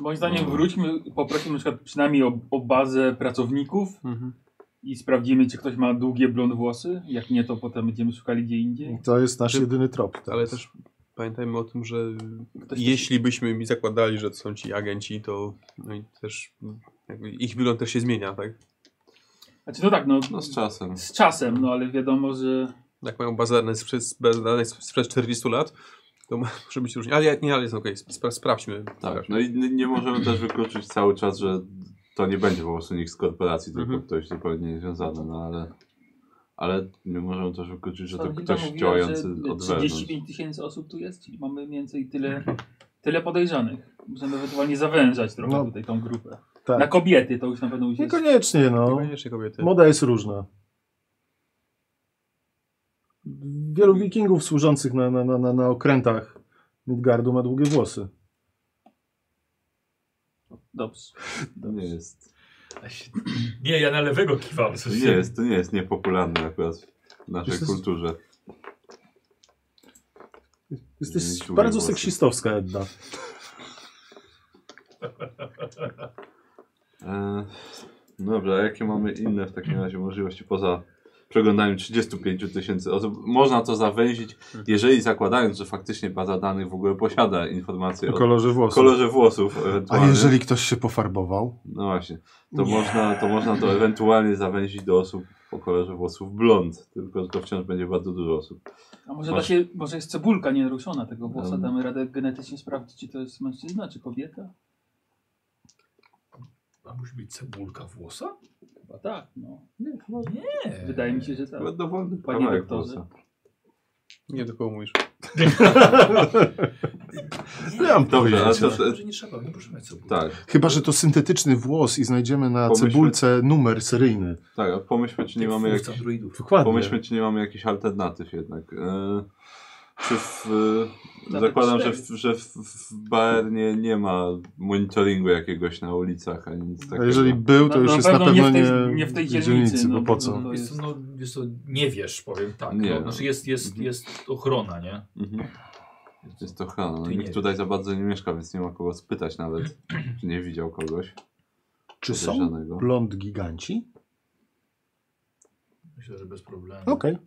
Moim zdaniem wróćmy, poprosimy na przykład przynajmniej o, o bazę pracowników Mhm. i sprawdzimy, czy ktoś ma długie blond włosy. Jak nie, to potem będziemy szukali gdzie indziej. To jest nasz jedyny trop. tak. teraz. Ale też pamiętajmy o tym, że Ktoś jeśli byśmy mi zakładali, że to są ci agenci, to no i też jakby ich wygląd też się zmienia, tak? Znaczy no tak, no, No z z, czasem. czasem, no ale wiadomo, że Jak mają bazę danych sprzed, bazę danych sprzed 40 lat, To ma- może być różnie. Ale ja, nie, ale jest okej. Spra sprawdźmy. Tak. No i nie, nie możemy też wykluczyć cały czas, że to nie będzie po prostu nikt z korporacji, tylko Mhm. ktoś zupełnie niezwiązany, no ale. Ale nie możemy też wykluczyć, że to Pan ktoś chyba mówiła, działający że od wewnątrz. 35 tysięcy osób tu jest, czyli mamy mniej więcej tyle, tyle podejrzanych. Możemy ewentualnie zawężać trochę No. tutaj tą grupę. Tak. Na kobiety to już na pewno musi jest... Niekoniecznie, no. Koniecznie kobiety. Moda jest różna. Wielu wikingów służących na, na, na, na, na okrętach Midgardu ma długie włosy. Dobrze. To nie jest. A się- Nie, ja na lewego kiwam. To Coś nie jest, to nie jest niepopularne akurat w naszej Jest to- kulturze. Jesteś Nie, długie bardzo włosy. seksistowska jedna. E, Dobra, a jakie mamy inne w takim razie możliwości poza przeglądaniem 35 000 tysięcy osób? Można to zawęzić, jeżeli zakładając, że faktycznie baza danych w ogóle posiada informacje o Kolorze włosów. kolorze włosów. A ewentualnie. jeżeli ktoś się pofarbował? No właśnie, to można, to można to ewentualnie zawęzić do osób o kolorze włosów blond, tylko że to wciąż będzie bardzo dużo osób. A może, da Masz- się, może jest cebulka nienaruszona tego włosa, No. Em. damy radę genetycznie sprawdzić, czy to jest mężczyzna, czy kobieta? A musi być cebulka włosa? Chyba tak, no. Nie, Nie. Wydaje mi się, że tak. Chyba dowolny Panie kawałek doktorze. włosa. Nie do kogo mówisz. Nie, mam Dobrze, ale no to, Może- Może nie trzeba, nie proszę mieć cebulki. tak, Chyba, że to syntetyczny włos i znajdziemy na Pomyślmy- cebulce numer seryjny. tak, a pomyślmy, czy nie Jak mamy twórca jakichś druidów. Dokładnie. Pomyślmy, czy nie mamy jakichś alternatyw jednak. E, Czy w, e, Nawet zakładam, że cztery. w, że w, w Bayernie nie ma monitoringu jakiegoś na ulicach ani nic A takiego. jeżeli był, to Na- już na jest na pewno pewno nie w nie tej- nie w tej dzielnicy, no, bo po bo- co? To Jest, jest- to, no, jest to, nie wiesz, powiem tak. Nie. No, znaczy jest, jest, jest ochrona, nie? Mhm. Jest to chrona. No, Ty nie nikt wiesz. tutaj za bardzo nie mieszka, więc nie ma kogo spytać nawet, czy nie widział kogoś Czy są podejrzanego. blond giganci? Myślę, że bez problemu. Okej.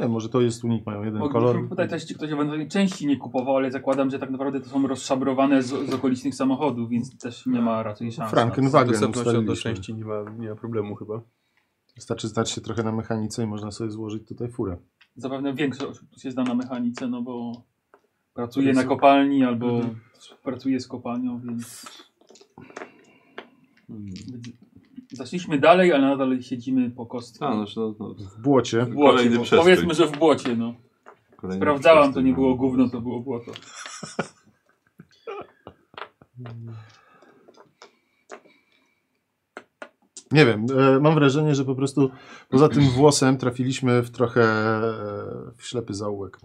Nie, może to jest unik, mają jeden kolor. Mogliśmy pytać też, czy ktoś ewentualnie części nie kupował, ale zakładam, że tak naprawdę to są rozszabrowane z, z okolicznych samochodów, więc też nie ma raczej szans. tak. Z Frankenwagen dostępnością do No tak, ustaliliśmy. części nie ma, nie ma problemu chyba. Wystarczy znać się trochę na mechanice i można sobie złożyć tutaj furę. Zapewne większość osób się zna na mechanice, no bo pracuje na kopalni albo pracuje z kopalnią, więc Mhm. zaszliśmy dalej, ale nadal siedzimy po kostce. Tak, no, no, no, W błocie. W błocie, kolejny bo- przestój. powiedzmy, że w błocie, no. kolejny Sprawdzałam, to przestój no. nie mamy. było gówno, to było błoto. Nie wiem, e, mam wrażenie, że po prostu poza tym włosem trafiliśmy w trochę e, w ślepy zaułek.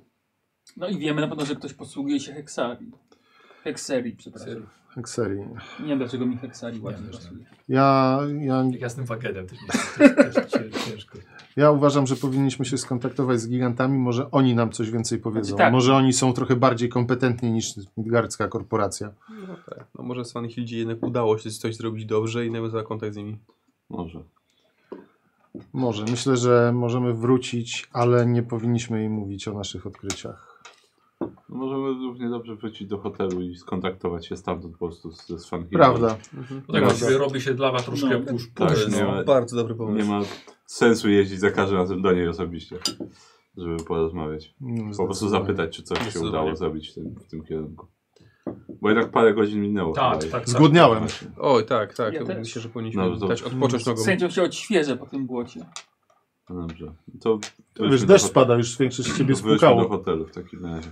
No i wiemy na pewno, że ktoś posługuje się heksarii. Hekserii, przepraszam. Jak Tak, serii. Nie wiem, dlaczego mi heksarii ładnie też nie. pasuje. Ja, ja, Jak ja z tym wagenem też mi też, też, cię- ciężko. ja uważam, że powinniśmy się skontaktować z gigantami, może oni nam coś więcej powiedzą. Znaczy tak. Może oni są trochę bardziej kompetentni niż Midgardzka korporacja. No tak. No może Svanhildzie jednak udało się coś zrobić dobrze i nawiązała kontakt z nimi. Może. Może. Myślę, że możemy wrócić, ale nie powinniśmy im mówić o naszych odkryciach. No, możemy równie dobrze wrócić do hotelu i skontaktować się stamtąd po prostu z, z fankiem. Prawda. No tak właściwie robi się dla was troszkę No. pusz, Tak, pusz, nie no. ma, Bardzo dobry Nie pomysł. ma sensu jeździć za każdym razem do niej osobiście, żeby porozmawiać. Mm, Po prostu zdecydowanie. zapytać, czy coś się Zdecydowanie. udało zrobić w tym, w tym kierunku. Bo jednak parę godzin minęło. Tak, chyba. tak, tak. Zgłodniałem. Oj, tak, tak. Ja to też. myślę, że powinniśmy No, to- dać odpocząć nogą. Sędzią się odświeże po tym błocie. No Dobrze. To Wiesz, do deszcz hot- pada, już większość ciebie to wróćmy do spłukało. hotelu w takim razie.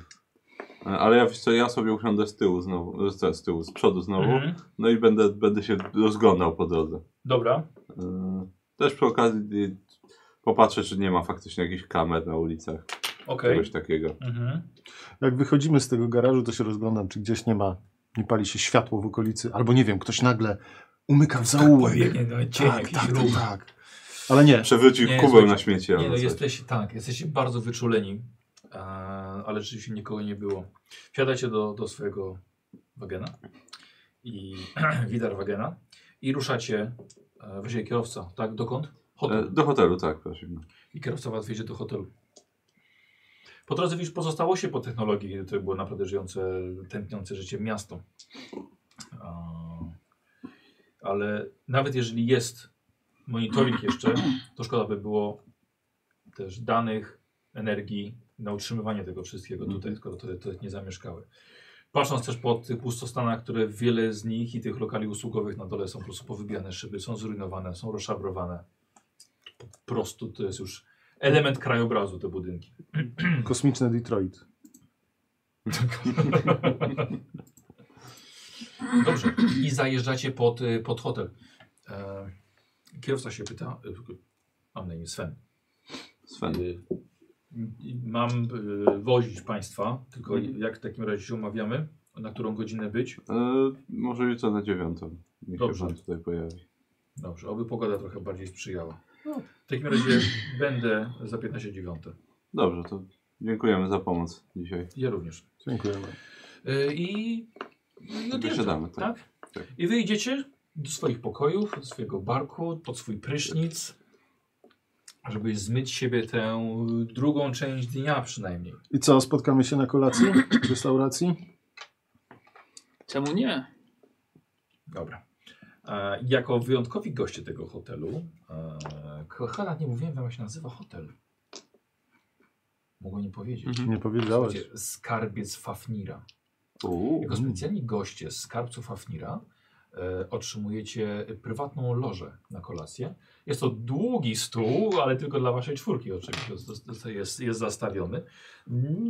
E, Ale ja, wiesz co, ja sobie usiądę z tyłu znowu, e, z, z tyłu, z przodu znowu, Mhm. no i będę, będę się rozglądał po drodze. Dobra. Yy, Też przy okazji yy, popatrzę, czy nie ma faktycznie jakichś kamer na ulicach, Okej. czegoś takiego. Mhm. Jak wychodzimy z tego garażu, to się rozglądam, czy gdzieś nie ma, nie pali się światło w okolicy, albo nie wiem, ktoś nagle umyka w zaułek. Pobiegnie, no, cień, Tak, jakiś tak, tak, ruch. tak. Ale nie, Przewrócił Nie, kubę słuchajcie, na śmieci Nie, albo no coś. jesteście, tak, jesteście bardzo wyczuleni, e, ale rzeczywiście nikogo nie było. Wsiadacie do, do swojego wagena i widar wagena i ruszacie, e, właściwie kierowca, tak, dokąd? E, Hotel. Do hotelu, tak, prosimy. I kierowca was wiedzie do hotelu. Po drodze widzisz pozostało się po technologii, to było naprawdę żyjące, tętniące życie miasto. E, ale nawet jeżeli jest monitoring jeszcze, to szkoda by było też danych energii na utrzymywanie tego wszystkiego tutaj, skoro to, to jest niezamieszkałe. Patrząc też po tych pustostanach, które wiele z nich i tych lokali usługowych na dole są po prostu powybijane szyby, są zrujnowane, są rozszabrowane. Po prostu to jest już element krajobrazu te budynki. Kosmiczne Detroit. Dobrze. I zajeżdżacie pod, y, pod hotel. E, kierowca się pyta, y, mam na imię Sven. Sven. Y, y, Mam y, wozić Państwa, tylko jak w takim razie się umawiamy, na którą godzinę być? E, może jutro na dziewiątą. Niech Dobrze. się pan tutaj pojawi. Dobrze, oby pogoda trochę bardziej sprzyjała. W takim razie będę za 15.09. Dobrze, to dziękujemy za pomoc dzisiaj. Ja również. Dziękujemy. Y, I no, Wysiadamy, tak. tak? Tak. I wyjdziecie do swoich pokojów, do swojego barku, pod swój prysznic, żeby zmyć z siebie tę drugą część dnia przynajmniej. I co, spotkamy się na kolacji w restauracji? Czemu nie? Dobra. E, jako wyjątkowi goście tego hotelu, e, kochana, nie mówiłem wam, jak się nazywa hotel. Mogło nie powiedzieć. Mhm. Nie powiedziałeś. Mm. Słuchajcie, skarbiec Fafnira. Uuu. Jako specjalni goście z skarbców Afnira e, otrzymujecie prywatną lożę na kolację. Jest to długi stół, ale tylko dla waszej czwórki oczywiście Zost- zost- jest, jest zastawiony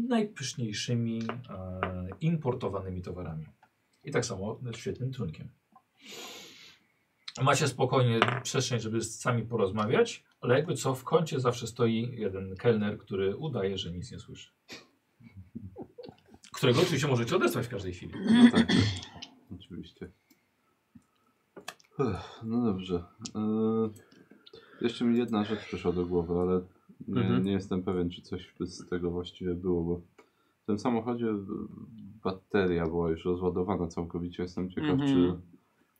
najpyszniejszymi e, importowanymi towarami. I tak samo z świetnym trunkiem. Macie spokojnie przestrzeń, żeby sami porozmawiać, ale jakby co, w kącie zawsze stoi jeden kelner, który udaje, że nic nie słyszy. Którego oczywiście możecie odesłać w każdej chwili. No tak, tak. oczywiście. Ech, no dobrze. E, jeszcze mi jedna rzecz przyszła do głowy, ale nie, Mhm. nie jestem pewien, czy coś by z tego właściwie było, bo w tym samochodzie e, bateria była już rozładowana całkowicie. Jestem ciekaw, Mhm. czy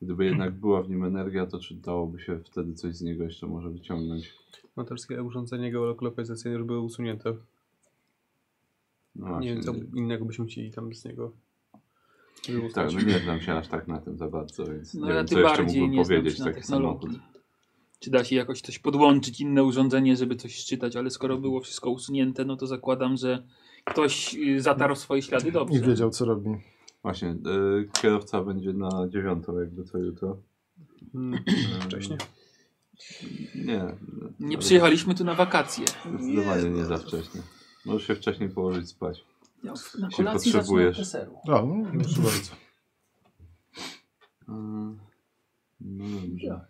gdyby jednak była w nim energia, to czy dałoby się wtedy coś z niego jeszcze może wyciągnąć. No te wszystkie urządzenia geolokalizacyjne już były usunięte. No Nie właśnie. wiem, co innego byśmy chcieli tam z niego. Tak, wyłuskać. no nie znam się aż tak na tym za bardzo, więc No nie ja wiem, ty co jeszcze bardziej mógłbym nie znam powiedzieć się na taki samochód. technologii. Czy da się jakoś coś podłączyć, inne urządzenie, żeby coś czytać, ale skoro było wszystko usunięte, no to zakładam, że ktoś y, zatarł swoje ślady I dobrze. wiedział, co robi. Właśnie, y, kierowca będzie na dziewiątą, jakby co jutro. E, Mm, Wcześnie. No, Nie. Nie ale przyjechaliśmy tu na wakacje. Zdecydowanie nie za wcześnie. Możesz się wcześniej położyć spać. Ja na Się kolacji zacznę od potrzebujesz. deseru. A, no, proszę bardzo. Y, No dobrze.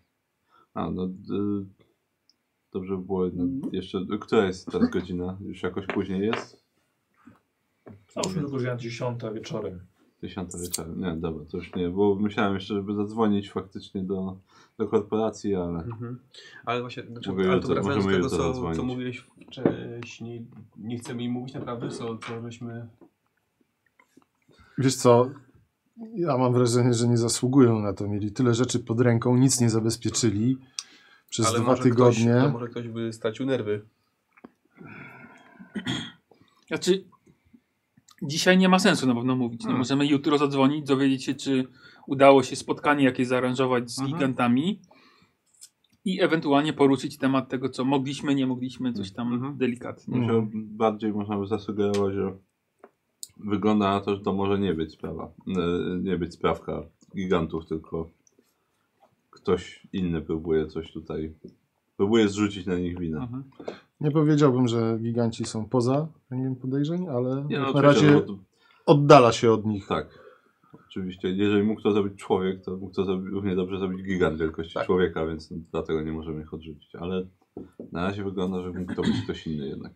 A, no... Y, dobrze by było jednak jeszcze... Która jest teraz godzina? Już jakoś później jest? No. Załóżmy tylko, że ja 10 wieczorem. Dziesiąta wieczorem. Nie, dobra, to już nie. Bo myślałem jeszcze, żeby zadzwonić faktycznie do, do korporacji, ale... Mhm. Ale właśnie, znaczy, Mówię, ale to to wracając do możemy tego, jutro co, zadzwonić. co mówiłeś wcześniej, nie chcemy im mówić naprawdę, co, co żeśmy... Wiesz co, ja mam wrażenie, że nie zasługują na to. Mieli tyle rzeczy pod ręką, nic nie zabezpieczyli przez ale dwa może ktoś- tygodnie. to może ktoś by stracił nerwy. Znaczy, dzisiaj nie ma sensu na pewno mówić. No, Hmm. możemy jutro zadzwonić, dowiedzieć się, czy udało się spotkanie jakieś zaaranżować z Mhm. gigantami i ewentualnie poruszyć temat tego, co mogliśmy, nie mogliśmy, coś tam Mhm. delikatnie. Musiał, Bardziej można by zasugerować, że wygląda na to, że to może nie być sprawa. e, Nie być sprawka gigantów, tylko ktoś inny próbuje coś tutaj. Próbuje zrzucić na nich winę. Mhm. Nie powiedziałbym, że giganci są poza rangiem podejrzeń, ale Nie, no, jak na oczywiście, razie no bo oddala się od nich. to, tak. Oczywiście, jeżeli mógł to zrobić człowiek, to mógł to zrobić, równie dobrze zrobić gigant wielkości człowieka, więc dlatego nie możemy ich odrzucić. Ale na razie wygląda, że mógł to być ktoś inny jednak.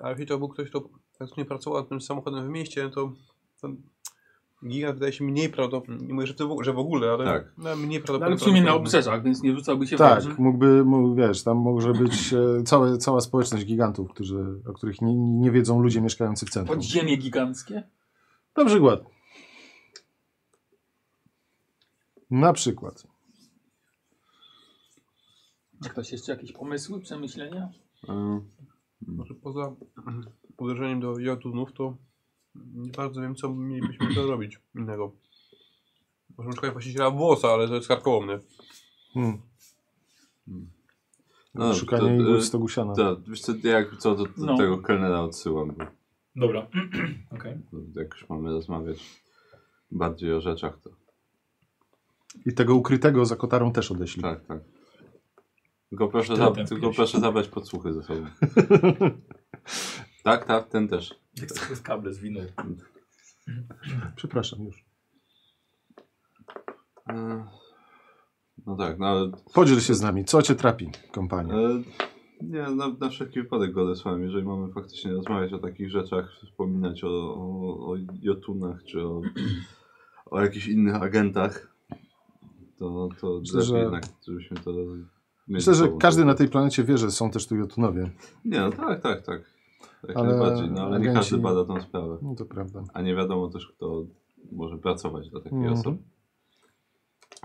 Ale jeśli to był ktoś, kto faktycznie pracował nad tym samochodem w mieście, no to ten gigant wydaje się mniej prawdopodobny. Nie mówię, że, to, w- że w ogóle, ale Tak. no, mniej No, prawdopodobny. ale w sumie na obrzeżach, więc nie rzucałby się w oczy. Tak, mógłby, mógł, wiesz, tam może być e, całe, cała społeczność gigantów, którzy, o których nie, nie wiedzą ludzie mieszkający w centrum. Podziemie gigantskie. Na przykład. Na przykład. Czy ktoś jeszcze jakieś pomysły, przemyślenia? E, Może poza uderzeniem do jotunów, to nie bardzo wiem, co mielibyśmy to robić innego. Możemy szukać właściciela włosa, ale to jest karkołomne. Hmm. No, Szukanie to, igły y, w stogu siana. Tak, wiesz co, jak co, to, to No. tego kelnera odsyłam, bo Dobra. Okej. bo No, jak już mamy rozmawiać bardziej o rzeczach, to I tego ukrytego za kotarą też odeślij. tak, tak. Tylko proszę, Ten za, ten tylko pies. proszę zabrać podsłuchy ze sobą. tak, tak, ten też. Jak sobie z kable zwinął. Przepraszam już. E, No tak, no ale Podziel się z nami. Co cię trapi, kompanie? E, Nie, na, na wszelki wypadek go odesłałem. Jeżeli mamy faktycznie rozmawiać o takich rzeczach, wspominać o, o, o jotunach czy o, o jakichś innych agentach, to, to Myślę, lepiej że- jednak, żebyśmy to... mieli Myślę, ze że sobą. każdy na tej planecie wie, że są też tu jotunowie. Nie, no tak, tak, tak. Jak Ale najbardziej, no, ale nie agenci- każdy bada tą sprawę. No to prawda. A nie wiadomo też, kto może pracować dla takiej Mhm. osoby.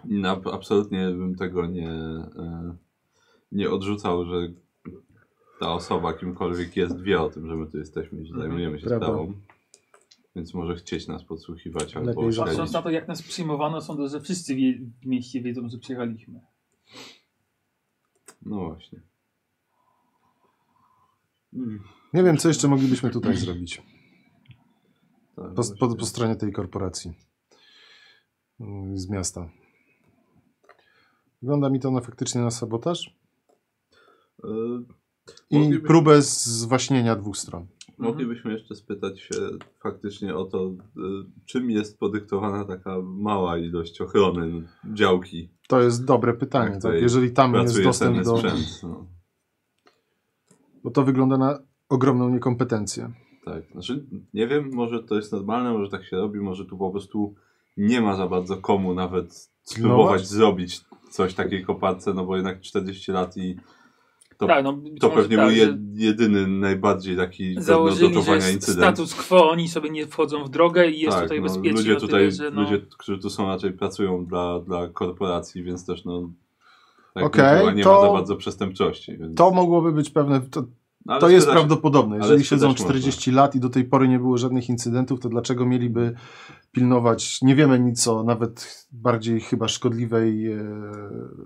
I na, absolutnie bym tego nie, e, nie odrzucał, że ta osoba, kimkolwiek jest, wie o tym, że my tu jesteśmy i że zajmujemy się Prawda. sprawą. Więc może chcieć nas podsłuchiwać albo Lepiej śledzić. Patrząc na to, jak nas przyjmowano, sądzę, że wszyscy wie, w mieście wiedzą, że przyjechaliśmy. No właśnie. Mm, Nie wiem, co jeszcze moglibyśmy tutaj zrobić. tak, Po, właśnie. po, po stronie tej korporacji Mm, z miasta. Wygląda mi to na faktycznie na sabotaż E, i Mogliby- próbę zwaśnienia dwóch stron. Mhm. Moglibyśmy jeszcze spytać się faktycznie o to, e, czym jest podyktowana taka mała ilość ochrony no, działki To jest dobre Tak, pytanie. Tak, tutaj jeżeli tam jest Pracuje dostęp ten do. sprzęt. No. Bo to wygląda na ogromną niekompetencję. No Tak, znaczy nie wiem, może to jest normalne, może tak się robi, może tu po prostu nie ma za bardzo komu nawet spróbować No właśnie. zrobić coś takiej koparce, no bo jednak 40 lat i to, tak, no, być to może pewnie tak, był że je, jedyny najbardziej taki do Założyli, że notowania jest incydent. status quo, oni sobie nie wchodzą w drogę i jest tak, tutaj no, bezpiecznie. ludzie o tyle, tutaj, że no, ludzie, którzy tu są raczej pracują dla, dla korporacji, więc też no tak Okej, okay, nie to- ma za bardzo przestępczości. Więc, To mogłoby być pewne. To, No, ale to jest spytać- prawdopodobne. ale Jeżeli spytać siedzą można. 40 lat i do tej pory nie było żadnych incydentów, to dlaczego mieliby pilnować, nie wiemy nic o nawet bardziej chyba szkodliwej e,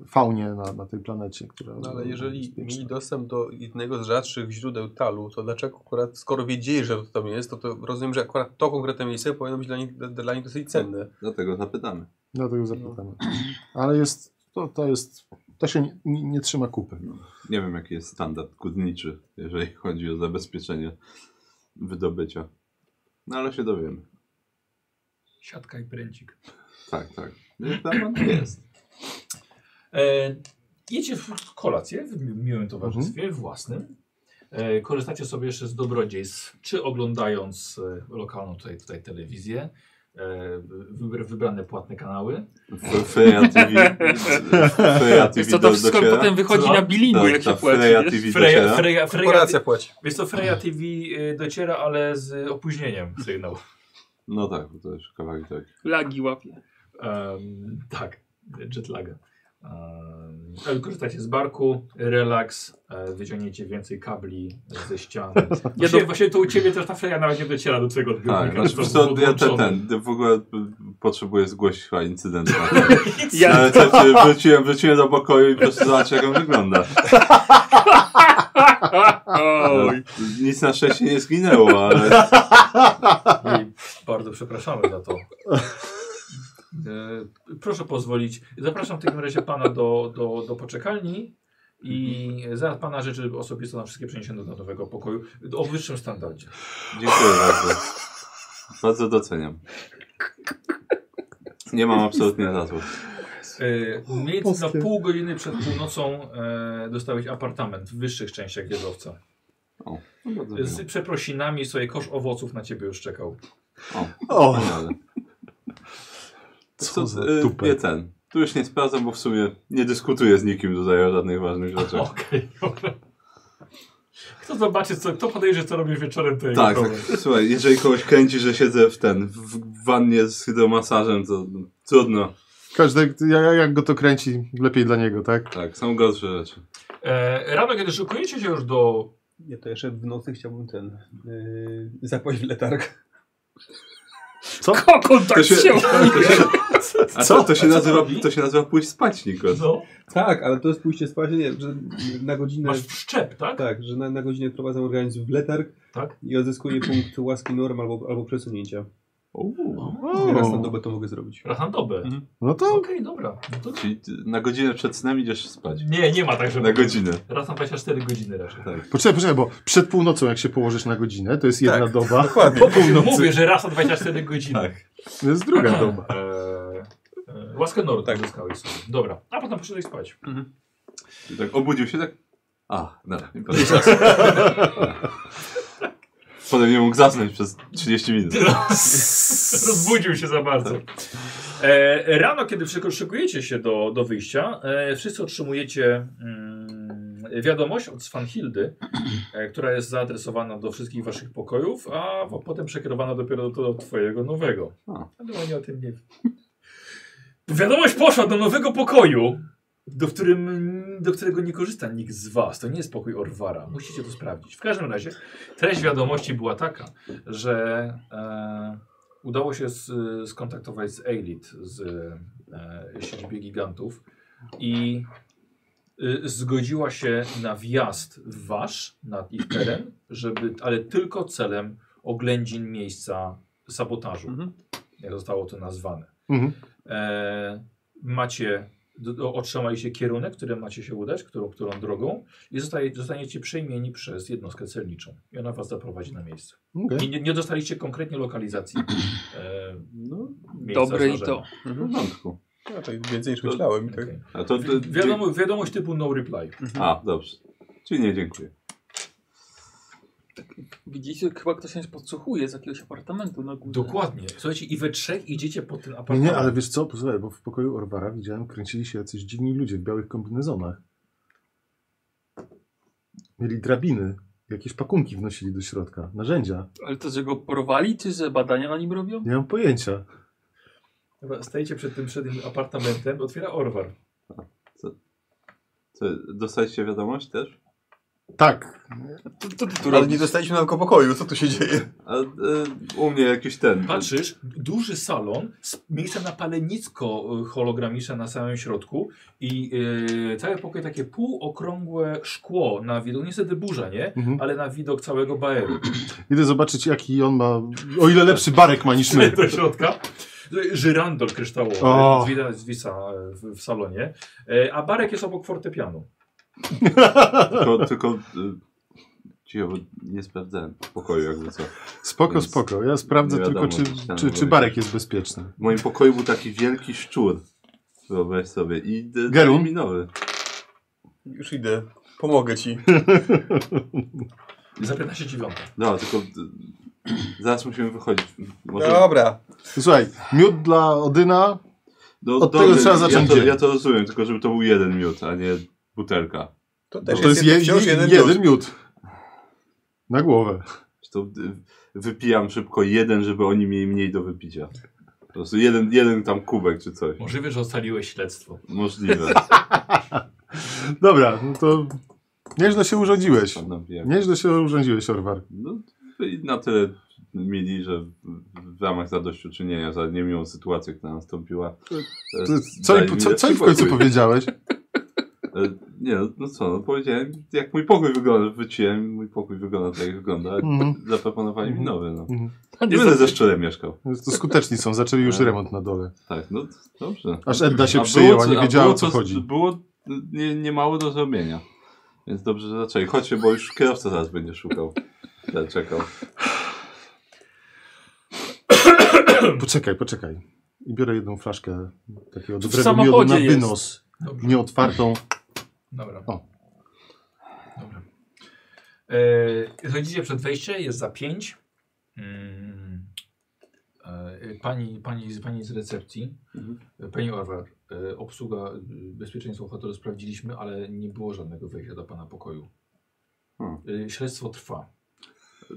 faunie na, na tej planecie, która. No, ale jeżeli bezpieczna. mieli dostęp do jednego z rzadszych źródeł talu, to dlaczego akurat, skoro wiedzieli, że to tam jest, to, to rozumiem, że akurat to konkretne miejsce powinno być dla nich, dla, dla nich dosyć cenne. Dlatego zapytamy. Dlatego No, zapytamy. Ale jest, to, to jest, to się nie, nie, nie trzyma kupy. Nie wiem, jaki jest standard górniczy, jeżeli chodzi o zabezpieczenie wydobycia. No ale się dowiemy. Siatka i pręcik. Tak, tak. Tam jest. E, jecie w kolację w mi- miłym towarzystwie, własnym. E, korzystacie sobie jeszcze z dobrodziejstw, czy oglądając e, lokalną tutaj, tutaj telewizję, e, wybra, wybrane płatne kanały. Freya TV. Freya TV Wiesz co, to do- wszystko dociera. potem wychodzi Co? na bilingu, Tak, jak ta się płaci. Freya wiesz? TV Freja, dociera. Freja, Freja, Korporacja płaci. wiesz co, Freja TV y, dociera, ale z opóźnieniem sygnał. No tak, bo to już kawałek tak. Lagi łapie. Em, tak, jetlaga. Um, ale korzystacie z barku, relaks, e, wyciągniecie więcej kabli ze ścian. Właśnie, do- właśnie to u ciebie też ta freja nawet nie dociera do twojego no- Tak, odbiornika. znaczy, to wiesz co, ja ten, podłączone. ten, w ogóle potrzebuję zgłosić chyba incydent. No, Ja, Ale te, te, wróciłem, wróciłem do pokoju i po prostu zobaczyć jak on wygląda. No, oj, Nic na szczęście nie zginęło, ale... I bardzo przepraszamy za to. E, proszę pozwolić. Zapraszam w takim razie pana do, do, do poczekalni i zaraz pana rzeczy osobiste na wszystkie przeniesione do nowego pokoju o wyższym standardzie. Dziękuję bardzo. Bardzo doceniam. Nie mam absolutnie za zło. E, Mniej więcej na Polskie. pół godziny przed północą e, dostałeś apartament w wyższych częściach wieżowca. O, no bardzo Z przeprosinami sobie kosz owoców na ciebie już czekał. O, O, wspaniale. co za y, tupę. Nie ten. Tu już nie sprawdzam, bo w sumie nie dyskutuję z nikim tutaj o żadnych ważnych rzeczach. Okej, dobra. Kto zobaczy, co, kto podejrzy, co robisz wieczorem, to jego Tak, tak, problem. słuchaj, jeżeli kogoś kręci, że siedzę w ten, w wannie z hydromasażem, to trudno. każdy, jak, jak go to kręci, lepiej dla niego, tak? Tak, są gorsze rzeczy. E, rano, kiedy szykujecie się już do... Ja to jeszcze w nocy chciałbym ten, yy, zapłacić letarg. Co? Kokon tak No. To się- się... się... A co? To się, nazywa, to się nazywa pójść spać, Nikos. No, Tak, ale to jest pójście spać, nie, że na godzinę... masz wszczep, tak? Tak, że na, na godzinę wprowadzam organizm w letarg Tak. i odzyskuję punkt łaski norm albo, albo przesunięcia. O. Raz na dobę to mogę zrobić. Raz na dobę. Mhm. No to Okej, dobra. No to... Czyli ty na godzinę przed snem idziesz spać. Nie, nie ma tak, że Na godzinę. raz na 24 godziny raczej. poczekaj, poczekaj, bo przed północą jak się położysz na godzinę, to jest jedna doba, Dokładnie. po północy Tak. Mówię, że raz na 24 godziny. Tak. to jest druga doba. Eee, e, łaskę Nord Tak. tak. uzyskałeś sobie. Dobra, a potem poszedłeś spać. I tak obudził się tak. A, dobra. nie patrzę. Potem nie mógł zasnąć przez 30 minut. Rozbudził się za bardzo. E, rano, kiedy przyko- szykujecie się do, do wyjścia, e, wszyscy otrzymujecie mm, wiadomość od Svanhildy, e, która jest zaadresowana do wszystkich waszych pokojów, a w- potem przekierowana dopiero do, do twojego nowego. A. Ale oni o tym nie Wiadomość poszła do nowego pokoju, do, którym, do którego nie korzysta nikt z was. To nie jest pokój Orwara. Musicie to sprawdzić. W każdym razie treść wiadomości była taka, że e, udało się z, skontaktować z Elite, z e, siedzibie gigantów i y, zgodziła się na wjazd w wasz, na ich teren, żeby, ale tylko celem oględzin miejsca sabotażu Mhm. jak zostało to nazwane. Mhm. E, macie, d- o- otrzymaliście kierunek, którym macie się udać, którą, którą drogą i zostaje, zostaniecie przejmieni przez jednostkę celniczą i ona was zaprowadzi na miejsce. Okej. I nie, nie dostaliście konkretnie lokalizacji e, No, miejsca Dobre i zdarzenia. to. W porządku. raczej więcej niż myślałem. Tak. Okej. A to, to, Wi- Wiadomo, wiadomość typu no reply. A, dobrze. Czyli nie dziękuję. Widzicie, chyba ktoś nas podsłuchuje z jakiegoś apartamentu na górze. Dokładnie. Słuchajcie, i we trzech idziecie po ten Nie, apartament. nie, ale wiesz co, posłuchaj, bo w pokoju Orwara widziałem, kręcili się jacyś dziwni ludzie w białych kombinezonach. Mieli drabiny, jakieś pakunki wnosili do środka, narzędzia. Ale to, że go porwali, czy że badania na nim robią? Nie mam pojęcia. Dobra, Stajecie przed tym, przed tym apartamentem, otwiera Orwar. To, dostaliście wiadomość też? Tak, Tu, tu, tu, tu, ale nie dostaliśmy na tylko pokoju, co tu się dzieje? A, y, u mnie jakiś ten. Patrzysz, duży salon z miejscem na palenisko y, hologramiczne na samym środku i y, cały pokój takie półokrągłe szkło na widok, No niestety burza, nie? Mhm. Ale na widok całego baeru. idę zobaczyć jaki on ma, o ile lepszy barek ma niż my. Do środka. No Żyrandol kryształowy O. zwisa, zwisa e, w, w salonie, E, a barek jest obok fortepianu. Tylko, tylko y, cicho, bo nie sprawdzałem pokoju jakby co. Spoko, Więc spoko, ja sprawdzę nie tylko wiadomo, czy, czy tam czy, czy były. barek jest bezpieczny. W moim pokoju był taki wielki szczur. Wyobraź sobie. I d- Gerun? daj mi nowy. Już idę. Pomogę ci. Za 15 dziewiąta. No, tylko d- zaraz musimy wychodzić. Może, Dobra. No Słuchaj, miód dla Odyna, no, od tego trzeba zacząć Ja to, dzień. ja to rozumiem, tylko żeby to był jeden miód, a nie butelka. To to też jest je, wciąż jeden, miód. miód. Na głowę. To y, wypijam szybko jeden, żeby oni mieli mniej do wypicia. Po prostu jeden, jeden tam kubek czy coś. Możliwe, że ocaliłeś śledztwo. Możliwe. Dobra, no to nieźle się urządziłeś. Tam napijam. Nieźle się urządziłeś, Orwar. No i na tyle mieli, że w- w ramach zadośćuczynienia za niemiłą sytuację, która nastąpiła. e, Ty- Co daj im, mi co, co lepszy im w końcu pokój. powiedziałeś? E, Nie, no, no co, no powiedziałem, jak mój pokój wygląda, wyciłem, mój pokój wygląda tak jak wygląda, Mhm. zaproponowali mi Mhm. nowy, no. Mhm. Nie będę ze szczurem mieszkał. To skuteczni są, zaczęli No. już remont na dole. Tak, no dobrze. Aż Edda się A przyjęła, było co- nie a wiedziała o było co chodzi. Było nie, nie mało do zrobienia. Więc dobrze, że zaczęli. Chodźcie, bo już kierowca zaraz będzie szukał. Ja Czekał. Poczekaj, poczekaj. I biorę jedną flaszkę takiego W dobrego miodu na samochodzie jest. wynos. Dobrze. Nieotwartą. Dobra. O. Dobra. E, Zajdziecie przed wejście, jest za pięć. Mm. E, pani, pani, z- pani z recepcji, Mhm. e, pani Orwar, e, obsługa e, bezpieczeństwa hotelu sprawdziliśmy, ale nie było żadnego wejścia do pana pokoju. Hmm. E, śledztwo trwa.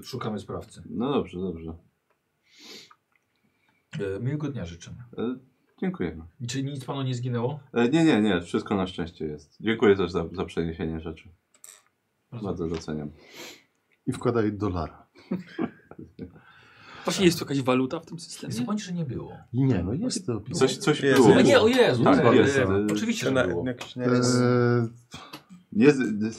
Szukamy sprawcy. No dobrze, dobrze. E, miłego dnia życzymy. E, Dziękujemy. Czy nic panu nie zginęło? E, Nie, nie, nie, wszystko na szczęście jest. Dziękuję też za, za przeniesienie rzeczy. Bardzo doceniam. I wkładaj dolara. Właśnie jest tu jakaś waluta w tym systemie? Zapomnij, że nie było. I nie, no jest to opisane. Coś, coś Jest. było. A nie, o Jezu. Tak, nie, jest. nie, Oczywiście, Czy na, że było. jakiś, na, Eee, Nie, z-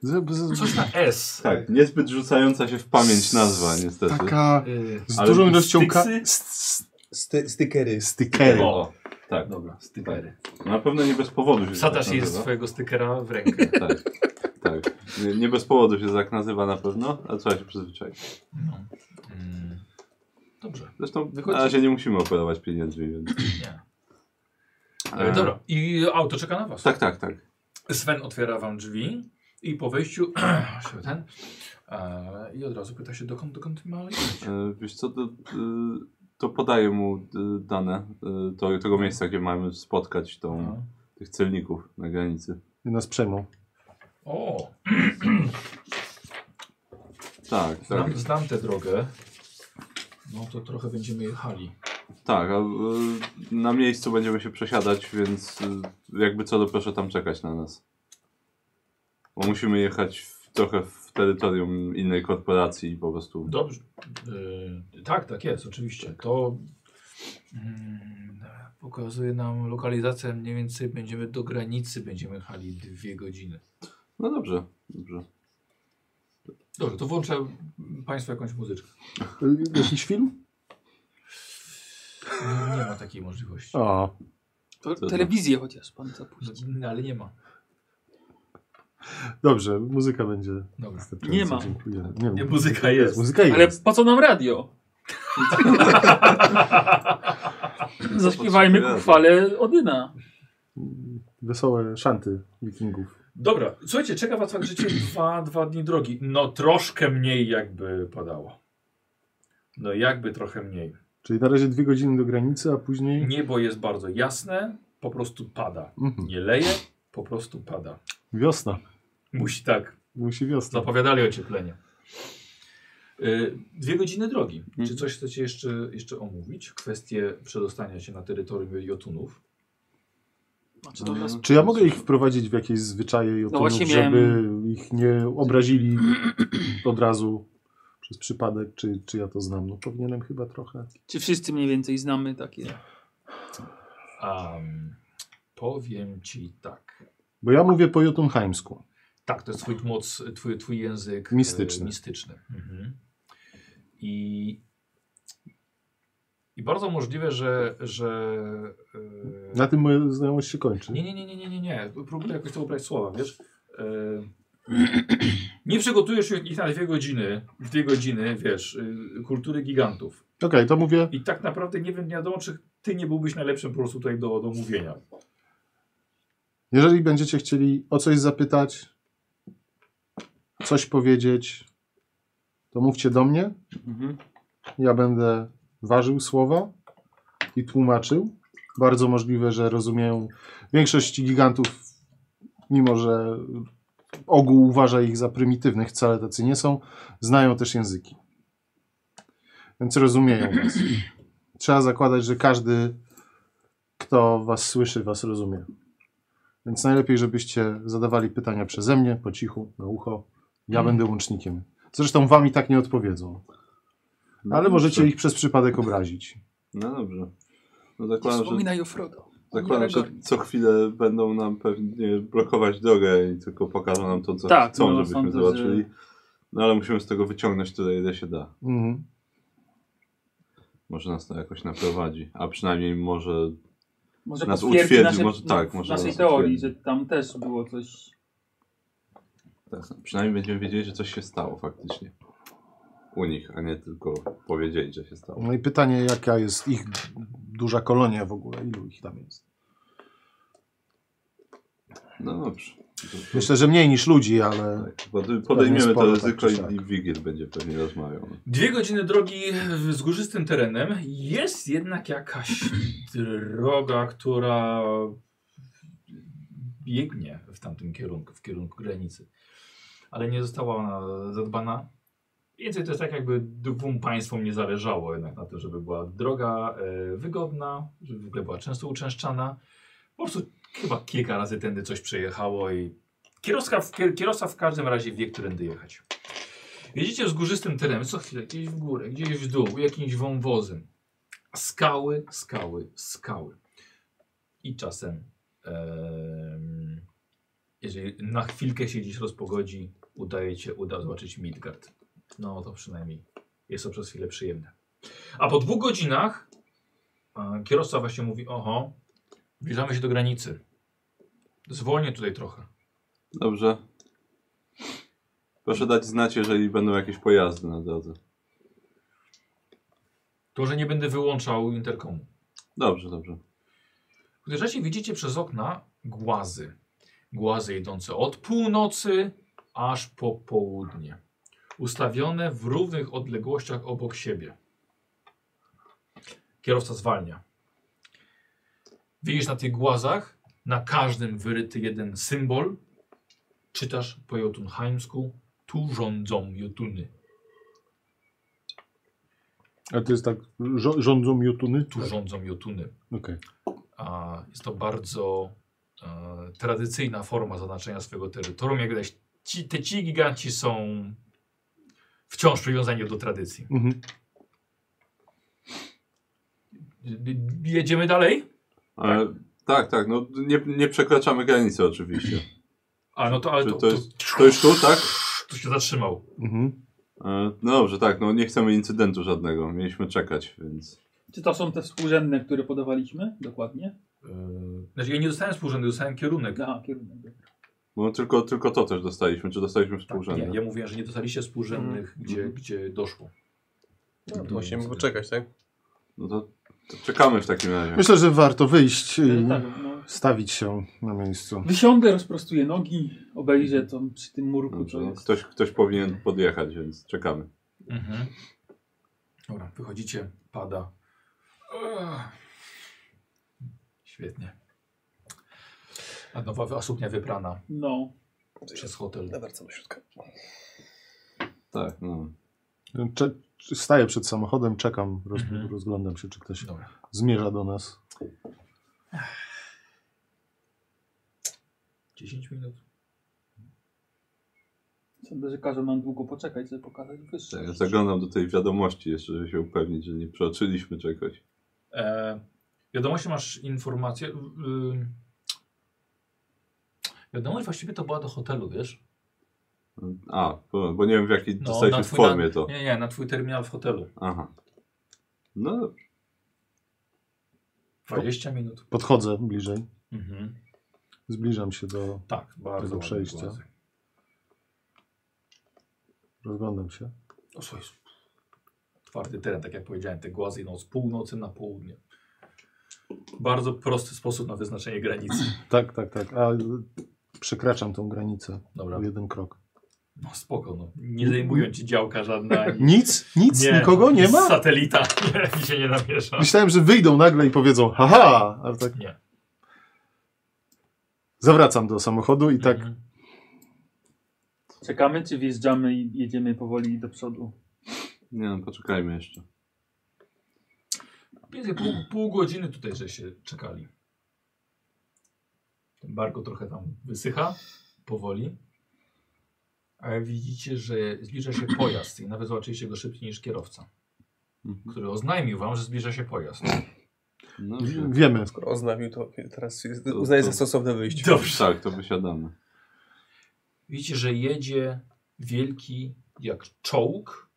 z- z- e, Coś na S. tak, niezbyt rzucająca się w pamięć nazwa niestety. Taka Y, z Ale dużą ilością ka- styksy? st- sty, stykery. stykery. O, Tak, dobra, stykery. na pewno nie bez powodu się Wsadzasz tak jej nazywa. swojego stykera w rękę. Tak, tak. Nie, nie bez powodu się tak nazywa na pewno, a trzeba się przyzwyczaić. No. Mm. Dobrze. Zresztą Wychodzi- na razie nie musimy operować pieniędzmi, więc... Nie. e, E, dobra, i auto czeka na was. Tak, tak, tak. Sven otwiera wam drzwi i po wejściu się ten e, i od razu pyta się dokąd, dokąd ma jechać. E, Wiesz co, to, e, to podaję mu e, dane e, to, tego miejsca, gdzie mamy spotkać tą, No. tych celników na granicy. Nas przejmą. O, Tak, No. tak, znam, znam tę drogę. No to trochę będziemy jechali. tak. A, e, na miejscu będziemy się przesiadać, więc e, jakby co, to proszę tam czekać na nas. Bo musimy jechać w, trochę w terytorium innej korporacji i po prostu... Dobrze. E, tak, tak jest, oczywiście. To mm, pokazuje nam lokalizację mniej więcej będziemy do granicy, będziemy jechali dwie godziny. No dobrze, dobrze. Dobrze, to włączę Państwu jakąś muzyczkę. Y, Jakiś film? Nie, nie ma takiej możliwości. O, To Co to? telewizję chociaż pan zapuścił. No, ale nie ma. dobrze, muzyka będzie. Dobra. wystarczająca, Nie ma. Dziękuję. Nie, ma. muzyka jest. Muzyka jest. Ale po co nam radio? Zaśpiewajmy No, Po co radio? ku chwale Odyna. Wesołe szanty wikingów. Dobra, słuchajcie, czeka was tak życie dwa, dwa dni drogi. No troszkę mniej jakby padało. No jakby trochę mniej. Czyli na razie dwie godziny do granicy, a później... Niebo jest bardzo jasne, po prostu pada. Mhm. Nie leje, po prostu pada. Wiosna. Musi tak. Musi wiosna. Zapowiadali ocieplenie. Y, Dwie godziny drogi. Czy coś chcecie jeszcze, jeszcze omówić? Kwestie przedostania się na terytorium Jotunów. Znaczy Mhm. to nas... Czy ja mogę ich wprowadzić w jakieś zwyczaje i właśnie żeby ich nie obrazili od razu przez przypadek, czy, czy ja to znam? No powinienem chyba trochę. Czy wszyscy mniej więcej znamy takie? Am, powiem ci tak. Bo ja mówię po jotunheimsku. Tak, to jest twój moc, twój, twój język Mistyczny. e, mistyczny. Mhm. I, I bardzo możliwe, że. że e, Na tym moja znajomość się kończy. nie, nie, nie, nie, nie, nie, nie. Próbuję jakoś to ubrać w słowa, wiesz? E, nie przygotujesz ich na dwie godziny, w dwie godziny, wiesz, y, kultury gigantów. Okej, to mówię. I tak naprawdę nie wiem, nie wiadomo, czy ty nie byłbyś najlepszym po prostu tutaj do, do mówienia. Jeżeli będziecie chcieli o coś zapytać, coś powiedzieć, to mówcie do mnie. Mhm. Ja będę ważył słowa i tłumaczył. Bardzo możliwe, że rozumieją większość gigantów, mimo że ogół uważa ich za prymitywnych, wcale tacy nie są, znają też języki. Więc rozumieją was. Trzeba zakładać, że każdy, kto was słyszy, was rozumie. Więc najlepiej, żebyście zadawali pytania przeze mnie, po cichu, na ucho. Ja będę łącznikiem. Zresztą wam i tak nie odpowiedzą. No Ale możecie dobrze. ich przez przypadek obrazić. No dobrze. No Nie zakładam, że, Wspominaj o Frodo. zakładam, że Aragorn. co chwilę będą nam pewnie blokować drogę i tylko pokażą nam to, co Tak, chcą, no, żebyśmy sądzę, że- zobaczyli. No ale musimy z tego wyciągnąć tyle, ile się da. Mhm. Może nas to jakoś naprowadzi. A przynajmniej może... Może nas potwierdzi utwierdzi, nasze, może tak, może naszej nas teorii, że utwierdzi. tam też było coś... Tak, przynajmniej będziemy wiedzieli, że coś się stało faktycznie. U nich, a nie tylko powiedzieli, że się stało. No i pytanie, jaka jest ich duża kolonia w ogóle? Ilu ich tam jest? No dobrze. To- to- Myślę, że mniej niż ludzi, ale tak, pod- Podejmiemy to sporo, ryzyko tak czy i siak. Wigil będzie pewnie rozmawiał. Dwie godziny drogi z górzystym terenem. Jest jednak jakaś droga, która biegnie w tamtym kierunku, w kierunku granicy. Ale nie została ona zadbana. Więcej to jest tak, jakby dwóm państwom nie zależało jednak na tym, żeby była droga e, wygodna, żeby w ogóle była często uczęszczana. Po prostu chyba kilka razy tędy coś przejechało i kierowca w, kierowca w każdym razie wie, którędy jechać. Jedziecie wzgórzystym terenem, co chwilę, gdzieś w górę, gdzieś w dół, jakimś wąwozem. Skały, skały, skały. I czasem, em, jeżeli na chwilkę się gdzieś rozpogodzi, udaje cię, uda zobaczyć Midgard. No to przynajmniej jest to przez chwilę przyjemne. A po dwóch godzinach e, kierowca właśnie mówi, oho, zbliżamy się do granicy. Zwolnię tutaj trochę. Dobrze. Proszę dać znać, jeżeli będą jakieś pojazdy na drodze. To, że nie będę wyłączał interkomu. Dobrze, dobrze. Uderzacie, widzicie przez okna głazy. Głazy idące od północy aż po południe. Ustawione w równych odległościach obok siebie. Kierowca zwalnia. Widzisz na tych głazach, na każdym wyryty jeden symbol. Czytasz po jotunheimsku, tu rządzą jotuny. Ale to jest tak, żo- rządzą Jotuny? Tu rządzą jotuny. Okej. A jest to bardzo e, tradycyjna forma zaznaczenia swojego terytorium. Jak widać, ci, te ci giganci są wciąż przywiązani do tradycji. Mhm. D- d- Jedziemy dalej? Ale, tak, tak, no nie, nie przekraczamy granicy oczywiście. A no to, ale Czy to, to jest- To już tu, tak? to się zatrzymał. Mhm. E, No dobrze, tak, no nie chcemy incydentu żadnego, mieliśmy czekać, więc... Czy to są te współrzędne, które podawaliśmy? Dokładnie. Yy, Znaczy, ja nie dostałem współrzędu, dostałem kierunek. Aha, kierunek. dobra. No tylko, tylko to też dostaliśmy, czy dostaliśmy współrzędne? nie, Tak, ja mówiłem, że nie dostaliście współrzędnych, gdzie, gdzie doszło. No, to musimy poczekać, tak? No to, to czekamy w takim razie. Myślę, że warto wyjść i Mhm. Ale tak, no. stawić się na miejscu. Wysiądę, rozprostuję nogi, obejrzę tam przy tym murku, Dobrze, co no, jest. ktoś, ktoś powinien podjechać, więc czekamy. Mhm. Dobra, wychodzicie, pada. Ech. Świetnie. A nowa a suknia wyprana No. przez hotel. Nawet do środka. Tak, no. Cze- staję przed samochodem, czekam, roz- Mhm. rozglądam się, czy ktoś Dobra. zmierza do nas. 10 minut. Sądzę, że każą nam długo poczekać, żeby pokazać wyższe. Tak, zaglądam do tej wiadomości jeszcze, żeby się upewnić, że nie przeoczyliśmy czegoś. E, wiadomości masz informację. y, y, wiadomość właściwie to była do hotelu, wiesz? A, bo, bo nie wiem w jakiej No, na dostaliśmy twój- formie to. Nie, nie, na twój terminal w hotelu. Aha. No dobrze. 20 minut. Podchodzę bliżej, Mhm. zbliżam się do, Tak, bardzo ładne przejścia. głazy. rozglądam się. O, słuchaj, twardy teren, tak jak powiedziałem, te głazy idą z północy na południe. Bardzo prosty sposób na wyznaczenie granicy. Tak, tak, tak, a y, przekraczam tą granicę Dobra, o jeden krok. no spoko, no. nie zajmują ci działka żadna. ani- Nic? Nic? Nikogo nie ma? Satelita, nie, się nie namiesza. Myślałem, że wyjdą nagle i powiedzą haha, ale tak... Nie. Zawracam do samochodu i tak Mhm. Czekamy, czy wjeżdżamy i jedziemy powoli do przodu? Nie no, poczekajmy jeszcze. Więcej pół, pół godziny tutaj, że się czekali. Ten barko trochę tam wysycha, powoli. Ale widzicie, że zbliża się pojazd i nawet zobaczyliście go szybciej niż kierowca, Mhm. który oznajmił wam, że zbliża się pojazd. No, w- wiemy. Skoro oznajmił, to teraz jest, To- uznaję to- za stosowne wyjście. Dobrze. tak, to wysiadamy. Widzicie, że jedzie wielki jak czołg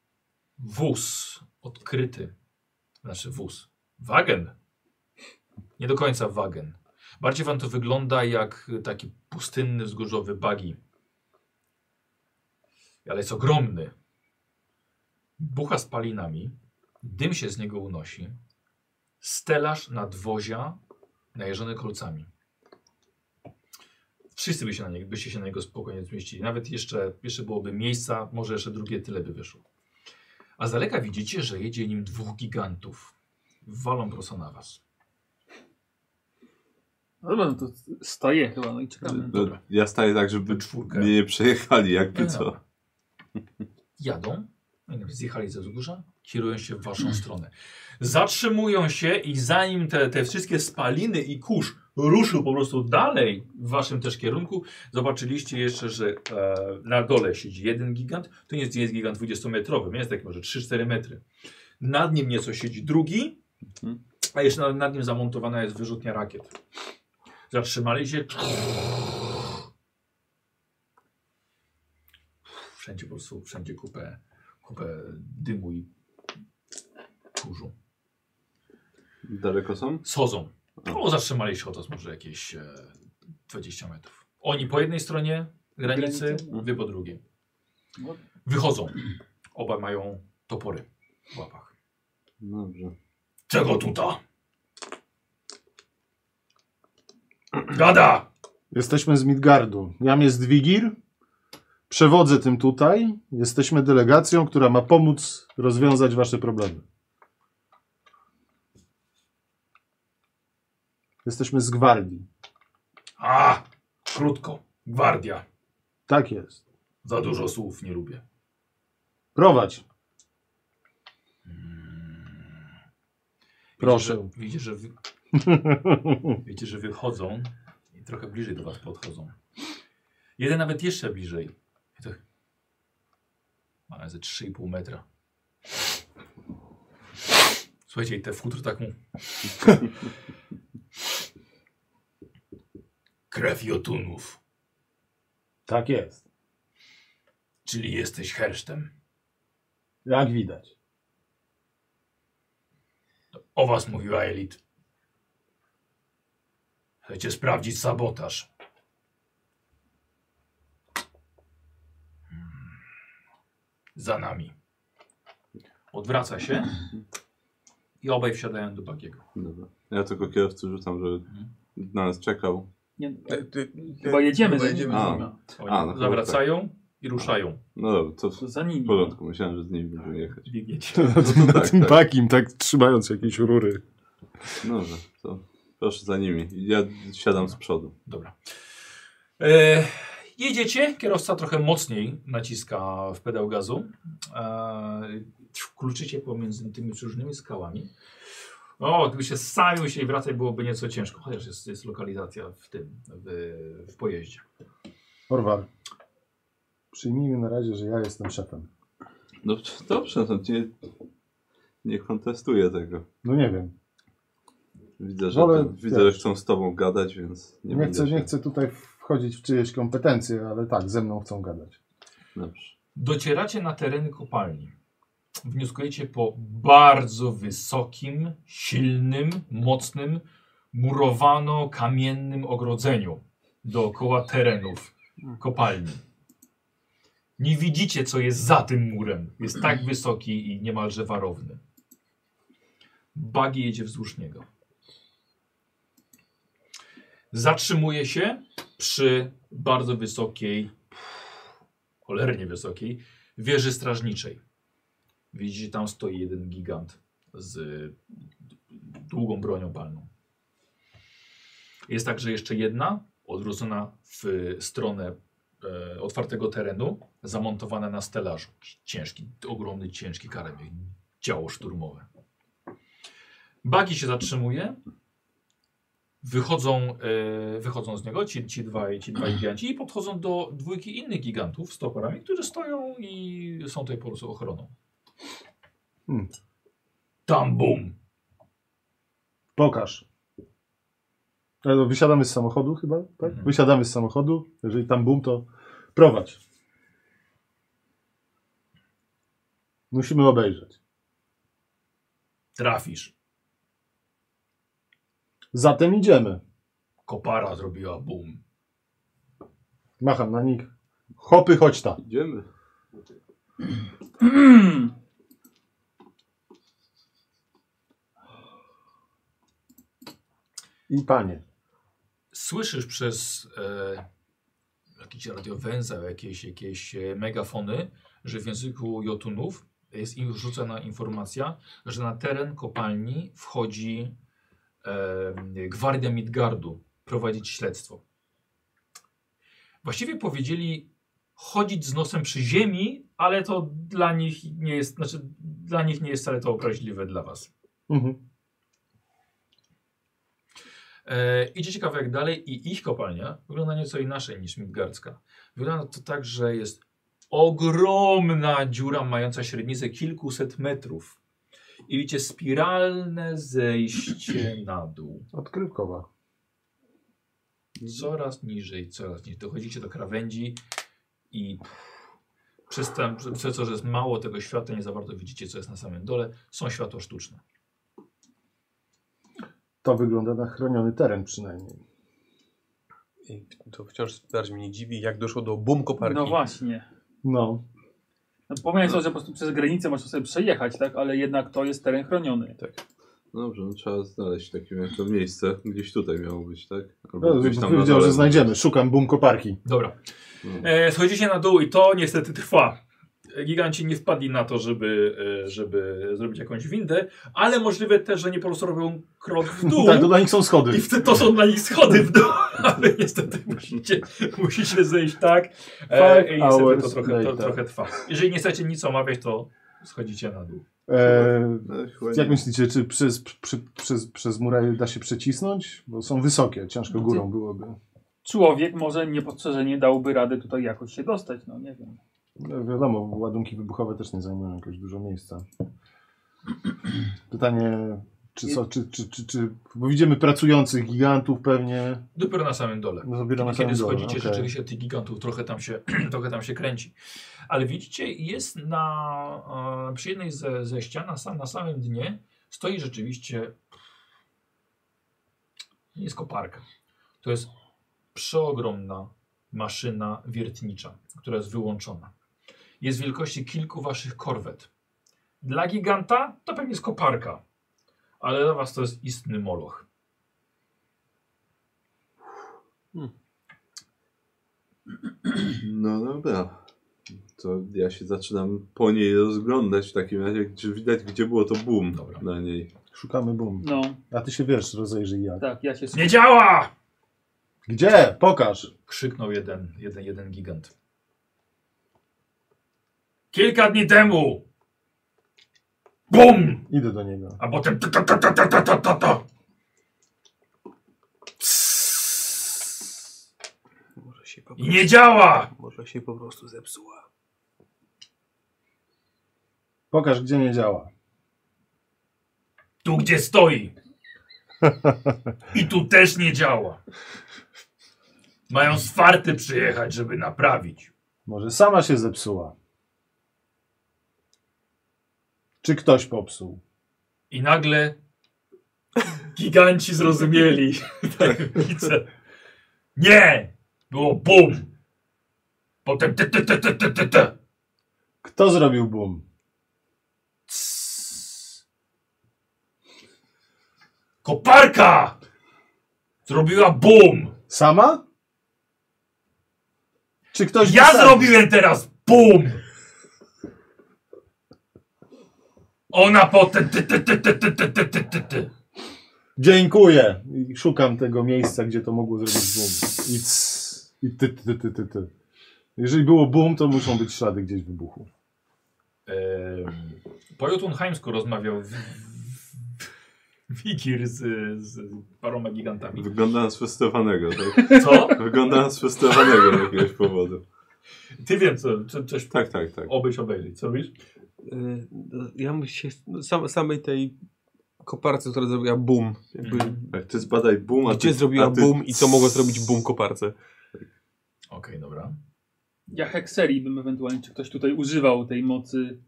wóz odkryty. Znaczy wóz. Wagen. Nie do końca wagen. Bardziej wam to wygląda jak taki pustynny, wzgórzowy bagi. Ale jest ogromny. Bucha z palinami. Dym się z niego unosi. Stelaż nadwozia najeżony kolcami. Wszyscy by się na niego, byście się na niego spokojnie zmieścili. Nawet jeszcze, jeszcze byłoby miejsca, może jeszcze drugie tyle by wyszło. A z daleka widzicie, że jedzie nim dwóch gigantów. Walą prosto na was. No dobra, no to staję chyba, no i czekamy. No, Dobra. Ja staję tak, żeby We czwórkę. mnie nie przejechali, jakby co. Dobra. Jadą, oni zjechali ze wzgórza, kierują się w waszą stronę. Zatrzymują się i zanim te, te wszystkie spaliny i kurz ruszył po prostu dalej w waszym też kierunku. Zobaczyliście jeszcze, że e, na dole siedzi jeden gigant. To nie jest, nie jest gigant 20-metrowy, jest taki może 3-4 metry. Nad nim nieco siedzi drugi, a jeszcze nad, nad nim zamontowana jest wyrzutnia rakiet. Zatrzymali się. Wszędzie po prostu, wszędzie kupę, kupę dymu i kurzu. Daleko są? Sodzą. No, zatrzymali się to może jakieś e, 20 metrów. Oni po jednej stronie granicy, Granicy. wy po drugiej. Wychodzą. Oba mają topory w łapach. No Dobrze. Czego tuta? Gada! Jesteśmy z Midgardu. Jam jest Wigir. Przewodzę tym tutaj. Jesteśmy delegacją, która ma pomóc rozwiązać wasze problemy. Jesteśmy z gwardii. A! Krótko. Gwardia. Tak jest. Za dużo słów nie lubię. Prowadź. Wiecie, Proszę. że, wiecie, że, wy... wiecie, że wychodzą i trochę bliżej do was podchodzą. Jeden nawet jeszcze bliżej. I tak... Ma ze 3,5 metra. Słuchajcie, i te tak futro taką... Krew jotunów. Tak jest. Czyli jesteś hersztem. Jak widać. O was mówiła elit. Chcecie sprawdzić sabotaż. Hmm. Za nami. Odwraca się i obaj wsiadają do bagiego. Dobra. Ja tylko kierowcy rzucam, żeby na nas czekał. Nie, E, ty- Chyba jedziemy Chyba za nimi. jedziemy A. za nimi. Oni A, no chyba zawracają i ruszają. No dobra, to To w za nimi. porządku. Myślałem, że z nimi będziemy jechać. Biegniecie. Na tym, tak, na tym tak. takim, tak trzymając jakieś rury. No Dobrze, to proszę za nimi. Ja siadam z przodu. Dobra. E, jedziecie, kierowca trochę mocniej naciska w pedał gazu. E, kluczycie pomiędzy tymi różnymi skałami. O, gdyby się samił się i wracać byłoby nieco ciężko, chociaż jest, jest lokalizacja w tym, w, w pojeździe. Orwal. Przyjmijmy na razie, że ja jestem szefem. Dobrze, dobrze no, nie, nie kontestuję tego. No nie wiem. Widzę, że, Wolę- ten, widzę, że chcą z tobą gadać, więc nie, Nie, będę chcę, się- nie chcę tutaj wchodzić w czyjeś kompetencje, ale tak, ze mną chcą gadać. Dobrze. Docieracie na tereny kopalni. Wnioskujecie po bardzo wysokim, silnym, mocnym, murowano-kamiennym ogrodzeniu dookoła terenów kopalni. Nie widzicie, co jest za tym murem. Jest tak wysoki i niemalże warowny. Bagi jedzie wzdłuż niego. Zatrzymuje się przy bardzo wysokiej cholernie wysokiej wieży strażniczej. Widzicie, tam stoi jeden gigant z y, długą bronią palną. Jest także jeszcze jedna, odwrócona w stronę e, otwartego terenu, zamontowana na stelażu. Ciężki, ogromny, ciężki karabin, jak działo szturmowe. Bagi się zatrzymuje. Wychodzą, e, wychodzą z niego ci, ci dwaj, ci dwaj giganci i podchodzą do dwójki innych gigantów z toporami, którzy stoją i są tutaj po prostu ochroną. Hmm. Tam bum! Pokaż. Ale no, Wysiadamy z samochodu chyba, tak? Mhm. Wysiadamy z samochodu. Jeżeli tam bum, to prowadź. Musimy obejrzeć. Trafisz. Zatem idziemy. Kopara zrobiła bum. Macham na nich. Hopy, chodź tam. Idziemy. I panie. Słyszysz przez e, jakiś radiowęzeł, jakieś, jakieś e, megafony, że w języku jotunów jest im rzucona informacja, że na teren kopalni wchodzi e, gwardia Midgardu prowadzić śledztwo. Właściwie powiedzieli chodzić z nosem przy ziemi, ale to dla nich nie jest, znaczy dla nich nie jest wcale to obraźliwe dla was. Mhm. E, idziecie kawałek dalej i ich kopalnia wygląda nieco inaczej niż Midgardzka. Wygląda to tak, że jest ogromna dziura mająca średnicę kilkuset metrów. I widzicie spiralne zejście na dół. Odkrywkowa. Coraz niżej, coraz niżej. Dochodzicie do krawędzi i przez, tam, przez to, że jest mało tego świata, nie za bardzo widzicie, co jest na samym dole. Są światła sztuczne. To wygląda na chroniony teren przynajmniej. I to wciąż bardziej mnie dziwi, jak doszło do boom koparki. No właśnie. No. No, Pomijając to, że po prostu przez granicę można sobie przejechać, tak? Ale jednak to jest teren chroniony. Tak. Dobrze, no trzeba znaleźć takie jak to miejsce. Gdzieś tutaj miało być, tak? no powiedział, że znajdziemy. Szukam bum koparki. Dobra. No. E, schodzicie na dół i to niestety trwa. E, Giganci nie wpadli na to, żeby, e, żeby zrobić jakąś windę, ale możliwe też, że nie po prostu robią krok w dół. Tak, to dla nich są schody. I wtedy to są dla nich schody w dół, ale niestety musicie, musicie zejść tak. Five E, I niestety to hours trochę, to later. trochę trwa. Jeżeli nie chcecie nic omawiać, to schodzicie na dół. E, No, chyba jak nie. myślicie, czy przez, przy, przez, przez muraje da się przecisnąć? Bo są wysokie, ciężko górą byłoby. Człowiek może niepostrzeżenie dałby radę tutaj jakoś się dostać, no nie wiem. No, wiadomo, ładunki wybuchowe też nie zajmują jakoś dużo miejsca. Pytanie, czy co, czy, czy, czy, czy bo widzimy pracujących gigantów pewnie. Dopiero na samym dole. No, zabiera na Kiedy samym dole, schodzicie, okej. rzeczywiście tych gigantów trochę tam, się, trochę tam się kręci. Ale widzicie, jest na, e, przy jednej ze, ze ścian, na, sam, na samym dnie, stoi rzeczywiście nie jest koparka. To jest przeogromna maszyna wiertnicza, która jest wyłączona. Jest wielkości kilku waszych korwet. Dla giganta to pewnie jest koparka, ale dla was to jest istny moloch. No dobra. To ja się zaczynam po niej rozglądać w takim razie, czy widać, gdzie było to boom Dobra. na niej. Szukamy bum. No, A ty się wiesz, rozejrzyj jak. tak, ja się skupiam. Nie działa! Gdzie? Pokaż. krzyknął jeden, jeden, jeden gigant. Kilka dni temu! BUM! Idę do niego. A potem ta ta ta ta ta ta ta ta ta. Może się po I nie działa! Może się po prostu zepsuła. Pokaż, gdzie nie działa. Tu gdzie stoi! I tu też nie działa! Mają z farty przyjechać, żeby naprawić. Może sama się zepsuła. Czy ktoś popsuł? I nagle giganci zrozumieli tajemnicę. Tak, Nie! Było BUM! Potem te te te te te te te. Kto zrobił bum? Koparka! Zrobiła BUM! Sama? Czy ktoś Ja wysadził? zrobiłem teraz BUM! Ona potem ty ty ty ty ty ty ty ty ty ty. Dziękuję. I szukam tego miejsca, gdzie to mogło zrobić boom. I, cs, i ty, ty, ty, ty, ty. Jeżeli było boom, to muszą być ślady gdzieś wybuchu. Po Jotunheimsku rozmawiał Wikir z, z paroma gigantami. Wygląda na sfrustowanego, tak? Co? Wygląda na sfrustowanego z jakiegoś powodu. Ty wiem co, co coś Tak, tak, tak. obejść obejrzeć, co robisz? Y, no, Ja bym się no, sam, samej tej koparce, która zrobiła boom. Jakby, Tak, ty zbadaj boom, a Gdzie ty, zrobiła a ty... boom i co mogła zrobić boom koparce? Okej, dobra. Ja hekserii bym ewentualnie, czy ktoś tutaj używał tej mocy.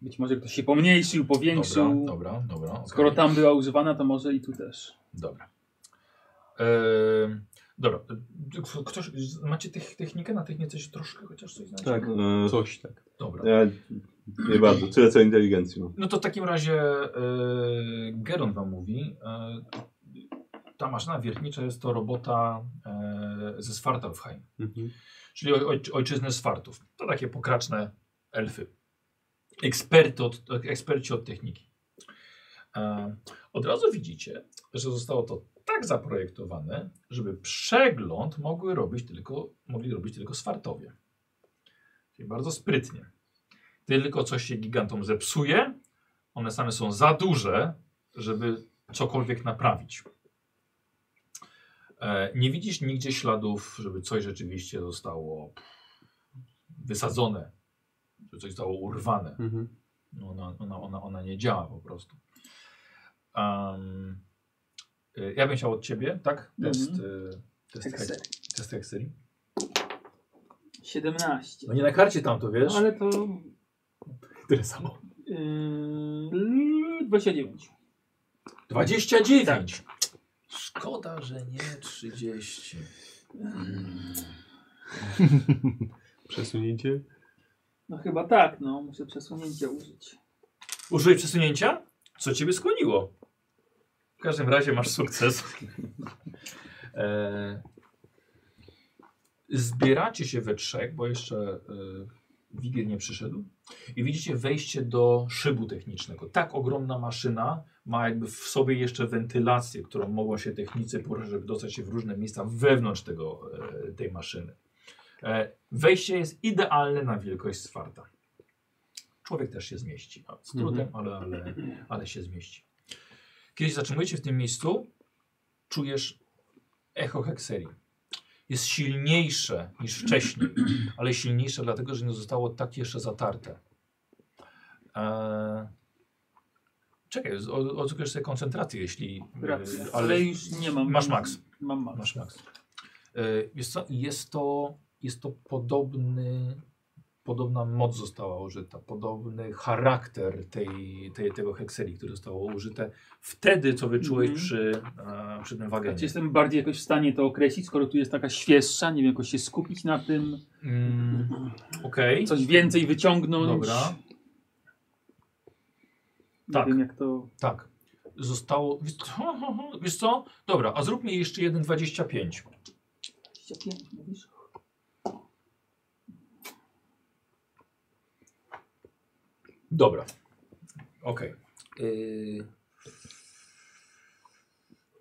Być może ktoś się pomniejszył, Dobra, powiększył. dobra, dobra. okej. Skoro tam była używana, to może i tu też. Dobra. Ehm, dobra. K- Ktoś, macie tych, technikę na technice się troszkę chociaż coś znaczy? Tak. E, Coś tak. Dobra. Ja nie bardzo, tyle co inteligencji mam. No to w takim razie e, Geron wam mówi. E, ta maszyna wiertnicza jest to robota e, ze Svartalfheim, czyli oj, oj, ojczyzny Swartów. To takie pokraczne elfy. Eksperty od, eksperci od techniki. E, od razu widzicie, że zostało to tak zaprojektowane, żeby przegląd mogły robić tylko, mogli robić tylko Swartowie. Czyli bardzo sprytnie. Tylko coś się gigantom zepsuje, one same są za duże, żeby cokolwiek naprawić. E, nie widzisz nigdzie śladów, żeby coś rzeczywiście zostało wysadzone, żeby coś zostało urwane. Mhm. No Ona, ona, ona, ona nie działa po prostu. Em, y, ja bym chciał od ciebie, tak? Mhm. Test, y, test, hek- Heksery. test hekserii. 17. No nie na karcie tam to wiesz. No, Ale to Tyle samo. yy, 29. 29! Tak. Szkoda, że nie 30. Przesunięcie. No chyba tak, no. Muszę przesunięcia użyć. Użyj przesunięcia? Co ciebie skłoniło? W każdym razie masz sukces. e... Zbieracie się we trzech, bo jeszcze e... Wigil nie przyszedł. I widzicie wejście do szybu technicznego. Tak ogromna maszyna ma jakby w sobie jeszcze wentylację, którą mogą się technicy poruszać, żeby dostać się w różne miejsca wewnątrz tego, e... tej maszyny. E... Wejście jest idealne na wielkość Swarta. Człowiek też się zmieści. No, Z trudem, ale, ale, ale się zmieści. Kiedy się zatrzymujecie w tym miejscu, czujesz echo hekserii. Jest silniejsze niż wcześniej, ale silniejsze dlatego, że nie zostało tak jeszcze zatarte. Eee... Czekaj, z- o- odzyskasz sobie koncentrację, jeśli... Racja. e, Ale, ale już nie mam. masz max. Mam max. Masz max. E, Jest to, jest to, jest to podobny, podobna moc została użyta, podobny charakter tej, tej, tego hekseli, które zostało użyte wtedy, co wyczułeś Mhm. przy, e, przy tym Czy wagenie. jestem bardziej jakoś w stanie to określić, skoro tu jest taka świeższa, nie wiem, jakoś się skupić na tym, Mm, Okej, coś więcej wyciągnąć. Dobra. Nie Tak. wiem jak to... tak. Zostało, wiesz co? wiesz co? Dobra, a zróbmy jeszcze jeden 25. 25 mówisz? Dobra. Okej. Y,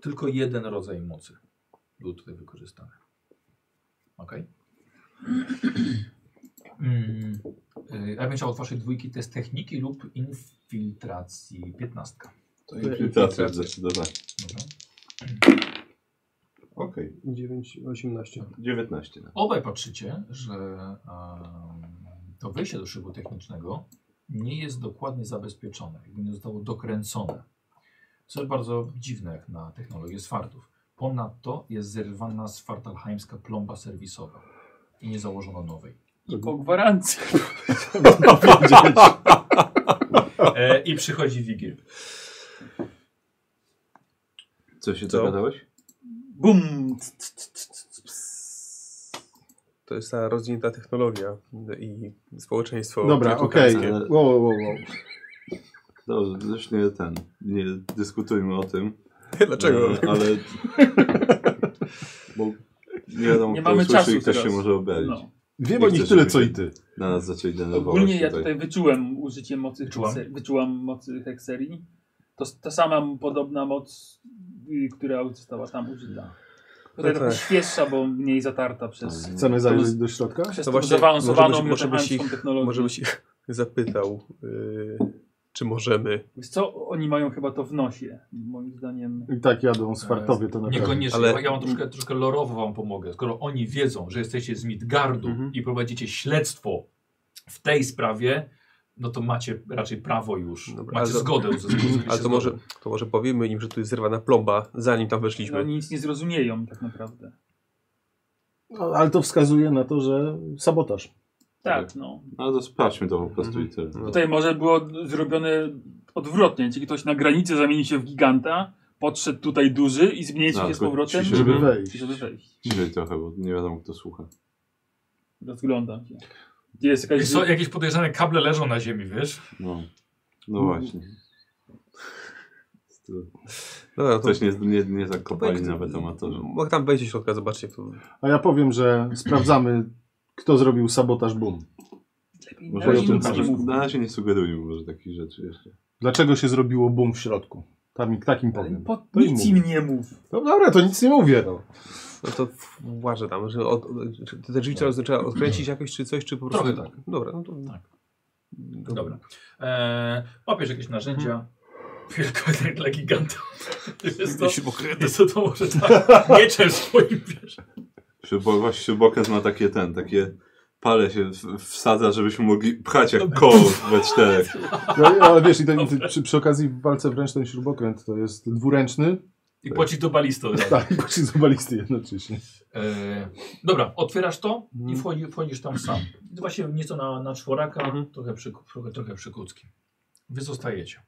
Tylko jeden rodzaj mocy był tutaj wykorzystany. Okej. Mm, y, Ja bym chciał od waszej dwójki test techniki lub infiltracji. Piętnastka. To Infiltracja zdecydowanie. Dobra. Okej, 9, 18. 19. no. Obaj patrzycie, że em, to wyjście do szybu technicznego nie jest dokładnie zabezpieczone, jakby nie zostało dokręcone. Co jest bardzo dziwne jak na technologię swartów. Ponadto jest zerwana swartalheimska plomba serwisowa i nie założono nowej. I po gwarancji. E, I przychodzi Wigil. Co się Co? dogadałeś? Bum! To jest ta rozwinięta technologia i społeczeństwo. Dobra, okej. trójkątarskie. ale- Wow, wow, wow. Dobrze, zresztą nie ten. Nie dyskutujmy o tym. Dlaczego? E, Ale. Bo nie wiadomo, Nie kto mamy usłyszy czasu i ktoś teraz. się może obrazić. No. Wiem Nie o nich chcę, tyle, żeby co się- i ty. Na nas zaczęli denerwować. Ogólnie ja tutaj. tutaj wyczułem użycie mocy Wyczułam? hekserii. Wyczułam mocy hekserii. To s- ta sama podobna moc, y, która została tam użyta. Tutaj No trochę tak. świeższa, bo mniej zatarta przez, Chcemy zajrzeć do środka? przez To tą właśnie zaawansowaną może byś- może byś metachańską ich- technologię. Może byś ich zapytał, y, czy możemy. Wiesz co, oni mają chyba to w nosie, moim zdaniem. I tak jadą Spartowie to naprawdę. Niekoniecznie, Ale- ja wam troszkę, troszkę lorowo wam pomogę. Skoro oni wiedzą, że jesteście z Midgardu Mhm. i prowadzicie śledztwo w tej sprawie, no to macie raczej prawo już, Dobra, macie ale to- zgodę. Ze, uzyskaliście Ale to zgodę. może, to może powiemy im, że tu jest zerwana plomba, zanim tam No, weszliśmy. oni nic nie zrozumieją tak naprawdę. No, ale to wskazuje na to, że sabotaż. Tak, no. No to sprawdźmy to po prostu i tyle. No. Tutaj może było zrobione odwrotnie, czyli ktoś na granicy zamienił się w giganta, podszedł tutaj duży i zmniejszył No, się z tylko powrotem, ciszej, Żeby Mhm. wejść. żeby wejść. Ciszej trochę, bo nie wiadomo kto słucha. Rozglądam się. Gdzie jest jakaś... Wiesz co, jakieś podejrzane kable leżą na ziemi, wiesz? No, no właśnie. Dobra, to, Ktoś nie, nie, nie zakopali to- nawet amatorzy. Mogę tam wejść do środka, zobaczcie. To, A ja powiem, że sprawdzamy, kto zrobił sabotaż boom. Lepiej Może na ja razie to nic nie pokażę. mów. Na razie nie sugerujmy może takich rzeczy jeszcze. Dlaczego się zrobiło boom w środku? Tam, takim powiem. Po, To nic im im mówię. nie mów. No dobra, to nic nie mówię. No. no to włażę tam, że od, czy te drzwi trzeba, trzeba odkręcić jakoś, czy coś, czy po prostu... Tak. Trochę Dobra, no to... Mhm. Tak. Dobra. E, łapiesz jakieś narzędzia, Wielkość dla giganta. Jest to, Śrubokrętem. jest to, to może tak mieczem swoim, wiesz. Szybo, właśnie Szybokres ma takie ten, takie pale się w- wsadza, żebyśmy mogli pchać jak koło we czterech. No, ale wiesz, i ten, przy, przy okazji w walce wręcz ten śrubokręt to jest dwuręczny. I płaci to balistą. Tak, i pocisk balisty jednocześnie. E, dobra, otwierasz to i wchodzi, wchodzisz tam sam. Właśnie nieco na, na czworaka, trochę, przy, trochę, trochę przy kuckim. Wy zostajecie.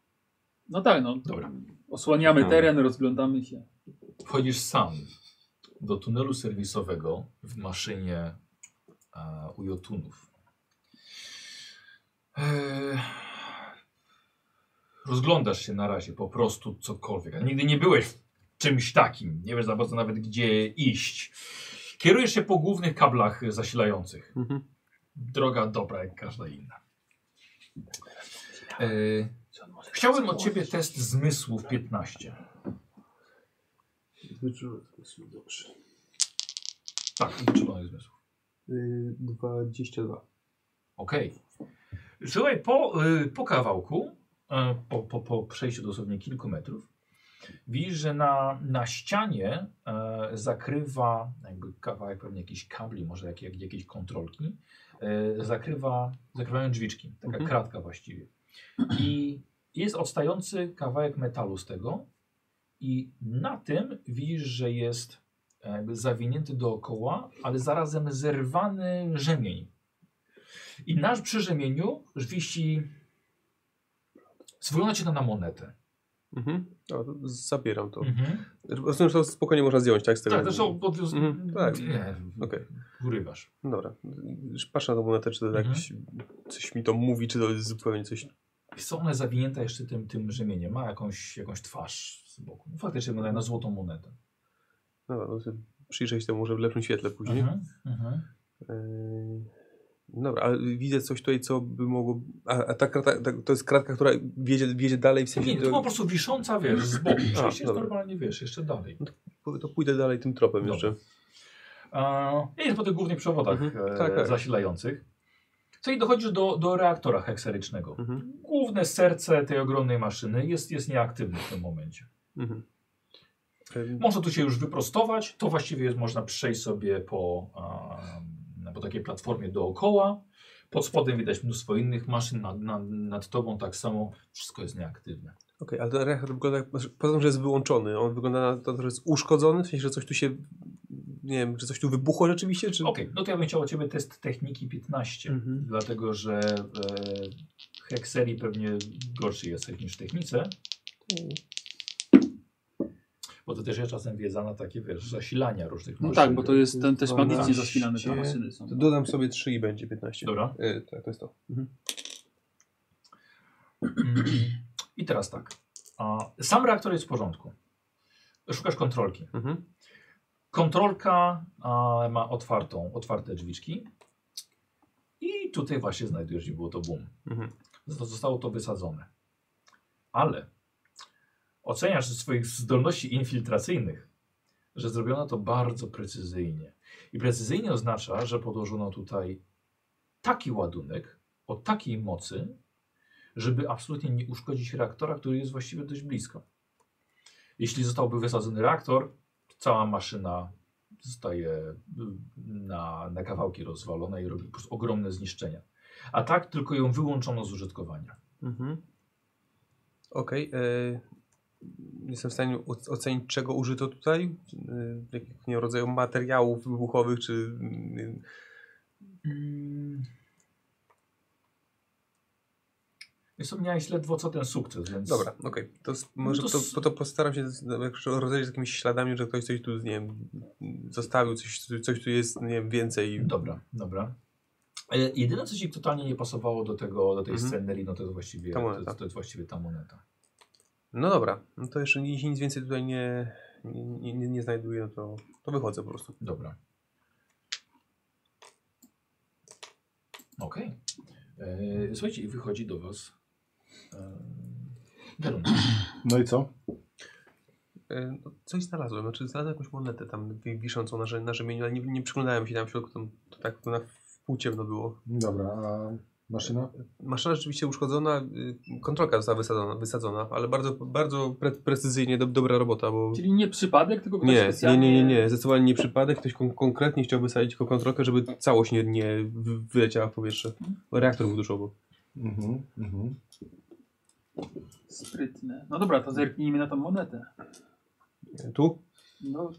No tak, no. Dobra. Osłaniamy No. teren, rozglądamy się. Wchodzisz sam do tunelu serwisowego w maszynie e, u Jotunów. E, rozglądasz się na razie po prostu cokolwiek. A Nigdy nie byłeś w czymś takim. Nie wiesz za bardzo nawet gdzie iść. Kierujesz się po głównych kablach e, zasilających. Mhm. Droga dobra jak każda inna. E, chciałbym od ciebie test zmysłów 15. Dobrze. Tak, wyczulonych zmysłów. Y, 22. Okej. Słuchaj, po, y, po kawałku, y, po, po, po przejściu dosłownie kilku metrów, widzisz, że na, na ścianie y, zakrywa jakby kawałek pewnie jakichś kabli, może jak, jak, jakiejś kontrolki, y, zakrywa, zakrywają drzwiczki, taka Mhm. kratka właściwie. I jest odstający kawałek metalu z tego i na tym widzisz, że jest e, jakby zawinięty dookoła, ale zarazem zerwany rzemień. I nasz przy rzemieniu wisi. Zwolna cię to na monetę. Mhm. O, to zabieram to. Znaczy, Rozumiem, że to spokojnie można zdjąć, tak? Z tego. Mhm. Tak, zresztą odwiózł. Mhm, tak. Nie, Okej. urywasz. Dobra. Patrzę na tą monetę, czy to Mhm. jakś, coś mi to mówi, czy to jest zupełnie coś... Są ona zawinięta jeszcze tym, tym rzemieniem. Ma jakąś, jakąś twarz z boku. No, faktycznie wygląda na złotą monetę. Dobra, no, to przyjrzę się temu może w lepszym świetle później. Mhm. Mhm. Yy, Dobra, ale widzę coś tutaj, co by mogło... A, a ta kratka, ta, to jest kratka, która wiedzie, wiedzie dalej w sensie... Nie, to po prostu wisząca, wiesz, z boku. Przejście jest dobra. normalnie, wiesz, jeszcze dalej. to, to pójdę dalej tym tropem Dobra. jeszcze. E, jest po tych głównych przewodach Mhm. e, Tak, tak. zasilających. Co i dochodzisz do, do reaktora hekserycznego. Mhm. Główne serce tej ogromnej maszyny jest, jest nieaktywne w tym momencie. Mhm. Yy, Można tu się już wyprostować. To właściwie jest, można przejść sobie po, em, po takiej platformie dookoła. Pod spodem widać mnóstwo innych maszyn, nad, nad, nad tobą tak samo. Wszystko jest nieaktywne. Okej, ale ten reaktor wygląda, jak- znaczy, poza tym, że jest wyłączony, on wygląda na to, że jest uszkodzony, w sensie, że coś tu się, nie wiem, że coś tu wybuchło rzeczywiście, czy... Okej, no to ja bym chciał od ciebie test techniki 15, Mhm. dlatego że e, hekserii pewnie gorszy jesteś niż w technice, Mhm. bo to też jest czasem wiedza na takie wiesz, zasilania różnych No maszyn. tak, bo to jest ten też 12, magicznie zasilane te maszyny są. To dodam sobie 3 i będzie 15. Dobra. Yy, tak, to jest to. Mm. I teraz tak. A, Sam reaktor jest w porządku. Szukasz kontrolki. Mhm. Kontrolka a, ma otwartą, otwarte drzwiczki. I tutaj właśnie znajdujesz, gdzie było to boom. Mhm. Zo- Zostało to wysadzone. Ale oceniasz ze swoich zdolności infiltracyjnych, że zrobiono to bardzo precyzyjnie. I precyzyjnie oznacza, że podłożono tutaj taki ładunek o takiej mocy, żeby absolutnie nie uszkodzić reaktora, który jest właściwie dość blisko. Jeśli zostałby wysadzony reaktor, cała maszyna zostaje y, na, na kawałki rozwalona i robi po prostu ogromne zniszczenia. A tak tylko ją wyłączono z użytkowania. Mhm. Okej. e, Jestem w stanie oc- ocenić, czego użyto tutaj? Yy, Jakiego nie wiem, rodzaju materiałów wybuchowych, czy... mm, Jest to miałeś ledwo co ten sukces, więc. No Dobra, okej. To s- może to to, s- to, to postaram się z- no, jakoś rozejrzeć z jakimiś śladami, że ktoś coś tu, nie wiem, zostawił, coś, tu- coś tu jest, nie wiem, więcej. Dobra, dobra. E, Jedyne co ci totalnie nie pasowało do tego, do tej Mhm. scenerii, no to jest właściwie Ta to, moneta. jest- to jest właściwie ta moneta. No dobra, no to jeszcze jeśli nic więcej tutaj nie, nie, nie, nie znajduję, no to, to wychodzę po prostu. Dobra. Okej. E, Słuchajcie, i wychodzi do was. e, Derun. No i co? E, No, coś znalazłem, znaczy znalazłem jakąś monetę tam wi- wiszącą na, rze- na rzemieniu, ale nie, nie przyglądałem się tam w środku, tam, to tak to na wpół ciemno było. Dobra, a Maszyna? Maszyna rzeczywiście uszkodzona, y, kontrolka została wysadzona, wysadzona ale bardzo, bardzo pre precyzyjnie do, dobra robota, bo... Czyli nie przypadek, tylko ktoś Nie, nie, specjalnie... nie, nie, nie, zdecydowanie nie przypadek, ktoś kon konkretnie chciał wysadzić tylko kontrolkę, żeby całość nie, nie wy- wyleciała w powietrze, bo reaktor był dużo obok. Mhm, mhm. Sprytne. No dobra, to zerknijmy na tą monetę. Tu? No.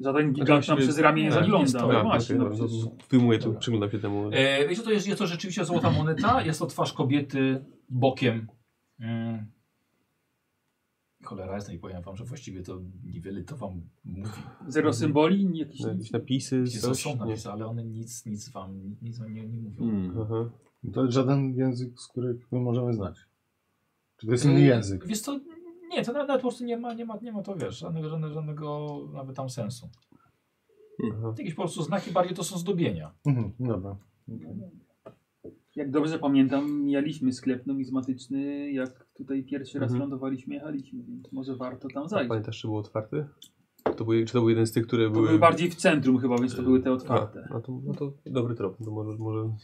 Żaden gigant nam Oczywiście- przez ramię nie nie, zagląda. nie No A, właśnie, okej, no no, przecież... Wyjmuję tu, przyglądam się temu. E, wiesz, co, to jest, jest to rzeczywiście złota moneta. Jest to twarz kobiety bokiem. Mm. Cholera, jest i powiem wam, że właściwie to niewiele to wam mówi. Zero symboli, jakiś... No, Jakieś napisy, To coś? są Nie. napisy, ale one nic, nic wam nic wam nie, nie mówią. Hmm. Aha. To żaden język, z którego możemy znać. Czy to jest Mm. inny Y, język? Wiesz co, nie, to nawet, nawet po prostu nie ma, nie ma, nie ma to wiesz, żadnego, żadnego, żadnego nawet tam sensu. Aha. Jakieś po prostu znaki bardziej to są zdobienia. Mhm, dobra. Jak dobrze pamiętam, mieliśmy sklep numizmatyczny, jak tutaj pierwszy raz Mhm. lądowaliśmy, jechaliśmy, więc może warto tam A zajść. pamiętasz, czy był otwarty? To był, czy to był jeden z tych, które To były... były bardziej w centrum chyba, więc to były te A, otwarte. no, to, no to dobry trop, no może, może,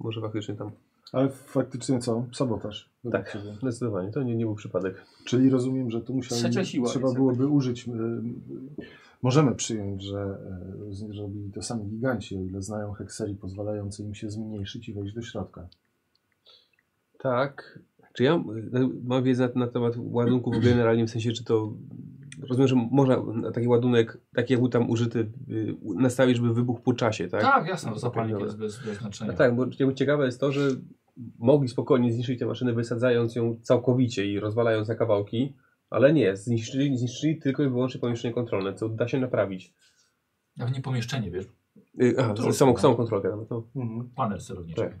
może faktycznie tam. Ale faktycznie co? Sabotaż. Według ciebie. Zdecydowanie, to nie, nie był przypadek. Czyli rozumiem, że tu musiał, Trzecia siła trzeba jest byłoby użyć. y, y, Możemy przyjąć, że y, z- robili to sami giganci, o ile znają hekserii pozwalające im się zmniejszyć i wejść do środka. Tak. Czy ja y, mam wiedzę na, na temat ładunków generalnie, w sensie, czy to... Rozumiem, że można na taki ładunek, taki jak był tam użyty, y, u- nastawić, żeby wybuchł po czasie, tak? Tak, jasne, to zapalnik jest bez, bez A znaczenia. tak, bo jakby ciekawe jest to, że mogli spokojnie zniszczyć tę maszynę, wysadzając ją całkowicie i rozwalając na kawałki, ale nie, zniszczyli, zniszczyli tylko i wyłącznie pomieszczenie kontrolne, co da się naprawić. Nawet nie pomieszczenie, wiesz, Y, Aha, Kontrolę. samą, samą kontrolkę, no to Mhm. panel celowniczy. Tak.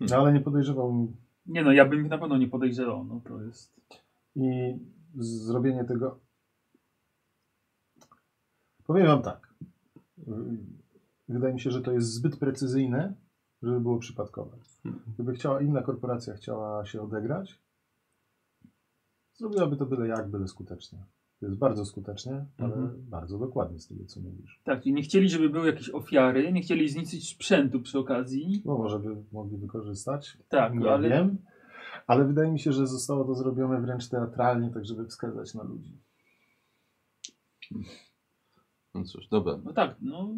No, ale nie podejrzewam Nie no, ja bym ich na pewno nie podejrzewał, no to jest... i zrobienie tego. Powiem Wam tak. Y, Wydaje mi się, że to jest zbyt precyzyjne, żeby było przypadkowe. Hmm. Gdyby chciała inna korporacja chciała się odegrać, zrobiłaby to byle jak, byle skutecznie. To jest bardzo skutecznie, ale Mhm. bardzo dokładnie z tego, co mówisz. Tak, i nie chcieli, żeby były jakieś ofiary, nie chcieli zniszczyć sprzętu przy okazji. No może by mogli wykorzystać, Tak, nie ale wiem, ale wydaje mi się, że zostało to zrobione wręcz teatralnie, tak żeby wskazać na ludzi. No cóż, dobra. no tak, no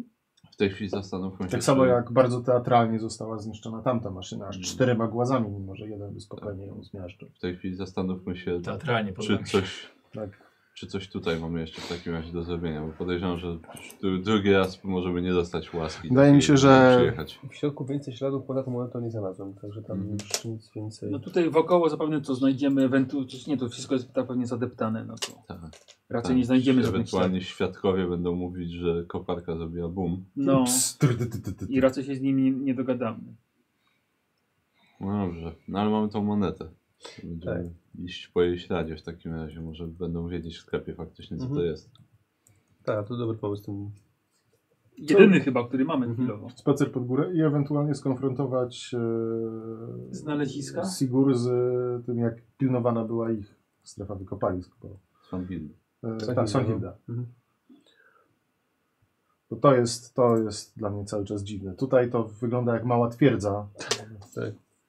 W tej chwili zastanówmy się. Tak samo czy- jak bardzo teatralnie została zniszczona tamta maszyna, aż czterema głazami, mimo że jeden by spokojnie ją zmiażdżył. W tej chwili zastanówmy się, Tak, Teatralnie, czy podoba mi się. coś, Tak. czy coś tutaj mamy jeszcze w takim razie do zrobienia, bo podejrzewam, że dru- drugi raz możemy nie dostać łaski. tak, Wydaje mi się, żeby że- Przyjechać. w środku więcej śladów poza tą monetą nie znalazłem, także tam Mhm. już nic więcej. No tutaj wokoło zapewne to znajdziemy, ewentualnie, nie, to wszystko jest tak pewnie zadeptane, no to Tak. raczej Tak. nie znajdziemy żadnych śladów. Ewentualnie świadkowie będą mówić, że koparka zrobiła boom. No Ps, tr, ty, ty, ty, ty. i raczej się z nimi nie, nie dogadamy. No dobrze, no ale mamy tą monetę. Tak. Będziemy iść po jej śladzie w takim razie. Może będą wiedzieć w sklepie faktycznie, co Mhm. to jest. Tak, to dobry pomysł. Ten... Jedyny chyba, który mamy Mhm. chwilowo. Spacer pod górę i ewentualnie skonfrontować e, Znaleziska? Sigur z e, tym, jak pilnowana była ich strefa wykopalisk. Bo, Są gildy. e, Sąsiedzi, tak, no. Sąsiedzi. Mhm. To, to, jest, to jest dla mnie cały czas dziwne. Tutaj to wygląda jak mała twierdza. Tak.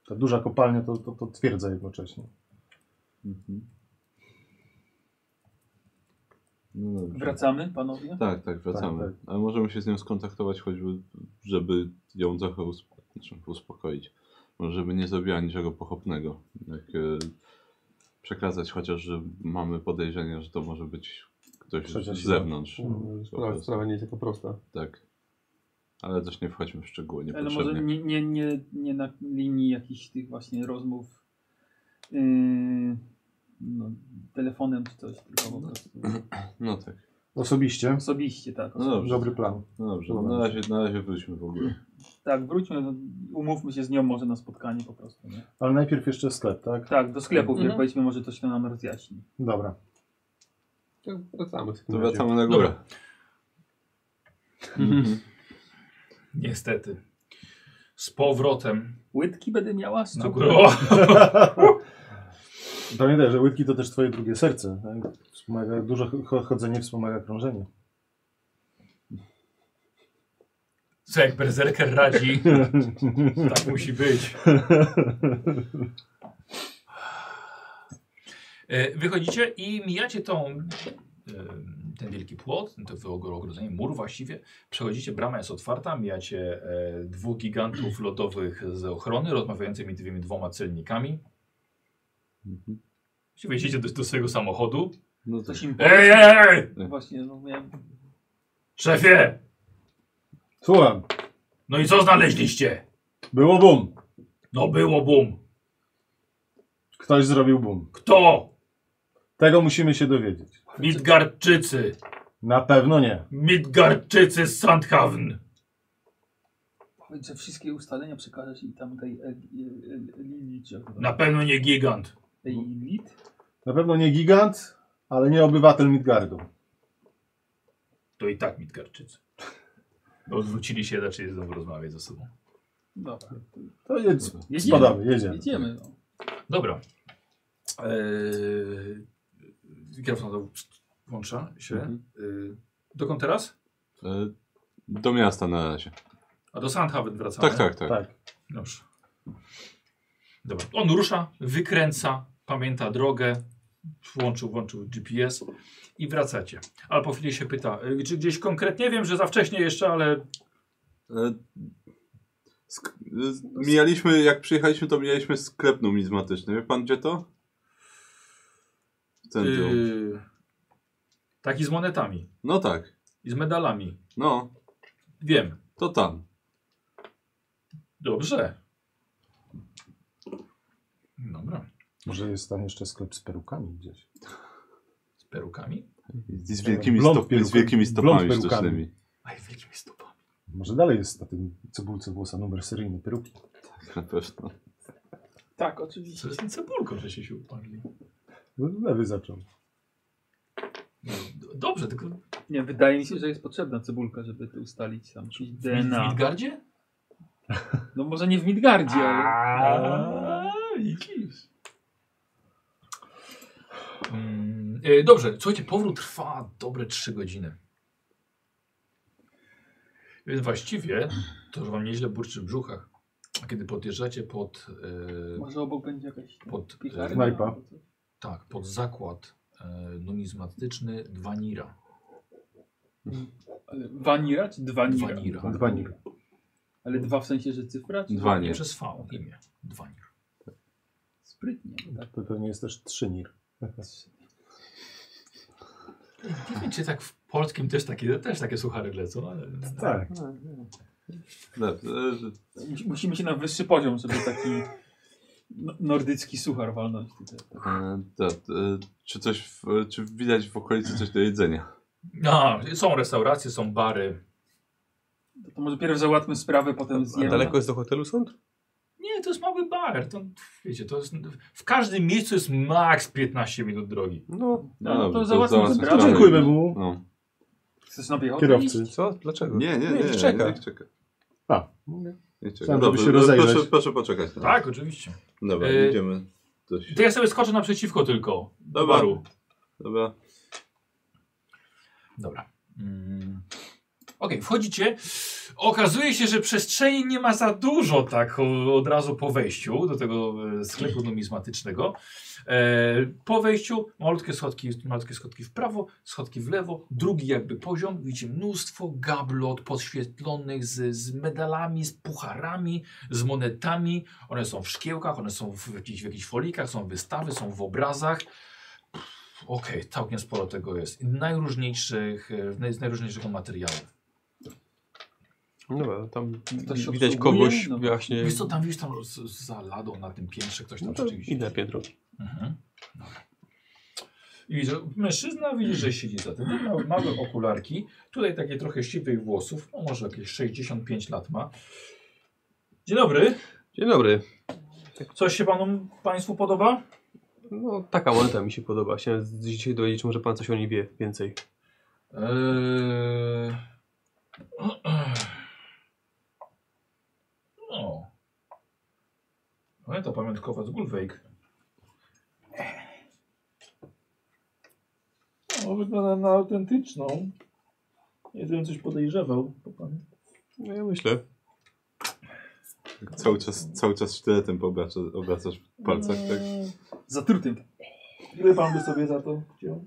Ta duża kopalnia to, to, to twierdza jednocześnie. Mhm. No dobrze. Wracamy, panowie? Tak, tak, wracamy. Tak, Ale możemy się z nią skontaktować choćby, żeby ją trochę usp- znaczy uspokoić. Może żeby nie zrobiła niczego pochopnego. Jak, e, przekazać chociaż, że mamy podejrzenie, że to może być ktoś Trzecia z siła. zewnątrz. Mm. Sprawa, sprawa nie jest taka prosta. Tak. Ale też nie wchodźmy w szczegóły Ale może niepotrzebnie. nie, nie, nie, nie na linii jakichś tych właśnie rozmów yy, no, telefonem czy coś, tylko po prostu No tak. Osobiście. osobiście, tak. No dobrze. Dobry plan. No dobrze, no na razie, na razie wróćmy w ogóle. Tak, wróćmy, no, umówmy się z nią może na spotkanie po prostu. Nie? Ale najpierw jeszcze sklep, tak? Tak, do sklepu, Mhm. mhm. powiedzmy, może to się nam rozjaśni. Dobra. Tak, wracamy. w takim To razie. wracamy na górę. Mhm. Niestety. Z powrotem Łydki będę miała No. No z na cukru. górę. O! Pamiętaj, że łydki to też twoje drugie serce. Tak? Wspomaga, dużo cho- chodzenie wspomaga krążenie. Co jak berserker radzi, tak musi być. E, Wychodzicie i mijacie tą, em, ten wielki płot, to wyog- ogrodzenie, mur właściwie. Przechodzicie, brama jest otwarta, mijacie e, dwóch gigantów lodowych z ochrony, rozmawiającymi tymi dwoma celnikami. Właściwie Wejdziecie do, do swojego samochodu. No to Coś im Ej, ej, ej! Właśnie, no miałem... Szefie! Słucham, No i co znaleźliście? było bum. No było bum. Ktoś zrobił bum. Kto? Tego musimy się dowiedzieć. Midgardczycy. Na pewno nie. Midgardczycy z Sandhaven. Powiedz, że wszystkie ustalenia przekażesz i tam tej Lilith. Na pewno nie gigant. Tej Lilith? Na pewno nie gigant, ale nie obywatel Midgardu. To i tak Midgardczycy. Odwrócili się, zaczęli znowu rozmawiać ze sobą. Dobra. To jedz, Jedziemy. spadamy, jedziemy. Jedziemy. No. Dobra. Eee, Mikrofon to włącza się. Mhm. Eee, dokąd teraz? E, Do miasta na razie. A do Sandhaven wracamy. Tak, tak, tak. Tak. Dobrze. Dobra. On rusza, wykręca, pamięta drogę, włączył, włączył GPS i wracacie. Ale po chwili się pyta, y, czy gdzieś konkretnie, wiem, że za wcześnie jeszcze, ale E, sk- e, z- Mijaliśmy, jak przyjechaliśmy, to mijaliśmy sklep numizmatyczny. Wie pan gdzie to? W centrum. yy, tak i z monetami, No tak, i z medalami. no, Wiem. to tam. Dobrze. Dobra. Może jest tam jeszcze sklep z perukami gdzieś. Z perukami? Z wielkimi, Blond stop, pierukami. z wielkimi stopami Blond perukami. sztucznymi. Aj, wielkimi stopami. Może dalej jest na tym cebulce włosa numer seryjny peruki. Na pewno. Tak, oczywiście. Co jest ten cebulką, że się się uparli? No, Lewy zaczął. No, d- Dobrze, tylko w Nie, wydaje mi się, że jest potrzebna cebulka, żeby to ustalić tam. Czyli Mid- w DNA. Midgardzie? No może nie w Midgardzie, ale... A, widzisz. Mm, e, Dobrze, słuchajcie, powrót trwa dobre 3 godziny. Więc właściwie to, że wam nieźle burczy w brzuchach, a kiedy podjeżdżacie pod, e, Może obok będzie jakaś tam pod, e, piekarnia Knajpa. albo coś. tak, pod zakład e, numizmatyczny Dwanira. Ale Wanira czy dwanira? Dwanira. Dwa nir. Ale dwa w sensie, że cyfra? Czy... Dwa Nie nie. przez V, imię. Dwanir. Sprytnie. bo Tak. To pewnie jest też trzy nir. Nie wiem, czy tak w polskim też takie, też takie suchary lecą, ale... Tak. No, e, Musi- Musimy się na wyższy poziom, żeby taki no- nordycki suchar walnąć tutaj. e, to, e, Czy coś, w, czy widać w okolicy coś do jedzenia? A, No, są restauracje, są bary. To, to może pierw załatwmy sprawę, potem zjemy. no. Daleko jest do hotelu sąd? Nie, to jest mały bar. To, wiecie, to jest, w każdym miejscu jest maks 15 minut drogi. No, No, no to dobrze, załatwmy załatwmy sprawę. sprawę. Dziękujemy mu. No. Chcesz na piechotę Kierowcy. iść? co? Dlaczego? Nie, nie, nie, niech nie, czeka. niech czeka. A, Niech czeka. Chciałem, żeby Dobrze, się e, rozejrzeć. proszę, proszę poczekać. na- Tak, oczywiście. Dobra, E, idziemy. Coś. To ja sobie skoczę naprzeciwko tylko do Dobra. baru. Dobra. Dobra. Mm. Okej, wchodzicie. Okazuje się, że przestrzeni nie ma za dużo tak o, od razu po wejściu do tego e, sklepu numizmatycznego. E, po wejściu malutkie schodki, malutkie schodki w prawo, schodki w lewo, drugi jakby poziom. Widzicie mnóstwo gablot podświetlonych z, z medalami, z pucharami, z monetami. One są w szkiełkach, one są w jakichś, w jakichś folikach, są wystawy, są w obrazach. Okej, całkiem sporo tego jest. Najróżniejszych, e, naj- z najróżniejszych materiałów. No Dobra, tam Ktoś się widać obsługuje? kogoś No. właśnie. Wiesz co, tak, tam widzisz tam z- z- za ladą na tym piętrze ktoś tam No to rzeczywiście. inne piętro. Mhm. Dobra. I widzisz, że mężczyzna widzi, że siedzi za tym. Ma małe okularki. Tutaj takie trochę siwych włosów. No może jakieś 65 lat ma. Dzień dobry. Dzień dobry. Coś się panu, Państwu podoba? No, taka moneta mi się podoba. Chciałem z- dzisiaj dowiedzieć, czy może pan coś o niej wie więcej. Eee... No. No to pamiątkowa z Gulwejk. No, wygląda na autentyczną. Nie wiem, coś podejrzewał. bo Pan No ja myślę. Tak Cały czas, cały czas sztyletem obracasz, obracasz w palcach, tak? Zatrutym. Ile pan by sobie za to chciał?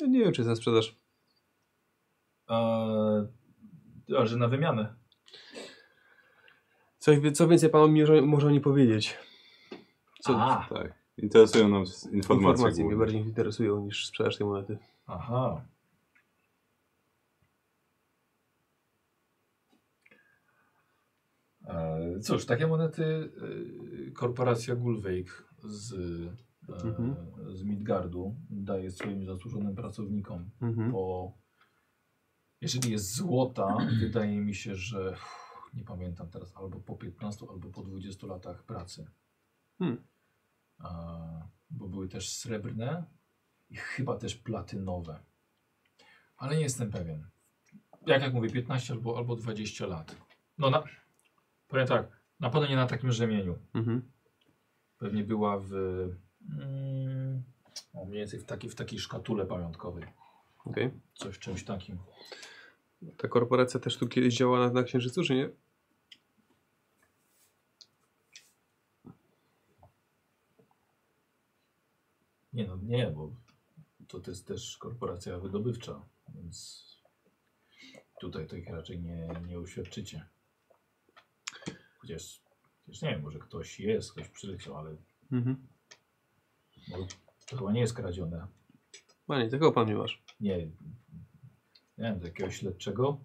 Ja nie wiem, czy jest na sprzedaż. Eee, a że na wymianę. Coś, wie- co więcej pan mi może, może o niej powiedzieć? Co, A, Tak. Interesują nas informacje. informacje mnie głównie. bardziej interesują niż sprzedaż tej monety. aha. Eee, Cóż, takie monety e, korporacja Gulwake z, e, Mhm. z Midgardu daje swoim zasłużonym pracownikom Mhm. bo jeżeli jest złota, wydaje mi się, że uff, nie pamiętam teraz, albo po 15, albo po 20 latach pracy. Hmm. A, bo były też srebrne i chyba też platynowe. Ale nie jestem pewien. Jak, jak mówię, 15 albo, albo 20 lat. No na, powiem tak, na pewno nie na takim rzemieniu. Mhm. Pewnie była w, mm, o, mniej więcej w, taki, w takiej szkatule pamiątkowej. Okej. Coś w czymś takim. Ta korporacja też tu kiedyś działała na, na Księżycu, czy nie? Nie no, nie, bo to, to jest też korporacja wydobywcza, więc tutaj tych raczej nie, nie uświadczycie. Chociaż, chociaż nie wiem, może ktoś jest, ktoś przyleciał, ale Mhm. może to chyba nie jest kradzione. A nie, tego pan nie masz. Nie, nie wiem, z jakiegoś śledczego.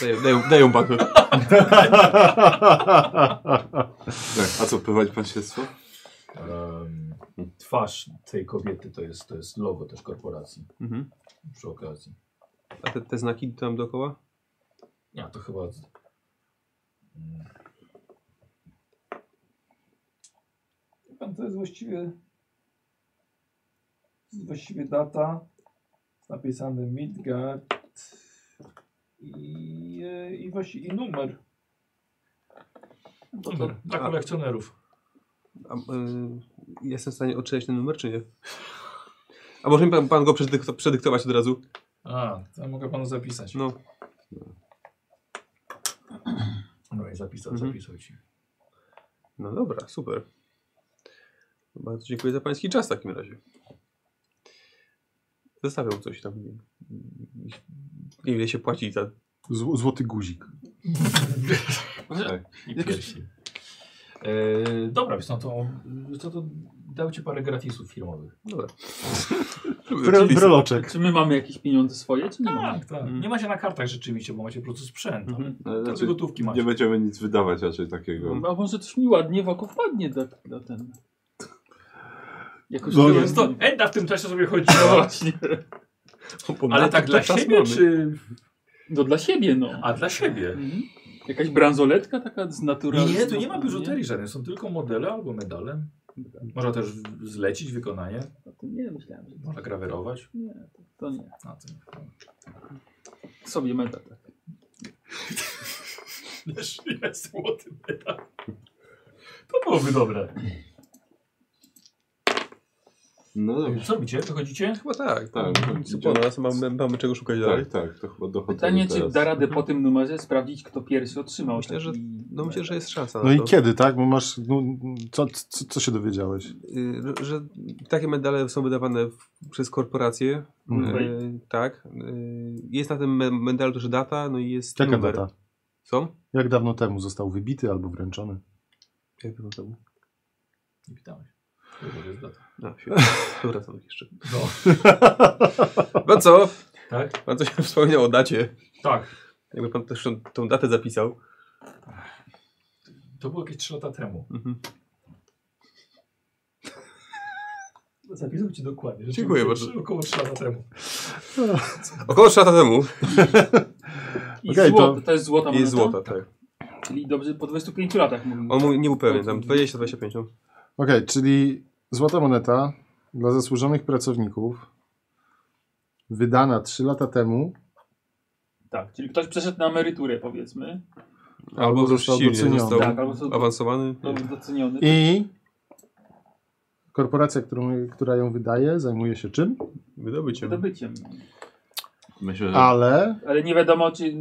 Daję, daję, daję panu. Tak. A co, prowadzi pan śledztwo? Em, twarz tej kobiety to jest, to jest logo też korporacji Mhm. przy okazji. A te, te znaki tam dookoła? Ja to chyba. z- Mm, Wie Pan, to jest właściwie, to jest właściwie data, jest napisany Midgard i, e, i, właśnie, i numer. To, to, dla kolekcjonerów. A, y, jestem w stanie odczytać ten numer, czy nie? A może mi pan, pan go przedykt, przedyktować od razu? A, to ja mogę panu zapisać. No. No i zapisał, Mhm. zapisał ci. No dobra, super. Bardzo dziękuję za pański czas w takim razie. Zostawiam coś tam. nie- Nie ile się płaci za... Zł- złoty guzik. Tak. I piersi. E, dobra, więc no to, wiesz co, to dał ci parę gratisów firmowych. Dobra. Bro, broloczek. Czy my mamy jakieś pieniądze swoje, czy nie mamy? Tak, tak. Nie macie na kartach rzeczywiście, bo macie po prostu sprzęt. Mhm. Mhm. Ale To raczej gotówki No, znaczy, nie macie. będziemy nic wydawać raczej takiego. A może coś mi ładnie w oko wpadnie do, do ten... Jakoś No, nie nie- wiem, Więc to Edda w tym czasie sobie chodziła. No Właśnie. Ale tak dla siebie, czy... No dla siebie, no. A dla siebie. Mhm. Jakaś bransoletka taka z natury. Nie, tu nie ma biżuterii żadnej, są tylko modele albo medale. Można też zlecić wykonanie, No to nie, myślałem, że można grawerować. nie, to, to nie. Na tym. Sobie meta tak. Wiesz, ile złoty medal. To byłoby dobre. No dobrze. Co robicie? Wychodzicie? Chyba tak. Tak, Nic po nas, mamy, mamy czego szukać dalej. Tak, tak, to chyba dochodzę Pytanie, czy teraz. da radę po tym numerze sprawdzić, kto pierwszy otrzymał Myślę, że- taki No myślę, że jest szansa na No i to, kiedy, tak? Bo masz. No, co, co, co się dowiedziałeś? y, że- że takie medale są wydawane w, przez korporacje. Mhm. Y, tak. Y, jest na tym me- medalu też data, no i jest Jaka numer. data? Co? Jak dawno temu został wybity albo wręczony? Jak to temu? Nie pytałeś. Tylko, że jest data. No, wracam jeszcze. No, No co? tak? Pan coś wspomniał o dacie. Tak. Jakby pan też tą, tą datę zapisał. To było jakieś 3 lata temu. Mhm. Zapisał ci dokładnie. Rzeczywiście, Dziękuję bardzo. trzy- Około 3 lata temu. Około 3 lata temu. I Okej, złoto, to- to... jest złota moneta? Jest złota, tak. Czyli dobrze, po 25 latach mówimy. On mówi, nie był pewien, tam 20-25. no. Okej, czyli złota moneta dla zasłużonych pracowników, wydana 3 lata temu, Tak, czyli ktoś przeszedł na emeryturę, powiedzmy. Albo został silnie doceniony. został Tak, albo został- awansowany. Dobrze doceniony. i korporacja, którą, która ją wydaje, zajmuje się czym? No. Wydobyciem. Wydobyciem. Myślę, że Ale, Ale nie wiadomo, czy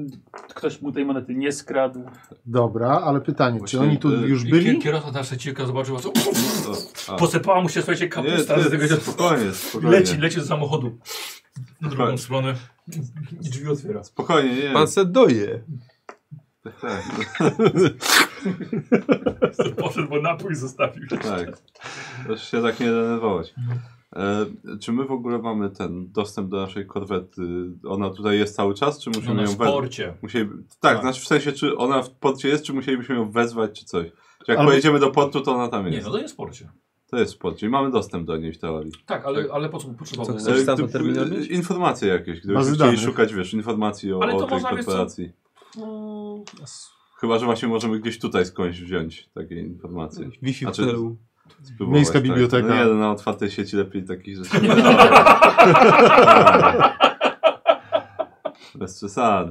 ktoś mu tej monety nie skradł. dobra, ale pytanie, Właśnie, czy oni tu e, już I byli? kier- Kierowca nasza cieka zobaczyła, co No, to, a, posypała mu się, słuchajcie, nie, kapusta to z tego jest spokojnie, leci, spokojnie. leci z samochodu na drugą Spokojnie. stronę i drzwi otwiera. Spokojnie, nie. Pan se doje. Tak, Poszedł, bo napój zostawił. tak. Proszę się tak nie denerwować. E, czy my w ogóle mamy ten dostęp do naszej korwety? Ona tutaj jest cały czas, czy No musimy na ją wezwać? sporcie. Musieli... Tak, Tak. Znaczy w sensie, czy ona w porcie jest, czy musielibyśmy ją wezwać, czy coś. Czy jak Albo- pojedziemy do portu, to ona tam Nie, jest. no to jest sporcie. To jest w porcie i mamy dostęp do niej w teorii. Tak, ale, ale po co potrzebowałby? Co chcesz? E, tam gdyby- to terminal mieć? Informacje jakieś, Bazy gdybyśmy chcieli danych. szukać, wiesz, informacji o, Ale to o tej można, wiesz co? korporacji. No, Chyba, że właśnie możemy gdzieś tutaj skądś wziąć takie informacje. Wi-Fi A w czy- celu. No, Spróbować, Miejska biblioteka. Tak. No nie, no, na otwartej sieci lepiej takich rzeczy. No, nie Bez przesad.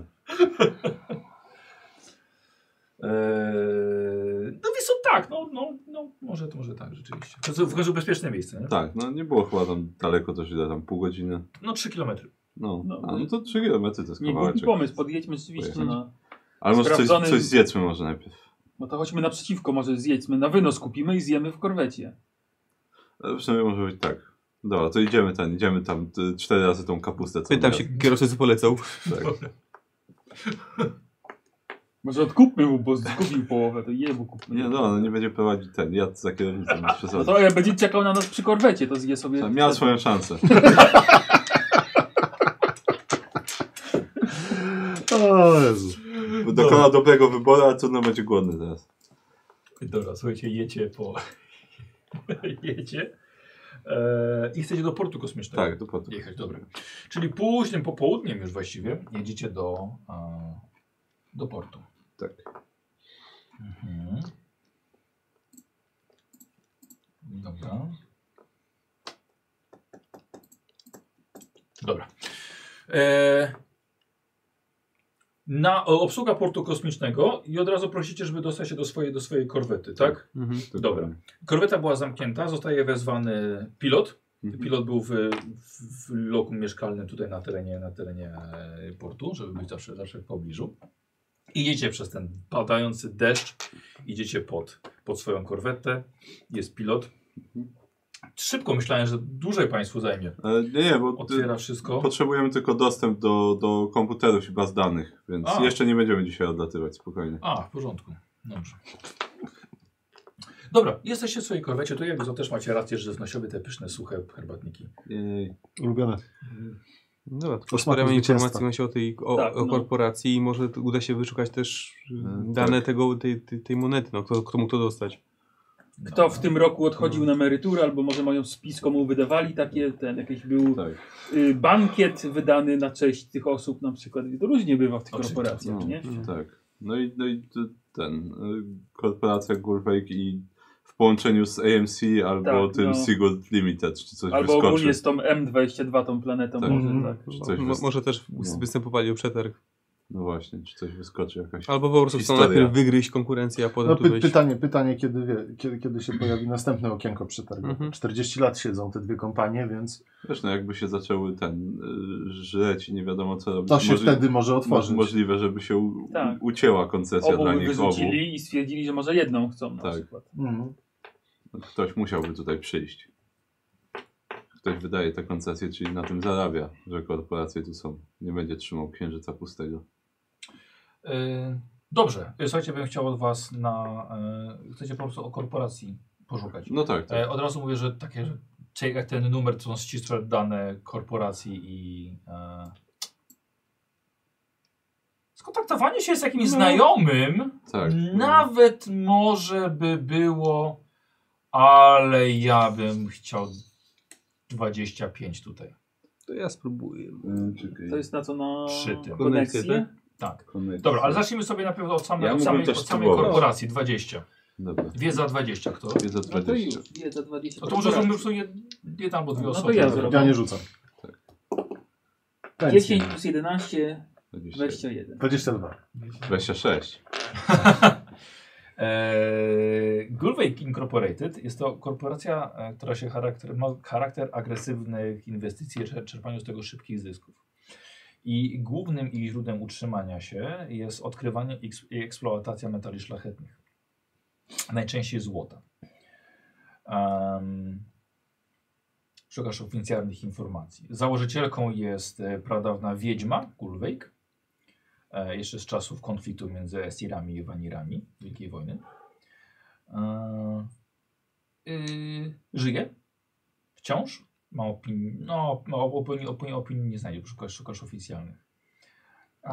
Eee, e, no wiesz co, tak, no, no, no może, to może tak rzeczywiście. To jest w końcu bezpieczne miejsce, nie? Tak, no nie było chyba tam daleko, to się da tam pół godziny. No 3 kilometry. No, No, A, no to 3 km to jest Nie głupi kawałeczek. pomysł, podjedźmy rzeczywiście Pojechać. na... Ale może coś, Sprawdzony- coś zjedzmy może najpierw. No to chodźmy naprzeciwko, może zjedźmy, na wynos kupimy i zjemy w korwecie. E, W sumie może być tak. Dobra, to idziemy tam, idziemy tam y, cztery razy tą kapustę. co Pytam miał. się, kierowcy co polecał. Może odkupmy mu, bo kupił połowę, to jemu kupmy. Nie, no, no nie będzie prowadzić ten, ja za kierownicą, bez No przesady. to jak będzie czekał na nas przy korwecie, to zje sobie... Miał swoją szansę. O Jezu. Dokona dobrego wyboru, ale trudno będzie głodny teraz. Dobra, słuchajcie, jecie po... jecie eee, i chcecie do portu kosmicznego. Tak, do potem. Jechać, dobra. Czyli późnym popołudniem już właściwie jedziecie do, e, do portu. Tak. Mhm. Dobra. Dobra. E, na o, obsługa portu kosmicznego i od razu prosicie, żeby dostać się do swojej, do swojej korwety, tak? Mhm. Dobra. Korweta była zamknięta, zostaje wezwany pilot. Mhm. Pilot był w, w, w lokum mieszkalnym tutaj na terenie, na terenie e, portu, żeby być zawsze, zawsze w pobliżu. Idziecie przez ten padający deszcz, idziecie pod, pod swoją korwetę, jest pilot. Szybko myślałem, że dłużej Państwu zajmie. E, Nie, nie, bo Otwiera wszystko. potrzebujemy tylko dostęp do, do komputerów i baz danych, więc A. jeszcze nie będziemy dzisiaj odlatywać spokojnie. A, w porządku. Dobrze. Dobra, jesteście w swojej korwecie, to jakby to też macie rację, że żywnościowe te pyszne, suche herbatniki. Jej. Ulubione. Dobra, to Posmaku pozbieramy zwycięstwa. informacji właśnie o tej o, Tak, o no. korporacji i może t- uda się wyszukać też y, E, dane tego, tej, tej, tej monety, no, kto, kto mógł to dostać. Kto w tym roku odchodził na emeryturę, albo może mają spisko mu wydawali takie, ten jakiś był Tak. y, bankiet wydany na cześć tych osób na przykład. To różnie bywa w tych Oczywiście. korporacjach, No. nie? Tak. No i, no i t- ten, y, korporacja Gulfake i w połączeniu z AMC albo Tak, tym no. Sigurd Limited, czy coś Albo wyskoczy. ogólnie z tą M22, tą planetą Tak. może, Mhm. tak. Mo- coś mo- wyst- może też wys- no. występowali o przetarg. No właśnie, czy coś wyskoczy jakaś. Albo po prostu chcą Historia. najpierw wygryźć konkurencję, a potem No, tu py wejść. pytanie, pytanie kiedy, wie, kiedy, kiedy się pojawi następne okienko przetargowe. Mhm. 40 lat siedzą te dwie kompanie, więc Wiesz, no jakby się zaczęły ten, y, żreć i nie wiadomo co robić. to się Może- wtedy może Mo- otworzyć. możliwe, żeby się u- Tak. ucięła koncesja Obu dla by nich obu. wyrzucili i stwierdzili, że może jedną chcą na Tak. przykład. Mhm. Ktoś musiałby tutaj przyjść. Ktoś wydaje te koncesje, czyli na tym zarabia, że korporacje tu są. Nie będzie trzymał księżyca pustego. E, Dobrze, E, słuchajcie, bym chciał od Was na. e, Chcecie po prostu o korporacji poszukać. No tak, tak. E, Od razu mówię, że takie, że czy jak ten numer to są ścisłe dane korporacji i. e, Skontaktowanie się z jakimś No. znajomym tak. nawet może by było, ale ja bym chciał 25 tutaj. To ja spróbuję. Mm, czekaj. To jest na co na Przy tym. koneksję? Koneksję, tak? Tak. Konekcja. Dobra, ale zacznijmy sobie na pewno od samej, Ja od mógłbym samej, też od samej spróbować. korporacji 20. Dobra. Wie za 20 kto? Jest za No to 20. już, wie, za 20 No to może zróbmy korporacji. w sumie jedna albo dwie No to osoby. ja zrobię. zrobię. Ja nie rzucam. Pensje. 10 plus 11, 20. 21. 22. 26. E, Eee, Gulwake Incorporated jest to korporacja, e, która się charakter, ma charakter agresywnych inwestycji, czer- czerpaniu z tego szybkich zysków. I głównym ich źródłem utrzymania się jest odkrywanie i eks- i eksploatacja metali szlachetnych. Najczęściej złota. Um, szukasz oficjalnych informacji. Założycielką jest e, pradawna wiedźma Gulwejk. E, jeszcze z czasów konfliktu między Esirami i Wanirami Wielkiej Wojny. E, y, żyje. Wciąż. Ma opinię. No, no opinii, opinii, opinii nie znajdzie, szukasz, szukasz oficjalnych. A...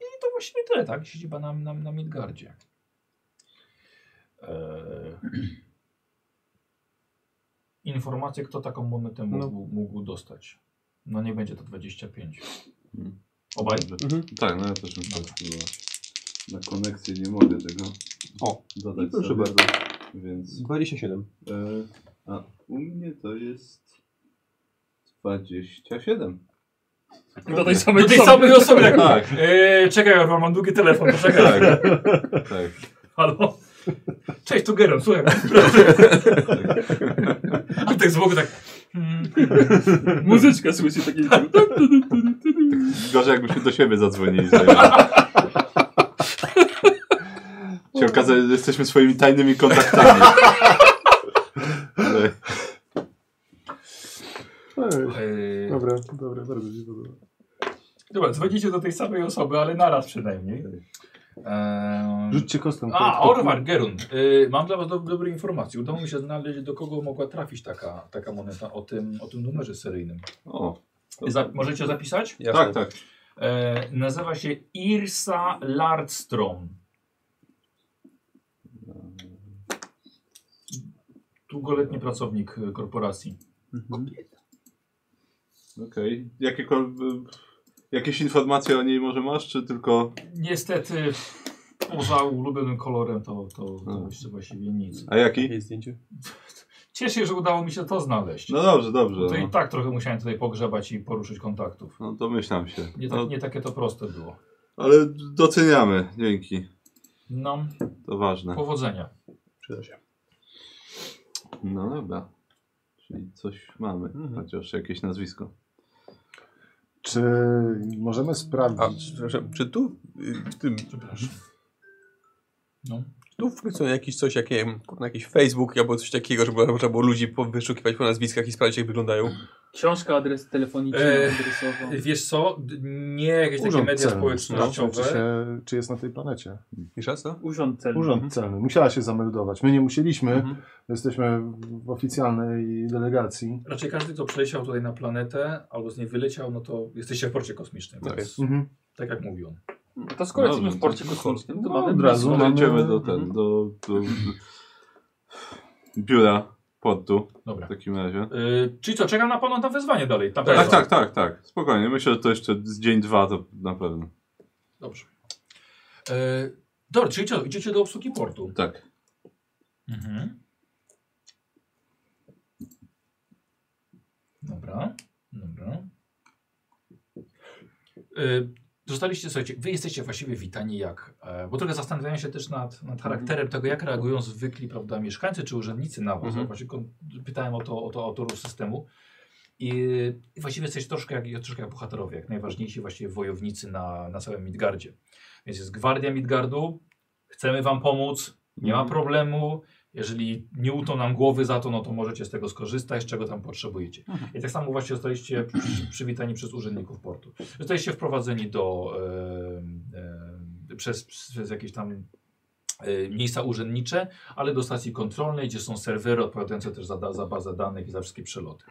I to właściwie tyle, tak? Siedziba na, na, na Midgardzie. E... Informacje, kto taką monetę mógł, mógł dostać. No nie będzie to 25. Mhm. Obaj? Mhm. Tak, no ja też bym tak spróbował. Na konekcję nie mogę tego O, dodać proszę sobie, bardzo. Więc 27. e, a u mnie to jest 27. Do tej samej Tak. Do tej osoby. samej osoby. Tak. Tak, Eee, czekaj, Orwa, mam długi telefon, poczekaj. tak, tak. Halo? Cześć, tu Geron, słuchaj. A tak z boku tak... mm, Muzyczka słyszy takiej. Tak. Gorzej jakbyśmy do siebie zadzwonili. zajęli. Się okazuje, że jesteśmy swoimi tajnymi kontaktami. Że- Ej, eee, Dobre, dobre, bardzo mi się podoba. Dobra, dzwonicie do tej samej osoby, ale naraz przynajmniej. Eee, Rzućcie kostką. a, kto- kto- Orwar, Gerun. Eee, mam dla was do, dobre informacje. Udało mi się znaleźć, do kogo mogła trafić taka, taka moneta o tym, o tym numerze seryjnym. O, Za, możecie zapisać? Jasne. tak, tak. E, nazywa się Irsa Lardstrom. Długoletni pracownik e, korporacji. Okej. Jakiekolwiek... Jakieś informacje o niej może masz, czy tylko... Niestety poza ulubionym kolorem to, to, to Mhm. właści- właściwie nic. A jaki? Jakie jest zdjęcie? Cieszę się, że udało mi się to znaleźć. No dobrze, dobrze. to i No, tak trochę musiałem tutaj pogrzebać i poruszyć kontaktów. no domyślam się. Nie, tak, No, nie takie to proste było. ale doceniamy, dzięki. No, To ważne. powodzenia. Przyda się. No dobra. Czyli coś mamy, Mhm. chociaż jakieś nazwisko. Czy możemy A, sprawdzić? przepraszam, czy tu y, w tym, Przepraszam. No. tu wkrótce jakiś coś, jak, nie wiem, kurna, jakiś Facebook albo coś takiego, żeby można było ludzi po- wyszukiwać po nazwiskach i sprawdzić jak wyglądają? Książka adres telefoniczna, Eee, adresowa. Wiesz co, D- nie jakieś takie Urząd media celny. no, tak, społecznościowe. Mhm. Czy, się, czy jest na tej planecie? Jeszcze raz, co? Urząd celny. Mhm. Urząd Celny. Musiała się zameldować. My nie musieliśmy. Mhm. Jesteśmy w oficjalnej delegacji. Raczej każdy, kto przyleciał tutaj na planetę albo z niej wyleciał, no to jesteście w porcie kosmicznym. No więc, Mhm. tak jak mówią. No To skoro Dobrze, jesteśmy w porcie to- kosmicznym, to no, mamy od razu. blisko. No, mamy- mhm. idziemy do ten, do, do biura portu Dobra. w takim razie. Yy, czyli co, czekam na pana na wezwanie dalej. Tam Tak, też- tak, tak, tak. Spokojnie. Myślę, że to jeszcze z dzień dwa to na pewno. Dobrze. Yy, dobra, czyli co, idziecie do obsługi portu. Tak. Mhm. Dobra, dobra. Yy, Zostaliście, słuchajcie, wy jesteście właściwie witani jak, e, bo trochę zastanawiałem się też nad, nad charakterem tego, jak reagują zwykli, prawda, mieszkańcy czy urzędnicy na was. Mhm. Właśnie kon- pytałem o to, o to autorów systemu i i właściwie jesteście troszkę jak, troszkę jak bohaterowie, jak najważniejsi właściwie wojownicy na, na całym Midgardzie. Więc jest gwardia Midgardu, chcemy wam pomóc, nie ma problemu, jeżeli nie utną nam głowy za to, no to możecie z tego skorzystać, czego tam potrzebujecie. I tak samo właśnie zostaliście przy- przywitani przez urzędników portu. Zostaliście wprowadzeni do em, em, przez, przez jakieś tam e, miejsca urzędnicze, ale do stacji kontrolnej, gdzie są serwery odpowiadające też za, da- za bazę danych i za wszystkie przeloty.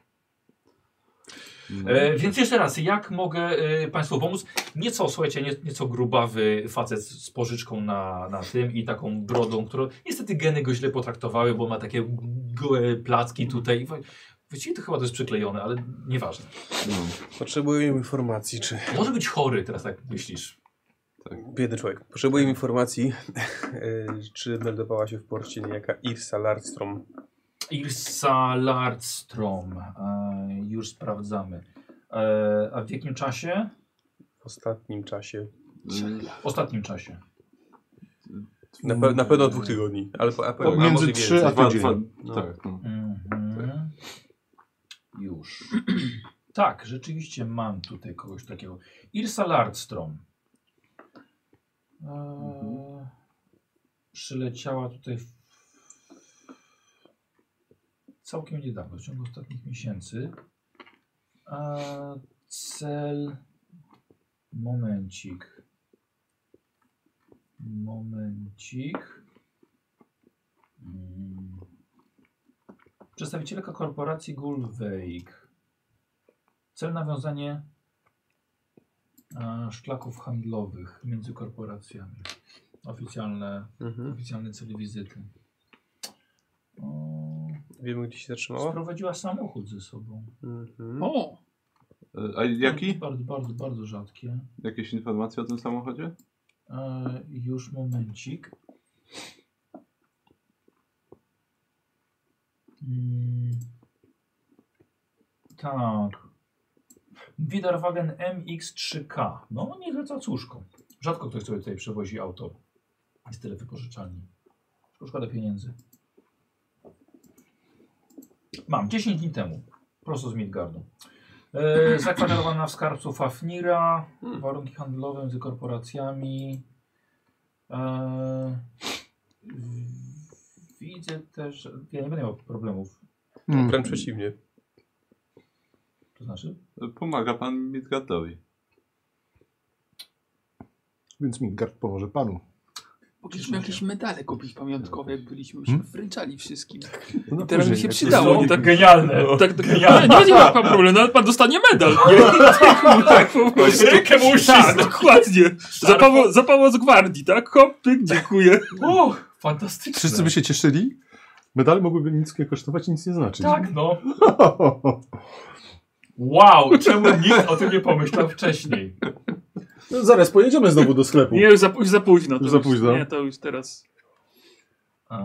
E, więc jeszcze raz, jak mogę e, Państwu pomóc? Nieco, słuchajcie, nie, nieco grubawy facet z z pożyczką na, na tym i taką brodą, którą niestety geny go źle potraktowały, bo ma takie gołe placki tutaj. Wa- Właściwie to chyba to jest przyklejone, ale nieważne. No. Potrzebuję informacji, czy... Może być chory teraz, tak myślisz. Biedny człowiek. Potrzebuję informacji, y, czy meldowała się w porcie niejaka Irsa Lardstrom. Irsa Lardstrom. E, już sprawdzamy. E, a w jakim czasie? W ostatnim czasie. Mm, W ostatnim czasie. Na, pe na pewno od dwóch tygodni, ale po, a, po, a Pomiędzy może i trzy więcej. a- Dwa, tak, tydzień. no. dwa, No. Tak. No. Mhm. Już. Tak, rzeczywiście mam tutaj kogoś takiego. Irsa Lardstrom. Eee, Przyleciała tutaj w... całkiem niedawno, w ciągu ostatnich miesięcy. Eee, cel. Momencik. Momencik. Mm. Przedstawicielka korporacji Gulveig. Cel nawiązanie e, szlaków handlowych między korporacjami. Oficjalne, Mhm. oficjalny cel wizyty. O, Wiemy, gdzie się zatrzymała. sprowadziła samochód ze sobą. Mhm. O! E, A jaki? Bardzo, bardzo, bardzo rzadkie. Jakieś informacje o tym samochodzie? E, już momencik. Mm. Tak. Widerwagen MX3K. No, nie zleca cóżką. Rzadko ktoś sobie tutaj przewozi auto. Jest tyle wypożyczalni. Szkoda pieniędzy. Mam, 10 dni temu. Prosto z Midgardu. E, zakwaterowana w skarbcu Fafnira. Warunki handlowe między korporacjami. E, w- widzę też... Ja nie będę miał problemów. Mm. Wręcz przeciwnie. To znaczy? E, Pomaga pan Midgardowi. Więc Midgard pomoże panu. Mogliśmy Mogliśmy jakieś medale kupić pamiątkowe, jak byliśmy się wręczali wszystkim. No Teraz Hmm? mi później, się jak- przydało. to tak, Genialne! tak, tak, nie, no nie ma pan problemu, nawet pan dostanie medal. tak, po prostu. Rękę mu Tak, uścisnął. dokładnie. Za Paweł, za Paweł z gwardii, tak? Hop, pyk, dziękuję. O, fantastyczne. Wszyscy by się cieszyli. Medal mógłby nic nie kosztować i nic nie znaczyć. Tak, no. Wow, czemu nikt o tym nie pomyślał wcześniej? No, zaraz pojedziemy znowu do sklepu. Nie, już za, już za późno. To Już za późno. Nie, to już teraz. Ehm,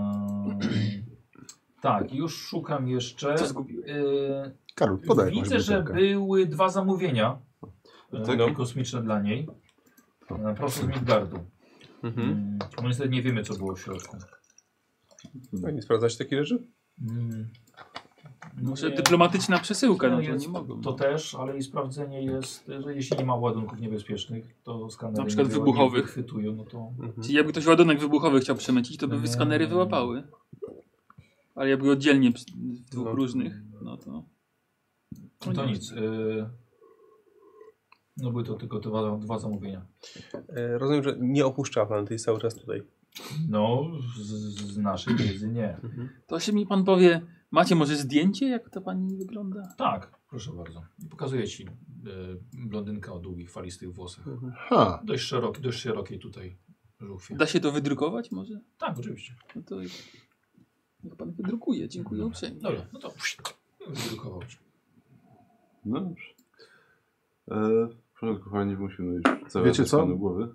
tak, już szukam jeszcze. Co zgubiłem? Yy, Karol, podaj jakąś widzę, że butelkę. były dwa zamówienia e, Tak, no. kosmiczne dla niej. E, Proszę z Midgardu. Mhm. Mm, No niestety nie wiemy, co było w środku. Fajnie sprawdzać takie rzeczy? Mm, Może nie. dyplomatyczna przesyłka, no No to jest- nie mogą. To też, ale i sprawdzenie jest, że jeśli nie ma ładunków niebezpiecznych, to skanery Na przykład nie wyła- nie wybuchowych. wychwytują, no to Mhm. Czyli jakby ktoś ładunek wybuchowy chciał przemycić, to by Nie. skanery wyłapały. Ale jakby oddzielnie ps- w dwóch No. różnych, no to... No to nic. y, No były to tylko dwa, dwa zamówienia. E, rozumiem, że nie opuszcza pan, to jest cały czas tutaj. No, z, z naszej wiedzy nie. To się mi pan powie, macie może zdjęcie, jak to pani wygląda? Tak, proszę bardzo. Pokazuję ci y, blondynkę o długich, falistych włosach. Ha, Dość szeroki, dość szerokiej tutaj żuchwie. Da się to wydrukować może? Tak, oczywiście. No to niech pan wydrukuje, dziękuję uprzejmie. Dobra, no to wydrukował ci. No dobrze. E, w porządku, pani musimy już Wiecie zawracać co? panu głowy.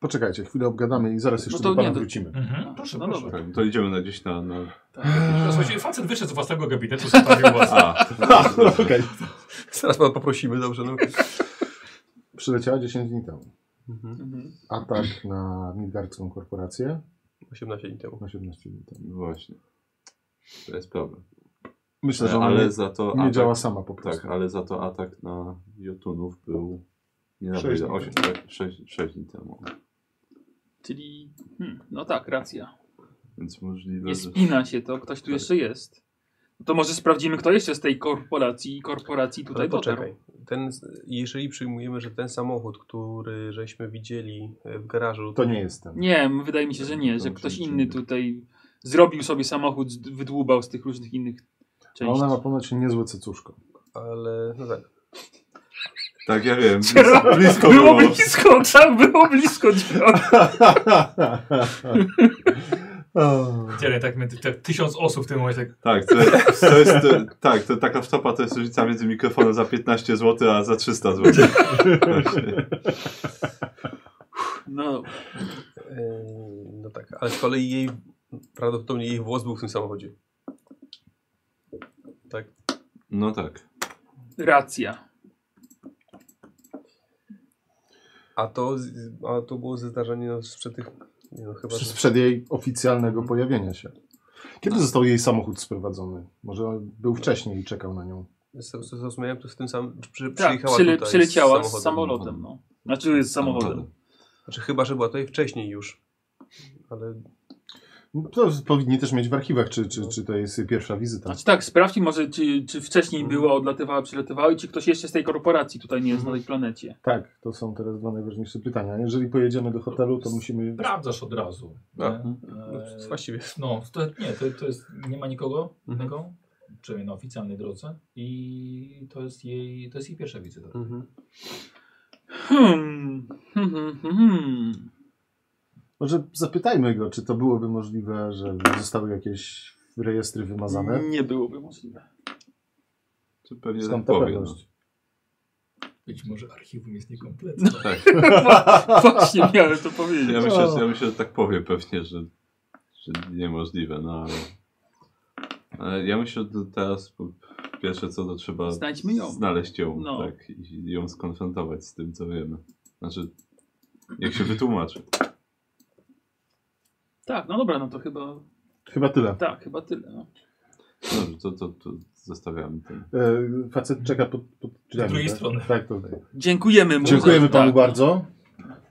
poczekajcie, chwilę obgadamy i zaraz jeszcze No to do pana nie, to- wrócimy. Mhm, proszę, No proszę. dobra. Tak, to idziemy na gdzieś na... na... Teraz Słuchajcie, facet wyszedł z własnego gabinetu, zostawił was. A, No, Okej. Zaraz pana poprosimy, dobrze. No. Przyleciała 10 dni temu. Mhm. Mhm. Atak na Midgardzką korporację 18 dni temu. 18 dni temu. no właśnie. To jest problem. Myślę, że E, ona ale nie, za to nie atak... działa sama po prostu. Tak, ale za to atak na Jotunów był... Nie Sześć naprawdę, dni 8, temu. 6, tak, dni temu. Czyli, hmm, no tak, racja. Więc możliwe, Nie że... spina się to, ktoś tu jeszcze jest. No To może sprawdzimy, kto jeszcze z tej korporacji korporacji tutaj Ale dotarł. poczekaj. Ten, jeżeli przyjmujemy, że ten samochód, który żeśmy widzieli e, w garażu, To nie jest ten. Nie, m- wydaje mi się, że nie, że Dobrze, ktoś czyli- inny tutaj zrobił sobie samochód, z- wydłubał z tych różnych innych No, A części. ona ma ponoć niezłe cycuszko. ale no tak. Tak, ja wiem. Cześć. Blisko Było było. blisko, tak, było blisko. O, Tyle, tak, my- tak tysiąc osób w tym momencie tak... Tak, to, to jest, to, tak, to taka wtopa to jest różnica między mikrofonem za 15 zł, a za 300 zł. Właśnie. No, E, no tak, ale z kolei jej, prawdopodobnie jej włos był w tym samochodzie. Tak. No tak. racja. A to, z- a to było ze zdarzenia no, sprzed tych, nie no chyba, że... Sprzed jej oficjalnego pojawienia się. Kiedy został jej samochód sprowadzony? Może był wcześniej i czekał na nią. Z- z- Zrozumiałem, to w tym samym. Czy przy, Tak, przyjechała przyle, tutaj przyleciała z samochodem? samolotem. No. Znaczy z samochodem. Znaczy, chyba, że była tutaj wcześniej już. Ale No To powinni też mieć w archiwach, czy, czy, czy to jest jej pierwsza wizyta. Znaczy tak, sprawdźmy może, czy, czy wcześniej Mhm. była, odlatywała, przylatywała i czy ktoś jeszcze z tej korporacji tutaj nie jest na tej planecie. Tak, to są teraz dwa najważniejsze pytania. Jeżeli pojedziemy do hotelu, to musimy... Sprawdzasz od razu. No. nie? no, Eee, właściwie. No, to, nie, to, to jest, nie ma nikogo Mhm. innego, przynajmniej na oficjalnej drodze i to jest jej, to jest jej pierwsza wizyta. Mhm. Hmm. Hmm, hmm, hmm. Może zapytajmy go, czy to byłoby możliwe, że zostały jakieś rejestry wymazane. Nie byłoby możliwe. To pewnie Skąd tak ta powie. No. pewność? Być może archiwum jest niekompletne. Tak. Właśnie miałem to powiedzieć. Ja myślę, że, ja myślę, że tak powie pewnie, że, że niemożliwe, no ale... ale ja myślę, że teraz po- pierwsze co to trzeba Znajdźmy ją. znaleźć ją No. tak, i ją skonfrontować z tym, co wiemy. Znaczy, jak się wytłumaczy. Tak, no dobra, no to chyba, Chyba tyle. tak, chyba tyle. No. Dobrze, to, to, to zostawiamy ten. E, Facet czeka pod, pod drzwiami. Z drugiej tak? strony. Tak, to... Dziękujemy mu. Dziękujemy za- panu tak. bardzo.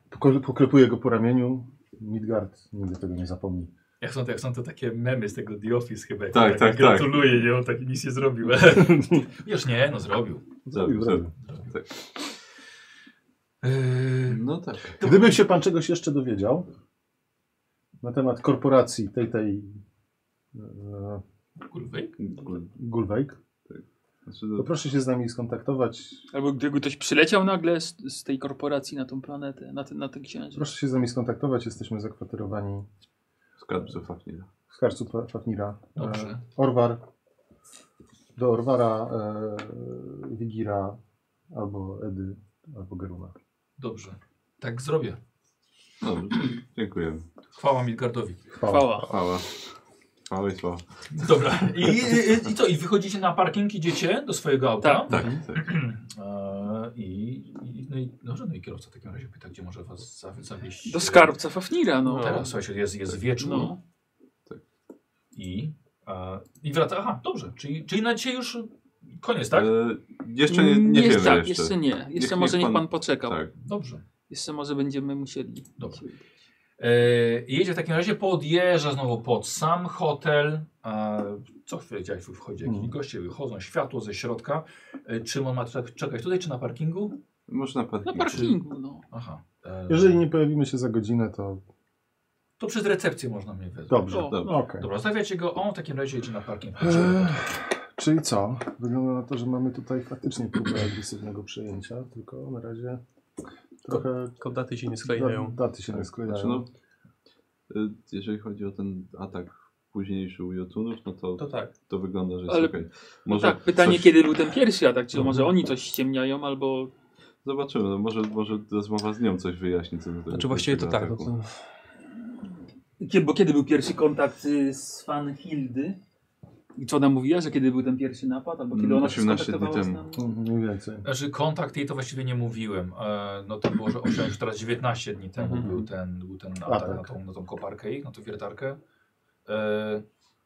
Poko- Poklepuję go po ramieniu. Midgard nigdy tego nie zapomni. Jak są, jak są to takie memy z tego The Office chyba. jak Tak, on tak, tak. Gratuluję, nie? On tak nic nie zrobił. Już nie, no zrobił. zrobił. Zrobił, zrobił. Tak. No tak. Gdyby się pan czegoś jeszcze dowiedział na temat korporacji tej, tej e, Eee. Kurwy. Gulwejk, Znaczy, to no, proszę się z nami skontaktować. Albo gdyby ktoś przyleciał nagle z, z tej korporacji na tą planetę, na ten, na ten księżyc. Proszę się z nami skontaktować. Jesteśmy zakwaterowani skarbcu Fafnira. w Harcu Fa- Fafnira. E, Dobrze. Orwar. Do Orwara, e, Wigira albo Edy, albo Geruna. Dobrze. Tak zrobię. Dobrze, dziękujemy. Chwała Midgardowi. Chwała. Chwała. Chwała i sława. Dobra. I, i, I co? I wychodzicie na parking, idziecie do swojego auta. Tak. Tak, tak. Eee, I, i, no i, no, że- no i kierowca w takim razie pyta, gdzie może was za- zawieźć. Do skarbca Fafnira, no. No, teraz słuchajcie, jest, jest wieczór No. i, e, i wraca. Aha, dobrze, czyli, czyli na dzisiaj już koniec, tak? E, jeszcze nie, nie wiemy tak, jeszcze. jeszcze nie. Jeszcze Niech- może niech niech pan- pan, poczekał. Tak. Dobrze. Jeszcze może będziemy musieli. Dobra. E, i jedzie w takim razie, podjeżdża znowu pod sam hotel. E, co chwilę gdzieś wchodzi jakieś Mhm. goście, wychodzą, światło ze środka. E, czym on ma czek- czekać tutaj, czy na parkingu? Można Na parkingu. parkingu, no. Aha. E, Jeżeli nie pojawimy się za godzinę, to To przez recepcję można mnie wezwać. dobrze. O, Dobrze. Okej. Eee. Dobra, zostawiacie go, on w takim razie jedzie na parking. Ech, Czyli co? Wygląda na to, że mamy tutaj faktycznie próbę agresywnego przejęcia, tylko na razie trochę Kodaty się nie da- sklejają. daty się nie Tak. Znaczy, sklejają. no, y, jeżeli chodzi o ten atak późniejszy u Jotunów, no to, To to, tak. wygląda, że jest Ale- okej. No Może tak, pytanie coś- kiedy był ten pierwszy atak, czy może oni coś ściemniają, albo... Zobaczymy, no może, może rozmowa z nią coś wyjaśni. Co do tego Znaczy właściwie to pierwszego tak. No ataku. to... Kie- Bo kiedy był pierwszy kontakt y, z fan Hildy? I co ona mówiła, że kiedy był ten pierwszy napad, albo kiedy Mm, ona się 18 dni skontaktowała z temu. nami? Mm, Mniej więcej. Znaczy kontakt jej to właściwie nie mówiłem. E, no to było, że 8, już teraz 19 dni temu Mhm. był ten, był ten atak Atak. na tą, na tą koparkę ich, na tą wiertarkę. E,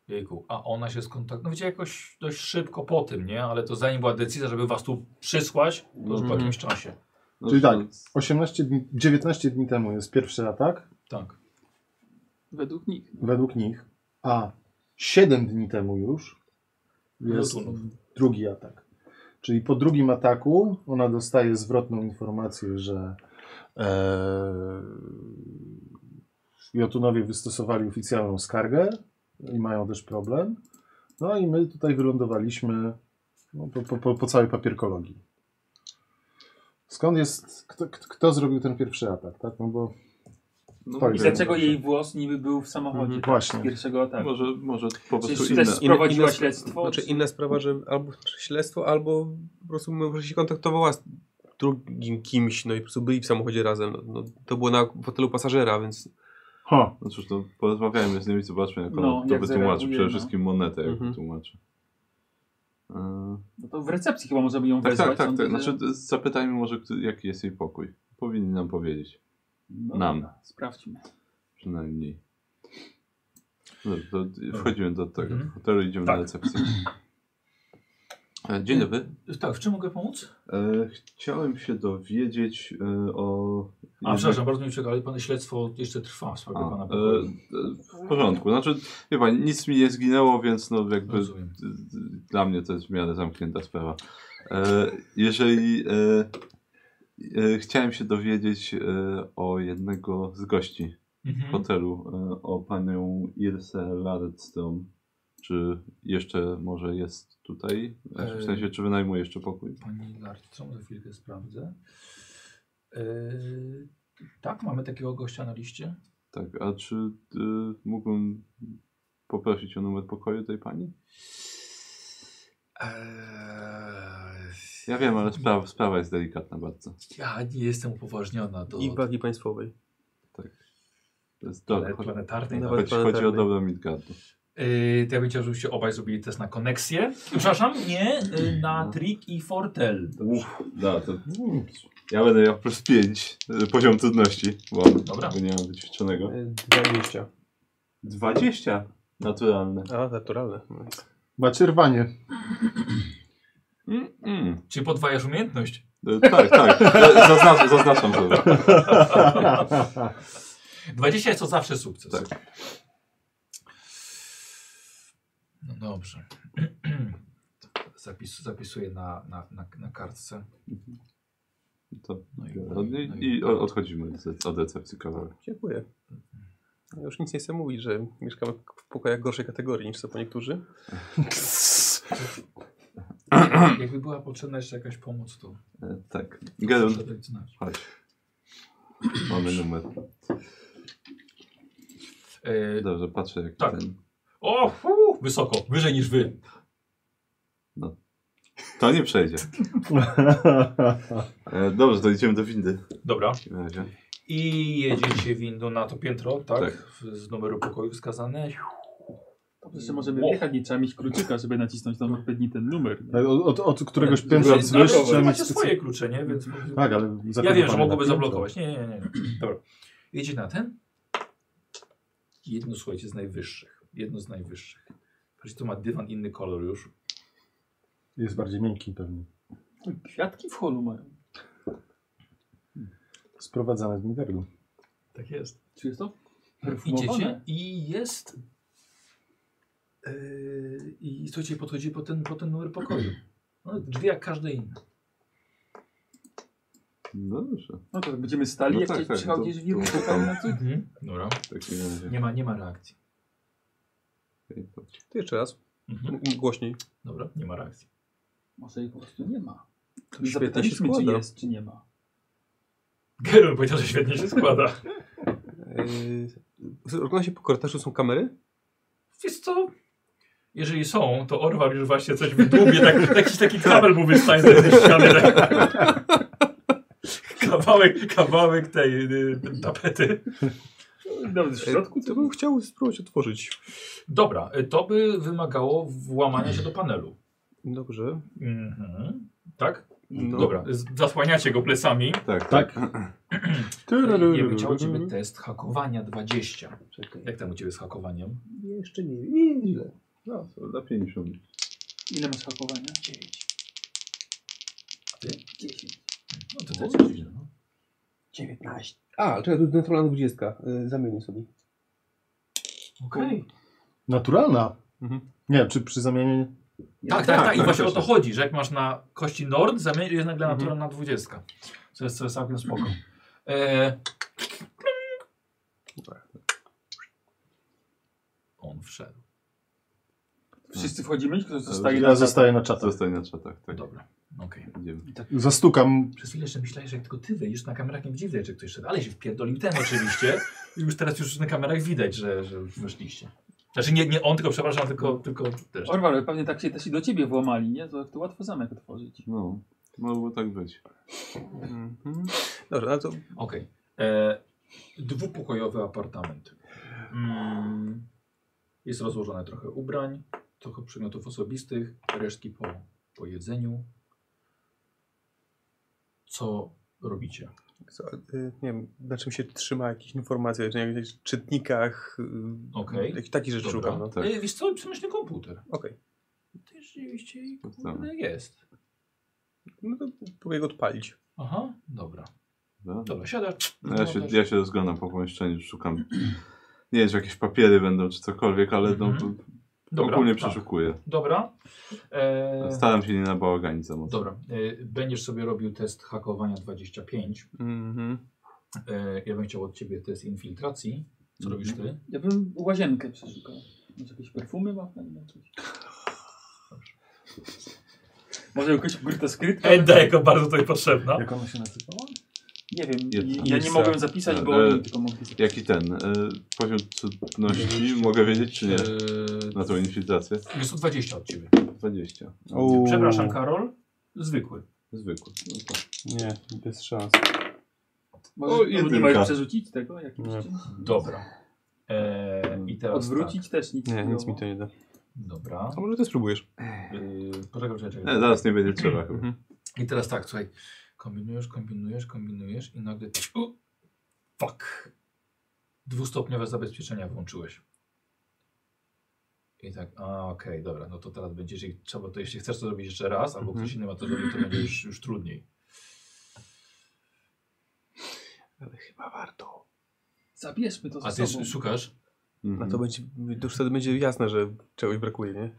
jejku, a ona się skontaktowała. No wiecie, jakoś dość szybko po tym, nie? Ale to zanim była decyzja, żeby was tu przysłać, to już po Mhm. jakimś czasie. No, Czyli tak. no, 18 dni, 19 dni temu jest pierwszy atak, Tak. Według nich. według nich, a 7 dni temu już jest Jotunów. drugi atak. Czyli po drugim ataku ona dostaje zwrotną informację, że e, Jotunowie wystosowali oficjalną skargę i mają też problem. No i my tutaj wylądowaliśmy no, po, po- po, po całej papierkologii. Skąd jest, kto, kto- kto zrobił ten pierwszy atak, tak? No bo no, Tak, I że- dlaczego jej włos niby był w samochodzie z właśnie. pierwszego tak? ataku? może, może po prostu Czyli inne. też- Prowadziła sp- śledztwo, Znaczy czy- inna sprawa, że albo czy śledztwo, albo po prostu może się kontaktowała z drugim kimś, no i po prostu byli w samochodzie razem. No, no, to było na fotelu pasażera, więc Ha, No cóż, to porozmawiajmy z nimi, zobaczmy jak No, on to jak wytłumaczy. zareaguje, Przede no. wszystkim monetę jak Mhm. wytłumaczy. Yy, No to w recepcji chyba możemy ją tak, wezwać. no tak, tak. sądzę, tak. że- Znaczy, y, zapytajmy może, kto- jaki jest jej pokój. Powinni nam powiedzieć. No, Nam. Sprawdźmy. Przynajmniej. Dobrze, to wchodzimy do tego Mhm. hotelu, idziemy Tak. na recepcję. E, E, Dzień dobry. Tak, w czym mogę pomóc? E, chciałem się dowiedzieć e, o... A, przepraszam, bardzo mi przykro, ale pan śledztwo jeszcze trwa w sprawie A, pana e, pokoju. e, w porządku. Znaczy, wie pan, nic mi nie zginęło, więc no jakby Rozumiem. d- d- dla mnie to jest w miarę zamknięta sprawa. E, jeżeli e, e, chciałem się dowiedzieć e, o jednego z gości w Mhm. hotelu, e, o panią Irsę Lardstrom. Czy jeszcze może jest tutaj? Znaczy, w E, sensie, czy wynajmuje jeszcze pokój? Pani Lartrom, za chwilkę sprawdzę. Yy, tak, mamy takiego gościa na liście. Tak, a czy y, mógłbym poprosić o numer pokoju tej pani? E, Eee, Ja wiem, ale sprawa, sprawa jest delikatna bardzo. ja nie jestem upoważniona do I wagi państwowej. To jest plane- dobre. Chodzi, planetarnej. Nawet chodzi, chodzi o planetarnej. dobro Midgardu. Yy, to ja bym chciał, żebyście obaj zrobili test na koneksję. Przepraszam, nie, yy, na trik i fortel. Uff, da, to... Ja będę miał plus 5 poziom trudności, bo Dobra. nie mam wyćwiczonego. E, 20. 20 naturalne. A, naturalne. No. Macie rwanie. Mm, mm. Czyli podwajasz umiejętność. E, Tak, tak. Ja Zaznaczam, zaznaczam Tak. sobie. 20 jest to zawsze sukces. Tak. No dobrze. Zapis, zapisuję na, na, na, na kartce. To. No i, I, i o- odchodzimy z- od recepcji kawałek. Dziękuję. Ja Już nic nie chcę mówić, że mieszkamy w pokojach gorszej kategorii niż są po niektórzy. Jakby była potrzebna jeszcze jakaś pomoc, to E, Tak. proszę Gerun, dać znać. chodź. Mamy numer. E, Dobrze, patrzę jak Tak. ten. o, fu, wysoko, wyżej niż wy. To nie przejdzie. E, Dobrze, to idziemy do windy. Dobra. W takim razie. I jedziecie windą na to piętro, tak? Tak. W- Z numeru pokoju wskazane. Dobrze, że możemy jechać, nie trzeba mieć kluczyka, żeby nacisnąć tam odpowiedni ten numer. nie? Od, od, od któregoś Ale- piętra ale- wzwyż ale- trzeba Wy mieć macie specy- swoje klucze, nie? Więc Tak, ale Ja wiem, że zaklepane mogłoby na piętro. zablokować. Nie, nie, nie. nie. Dobra. Jedzie na ten. Jedno, słuchajcie, z najwyższych. Jedno z najwyższych. Patrzcie, to ma dywan inny kolor już. Jest bardziej miękki pewnie. Kwiatki w holu mają. Sprowadzane z Midgardu. Tak jest. Czy jest to? Idziecie Perfumowane. i jest... Yy, I słuchajcie, podchodzi po ten, po ten numer pokoju. No, drzwi jak każde inne. No dobrze. No to tak będziemy stali, No jak tak, tak, tak, przyjechał to- gdzieś to- wirus, to czekamy tam. na cud. Mhm. Dobra. W takim razie. Nie ma, nie ma reakcji. Okej, dobrze. To jeszcze raz, Mhm. m- m- głośniej. Dobra, nie ma reakcji. Może jej po prostu nie ma. To świetnie się zapytaliśmy, czy składa. jest, czy nie ma. Gerol powiedział, że świetnie się składa. Yy, E, ogląda się po korytarzu, są kamery? Wiesz co? Jeżeli są, to Orwal już właśnie coś wydłubie, tak, jakiś taki kabel mu wystaje ze ściany. Tak. Kawałek, kawałek tej y, tapety. Nawet w środku E, to bym chciał spróbować otworzyć. Dobra, y, to by wymagało włamania się do panelu. Dobrze. Mhm. Tak? No. Dobra, z- zasłaniacie go plecami. Tak, tak. Tak. E, Y, Ja bym chciał u ciebie test hakowania 20. Jak tam u ciebie z hakowaniem? Jeszcze nie, nie źle. No, to dla 50. Ile masz hakowania? 9. A ty? 10. No to też jest źle, no. 19. A, czekaj, tu naturalna 20. Yy, zamienię sobie. Okej. Naturalna. Mhm. Nie, czy przy zamianie... Tak, tak, tak, tak. I tak, właśnie o właśnie. to chodzi, że jak masz na kości Nord, zamienisz jest nagle natura na 20. Co jest, co jest całkiem spoko. E... On wszedł. Wszyscy wchodzimy, ktoś zostaje Zostaje Ja na zostaję na czatach. Zostań na czatach, tak. Dobra, okej. Idziemy. Zastukam. Przez chwilę jeszcze myślałeś, że jak tylko ty wyjdziesz na kamerach, nie będzie widać, że ktoś szedł. Ale się wpierdolił ten oczywiście. I już teraz już na kamerach widać, że, że już weszliście. Znaczy nie, nie on, tylko przepraszam, tylko, tylko też. Orwal, ale pewnie tak się też i do ciebie włamali, nie? To, to łatwo zamek otworzyć. No, mogło tak być. Mhm. Dobrze, ale to Okej. E, Dwupokojowy apartament. Mm. Jest rozłożone trochę ubrań, trochę przedmiotów osobistych, resztki po, po jedzeniu. Co robicie? co, yy, nie wiem, na czym się trzyma jakieś informacje, czy na jakichś czytnikach, yy, Okej. jakich takich rzeczy Dobra. szukam. No. Tak. E, wiesz co, przemyślny komputer. Okej. Też rzeczywiście i Sprawdzamy. kurde, jest. No to próbuję go odpalić. Aha, dobra. No, Dobra, siadasz. No ja, się, Wyglądasz- ja się rozglądam po pomieszczeniu, szukam. Nie wiem, czy jakieś papiery będą, czy cokolwiek, ale no, Mhm. to Dobra, ogólnie tak. przeszukuję. Dobra. E, Staram się nie nabałaganić za mocno. dobra, e, będziesz sobie robił test hakowania 25. Mhm. E, ja bym chciał od ciebie test infiltracji. Co robisz ty? Ja bym łazienkę przeszukał. Może jakieś perfumy ma tam? jakieś? Może jakaś gryta skrytka? Edda jako bardzo tutaj potrzebna. Jak ona się nazywała? Nie wiem, Jest- i- ja nie jest, mogłem tak. zapisać, Tak, bo ale- oni tylko mogli zapisać. Jaki ten? E, poziom trudności mogę wiedzieć, czy nie? Na tą infiltrację? E, Jest to 20 od ciebie. 20. Uuu. Przepraszam, Karol. Zwykły. Zwykły. No tak. Nie, bez szans. Może, O, o, nie jedynka. mają przerzucić tego jakimś Nie. czymś? Dobra. E, I teraz Odwrócić też nic Nie, było. nic mi to nie da. Tak. Dobra. A może ty spróbujesz? Yy, poczekaj, poczekaj, E, poczekaj. zaraz nie będzie trzeba chyba. I teraz tak, słuchaj. Kombinujesz, kombinujesz, kombinujesz i nagle... U, fuck. Dwustopniowe zabezpieczenia włączyłeś. I tak, a okej, dobra, no to teraz będziesz, jeśli trzeba to, jeśli chcesz to zrobić jeszcze raz, albo ktoś inny ma to zrobić, to będzie już, już trudniej. Zabierzmy to A ze ty sobą. szukasz, A No to Mhm. będzie, to już wtedy będzie jasne, że czegoś brakuje, nie?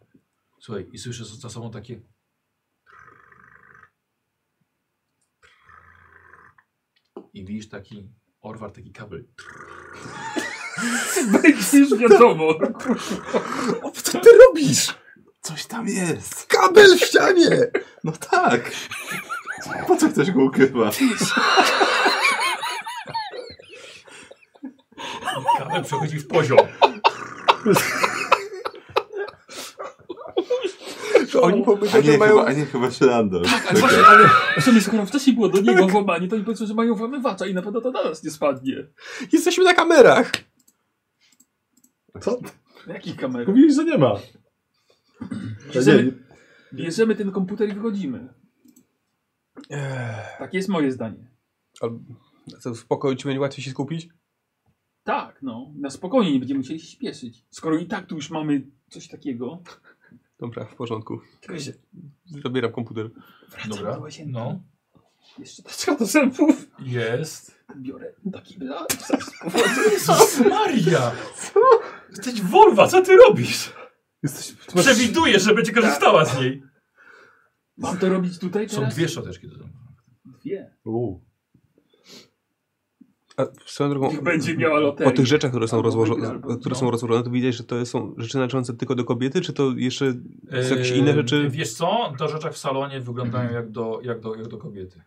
słuchaj, i słyszysz za sobą takie... I widzisz taki orwar, taki kabel. Będzie już wiadomo. Co ty robisz? Coś tam jest! Kabel w ścianie! No tak! Po co ktoś go ukrywa? Kabel przechodzi w poziom. To oni A pomyślą, nie, że mają... chyba, a nie chyba się random. Właśnie, ale w sumie skoro wcześniej było do niego włamanie, to oni powiedzą, że mają włamywacza i na pewno to na nas nie spadnie. Jesteśmy na kamerach! Co? Na jakich kamerach? Mówiłeś, że nie ma. Bierzemy, bierzemy ten komputer i wychodzimy. Eee, Tak jest moje zdanie. Albo... Co, spokojnie, ci będzie łatwiej się skupić? Tak, no. Na spokojnie nie będziemy musieli się śpieszyć. Skoro i tak tu już mamy coś takiego. Dobra, w porządku. Tylko się Zabieram komputer. wracam Dobra, do łazienki. no. Jeszcze taczka do zębów. Jest. Biorę taki bla. Maria! Jesteś wolwa, co ty robisz? Jesteś... Przewidujesz, że będzie korzystała z niej. Mam to robić tutaj Są teraz? dwie szczoteczki do zębów. Dwie. U. A swoją drogą... Niech będzie miała Po loterię. tych rzeczach, które są, Albo rozłożo wygra, albo- które no. są rozłożone, to widać, że to są rzeczy należące tylko do kobiety, czy to jeszcze są jakieś Eee, inne rzeczy? Wiesz co? Te rzeczach w salonie wyglądają jak do, jak do, jak do kobiety.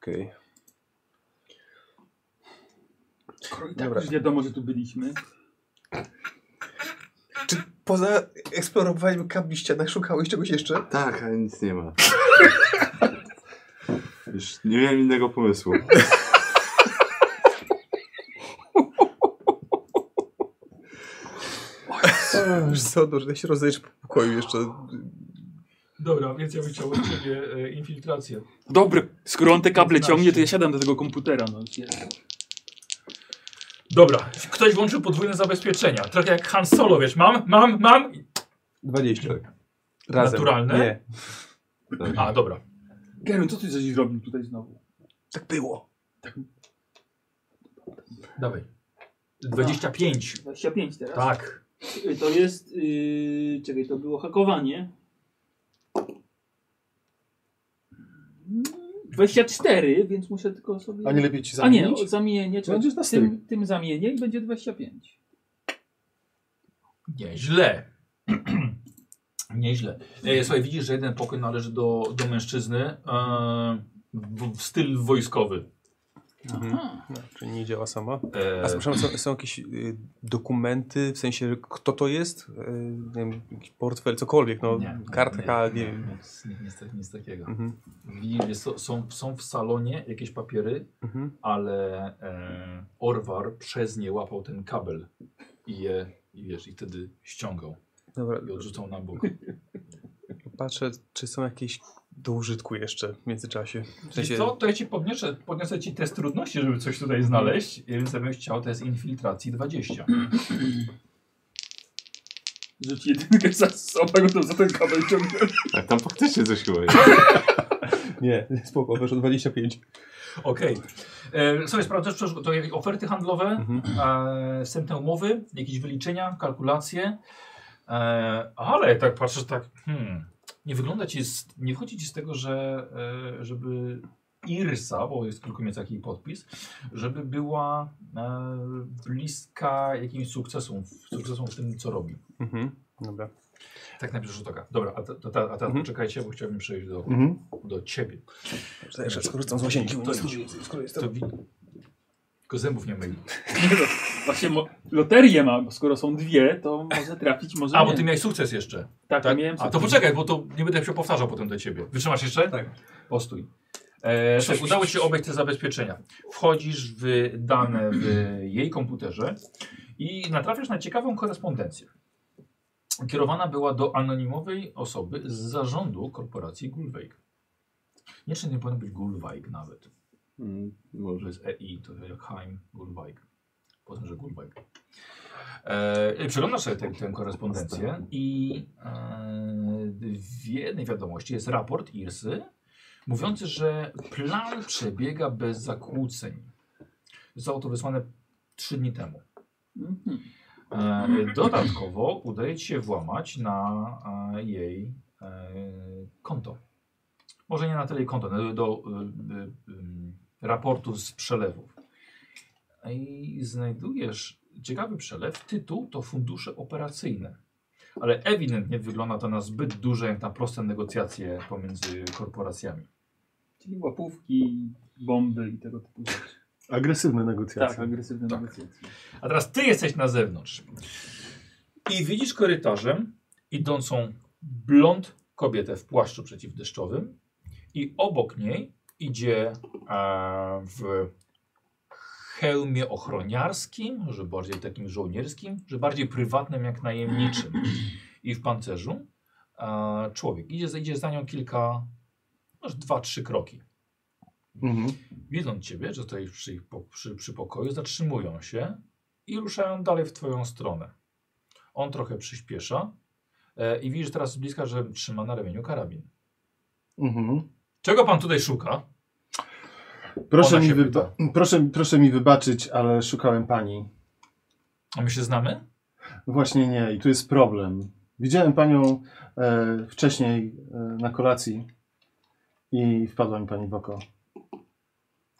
Okej. Skoro i tak Dobra. już wiadomo, że tu byliśmy. Czy poza eksplorowaniem kabli ścianach szukałeś czegoś jeszcze? Tak, ale nic nie ma. Już nie miałem innego pomysłu. Wiesz co, dobrze, jak się rozdajesz po pokoju jeszcze. Dobra, więc ja bym chciał od ciebie e, infiltrację. Dobry, skoro on te kable 15. ciągnie, to ja siadam do tego komputera. No, jest. Dobra, ktoś włączył podwójne zabezpieczenia. Trochę jak Han Solo, wiesz, mam, mam, mam. 20. Razem. Naturalne? Nie. A, dobra. Gerun, co ty coś robił tutaj znowu? Tak było. Dawaj. 25. 25 teraz. Tak. Y, To jest. Yy, czekaj, to było hakowanie. Mm, 24, więc muszę tylko sobie. A nie lepiej ci A nie, zamienić? o, zamienię. Czekaj, Będziesz na tym, tym zamienię i będzie 25. Nieźle. Nieźle. E, Słuchaj, widzisz, że jeden pokój należy do, do mężczyzny. E, w, w styl wojskowy. Aha. Czyli Mhm. No, nie działa sama. E, A słyszałem, są, są jakieś y, dokumenty, w sensie kto to jest? Y, nie wiem, jakiś portfel, cokolwiek, no. nie, kartka, nie wiem. Nic, nic, nic takiego. Mhm. Widzisz, że są- są, są w salonie jakieś papiery, Mhm. ale e, Orwar przez nie łapał ten kabel i je, i wiesz, i wtedy ściągał Dobra, i odrzucał na bok. patrzę, czy są jakieś do użytku jeszcze w międzyczasie. W Wiesz sensie, co, to ja ci podniosę, podniosę ci test trudności, żeby coś tutaj znaleźć. Więc ja bym chciał test infiltracji 20. Rzuć jedynkę za sobą, to za ten kabel ciągnę. Tak, tam faktycznie coś chyba jest. Nie, spoko, weszło 25. Okej. E, Sobie sprawdzasz, przecież to jakieś oferty handlowe, Mhm. e, wstępne umowy, jakieś wyliczenia, kalkulacje. E, ale tak patrzysz tak, hmm, nie wygląda ci, z, nie wchodzi ci z tego, że e, żeby Irsa, bo jest tylko między taki podpis, żeby była e, bliska jakimś sukcesom, sukcesom w tym, co robi. Mhm. Dobra. Tak na pierwszy rzut oka. Dobra, a, ta- ta, a teraz Mhm. poczekajcie, bo chciałbym przejść do, Mhm. do ciebie. Jeszcze skorzystam z łazienki. To jest- To wi- Tylko zębów nie myli. Nie no, Właśnie mo- loterię mam, bo skoro są dwie, to może trafić, może A, nie. bo ty miałeś sukces jeszcze. tak, Tak? miałem A to sukces. poczekaj, bo to nie będę się powtarzał potem do ciebie. Wytrzymasz jeszcze? Tak. Postój. E, tak, udało ci się obejść te zabezpieczenia. Wchodzisz w dane w jej komputerze i natrafiasz na ciekawą korespondencję. Kierowana była do anonimowej osoby z zarządu korporacji Gulweig. Nie, czy nie powinno być Gulweig nawet. Mm, To Może. jest EI, to jak Heim Gulweig. Poznam, że Gulweig. E, przeglądasz sobie tę, tę korespondencję i e, w jednej wiadomości jest raport Irsy mówiący, że plan przebiega bez zakłóceń. Zostało to wysłane trzy dni temu. Mhm. E, dodatkowo udaje ci się włamać na e, jej e, konto. Może nie na tyle jej konto, ale do y, y, y, raportu z przelewów. E, I znajdujesz ciekawy przelew. Tytuł to fundusze operacyjne. Ale ewidentnie wygląda to na zbyt duże, jak na proste negocjacje pomiędzy korporacjami. Czyli łapówki, bomby i tego typu rzeczy. Agresywne Tak, negocjacje. agresywne Tak. negocjacje. A teraz ty jesteś na zewnątrz. I widzisz korytarzem idącą blond kobietę w płaszczu przeciwdeszczowym. I obok niej idzie e, w hełmie ochroniarskim, że bardziej takim żołnierskim, że bardziej prywatnym jak najemniczym. I w pancerzu e, człowiek. Idzie, za- idzie za nią kilka, może dwa, trzy kroki. Mhm. Widząc ciebie, że stoisz przy, ich po- przy, przy pokoju, zatrzymują się i ruszają dalej w twoją stronę. On trochę przyspiesza e, i widzisz teraz z bliska, że trzyma na ramieniu karabin. Mhm. Czego pan tutaj szuka? Proszę, Ona mi się wyba- proszę, proszę mi wybaczyć, ale szukałem pani. A my się znamy? No Właśnie nie, i tu jest problem. Widziałem panią e, wcześniej e, na kolacji i wpadła mi pani w oko.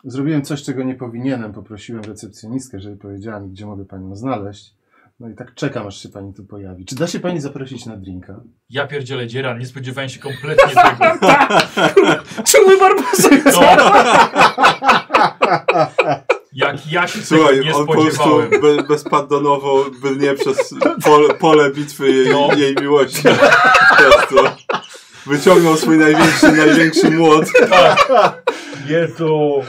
Zrobiłem coś, czego nie powinienem. Poprosiłem recepcjonistkę, żeby powiedziała mi, gdzie mogę panią znaleźć. No i tak czekam, aż się pani tu pojawi. Czy da się pani zaprosić na drinka? Ja pierdzielę dzieran, nie spodziewałem się kompletnie tego. Czemu Barbosa? No. Jak ja się tego Słuchaj, nie on po prostu spodziewałem. be, bezpardonowo brnie przez pole, pole bitwy jej, No. jej miłości. Po prostu. Wyciągnął swój największy, największy młot Tak. Nie to...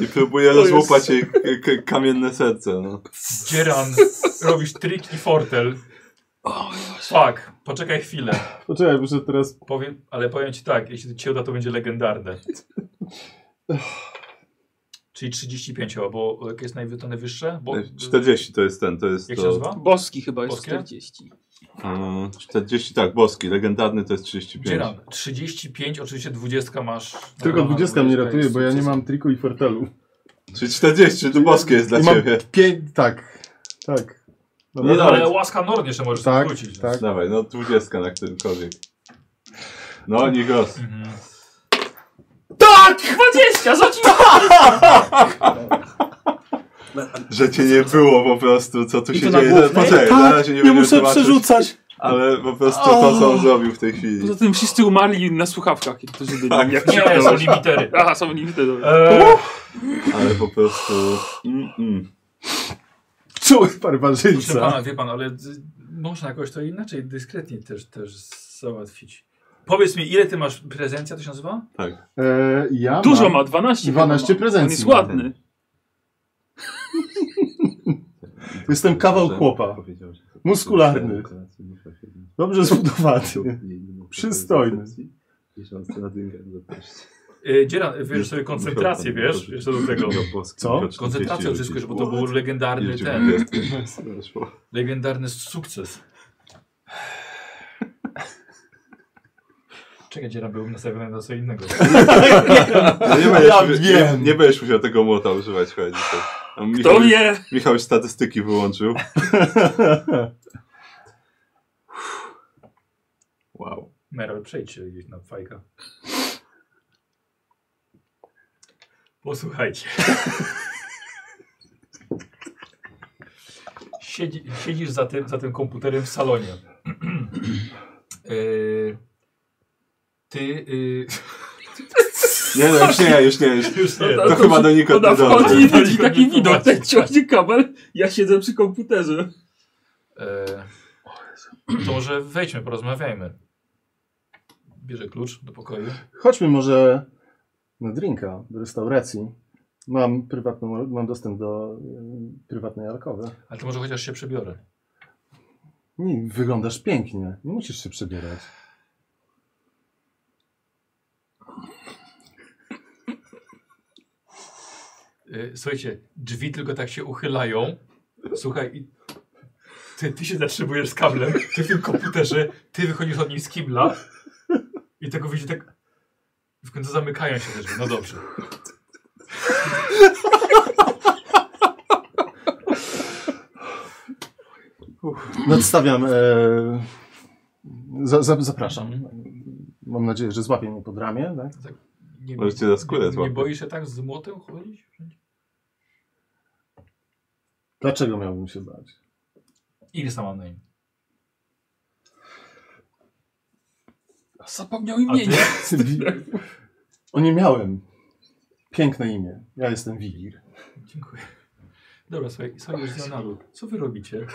i próbuje rozłupać jej k- k- kamienne serce. No. Dzieran, robisz trik i fortel. Fuck, poczekaj chwilę. Poczekaj, muszę teraz... Powiem, ale powiem ci tak, jeśli to ci uda, to będzie legendarne. Czyli 35, bo jakie jest najwy, to najwyższe? Bo, 40 to jest ten, to jest jak się to. nazywa? Boski chyba jest Boskie? 40. Mm, 40 tak, boski, legendarny to jest 35. Dzieran, 35, oczywiście 20 masz. Tylko Dobra, 20 mnie jest ratuje, bo ja nie sukces. mam triku i fortelu. Czyli 40, to boskie jest dla I mam ciebie. Pięć... Tak, tak. No Nie, no, ale nawet. łaska Norn jeszcze możesz Tak, tak, wrócić. tak. Dawaj, no 20 na którymkolwiek. No, Nigos. Mhm. Tak! 20! Zaciąłem! Że cię nie było po prostu, co tu się dzieje. Poczekaj, na tak, razie nie nie, będziemy muszę tłumaczyć, przerzucać. Ale po prostu to, co on zrobił w tej chwili. Poza tym wszyscy umarli na słuchawkach, jak to się byli. Tak, jak Nie, no, są limitery. Aha, są limity, dobra. Eee, Ale po prostu... Mm, mm. Czuły proszę barbarzyńca. pana, wie pan, ale z- można jakoś to inaczej, dyskretnie też, też załatwić. Powiedz mi, ile ty masz prezencja, to się nazywa? Tak. E, ja Dużo no. mam- ma, 12. chyba 12 ma. prezencji On jest ładny. Jestem kawał chłopa. Muskularny. Dobrze zbudowany. Przystojny. Yy, Dzieran, wiesz sobie koncentrację, wiesz? Jeszcze do tego. Co? Koncentrację odzyskujesz, bo to był legendarny ten, legendarny sukces. Czekaj, dzieram byłem nastawiony na co innego. No nie, będziesz, nie, nie będziesz musiał tego młota używać chyba dzisiaj. No, Michał, Kto wie? Michał statystyki wyłączył. Wow. Meral, przejdź się gdzieś na fajka. Posłuchajcie. Siedzi, siedzisz za tym, za tym komputerem w salonie. Yy, ty. Yy, Nie no, już nie, już nie. Już. już nie. To chyba do nikąd Ona nie wchodzi dojdzie. i widzi taki Dokładnie. widok, ten ciągnie kabel, ja siedzę przy komputerze. E, to może wejdźmy, porozmawiajmy. Bierze klucz do pokoju. Chodźmy może na drinka do restauracji. Mam prywatną, mam dostęp do y, prywatnej alkowy. Ale to może chociaż się przebiorę. Nie, wyglądasz pięknie. Nie musisz się przebierać. Y, Słuchajcie, drzwi tylko tak się uchylają. Słuchaj, i ty, ty się zatrzymujesz z kablem, ty w tym komputerze, ty wychodzisz od niej z kibla i tego widzi tak. W końcu zamykają się te drzwi. No dobrze. Nadstawiam. E, za, za, zapraszam. Mhm. Mam nadzieję, że złapie mnie pod ramię. Tak? Nie, Może cię za skórę nie, nie złapie. boisz się tak z młotem chodzić? Dlaczego miałbym się bać? Ile sama na imię? Zapomniał imienia. ty? O nie miałem. Piękne imię. Ja jestem Wilir. Dziękuję. Dobra, słuchaj, słuchaj już z Jonalu. Co wy robicie?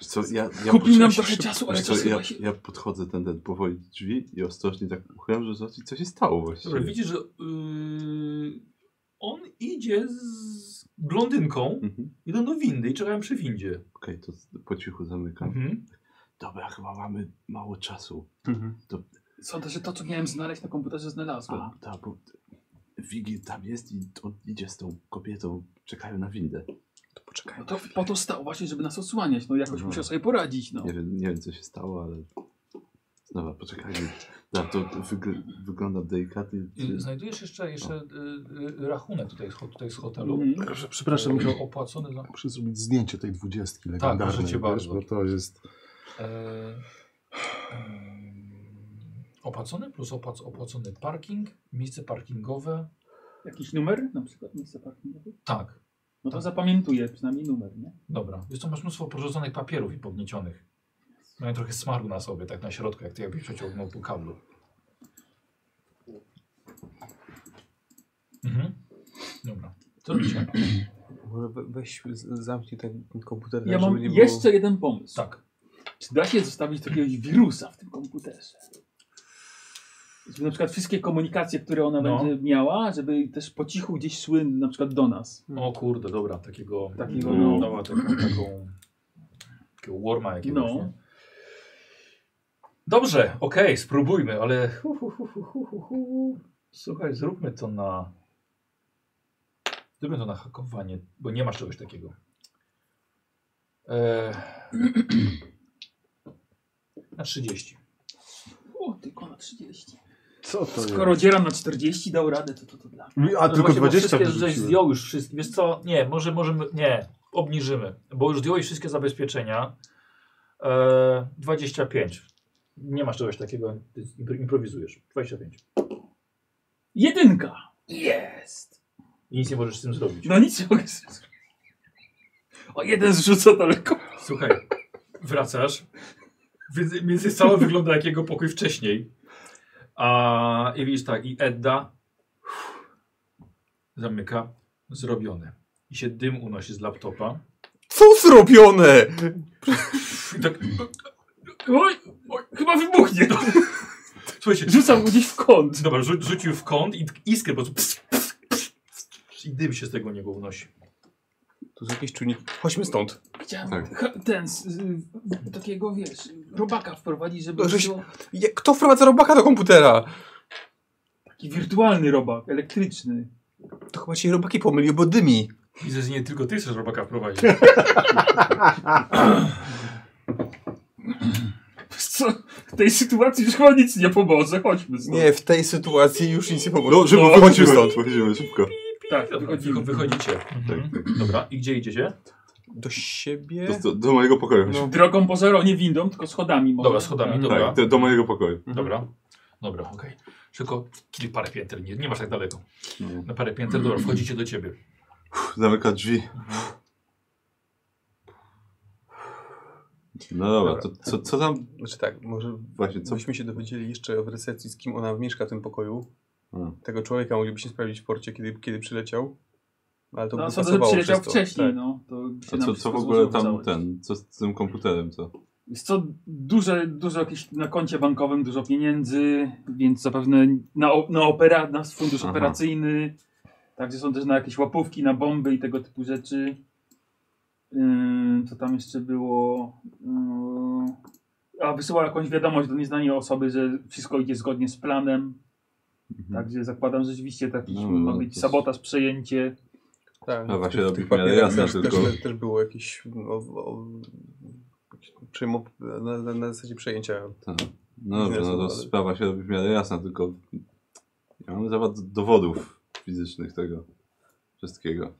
Wiesz Co, ja, ja Kupi potrzebuję nam się trochę szybko- czasu, ale wiesz co, czasu ja, właśnie- ja podchodzę ten, ten powoli do drzwi i ostrożnie tak uchylam, żeby zobaczyć co się stało Dobra, właściwie. widzisz, że yy, on idzie z blondynką, Mhm. idą do windy i czekają przy windzie. Okej, to z- po cichu zamykam. Mhm. Dobra, chyba mamy mało czasu. Mhm. Sądzę, że to, co miałem znaleźć na komputerze, znalazłem. A, ta, bo Wigi tam jest i on idzie z tą kobietą, czekają na windę. No to po to stał właśnie, żeby nas osłaniać. No jakoś Mhm. musiał sobie poradzić, no. Nie wiem, nie wiem co się stało, ale... Dobra, poczekajmy. Dobra, to wygl wygląda delikatnie. I no Znajdujesz jeszcze, jeszcze y, y, rachunek tutaj z, ho- tutaj z hotelu. Mhm. Proszę, Tak, przepraszam, Michał. Był opłacony za... Muszę zrobić zdjęcie tej dwudziestki legendarnej, proszę cię bardzo. bo to jest... E, e, opłacony plus opłac, opłacony parking, miejsce parkingowe. Jakiś numer na przykład miejsce parkingowe? Tak, No to zapamiętuję przynajmniej numer, nie? dobra. Wiesz co, masz mnóstwo porzuconych papierów i podniecionych. Mają trochę smaru na sobie, tak na środku, jak ty jakbyś przeciągnął po kablu. Mhm. Dobra. Co robicie? Może we- weź, z- zamknij ten komputer, Ja tak, mam żeby nie było... jeszcze jeden pomysł. Tak. Czy da się zostawić jakiegoś wirusa w tym komputerze? Żeby na przykład wszystkie komunikacje, które ona No. będzie miała, żeby też po cichu gdzieś szły na przykład do nas. O kurde, dobra, takiego... Mm. Takiego, No. no. Dała taką, taką takiego warma jakiegoś. No. nie? Dobrze, okej, spróbujmy, ale hu, hu, hu, hu, hu, hu, hu. słuchaj, zróbmy to na zróbmy to na hakowanie, bo nie masz czegoś takiego. Eee, na 30. O, tylko na 30. Tak. Co to Skoro dzieram na 40 dał radę, to to, to dla mnie. jest? A, tylko No właśnie, bo 20 wszystkie, żeś wyrzuciłem. zdjął już wszystkie, wiesz co, nie, może możemy, nie, obniżymy, bo już zdjąłeś wszystkie zabezpieczenia. Eee, 25. Nie masz czegoś takiego, ty impro- improwizujesz. 25. Jedynka! Jest! I nic nie możesz z tym zrobić. No nic nie mogę sobie zrobić. O, jeden zrzuca daleko. Słuchaj, wracasz, więc, więc jest cały wygląda jak jego pokój wcześniej. A, I widzisz tak, i Edda uff, zamyka, zrobione. I się dym unosi z laptopa. Co zrobione? I tak, Oj, oj, chyba wybuchnie. słuchajcie, Rzucam go gdzieś w Znaczy, kąt. Dobra, rzu rzucił w kąt i iskry po prostu ps, ps, ps, ps, i dym się z tego niego unosi. Tu są jakieś czujniki. Chodźmy stąd. Chciałem Tak. ha- ten, z, y, takiego wiesz, robaka wprowadzić, żeby No, żeś- było Je- Kto wprowadza robaka do komputera? taki wirtualny robak, elektryczny. To chyba się robaki pomyliły, bo dymi. I że nie tylko ty chcesz robaka wprowadzić. co? W tej sytuacji już chyba nic nie pomoże, chodźmy stąd. Nie, w tej sytuacji już nic nie pomoże. No, szybko, No, wychodzimy chodźmy stąd, wychodzimy szybko. tak, Dobra, wychodzimy. wy- wychodzicie. Tak. Mhm. Dobra, i gdzie idziecie? Do siebie? Do, do, do mojego pokoju. No. Drogą po zero, nie windą, tylko schodami może. Dobra, schodami, Tak. dobra. Tak, do, do mojego pokoju. Dobra. Dobra, okej. Tylko kilka parę pięter, nie, nie masz tak daleko. No. Nie. Na parę pięter, dobra, wchodzicie do ciebie. Zamyka drzwi. No dobra, Dobra. to, co, co tam Znaczy tak, może właśnie, co? byśmy się dowiedzieli jeszcze w recepcji, z kim ona mieszka w tym pokoju. Hmm. Tego człowieka moglibyśmy sprawdzić w porcie, kiedy, kiedy przyleciał. Ale to No, by sądzę, że pasowało przyleciał wszystko. wcześniej, Tak. no. To by się A nam co, co wszystko w ogóle złożyło tam całość. ten, co z tym komputerem, co? Jest co, duże, dużo jakieś na koncie bankowym, dużo pieniędzy, więc zapewne na, o- na, opera, na fundusz Aha. operacyjny. Także są też na jakieś łapówki, na bomby i tego typu rzeczy. Ym, co tam jeszcze było? Ym, a wysyłał jakąś wiadomość do nieznanej osoby, że wszystko idzie zgodnie z planem. Także zakładam, że rzeczywiście taki Mhm. No, ma no, być to- sabotaż, przejęcie. Tak, A No, właśnie w tych- robi w tych w miarę papierach jasno, też, tylko- też, też było jakieś no, o, przyjmo, na, na, na zasadzie przejęcia. No dobrze, no to Zrezygnowali. sprawa się robi w miarę jasna, tylko nie mamy za bardzo dowodów fizycznych tego wszystkiego.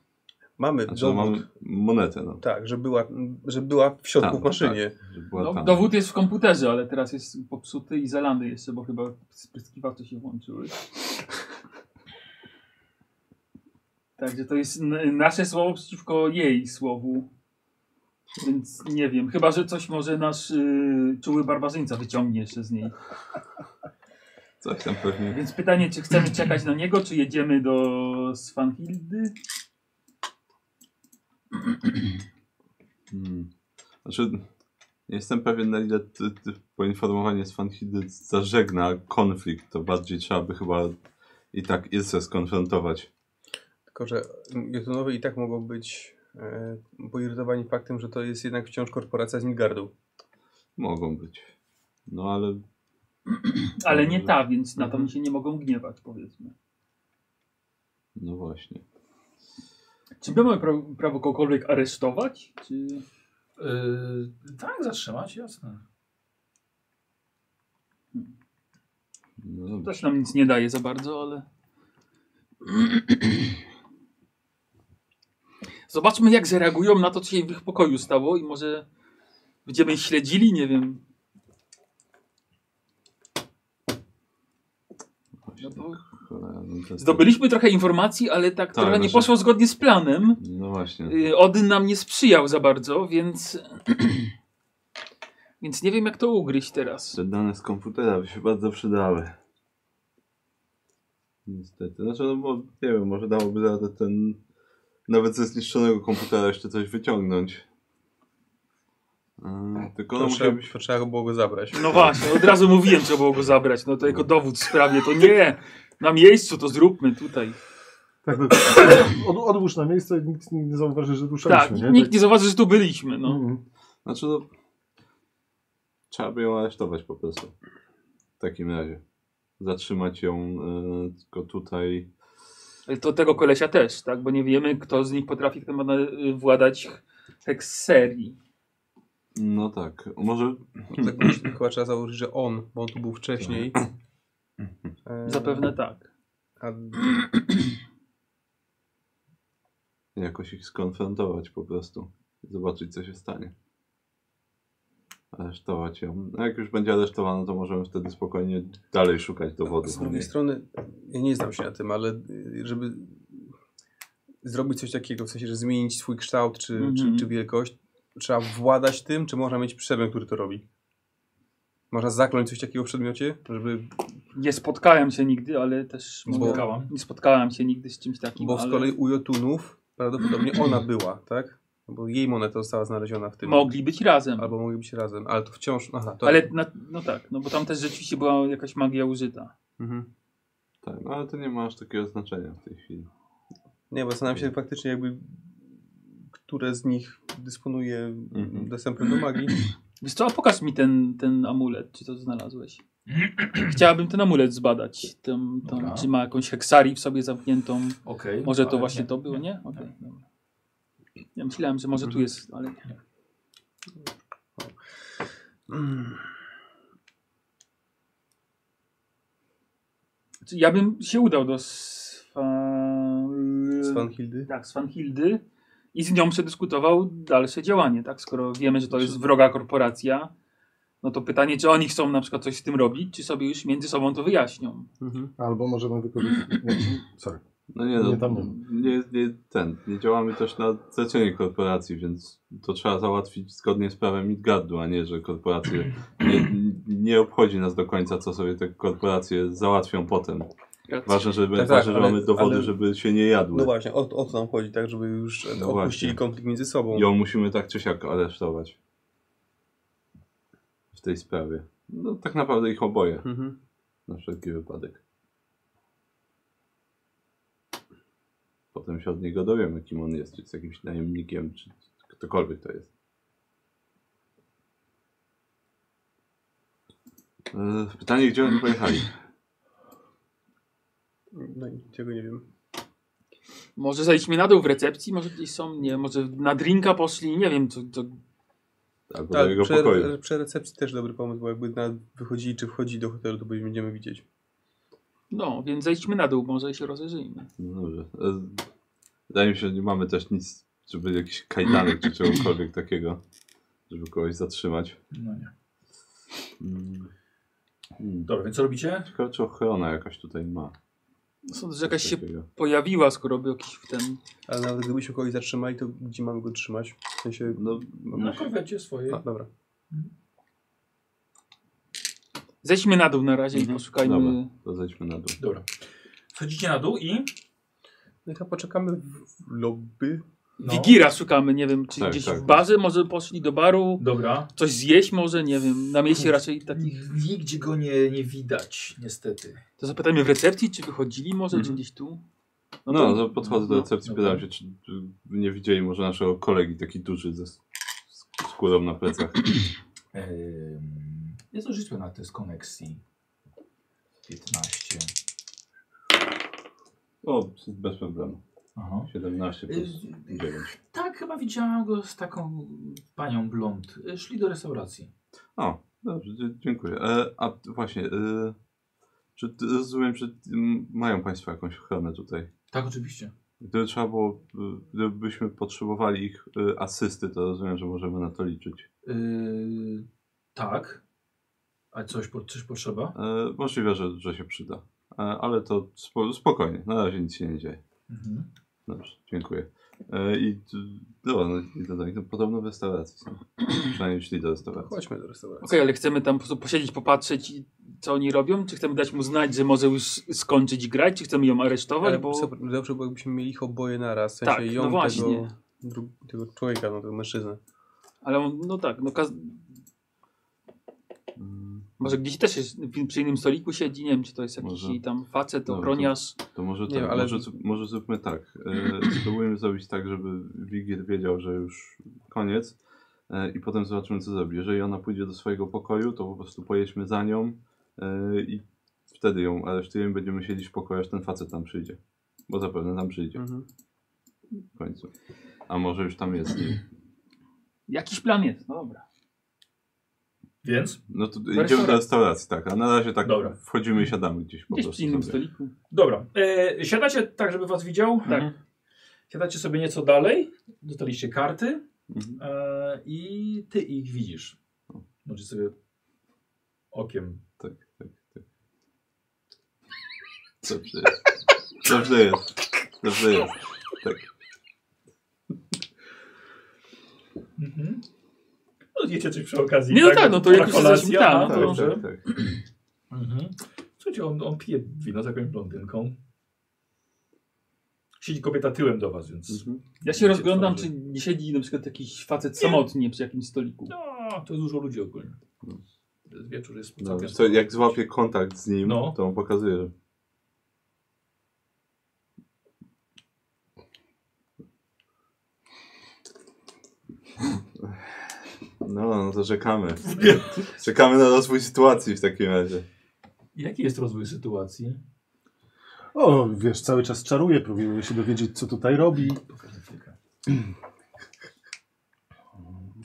Mamy Znaczy, no, dowód, mam monetę, no, tak, że była, że była w środku Tam, w maszynie. że była No, tam. dowód jest w komputerze, ale teraz jest popsuty i zalany jeszcze, bo chyba spryskiwacze się włączyły. Także to jest n- nasze słowo przeciwko jej słowu. Więc nie wiem, chyba że coś może nasz yy, czuły barbarzyńca wyciągnie jeszcze z niej. Coś tam pewnie. Więc pytanie, czy chcemy czekać na niego, czy jedziemy do Swanhildy? Hmm. Znaczy, nie jestem pewien na ile ty, ty poinformowanie z Fanhidy zażegna konflikt, to bardziej trzeba by chyba i tak Ilse skonfrontować. Tylko, że Jotunowie i tak mogą być e, poirytowani faktem, że to jest jednak wciąż korporacja z Midgardu. No, Mogą być. No ale Ale nie ta, więc na to mi się nie mogą gniewać, powiedzmy. no właśnie. Czy my mamy pra- prawo kogokolwiek aresztować? Czy... Yy, tak, zatrzymać, jasne. No dobrze. Też nam nic nie daje za bardzo, ale. Zobaczmy, jak zareagują na to, co się w ich pokoju stało, i może będziemy ich śledzili, nie wiem. No bo Cholera, no to- zdobyliśmy trochę informacji, ale tak, Tak, trochę nie znaczy- poszło zgodnie z planem. No właśnie. Yy, Odyn nam nie sprzyjał za bardzo, więc. więc nie wiem, jak to ugryźć teraz. Te dane z komputera by się bardzo przydały. Niestety. Znaczy, no bo nie wiem, może dałoby radę ten. Nawet ze zniszczonego komputera jeszcze coś wyciągnąć. Mm, tylko no To, trzeba, musiałbyś. to trzeba było go zabrać. No właśnie, od razu mówiłem, trzeba było go zabrać. No to jako dowód w sprawie, to nie. Na miejscu to zróbmy tutaj. Tak, by- od, odłóż na miejsce, nikt nie zauważy, że Tak, ruszaliśmy, nie? nikt nie zauważy, że tu byliśmy. No. Mhm. Znaczy, no. Trzeba by ją aresztować po prostu. W takim razie. Zatrzymać ją y, tylko tutaj. Ale To tego kolesia też, tak? Bo nie wiemy, kto z nich potrafi tym y, władać hekserii. No tak. Może. Tak, myślę, chyba trzeba założyć, że on, bo on tu był wcześniej. E, Zapewne tak. A, jakoś ich skonfrontować po prostu. Zobaczyć, co się stanie. Aresztować ją. A jak już będzie aresztowana, to możemy wtedy spokojnie dalej szukać dowodów. z na drugiej niej. strony, ja nie znam się na tym, ale y, żeby zrobić coś takiego, w sensie, że zmienić swój kształt czy, Mhm. czy, czy wielkość, trzeba władać tym, czy można mieć przedmiot, który to robi? Można zakląć coś takiego w przedmiocie, żeby Nie spotkałem się nigdy, ale też Bo- mogę, Czekałam. nie spotkałem się nigdy z czymś takim. Bo z ale kolei u Jotunów prawdopodobnie ona była, tak? Bo jej moneta została znaleziona w tym. Mogli być razem. Albo mogli być razem, ale to wciąż. Aha, to... Ale na, no tak, no bo tam też rzeczywiście była jakaś magia użyta. Mhm. Tak, no ale to nie ma aż takiego znaczenia w tej chwili. Nie, bo zastanawiam się faktycznie, jakby. które z nich dysponuje Mhm. dostępem do magii. Wiesz co, a pokaż mi ten, ten amulet, czy to znalazłeś. Chciałabym ten amulet zbadać, tym, tą- Dobra. czy ma jakąś heksarii w sobie zamkniętą. Okej. Może to ale właśnie nie. to było, nie? Okej, dobra. Ja myślałem, Hmm. że może tu jest, ale nie. Ja bym się udał do Swan... Z Fanhildy. Tak, Swanhildy i z nią przedyskutował dalsze działanie, tak? Skoro wiemy, że to jest wroga korporacja, no to pytanie, czy oni chcą na przykład coś z tym robić, czy sobie już między sobą to wyjaśnią. Albo możemy wykorzystać. nie, Sorry. No nie, Nie, no, tam nie. nie, nie, ten, nie działamy też na zlecenie korporacji, więc to trzeba załatwić zgodnie z prawem Midgardu, a nie, że korporacje, nie, nie obchodzi nas do końca, co sobie te korporacje załatwią potem. Ważne, żeby, Tak, tak, ważne, że ale- mamy dowody, ale- żeby się nie jadły. No właśnie, o, o to nam chodzi, tak, żeby już No odpuścili właśnie. konflikt między sobą. Ją musimy tak czy siak aresztować. W tej sprawie. No tak naprawdę ich oboje, Mhm. na wszelki wypadek. Potem się od niego dowiemy, kim on jest, czy jest jakimś najemnikiem, czy ktokolwiek to jest. Yy, Pytanie, gdzie oni pojechali? No i tego nie wiem. Może zajdźmy na dół w recepcji, może gdzieś są, nie może na drinka poszli, nie wiem, co, co Albo do Tak, jego przy, pokoju. przy recepcji też dobry pomysł, bo jakby na, wychodzili czy wchodzili do hotelu, to będziemy widzieć. no, więc zejdźmy na dół, może się rozejrzyjmy. No dobrze. E, Wydaje mi się, że nie mamy też nic, żeby jakiś kajdanek czy czegokolwiek takiego, żeby kogoś zatrzymać. No nie. Mm. Mm. Dobra, więc co robicie? Ciekawe, czy ochrona jakaś tutaj ma. Sądzę, że jakaś coś się takiego. pojawiła, skoro był jakiś w ten... Ale nawet gdybyśmy kogoś zatrzymali, to gdzie mamy go trzymać? W sensie... No, Na korwecie swojej. A, dobra. Zejdźmy na dół na razie i poszukajmy... Mhm. No. Dobra. to zejdźmy na dół. Dobra. Wchodzicie na dół i... No i chyba poczekamy w lobby. No. Wigira szukamy, nie wiem, czy Tak, gdzieś tak. w barze, może poszli do baru, Dobra. coś zjeść może, nie wiem, na mieście raczej takich... Nigdzie go nie, nie widać, niestety. To zapytajmy w recepcji, czy wychodzili może, czy gdzieś tu? Mhm. No, to- to podchodzę do no, recepcji, dobra. pytałem się, czy czy nie widzieli może naszego kolegi, taki duży ze s- skórą na plecach. Ym, Jest to życie na test koneksji. 15. O, bez problemu. Aha. 17 plus Y, 9. Tak, chyba widziałam go z taką panią blond. Y, Szli do restauracji. O, dobrze, dzie- dziękuję. E, a t- właśnie, e, czy t- rozumiem, że m, mają Państwo jakąś ochronę tutaj? Tak, oczywiście. Gdyby trzeba było, e, gdybyśmy potrzebowali ich e, asysty, to rozumiem, że możemy na to liczyć. Y, tak. A coś, po- coś potrzeba? E, możliwe, że, że się przyda, e, ale to spo, spokojnie, na razie nic się nie dzieje. Mhm. Dobrze, dziękuję. E, I t- dobra, no, i do, no, podobno w restauracji są. Przynajmniej szli do restauracji. Chodźmy do restauracji. Okej, ale chcemy tam po prostu posiedzieć, popatrzeć, i co oni robią? Czy chcemy dać mu znać, że może już skończyć grać? Czy chcemy ją aresztować? E, Ale bo... bo... Dobrze, bo jakbyśmy mieli ich oboje naraz. W sensie Tak, ją no właśnie. Tego, dru- tego człowieka, no tego mężczyznę. Ale on, no tak, no kaz... Mm, może gdzieś też jest, w- przy innym stoliku siedzi, nie wiem, czy to jest jakiś Może. jej tam facet, No, to- ochroniarz. To może Nie tak, wiem, ale- może, zrób- może zróbmy tak. E, spróbujmy zrobić tak, żeby Wigil wiedział, że już koniec e, i potem zobaczymy, co zrobi. Jeżeli ona pójdzie do swojego pokoju, to po prostu pojedźmy za nią e, i wtedy ją aresztujemy, będziemy siedzieć w pokoju, aż ten facet tam przyjdzie. Bo zapewne tam przyjdzie Mhm. w końcu. A może już tam jest. Jakiś plan jest, no dobra. Więc? No to idziemy restauracji. do restauracji, tak. A na razie tak Dobra. wchodzimy i siadamy gdzieś po Gdzieś prostu. przy innym sobie. stoliku. Dobra. E, siadacie tak, żeby was widział. Tak. Mhm. Siadacie sobie nieco dalej. Dostaliście karty Mhm. e, i ty ich widzisz. Możesz sobie okiem. Tak, tak, tak. Dobrze jest. Dobrze jest. Dobrze jest. Tak. Mhm. No, jecie coś przy okazji. Nie, no tak, no to na jak już kolację, jesteśmy tam, no to Tak, dobrze. tak, tak. Mhm. Słuchajcie, on, on pije wino z jakąś blondynką. Siedzi kobieta tyłem do was, więc... Mhm. Ja się rozglądam, czy nie siedzi na przykład jakiś facet samotnie przy jakimś stoliku. No, to jest dużo ludzi ogólnie. Wieczór jest Dobrze, to jak złapię kontakt z nim, No. to on pokazuje, że... No, no to czekamy. Czekamy na rozwój sytuacji w takim razie. Jaki jest rozwój sytuacji? O, wiesz, cały czas czaruje, próbuję się dowiedzieć, co tutaj robi,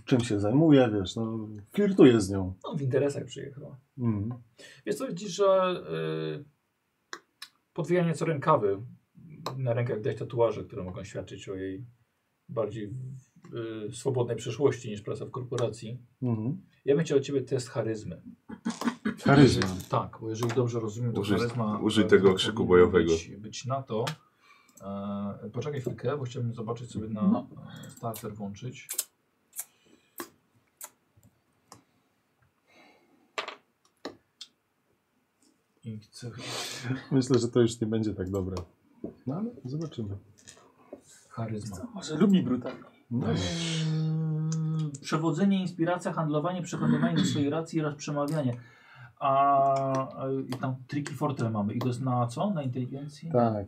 czym się zajmuje, wiesz, no, flirtuje z nią. Mm-hmm. No, w interesach przyjechała. Mhm. Więc co widzisz, że y, podwijanie co rękawy. Na rękach widać tatuaże, które mogą świadczyć o jej bardziej y, swobodnej przeszłości niż praca w korporacji. Mhm. Ja bym chciał od ciebie test charyzmy. Charyzma. Tak, bo jeżeli dobrze rozumiem, to Użyj- charyzma... e, użyj tego krzyku bojowego. Być, być na to. E, poczekaj chwilkę, bo chciałbym zobaczyć sobie na No. e, starter włączyć. I chcę... Myślę, że to już nie będzie tak dobre. No ale zobaczymy. Charyzma. Może lubi brutalność. No. Mm, Przewodzenie, inspiracja, handlowanie, przekonywanie do swojej racji oraz przemawianie. A y, i tam triki fortel mamy. I to jest na co? Na inteligencji? Tak.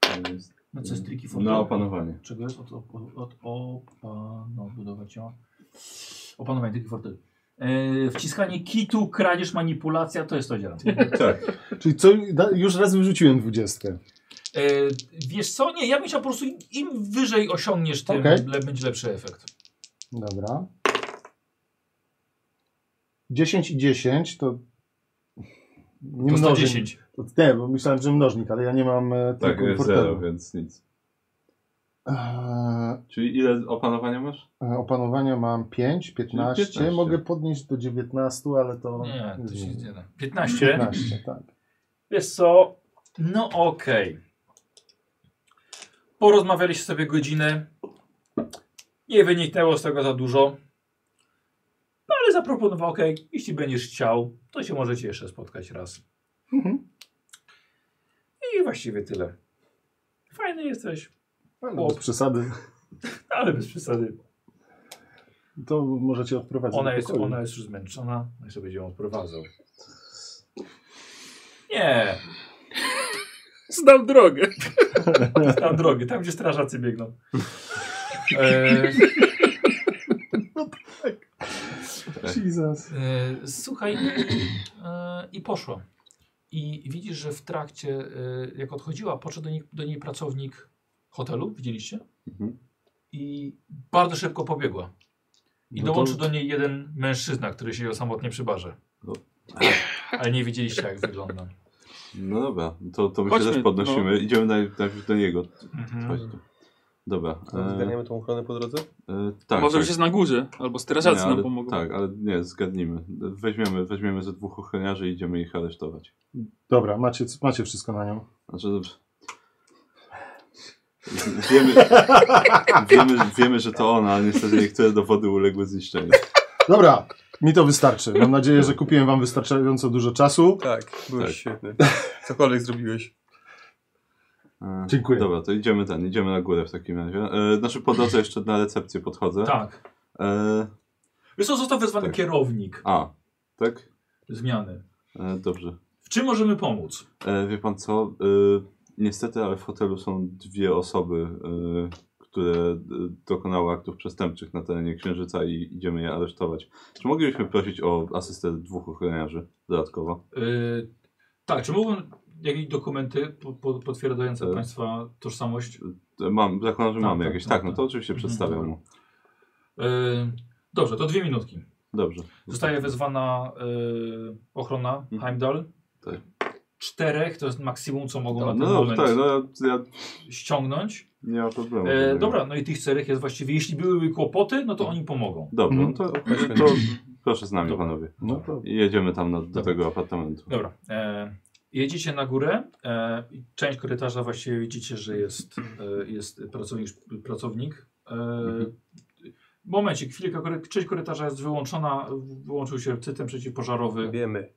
To jest Na co jest triki fortel? Na opanowanie. Czego jest? Od, od, od opanowywać. o. Opanowanie triki fortel. E, wciskanie kitu, kradzież, manipulacja, to jest to działa. Tak. Czyli co, da, już raz wyrzuciłem dwudziestkę. E, wiesz co? Nie, ja bym chciał po prostu im- im wyżej osiągniesz, tym Okej. le, będzie lepszy efekt. Dobra. 10 i 10 to... Nie To mnożnik. 110. To- Nie, bo myślałem, że mnożnik, ale ja nie mam e, Tak, tego jest fortelu. zero, więc nic. Eee, Czyli ile opanowania masz? e, opanowania mam 5, 15. 15. Mogę podnieść do 19, ale to... Nie, to się zmieni. nie da. 15. 15, tak. Wiesz co? No okej. Porozmawialiście sobie godzinę. Nie wyniknęło z tego za dużo. No ale zaproponował, okej, jeśli będziesz chciał, to się możecie jeszcze spotkać raz. I właściwie tyle. Fajny jesteś, Ale bez przesady. ale bez przesady. To możecie odprowadzić Ona do jest, pokoju. ona jest już zmęczona, no i sobie będzie ją odprowadzał. Nie, Znam drogę. tam drogi, tam gdzie strażacy biegną. E, Tak. Jesus. E, Słuchaj, e, i poszła. I widzisz, że w trakcie, e, jak odchodziła, podszedł do niej, do niej pracownik hotelu, widzieliście? Mhm. I bardzo szybko pobiegła. I No to- dołączył do niej jeden mężczyzna, który siedział samotnie przy barze. No. Ale nie widzieliście, jak wygląda. No dobra, to, to my się Chodźmy, też podnosimy. no. Idziemy naj- najpierw do niego. Chodź Mhm. tu. Dobra. E, Zgarniamy tą ochronę po drodze? e, tak, Może tak. już jest na górze, albo strażacy Nie, nam ale- pomogą. Tak, ale nie, zgadnijmy. Weźmiemy, weźmiemy ze dwóch ochroniarzy i idziemy ich aresztować. Dobra, macie, macie wszystko na nią. Znaczy, dobrze. Wiemy, wiemy, wiemy, że to ona, ale niestety niektóre dowody uległy zniszczeniu. Dobra, mi to wystarczy. Mam nadzieję, że kupiłem wam wystarczająco dużo czasu. Tak, byłeś Tak. świetny. Cokolwiek zrobiłeś. E, Dziękuję. Dobra, to idziemy ten, idziemy na górę w takim razie. E, znaczy po drodze jeszcze na recepcję podchodzę. Tak. E, Wiesz co, został wezwany Tak. kierownik a, tak? zmiany. E, dobrze. W czym możemy pomóc? E, wie pan co? E, niestety, ale w hotelu są dwie osoby, e, które e, dokonały aktów przestępczych na terenie Księżyca i idziemy je aresztować. Czy moglibyśmy prosić o asystę dwóch ochroniarzy dodatkowo? Y, tak, czy mogą jakieś dokumenty po, po, potwierdzające Y. Państwa tożsamość? E, Mam, zakładam, że Tak, mamy tak, jakieś. tak, Tak, no to tak. oczywiście Mhm. przedstawiam mu. Y, dobrze, to dwie minutki. Dobrze. Zostaje wezwana y, ochrona Tak. Mhm. Heimdall. Tak. Czterech to jest maksimum, co mogą na No ten dobrze, moment tak, no ja, ja ściągnąć. nie mam problemu. E, dobra, no i tych czterech jest właściwie, jeśli byłyby kłopoty, no to oni pomogą. Dobrze, no Mhm. to, Chodźmy. to proszę z nami, Dobra. panowie. No to I Jedziemy tam na, do Dobra. tego apartamentu. Dobra. E, jedziecie na górę. E, i część korytarza właściwie widzicie, że jest, e, jest pracownik. pracownik. E, momencik, chwilkę. kory- Część korytarza jest wyłączona. Wyłączył się cytem przeciwpożarowy. Wiemy.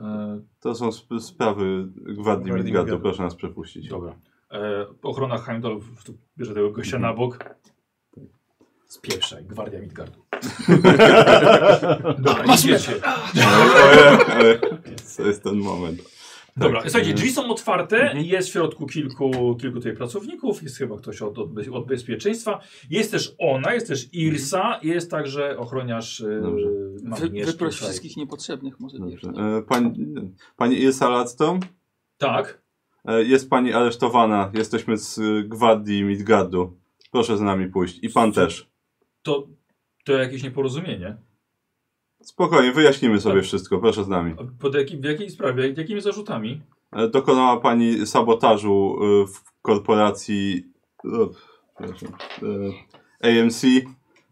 E, To są sp sprawy Gwardii Gwardii Midgardu, Midgardu. proszę nas przepuścić. dobra. E, ochrona Heimdall w- tu bierze tego gościa na bok. Spieprzaj, gwardia Midgardu. Dobra, idziecie. Ale to jest ten moment. Dobra, Tak, słuchajcie, e, drzwi są otwarte, jest w środku kilku, kilku tutaj pracowników, jest chyba ktoś od, od, bez- od bezpieczeństwa, jest też ona, jest też Irsa, jest także ochroniarz Mhm. e, Dobrze. Wy, Magniesz wyproś tutaj. wszystkich niepotrzebnych może Dobrze. pierwszy. E, Pani, pani Ilsa Ladstone, Tak, e, jest pani aresztowana. Jesteśmy z y, Gwardii Midgardu. Proszę z nami pójść. I pan też. to, to jakieś nieporozumienie. Spokojnie, wyjaśnimy sobie wszystko, proszę z nami. A Pod jakim, w jakiej sprawie? Jakimi zarzutami? E, Dokonała pani sabotażu e, w korporacji e, przepraszam, e, AMC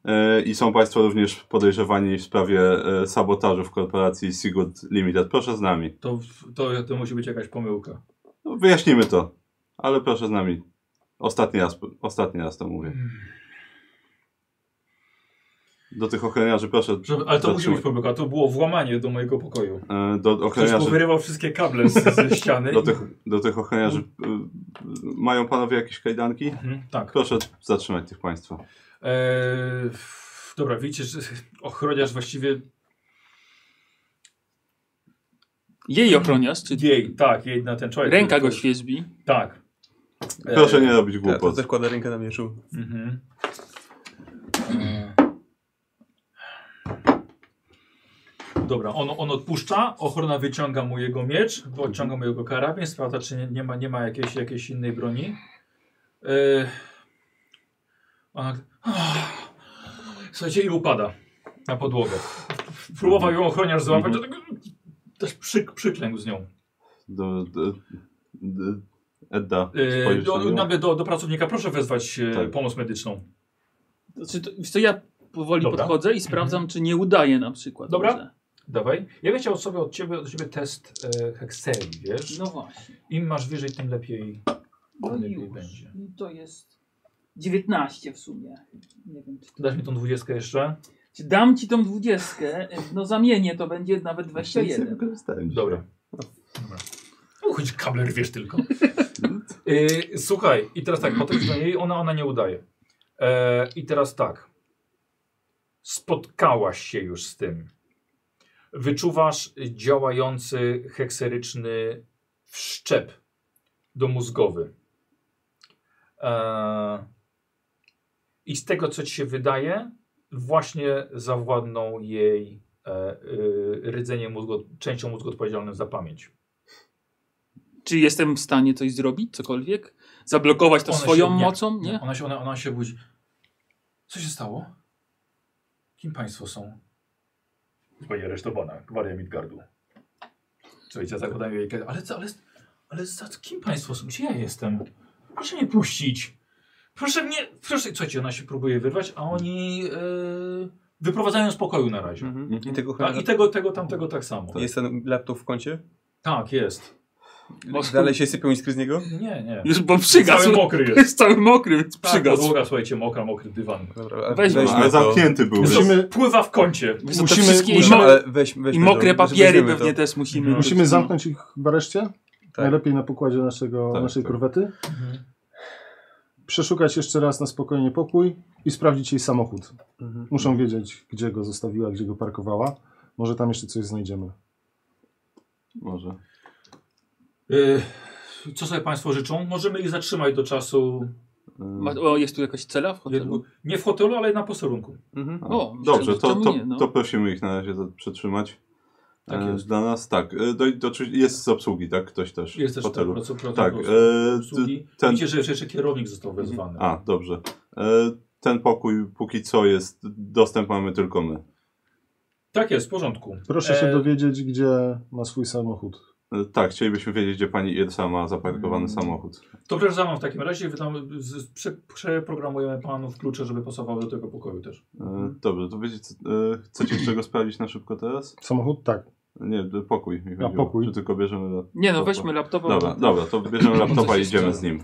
e, i są państwo również podejrzewani w sprawie e, sabotażu w korporacji Sigurd Limited. Proszę z nami. To, w- to, to musi być jakaś pomyłka. No, Wyjaśnimy to, ale proszę z nami. Ostatni raz, ostatni raz to mówię. Do tych ochroniarzy proszę. Żeby, ale to musi zatrzymać. być pomyłka. To było włamanie do mojego pokoju. E, Do Ktoś ochroniarzy powyrywał wszystkie kable z, ze ściany. Do i- tych, do tych ochroniarzy y, y, mają panowie jakieś kajdanki? Mhm, tak. Proszę zatrzymać tych państwa. Eee, f- dobra, widzicie, że ochroniarz właściwie Jej ochroniarz, czy jej, tak, jej na ten człowiek. ręka go który- świeżbi. Tak. E, Proszę nie robić Ja tak, to głupot. też kładę rękę na mieczu. Mhm. Dobra, on, on odpuszcza, ochrona wyciąga mu jego miecz, odciąga mu jego karabin, sprawdza czy nie, nie ma, nie ma jakiejś, jakiejś innej broni. Yy, ona, słuchajcie, i upada na podłogę. Próbował ją ochroniarz złapać, Mhm. to tak, też przyk, przyklękł z nią. Do, do, do, Edda, Yy, spojrzysz do, na nią? nagle do, do pracownika, proszę wezwać e, Tak. pomoc medyczną. Znaczy, to, wiesz co, ja powoli Dobra. podchodzę i sprawdzam, czy nie udaje na przykład. Dobra. Że... Dawaj. Ja bym chciał sobie od ciebie, od ciebie test e, hekserii, wiesz? No właśnie. Im masz wyżej, tym lepiej, No tym lepiej już. No będzie. To jest 19 w sumie. Nie wiem, czy, Dasz mi tą dwudziestkę jeszcze? czy dam ci tą 20. No zamienię, to będzie nawet 21. Wykorzystałem dzisiaj. Dobra. Dobra. No, choć kabler wiesz tylko. Y, słuchaj, i teraz tak, potem do niej, ona, ona nie udaje. E, I teraz tak. Spotkałaś się już z tym. Wyczuwasz działający hekseryczny wszczep do mózgowy. E, I z tego, co ci się wydaje, właśnie zawładną jej e, y, rdzenie mózgu, częścią mózgu odpowiedzialnym za pamięć. Czy jestem w stanie coś zrobić, cokolwiek? Zablokować to Ona się- swoją nie. mocą, nie? Ona się, ona, ona się budzi. Co się stało? Kim państwo są? Panie aresztowana, gwaria Midgardu. Słuchajcie, ja zakładam jej kiedy- ale, co- ale, ale za kim państwo są? Gdzie ja jestem? Proszę mnie puścić. Proszę mnie, proszę, słuchajcie, ona się próbuje wyrwać, a oni yy, wyprowadzają z pokoju na razie. Mhm. I tego Tak, ochroniarza. I tego, tego, tamtego tak samo. Jest ten laptop w kącie? Tak, jest. Może- Dalej się sypią iskry z niego? Nie, nie. Już bo przygasł. Cały mokry jest. Jest cały mokry, więc Tak, przygasł. podłoga, słuchajcie, mokra, mokry dywan. Dobra, a Weźmy No, ale to. zamknięty był. Musimy- Pływa w kącie. Wiesz co, to Musimy- wszystkie i Musimy, mo- ale weź, weźmy I mokre to, papiery weźmiemy pewnie to. też musimy. Mhm. Musimy No. zamknąć ich w areszcie? Tak. Najlepiej na pokładzie naszego, Tak, naszej tak. korwety. Przeszukać jeszcze raz na spokojnie pokój i sprawdzić jej samochód. Mhm. Muszą wiedzieć, gdzie go zostawiła, gdzie go parkowała. Może tam jeszcze coś znajdziemy. Może. E, Y, Co sobie Państwo życzą? Możemy ich zatrzymać do czasu. Ma, E, o, jest tu jakaś cela w hotelu? Nie w hotelu, ale na posterunku. Mhm. O, Dobrze, czemu- to, czemu to, nie, no? to prosimy ich na razie za- przytrzymać. Tak E, jest. Dla nas tak. E, Do, do, czy- jest z obsługi, tak? Ktoś też Jest w też hotelu. tak, proc- Tak. proc- e, obsługi. ten- Mhm. Widzicie, że jeszcze kierownik został wezwany. A, dobrze. E, Ten pokój póki co jest, dostęp mamy tylko my. Tak jest, w porządku. Proszę się E, dowiedzieć, gdzie ma swój samochód. E, Tak, chcielibyśmy wiedzieć, gdzie pani Irsa ma Mm. zaparkowany samochód. To proszę za mną w takim razie. Wydam, z, z- prze, przeprogramujemy panów klucze, żeby pasowały do tego pokoju też. E, dobrze, to wiecie, co- e, chcecie jeszcze go sprawdzić na szybko teraz? Samochód? Tak. Nie, d- pokój. mi chodziło. pokój. Czy tylko bierzemy laptopa? Nie no, weźmy laptopa. Dobra, dobra, to bierzemy laptopa i Coś idziemy jeszcze. z nim.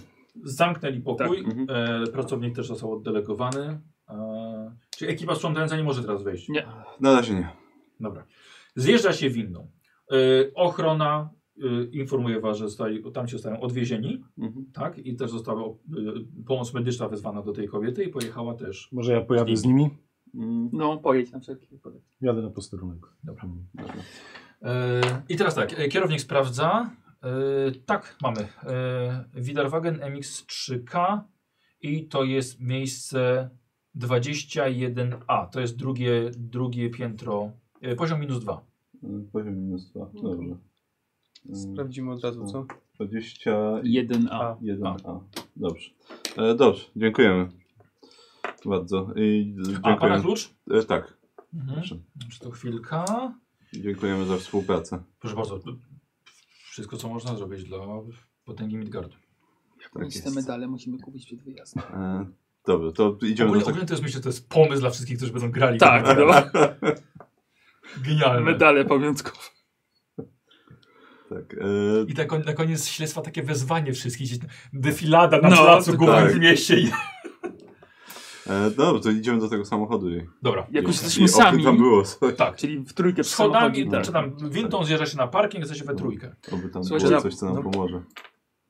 Zamknęli pokój. Tak, mhm. E, pracownik też został oddelegowany. E, czyli ekipa sprzątająca nie może teraz wejść. Nie. Na razie nie. Dobra. Zjeżdża się winną. E, ochrona e, informuje was, że zostali, tam się zostają odwiezieni. Mhm. Tak, i też została y, pomoc medyczna wezwana do tej kobiety i pojechała też. Może ja pojadę z nimi? Mm, No, pojedź na wszelki wypadek. Jadę na posterunek. Dobra. Mm. E, I teraz tak, e, kierownik sprawdza. E, tak, mamy. E, Widarwagen MX3K i to jest miejsce 21A. To jest drugie, drugie piętro, e, poziom minus 2. e, Poziom minus dwa. Dobrze. Mm. E, Sprawdzimy od razu, co? 20 1A. 1A. Dobrze. E, dobrze, dziękujemy. Bardzo. I A, pana dziękuję. klucz? E, tak. Mhm. Dobrze. Czy to chwilka? Dziękujemy za współpracę. Proszę bardzo, wszystko co można zrobić dla potęgi Midgardu. Tak Więc jest. No te medale musimy kupić przed wyjazdem. E, Dobrze, to idziemy do Ogólnie, tego. ogólnie to jest, myślę, że to jest pomysł dla wszystkich, którzy będą grali. Tak, no, Genialny. medale pamiątkowe. Tak, e, I na kon- na koniec śledztwa takie wezwanie wszystkich. Defilada na No, placu to głównym tak. w mieście. I... e, dobrze, to idziemy do tego samochodu. i- Dobra. Jak już i- jesteśmy i oby sami, tam było coś. Tak. czyli w trójkę przy Schodami, samochodzie, tak. czy tam windą zjeżdża się na parking, chce się we trójkę. Oby tam Słuchajcie, było ja- coś, co nam no. pomoże.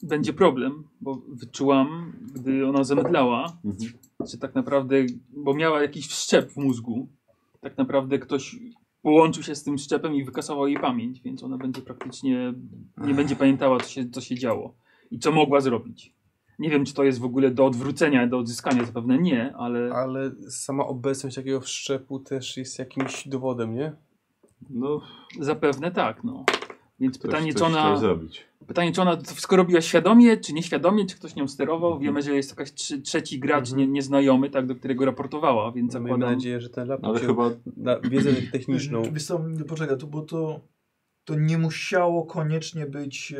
będzie problem, bo wyczułam, gdy ona zemdlała, Mhm. że tak naprawdę, bo miała jakiś wszczep w mózgu, tak naprawdę ktoś połączył się z tym szczepem i wykasował jej pamięć, więc ona będzie praktycznie, nie będzie pamiętała, co się, co się działo i co mogła zrobić. Nie wiem, czy to jest w ogóle do odwrócenia, do odzyskania, zapewne nie, ale Ale sama obecność takiego wszczepu też jest jakimś dowodem, nie? No, zapewne tak, no. Więc ktoś pytanie, coś czy chciał ona, zrobić. pytanie, czy ona to wszystko robiła świadomie, czy nieświadomie, czy ktoś nią sterował. Wiemy, że jest jakaś trzy, trzeci gracz nie, nieznajomy, tak, do którego raportowała, więc Miejmy zakładam... nadzieję, że ten No, ale laptop się chyba na wiedzę techniczną. Wiesz co, poczekaj, to, bo to, to nie musiało koniecznie być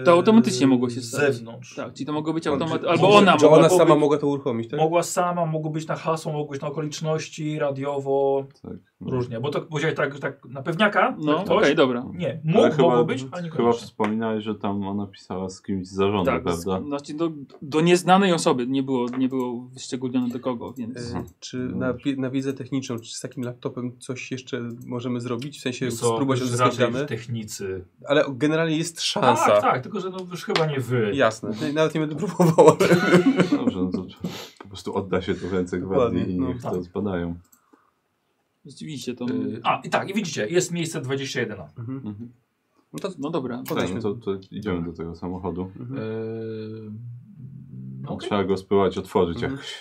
e, To automatycznie mogło się z stać. zewnątrz. Tak, czyli to mogło być automat... Że- Albo że- ona że mogła ona sama być... mogła to uruchomić, tak? Mogła sama, mogło być na hasło, mogło być na okoliczności, radiowo, Tak. różnie. Bo to powiedziałeś tak, tak na pewniaka, No, no, Tak, okej, ktoś, dobra. nie, Ale mógł, chyba- mogło być, a nie Chyba wspominałeś, że tam ona pisała z kimś z zarządu, Tak, z- prawda? znaczy do, do nieznanej osoby nie było, nie było wyszczególnione do kogo, więc... E, Czy na, wi- na wiedzę techniczną, czy z takim laptopem coś jeszcze możemy zrobić? W sensie Jest to spróbować już odzyskać raczej dane? w technicy. Ale generalnie jest szansa. Tak, tak, tylko że no, już chyba nie wy. Jasne, nie- nawet nie będę próbował. Ale... Dobrze, no to po prostu odda się to w ręce Dokładnie, gwardy i no niech to tak. zbadają. Rzeczywiście to... Y, A, i tak, i widzicie, jest miejsce 21. Mhm. Mhm. No to No dobra. Tak, no podejdźmy. to, to idziemy do tego samochodu. No, Yy, Mhm. okej. Trzeba go spróbować otworzyć Mhm. jakoś.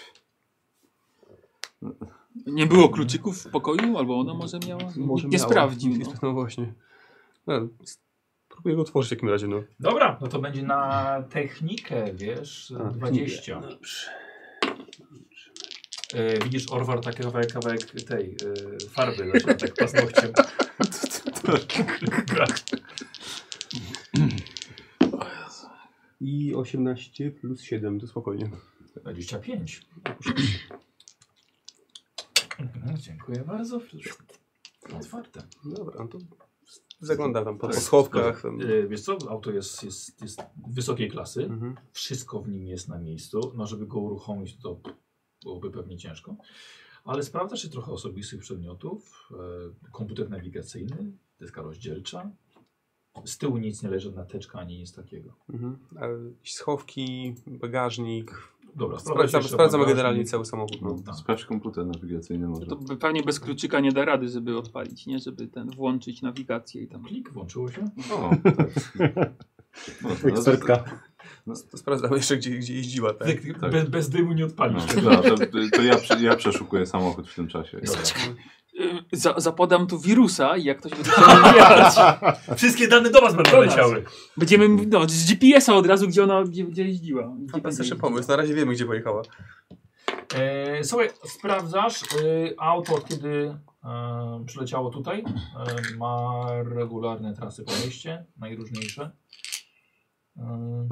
Nie było kluczyków w pokoju? Albo ona może miała? Nikt nie miała. sprawdził, no. No właśnie. No, próbuję go otworzyć w takim razie, no. Dobra, no to będzie na technikę, wiesz, A, 20. No. Yy, widzisz, Orwar taki kawałek, kawałek tej yy, farby, na przykład, tak paznokciem. I 18 plus 7, to spokojnie. 25. Mhm, Dziękuję bardzo. Otwarte. Dobra, no to zaglądam tam po Y, schowkach. Tam. Yy, wiesz co, auto jest, jest, jest wysokiej klasy. Mhm. Wszystko w nim jest na miejscu. No, żeby go uruchomić, to byłoby pewnie ciężko. Ale sprawdza się trochę osobistych przedmiotów. e, Komputer nawigacyjny, deska rozdzielcza. Z tyłu nic nie leży, żadna teczka ani nic takiego. Mhm. A jakieś Schowki, bagażnik. Dobra, Sprawdzam, jeszcze sprawdzamy bagażnik. generalnie cały samochód. No. Tak. Sprawdź komputer nawigacyjny może. To by- pewnie bez kluczyka nie da rady, żeby odpalić, nie? Żeby ten, włączyć nawigację i tam... Klik, włączyło się. O, tak. No, teraz- Ekspertka. To sprawdzamy jeszcze, gdzie, gdzie jeździła. Tak? Tyk, Bez, bez dymu nie No, odpalisz. dobra, to, to ja, prze- ja przeszukuję samochód w tym czasie. Dobra. Yy, za, zapodam tu wirusa i jak ktoś będzie chciał jechać, Wszystkie dane do was będą Do nas. leciały. będziemy no, z GPS-a od razu, gdzie ona gdzie, gdzie jeździła. Gdzie będzie Fantastyczny jeździła. pomysł. Na razie wiemy, gdzie pojechała. E, słuchaj, sprawdzasz e, auto, kiedy e, przyleciało tutaj. E, ma regularne trasy po mieście, najróżniejsze. E,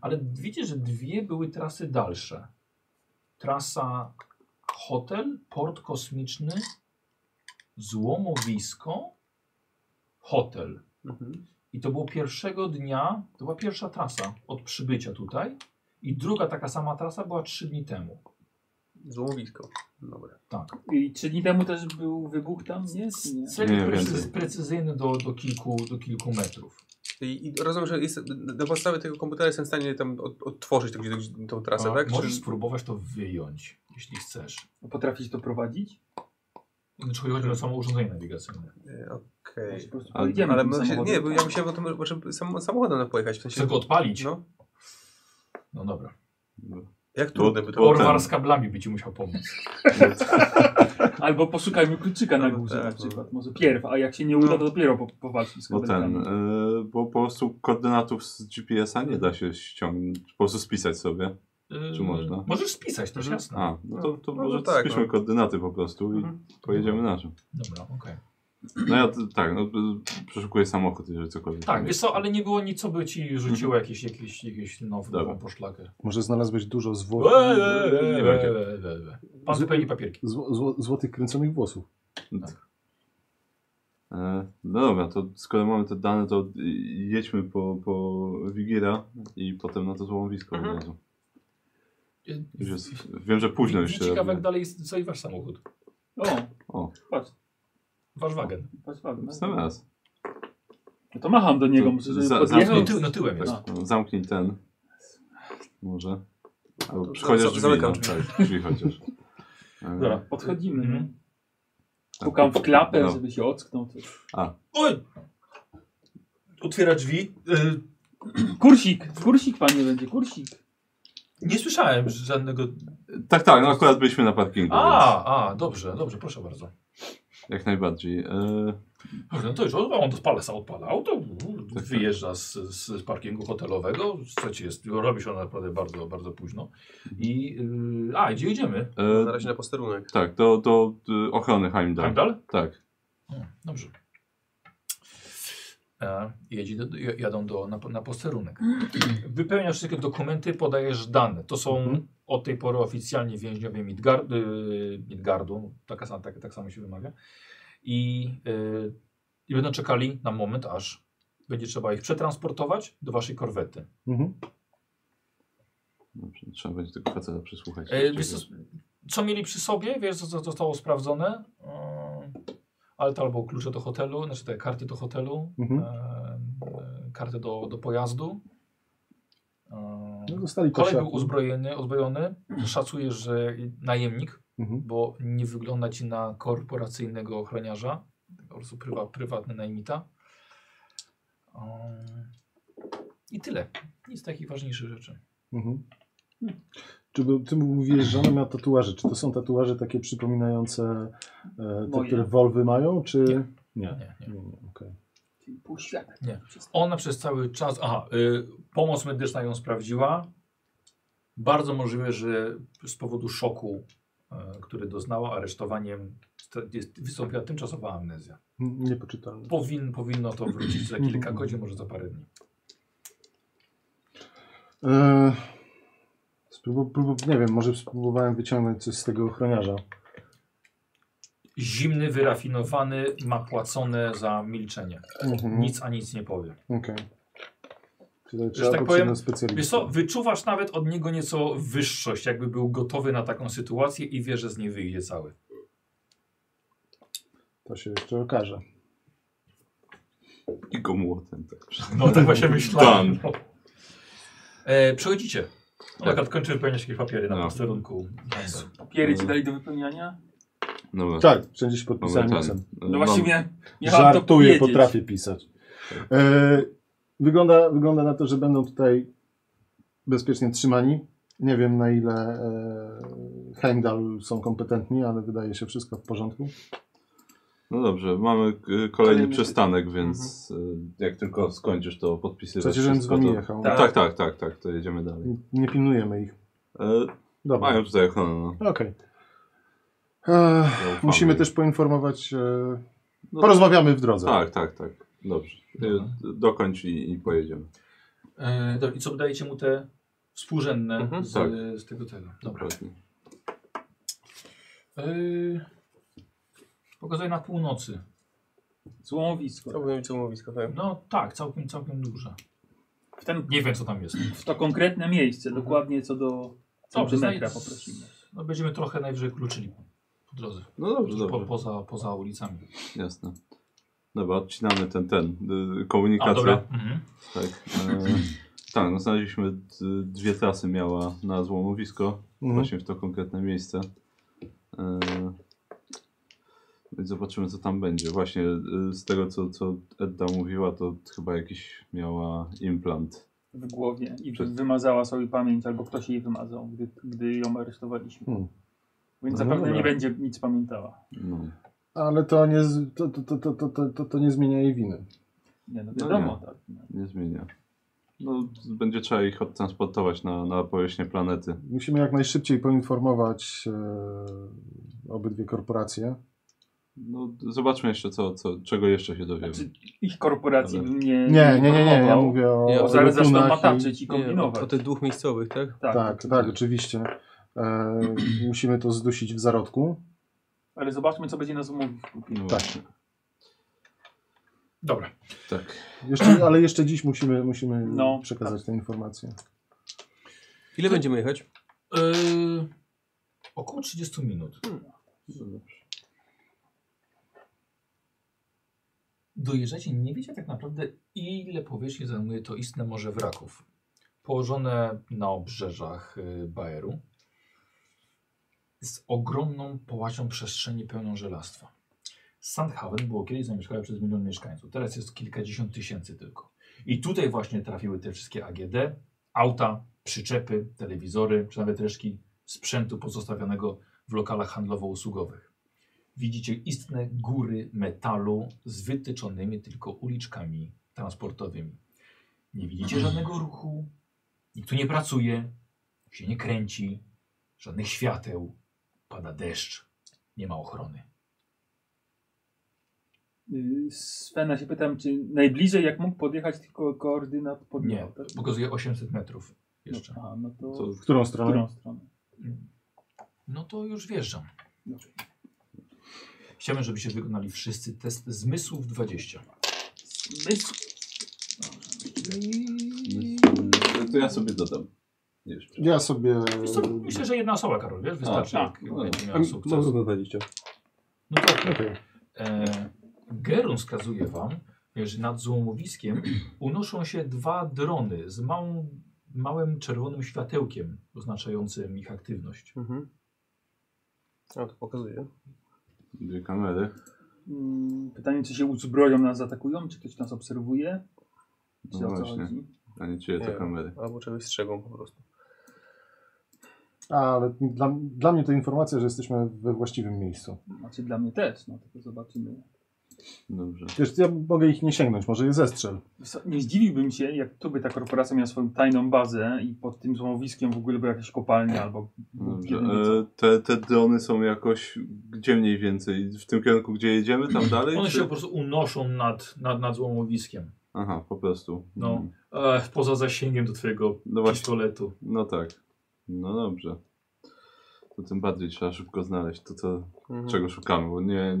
ale widzisz, że dwie były trasy dalsze. Trasa hotel, port kosmiczny, złomowisko, hotel. Mhm. I to było pierwszego dnia, to była pierwsza trasa od przybycia tutaj. I druga taka sama trasa była trzy dni temu. Złomowisko. Dobra. Tak. I trzy dni temu też był wybuch tam, nie? Czy nie? Celnik Nie, precyz- więcej. precyzyjny do, do, kilku, do kilku metrów. I, i rozumiem, że jest, na podstawie tego komputera jestem w stanie tam od, odtworzyć tą, gdzieś- tą trasę, A tak? Możesz Czy- spróbować to wyjąć, jeśli chcesz. Potrafić to prowadzić? Znaczy chodzi o samo urządzenie nawigacyjne. E, Okej. Ale- Pojedziemy Ale tym my się, nie, samochodem. bo ja myślałem o tym, żeby sam, samochodem na pojechać. W sensie, Chcę go odpalić. No, No, dobra. jak trudne by No, to Bo- było. Orwar z kablami by ci musiał pomóc. Albo poszukajmy kluczyka na No, górze tak, na no. przykład, może pierw, a jak się nie uda, No. to dopiero po, poważnie z Bo ten, e, kabelkami. y, bo po prostu koordynatów z GPS-a nie da się ściągnąć, po prostu spisać sobie. Y, Czy można? Możesz spisać, to jest jasne. A, no to, to No, może no tak, spiszmy no. Mhm. koordynaty po prostu i pojedziemy naszym. Dobra, okej. No ja t- tak, no, y, przeszukuję samochód, jeżeli cokolwiek. Tak, wiesz co, ale nie było nic, co by ci rzuciło jakieś, jakieś, jakieś nową Mhm. Dobra. E, poszlakę. Może znalazłeś dużo zło... Eee, eee, będzie. eee, eee, eee. Pan wypełni papierki. Zło, zło, złotych kręconych włosów. E, No dobra, to skoro mamy te dane, to y, jedźmy po, po Wigira i potem na to złomowisko od razu. Y, Już jest, wiem, że późno już się Ciekawe, robi. jak dalej jest- stoi wasz samochód. O, O, patrz, Wasz wagen. patrz, patrz. następny raz. No to macham do niego, To muszę żeby za- podjechał. No, zamknij- ty, no tyłem jest. Tak, no, zamknij ten. Może. Albo To przy- chociaż za- drzwi, zamykam no, drzwi. Tak, drzwi chociaż. E, Dobra. Podchodzimy. Mhm. tak. Pukam w klapę, No. żeby się ocknął. Oj! Otwiera drzwi. Y, Kursik, kursik panie będzie, kursik. nie słyszałem żadnego... Tak, tak, no akurat byliśmy na parkingu, więc A, a, dobrze, dobrze, proszę bardzo. jak najbardziej. E, Dobrze, no to już on, on odpala, sam odpala auto, wyjeżdża z, z z parkingu hotelowego, słuchajcie, jest, robi się ono naprawdę bardzo, bardzo późno. I, yy, a, gdzie jedziemy? e, Na razie na posterunek. tak, do, do y, ochrony Heimdall. Heimdall? Tak. O, Hmm, dobrze. E, jedzie do, j- jadą do, na, na posterunek. Wypełniasz wszystkie dokumenty, podajesz dane. To są od tej pory oficjalnie więźniowie Midgard, y, Midgardu, taka, sama- tak, tak samo się wymawia. I, y, I będą czekali na moment, aż będzie trzeba ich przetransportować do waszej korwety. Mhm. Dobrze, trzeba będzie tego faceta przesłuchać. E, wiesz co, co mieli przy sobie, wiesz co, co zostało sprawdzone? Yy, ale to albo klucze do hotelu, znaczy te karty do hotelu, Mhm. e, kartę do, do pojazdu. E, No, dostali Kolej kosiak. był uzbrojony, uzbrojony. Szacujesz, że najemnik, Mhm. bo nie wygląda ci na korporacyjnego ochroniarza, po prostu prywa, prywatny najmita. E, I tyle. Nic takich ważniejszych rzeczy. Mhm. Czy był, ty mówiłeś, że ona miała tatuaże. Czy to są tatuaże takie przypominające e, te, Moje. które Wolwy mają, czy... Nie. Nie. Nie, nie. Nie, nie, okej. Czyli Pół świata. Nie. Ona przez cały czas. Aha, y, pomoc medyczna ją sprawdziła. Bardzo możliwe, że z powodu szoku, y, który doznała aresztowaniem, st- jest, wystąpiła tymczasowa amnezja. Niepoczytalne. Powin, powinno to wrócić za kilka godzin, może za parę dni. E, spróbu, próbu, nie wiem, może spróbowałem wyciągnąć coś z tego ochroniarza. Zimny, wyrafinowany, ma płacone za milczenie. Mhm. Nic a nic nie powie. Okej. Tutaj trzeba tak tak powiem, powiem, Wiesz specjalistę. co, wyczuwasz nawet od niego nieco wyższość, jakby był gotowy na taką sytuację i wie, że z niej wyjdzie cały. To się jeszcze okaże. I go młotem. Tak. No tak właśnie myślałem. Dan. No. E, przechodzicie. Tak. Tak, kończy wypełniać jakieś papiery na No. posterunku. Papiery Mm. ci dali do wypełniania? Dobra. Tak, wszędzie się Mamy podpisałem ten, nosem. e, No właśnie mnie. miałem to Żartuję, powiedzieć. potrafię pisać. E, wygląda, wygląda na to, że będą tutaj bezpiecznie trzymani. Nie wiem na ile e, Heimdall są kompetentni, ale wydaje się wszystko w porządku. No dobrze, mamy k- kolejny Kolejny- przystanek, Mhm. więc e, jak tylko skończysz to podpisywać Przecież żebym z wszystko, wami to- jechał. Tak, tak, tak, tak, to jedziemy dalej. Nie pilnujemy ich. E, Dobra. mają tutaj ochronę. No. Okej. E, Zaufamy. Musimy też poinformować. E, No, porozmawiamy w drodze. Tak, tak, tak. Dobrze. Dobra. E, dokończ i, i pojedziemy. E, dobra, I co, dajecie mu te współrzędne Mhm, z, tak. z tego tego. Dobra. Dokładnie. E, pokazuję na północy. To Złomowisko. było mi co mówisko, tak. No tak, całkiem, całkiem duże. W, ten, Nie wiem co tam jest. Mhm. w to konkretne miejsce, Mhm. dokładnie co do centymetra poprosimy. No, będziemy trochę najwyżej kluczyli po drodze. No dobrze, Po, dobrze. poza, poza ulicami. Jasne. Dobra, odcinamy ten, ten, y, A, komunikację. dobra. Mhm. Tak, e, tak no znaleźliśmy d- dwie trasy miała na złomowisko, Mhm. właśnie w to konkretne miejsce. E, więc zobaczymy co tam będzie. Właśnie e, z tego co, co Edda mówiła, to chyba jakiś miała implant. w głowie i Przez- wymazała sobie pamięć, albo ktoś jej wymazał, gdy, gdy ją aresztowaliśmy. Hmm. Więc No zapewne dobra. nie będzie nic pamiętała. No. Ale to nie, z- to, to, to, to, to, to, to nie zmienia jej winy. Nie, no No wiadomo, nie. tak. Nie zmienia. No, będzie trzeba ich odtransportować na, na powierzchnię planety. Musimy jak najszybciej poinformować e, obydwie korporacje. No, zobaczmy jeszcze, co, co, czego jeszcze się dowiemy. Znaczy, ich korporacji Ale- bym nie. Nie, nie, nie, nie, ja informował, mówię o. Ja- Bo o zaraz zaczną Rukunach mataczyć i Nie, o, o kombinować. tych dwóch miejscowych, tak? Tak, Tak, tak, oczywiście. E, musimy to zdusić w zarodku. Ale zobaczmy, co będzie nas mówić. No Tak. właśnie. Dobra. Tak. Jeszcze, ale jeszcze dziś musimy, musimy No, przekazać te informacje. Ile będziemy jechać? Yy, około 30 minut. Dojeżdżacie, nie wiecie tak naprawdę ile powierzchni zajmuje to istne morze wraków. Położone na obrzeżach y, Baeru. Z ogromną połacią przestrzeni pełną żelastwa. Sandhaven było kiedyś zamieszkane przez milion mieszkańców. Teraz jest kilkadziesiąt tysięcy tylko. I tutaj właśnie trafiły te wszystkie AGD, auta, przyczepy, telewizory, czy nawet resztki sprzętu pozostawionego w lokalach handlowo-usługowych. Widzicie istne góry metalu z wytyczonymi tylko uliczkami transportowymi. Nie widzicie żadnego ruchu, nikt tu nie pracuje, się nie kręci, żadnych świateł, pada deszcz, nie ma ochrony. Y, Svena się pytam, czy najbliżej jak mógł podjechać, tylko koordynat Nie, podjechał. tak? pokazuje 800 metrów No, jeszcze. a, no to, To W którą w stronę? którą stronę? No to już wjeżdżam. Dobrze. Chciałbym, żebyście wykonali wszyscy test zmysłów 20. Zmysł. To- To ja sobie dodam. Jeszcze. Ja sobie. Wiesz co, myślę, że jedna osoba, Karol, wiesz, wystarczy, A, jak no będzie A, miała no, sukces. Zróbmy 20. No tak. Okej. E, Gerun wskazuje wam, że nad złomowiskiem unoszą się dwa drony z małą, małym czerwonym światełkiem oznaczającym ich aktywność. Mhm. A, to pokazuje. Dwie kamery. Mm, Pytanie, czy się uzbroją, nas zaatakują, czy ktoś nas obserwuje? Czy No o co właśnie. chodzi? A nie czyje to Nie. kamery. Albo czegoś strzegą po prostu. Ale dla, dla mnie to informacja, że jesteśmy we właściwym miejscu. Znaczy dla mnie też, no tylko zobaczymy. Dobrze. Wiesz, ja mogę ich nie sięgnąć, może je zestrzel. Wys- Nie zdziwiłbym się, jak tu by ta korporacja miała swoją tajną bazę i pod tym złomowiskiem w ogóle była jakaś kopalnia albo... Dobrze. nie wiem co. E, te, te drony są jakoś gdzie mniej więcej? W tym kierunku, gdzie jedziemy, tam dalej? One czy- się po prostu unoszą nad, nad, nad złomowiskiem. Aha, po prostu. No. Mm. E, poza zasięgiem do twojego No właśnie. pistoletu. No tak. No dobrze. To tym bardziej trzeba szybko znaleźć to, co, Mm. Mhm. czego szukamy, bo nie...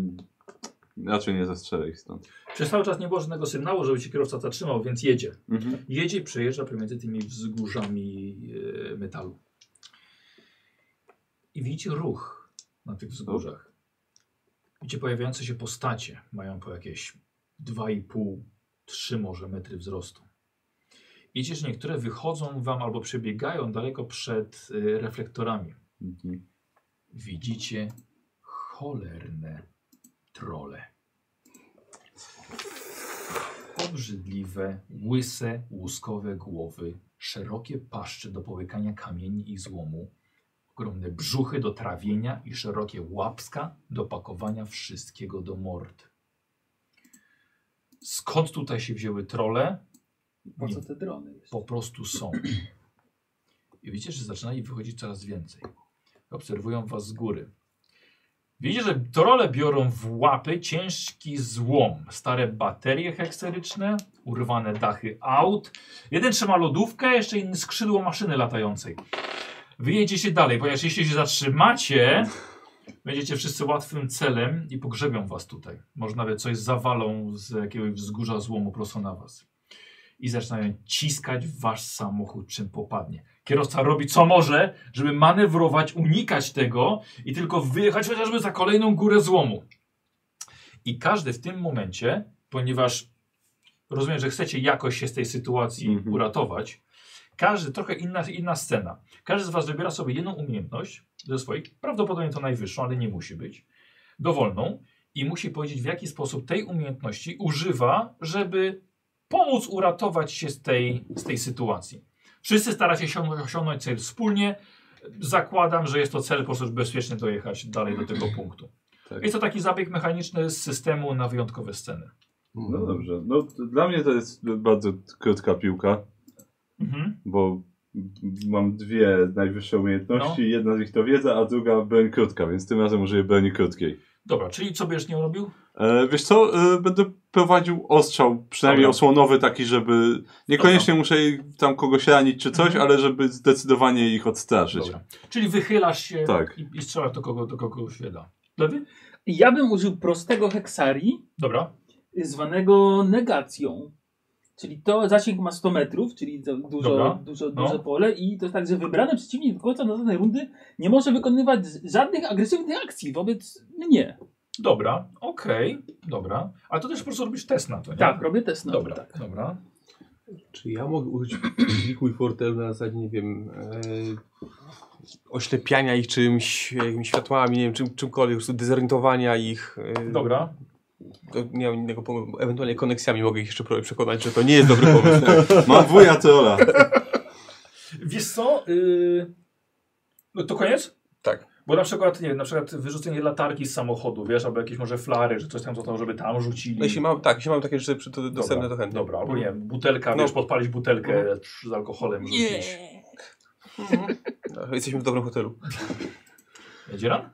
Raczej nie zastrzelę ich stąd. Przez cały czas nie było żadnego sygnału, żeby się kierowca zatrzymał, więc jedzie. Mhm. Jedzie i przejeżdża pomiędzy tymi wzgórzami e, metalu. I widzicie ruch na tych wzgórzach. Widzicie pojawiające się postacie. Mają po jakieś 2,5-3 może metry wzrostu. Widzicie, że niektóre wychodzą wam albo przebiegają daleko przed e, reflektorami. Mhm. Widzicie cholerne trole. Obrzydliwe, łyse, łuskowe głowy, szerokie paszcze do połykania kamieni i złomu, ogromne brzuchy do trawienia i szerokie łapska do pakowania wszystkiego do mord. Skąd tutaj się wzięły trole? Po co te drony jeszcze? po prostu są. I widzicie, że zaczyna ich wychodzić coraz więcej. Obserwują was z góry. Widzicie, że trole biorą w łapy ciężki złom, stare baterie hekseryczne, urwane dachy aut. Jeden trzyma lodówkę, jeszcze inny skrzydło maszyny latającej. Wyjedziecie dalej, ponieważ jeśli się zatrzymacie, będziecie wszyscy łatwym celem i pogrzebią was tutaj. Może nawet coś zawalą z jakiegoś wzgórza złomu prosto na was i zaczynają ciskać w wasz samochód, czym popadnie. Kierowca robi co może, żeby manewrować, unikać tego i tylko wyjechać chociażby za kolejną górę złomu. I każdy w tym momencie, ponieważ rozumiem, że chcecie jakoś się z tej sytuacji Mhm. uratować, każdy, trochę inna, inna scena. Każdy z was wybiera sobie jedną umiejętność ze swoich, prawdopodobnie to najwyższą, ale nie musi być, dowolną i musi powiedzieć w jaki sposób tej umiejętności używa, żeby pomóc uratować się z tej, z tej sytuacji. Wszyscy staracie się osiągnąć cel wspólnie. Zakładam, że jest to cel po prostu żeby bezpiecznie dojechać dalej do tego punktu. Tak. Jest to taki zabieg mechaniczny z systemu na wyjątkowe sceny. No dobrze. No, t- dla mnie to jest bardzo krótka piłka. Mhm. bo mam dwie najwyższe umiejętności. Jedna z nich to wiedza, a druga broń krótka, więc tym razem użyję broni krótkiej. Dobra, czyli co będziesz nią robił? E, wiesz co, e, będę prowadził ostrzał, przynajmniej Dobra. osłonowy taki, żeby niekoniecznie muszę tam kogoś ranić czy coś, ale żeby zdecydowanie ich odstraszyć. Dobra. Czyli wychylasz się Tak. i, i strzelasz do kogo, do kogo się da. Lewy? Ja bym użył prostego heksarii, Dobra. y, zwanego negacją. Czyli to zasięg ma 100 metrów, czyli to dużo, Dobra, dużo, no. duże pole i to jest tak, że wybrany przeciwnik do końca następnej rundy nie może wykonywać z- żadnych agresywnych akcji wobec mnie. Dobra, okej, dobra. Ale to też po prostu robisz test na to, nie? Tak, robię test na to, Dobra, tak. dobra. Czy ja mogę użyć klikuj fortel na zasadzie, nie wiem, e, oślepiania ich czymś, jakimiś światłami, nie wiem, czym, czymkolwiek, po prostu dezorientowania ich. E, Dobra. to Nie mam innego pomysłu. bo Ewentualnie koneksjami mogę ich jeszcze próbować przekonać, że to nie jest dobry pomysł. Tak, Mam wuja Tak, trolla. Wiesz co? Yy... No to koniec? Tak. Bo na przykład, nie wiem, na przykład wyrzucenie latarki z samochodu, wiesz, albo jakieś może flary, że coś tam, co tam, żeby tam rzucili. No, jeśli mam, tak, jeśli mam takie rzeczy przy- to dostępne, to chętnie. Dobra, albo nie wiem, butelka, No. Mhm. wiesz, podpalić butelkę z alkoholem rzucić. No, Jesteśmy w dobrym hotelu. Dzieran?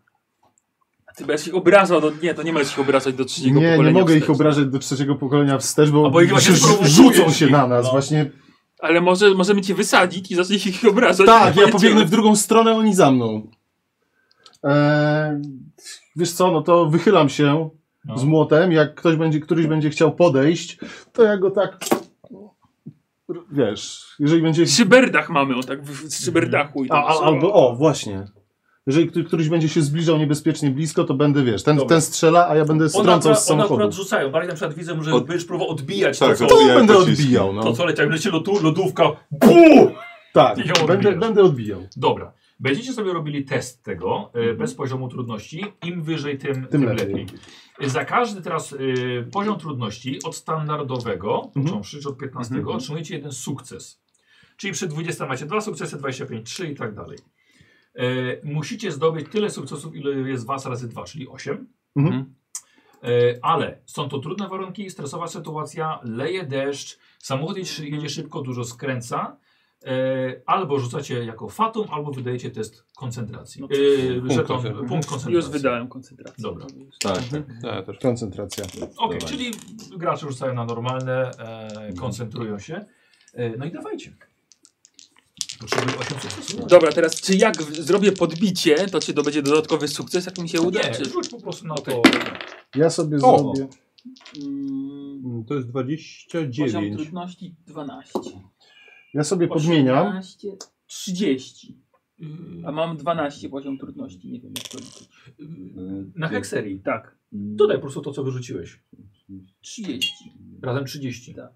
A ty będziesz ich obrażał, no nie, to nie możesz ich obrażać do trzeciego Nie, nie pokolenia mogę ich wstecz. obrażać do trzeciego pokolenia wstecz, bo, A bo ich właśnie rzu- rzu- sprowokujesz rzucą się ich, na nas. no. Właśnie Ale może, możemy cię wysadzić i zaczniesz ich No. obrażać. tak, ja pobiegnę w drugą stronę, oni za mną. Eee, wiesz co, no to wychylam się No. z młotem. Jak ktoś będzie, któryś będzie chciał podejść, to ja go tak... Wiesz, jeżeli będzie... W szyberdach mamy, o tak, w w szyberdachu. I Mhm. A, tam, a, albo o, właśnie. Jeżeli któ- któryś będzie się zbliżał niebezpiecznie blisko, to będę, wiesz, ten, Dobra. ten strzela, a ja będę One strącał z akurat, one samochodu. akurat rzucają, bardziej na przykład widzę, że Od- będziesz próbował odbijać Tak, to, co, To odbijaj będę pociski. odbijał, no. to, co leci, jak leci lotu, lodówka, BUM! Tak, Ją będę, odbijasz. będę odbijał. Dobra. Będziecie sobie robili test tego e, bez poziomu trudności. Im wyżej, tym, tym, lepiej. Mhm. lepiej. E, Za każdy teraz e, poziom trudności od standardowego, Mhm. począwszy od 15, otrzymujecie jeden sukces. Czyli przy 20 macie dwa sukcesy, 25, 3 i tak dalej. E, musicie zdobyć tyle sukcesów, ile jest was razy 2, czyli 8. Mhm. E, ale są to trudne warunki, stresowa sytuacja, leje deszcz, samochód jedzie- jedzie szybko, dużo skręca. E, albo rzucacie jako fatum, albo wydajecie test koncentracji. No E, żeton, koncentracji. punkt Już koncentracji. wydałem koncentrację. Dobra. Tak, tak. No, Ja też. Koncentracja. Okej, Dawaj. czyli gracze rzucają na normalne, e, koncentrują się. E, no i dawajcie. Potrzebuję 8 sukcesów. Dobra, teraz czy jak w- zrobię podbicie, to czy to będzie dodatkowy sukces, jak mi się uda? Nie, czy... rzuć po prostu na to. Ja sobie O. zrobię. Mm, To jest poziom 29. trudności 12. Ja sobie podmieniam. 18, 30. Y, A mam 12 poziom trudności, nie wiem jak to liczyć. y, Y, na hekserii. Tak, Dodaj po prostu to, co wyrzuciłeś. 30. Razem 30. Tak.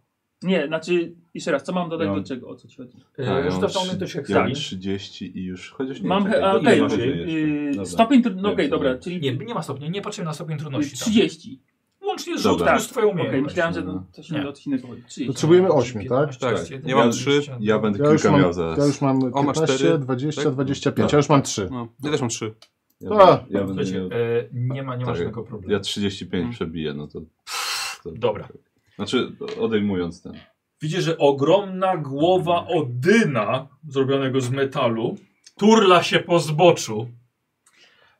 Nie, znaczy, jeszcze raz, co mam dodać No. do czego, o co ci chodzi? A, E, Tak, ja rzucasz na mam umiejętność Ja mam hekserii. 30 i już. Chociaż nie Mam, czekaj, he- a, ile okej, masz okay, jeszcze? Dobra. stopień trudności, okej, Wiem, co dobra, mam. czyli Nie, nie ma stopnia, nie patrzymy na stopień trudności. tam. 30. Łącznie z Dobra. rzutem, z Tak. twoją Okej, umiejętność. myślałem, że no. to się Nie. do innego chodzi. 30. Potrzebujemy 8, tak? 15, Tak, 21, ja mam 22. trzy, Ja będę Ja już kilka mam, miał zaraz. ja już mam O, masz 15, cztery, 20, tak? 25. Ja już mam 3. No, ja też mam 3. A. Ja, będę- ja, będę Słuchajcie, miał- e, nie ma, nie ma Tak. żadnego problemu. ja 35 Mm. przebiję, no to. Dobra. Znaczy, odejmując ten. Widzisz, że ogromna głowa Odyna, zrobionego z metalu, turla się po zboczu.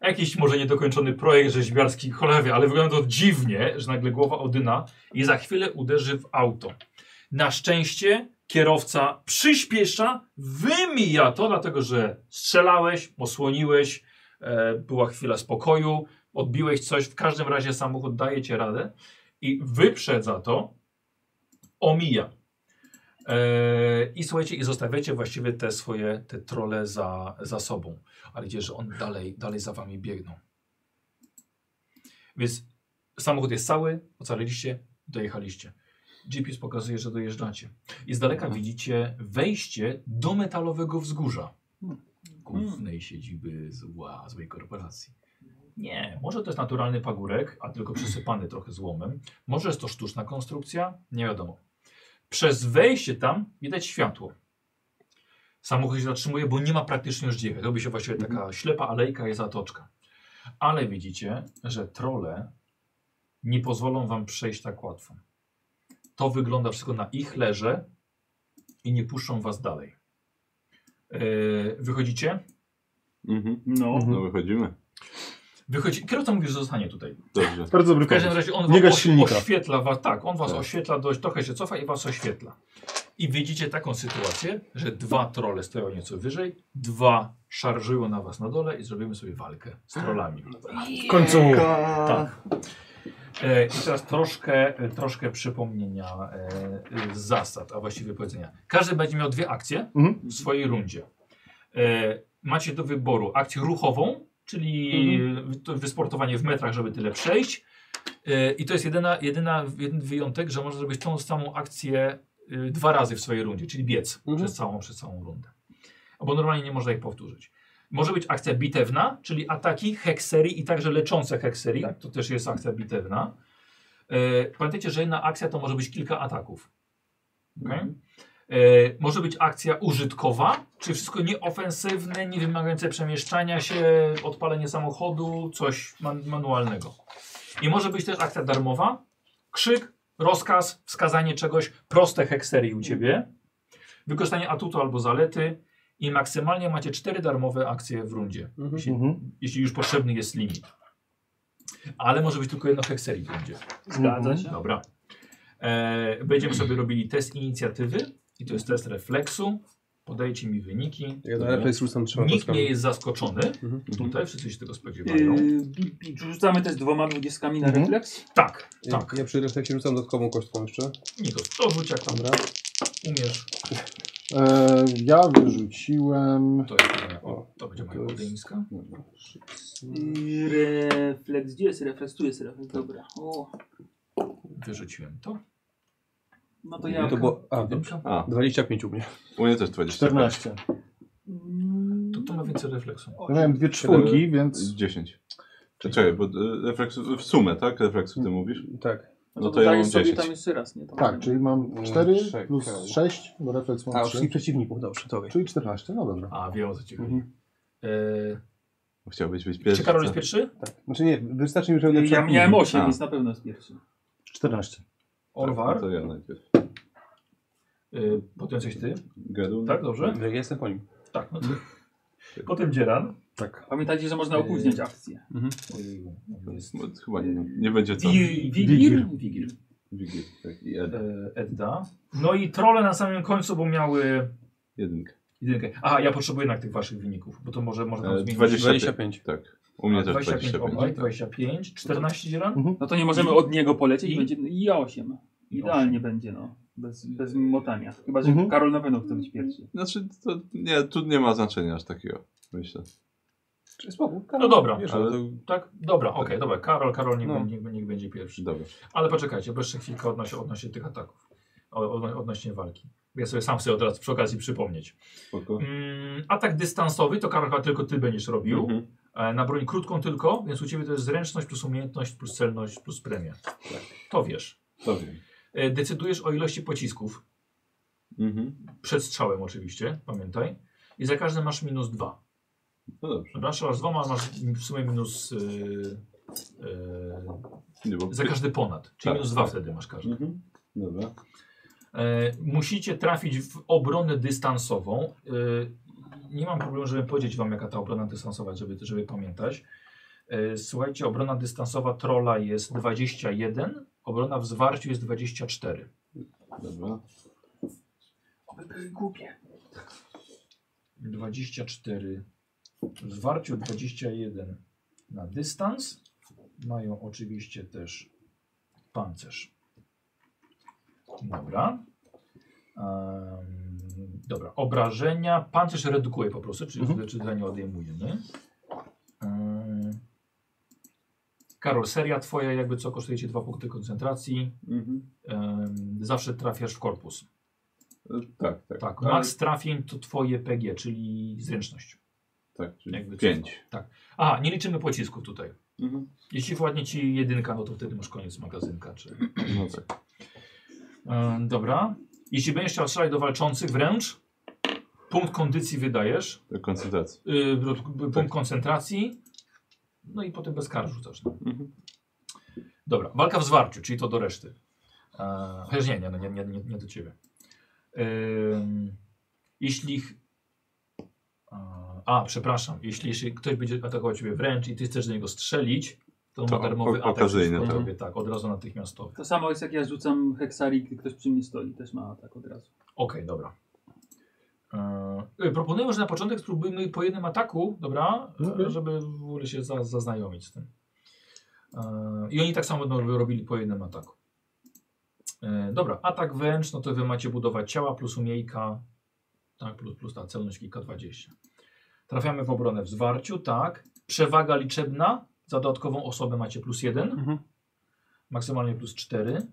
Jakiś może niedokończony projekt rzeźbiarski, cholera, wie, ale wygląda to dziwnie, że nagle głowa Odyna i za chwilę uderzy w auto. Na szczęście kierowca przyspiesza, wymija to, dlatego że strzelałeś, osłoniłeś, e, była chwila spokoju, odbiłeś coś, w każdym razie samochód daje ci radę i wyprzedza to, omija. E, I słuchajcie, i zostawiacie właściwie te swoje, te trole za, za sobą. Ale widzicie, że on dalej, dalej za wami biegną. Więc samochód jest cały, ocaliliście, dojechaliście. GPS pokazuje, że dojeżdżacie. I z daleka widzicie wejście do metalowego wzgórza. Głównej siedziby zła, złej korporacji. Nie, może to jest naturalny pagórek, a tylko przesypany trochę złomem. Może jest to sztuczna konstrukcja, nie wiadomo. Przez wejście tam widać światło. Samochód się zatrzymuje, bo nie ma praktycznie już gdzie jechać. Robi się właściwie taka ślepa alejka i zatoczka. Ale widzicie, że trole nie pozwolą wam przejść tak łatwo. To wygląda wszystko na ich lerze, i nie puszczą was dalej. E, wychodzicie? Mhm. No. No wychodzimy. Wychodzi... Kierowca mówi, że zostanie tutaj. Dobrze. Bardzo dobry W każdym pomysł. razie on Nie wam gaś oś- silnika. oświetla was, tak, on was Tak. oświetla dość, trochę się cofa i was oświetla. I widzicie taką sytuację, że dwa trole stoją nieco wyżej, dwa szarżują na was na dole i zrobimy sobie walkę z trolami. W końcu Tak. E, I teraz troszkę, troszkę przypomnienia e, e, zasad, a właściwie powiedzenia. Każdy będzie miał dwie akcje Mhm. w swojej rundzie. E, macie do wyboru akcję ruchową, czyli wy- to wysportowanie w metrach, żeby tyle przejść. E, I to jest jedyna, jedyna, jeden wyjątek, że można zrobić tą samą akcję y, dwa razy w swojej rundzie, czyli biec Mhm. przez, całą, przez całą rundę. Bo normalnie nie można ich powtórzyć. Może być akcja bitewna, czyli ataki, hekserii i także leczące hekserii. To też jest akcja bitewna. E, pamiętajcie, że jedna akcja to może być kilka ataków. Okej? E, może być akcja użytkowa, czyli wszystko nieofensywne, nie wymagające przemieszczania się, odpalenie samochodu, coś man manualnego. I może być też akcja darmowa, krzyk, rozkaz, wskazanie czegoś, proste hekserii u ciebie, wykorzystanie atutu albo zalety i maksymalnie macie cztery darmowe akcje w rundzie, jeśli, Mhm. jeśli już potrzebny jest limit. Ale może być tylko jedno hekserii w rundzie. Zgadza się. Dobra. E, będziemy sobie robili test inicjatywy i to jest test refleksu. Podajcie mi wyniki. Ja na refleks rzucam trzema Nikt nie kostkami. jest zaskoczony. Mhm. Tutaj wszyscy się tego spodziewają. Yy, bi- bi- Rzucamy też dwoma dwudziestkami na Mhm. refleks. Tak, Ja- tak. Ja przy refleksie rzucam dodatkową kostką jeszcze. Nikos, to rzuć jak tam Dobra. umiesz. E, ja wyrzuciłem... To, jest moja, O, to będzie moja to jest- podejmska. Yy, Refleks, gdzie jest refleks? Tu jest refleks, dobra. O, Wyrzuciłem to. no to ja. To było, a, dobrze. Jedynka. A, 25 u mnie. u mnie też 20. 14. Mm, No To, to ma więcej refleksu. Ja miałem dwie czwórki, więc... 10. Czekaj, bo y, refleks w sumie, tak? Refleksu ty mówisz? Tak. No No to to ja dajesz mam sobie 10. tam jeszcze raz, nie? Tam Tak, czyli mam 4 Czekaj. plus 6, bo refleks A, mam 3. wszystkich przeciwników, dobrze, to Czyli 14, no dobra. A, wiem o co ci chodzi. Mhm. E, Chciałbyś być czy pierwszy. Karol jest co? pierwszy? Znaczy nie, wystarczy mi, że Ja miałem 8, A. więc na pewno jest pierwszy. 14. Orwar. Tak, no to ja najpierw. E, potem coś ty. Gadun. Tak, dobrze? Ja jestem po nim. Tak. No to. Potem Dzieran. Tak. Pamiętajcie, że można opóźniać akcję. Ojeju, jest. No, Chyba nie, nie będzie co. Wigil? Wigil. Wigil. Wigil. Wigil, tak, i Ed. E, Edda. No i trole na samym końcu, bo miały Jedynkę. jedynkę. Aha, ja potrzebuję jednak tych waszych wyników, bo to może można tam E, zmienić. 20. 25. Tak. U mnie też 25 obaj, 25. 25, 14 dzieran? No to nie możemy od niego polecieć I? i będzie no i 8. I Idealnie osiem. będzie, no. Bez, bez motania. Chyba, że Mhm. Karol na pewno chce być pierwszy. Znaczy, to nie, tu nie ma znaczenia aż takiego, myślę. Spokój, No dobra, Wiesz, ale- ale... to... tak? Dobra, okej, dobra. Karol, Karol niech, No. będzie- niech, niech będzie pierwszy. Dobra. Ale poczekajcie, bo jeszcze chwilkę odnośnie, odnośnie tych ataków. O- Odno, odnośnie walki. Ja sobie sam chcę od razu przy okazji przypomnieć. Spoko. Mm, atak dystansowy to Karol chyba tylko ty będziesz robił. Mhm. E, Na broń krótką tylko, więc u ciebie to jest zręczność plus umiejętność plus celność plus premia. Tak. To wiesz. To wiem. E, Decydujesz o ilości pocisków. Mhm. Przed strzałem oczywiście, pamiętaj. I za każdy masz minus dwa. No dobrze. Dobra, strzelasz dwoma, masz w sumie minus... Yy, yy, Nie, bo... za każdy ponad, czyli Tak. minus dwa wtedy masz każdy. Mhm. Dobra. E, musicie trafić w obronę dystansową. E, nie mam problemu, żeby powiedzieć wam, jaka ta obrona dystansowa, jest, żeby, żeby pamiętać. E, słuchajcie, obrona dystansowa trola jest 21, obrona w zwarciu jest 24. Dobra. Oby były głupie. 24 w zwarciu, 21 na dystans. Mają oczywiście też pancerz. Dobra. Em, dobra, obrażenia. Pancerz redukuje po prostu, czyli mhm. zdecydowanie odejmujemy. Em, Karol, seria twoja, jakby co, kosztuje ci dwa punkty koncentracji. Mhm. Em, zawsze trafiasz w korpus. E, Tak, tak. Tak, Ale- max trafień to twoje PG, czyli zręczność. Tak, Jakby czyli co, 5. Tak. A, nie liczymy pocisków tutaj. Mhm. Jeśli władnie ci jedynka, no to wtedy masz koniec magazynka. Czy... No tak. E, dobra. Jeśli będziesz chciał strzelać do walczących wręcz, punkt kondycji wydajesz, Do koncentracji. y, bro- Yy, punkt koncentracji, no i potem bez kar rzucasz. No. Mhm. no, Dobra, walka w zwarciu, czyli to do reszty. E, chociaż nie, nie, nie, nie, nie do ciebie. Ym, jeśli. ch- A, przepraszam. Jeśli, jeśli ktoś będzie atakował ciebie wręcz i ty chcesz do niego strzelić, to, To ma darmowy o- o- atak. okazyjny, przeciwko tak. tobie, tak, od razu natychmiastowy. To samo jest jak ja rzucam heksarik i ktoś przy mnie stoi, też ma atak od razu. Okej, dobra. Yy, proponuję, że na początek spróbujmy po jednym ataku, dobra? Yy, Okej. Żeby w ogóle się za, zaznajomić z tym. Yy, I oni tak samo będą robili po jednym ataku. Yy, dobra, atak wręcz, no to wy macie budować ciała plus umiejka, tak, plus, plus ta celność kilka 20. Trafiamy w obronę w zwarciu, tak. Przewaga liczebna, za dodatkową osobę macie plus jeden, Mhm. maksymalnie plus cztery.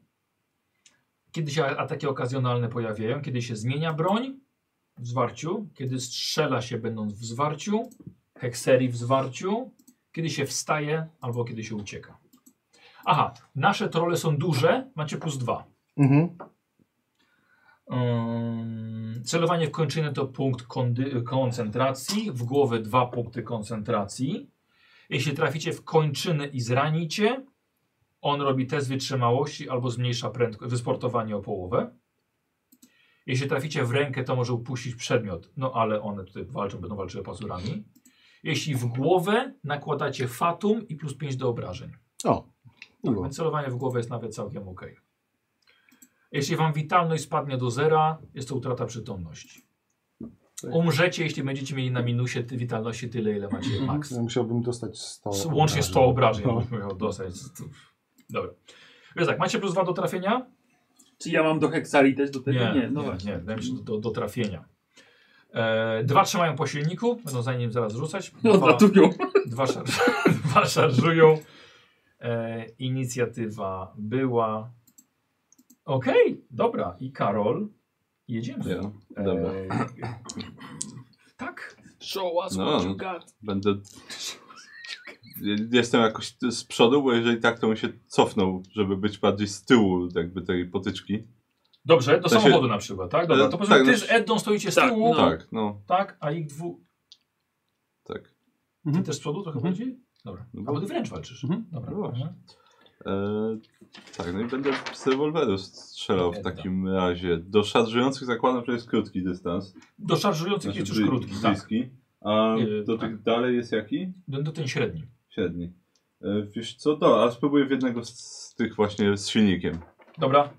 Kiedy się ataki okazjonalne pojawiają, kiedy się zmienia broń w zwarciu, kiedy strzela się będąc w zwarciu, hekserii w zwarciu, kiedy się wstaje albo kiedy się ucieka. Aha, nasze trole są duże, macie plus dwa. Mhm. Ym, celowanie w kończynę to punkt kondy, koncentracji, w głowę dwa punkty koncentracji. Jeśli traficie w kończynę i zranicie, on robi test wytrzymałości albo zmniejsza prędkość, wysportowanie o połowę. Jeśli traficie w rękę, to może upuścić przedmiot, no ale one tutaj walczą, będą walczyły pazurami. Jeśli w głowę, nakładacie fatum i plus 5 do obrażeń. O, miło. Więc celowanie w głowę jest nawet całkiem ok. Jeśli wam witalność spadnie do zera, jest to utrata przytomności. Umrzecie, jeśli będziecie mieli na minusie ty witalności tyle, ile macie maks. Ja musiałbym dostać 100. S- Łącznie 100 obrażeń, No. jakbyś miał dostać. Dobra. Więc tak, macie plus 2 do trafienia? Czy ja mam do heksari też do tego? Nie, no nie, właśnie. nie, wydaje mi się, do, do, do trafienia. E, dwa trzymają po silniku, będą za nim zaraz rzucać. No, Dwa, odlatują. dwa, szar dwa szarżują. E, inicjatywa była. Okej, dobra. I Karol, jedziemy. Ja. Dobra. E, tak? Show us No. what you got. Będę. Jestem jakoś z przodu, bo jeżeli tak, to bym się cofnął, żeby być bardziej z tyłu jakby tej potyczki. Dobrze, do To się- samochodu na przykład, tak? Dobra, E, to powiedzmy, tak, ty no- z Eddą stoicie z Tak, tyłu, tak, Tak, no, a ich dwu... tak. Ty też z przodu trochę Mhm. bardziej? Dobra, No albo bo- ty wręcz walczysz. Mhm. Dobra. No właśnie. E, tak, no i będę z rewolweru strzelał w Edda. takim razie. Do szarżujących zakładam, że jest krótki dystans. Do szarżujących jest Znaczy, już bli- krótki, tak. bliski. A Nie, do tak. tych dalej jest jaki? Do, do ten średni. Średni. E, wiesz co, do, a spróbuję w jednego z, z tych właśnie z silnikiem Dobra,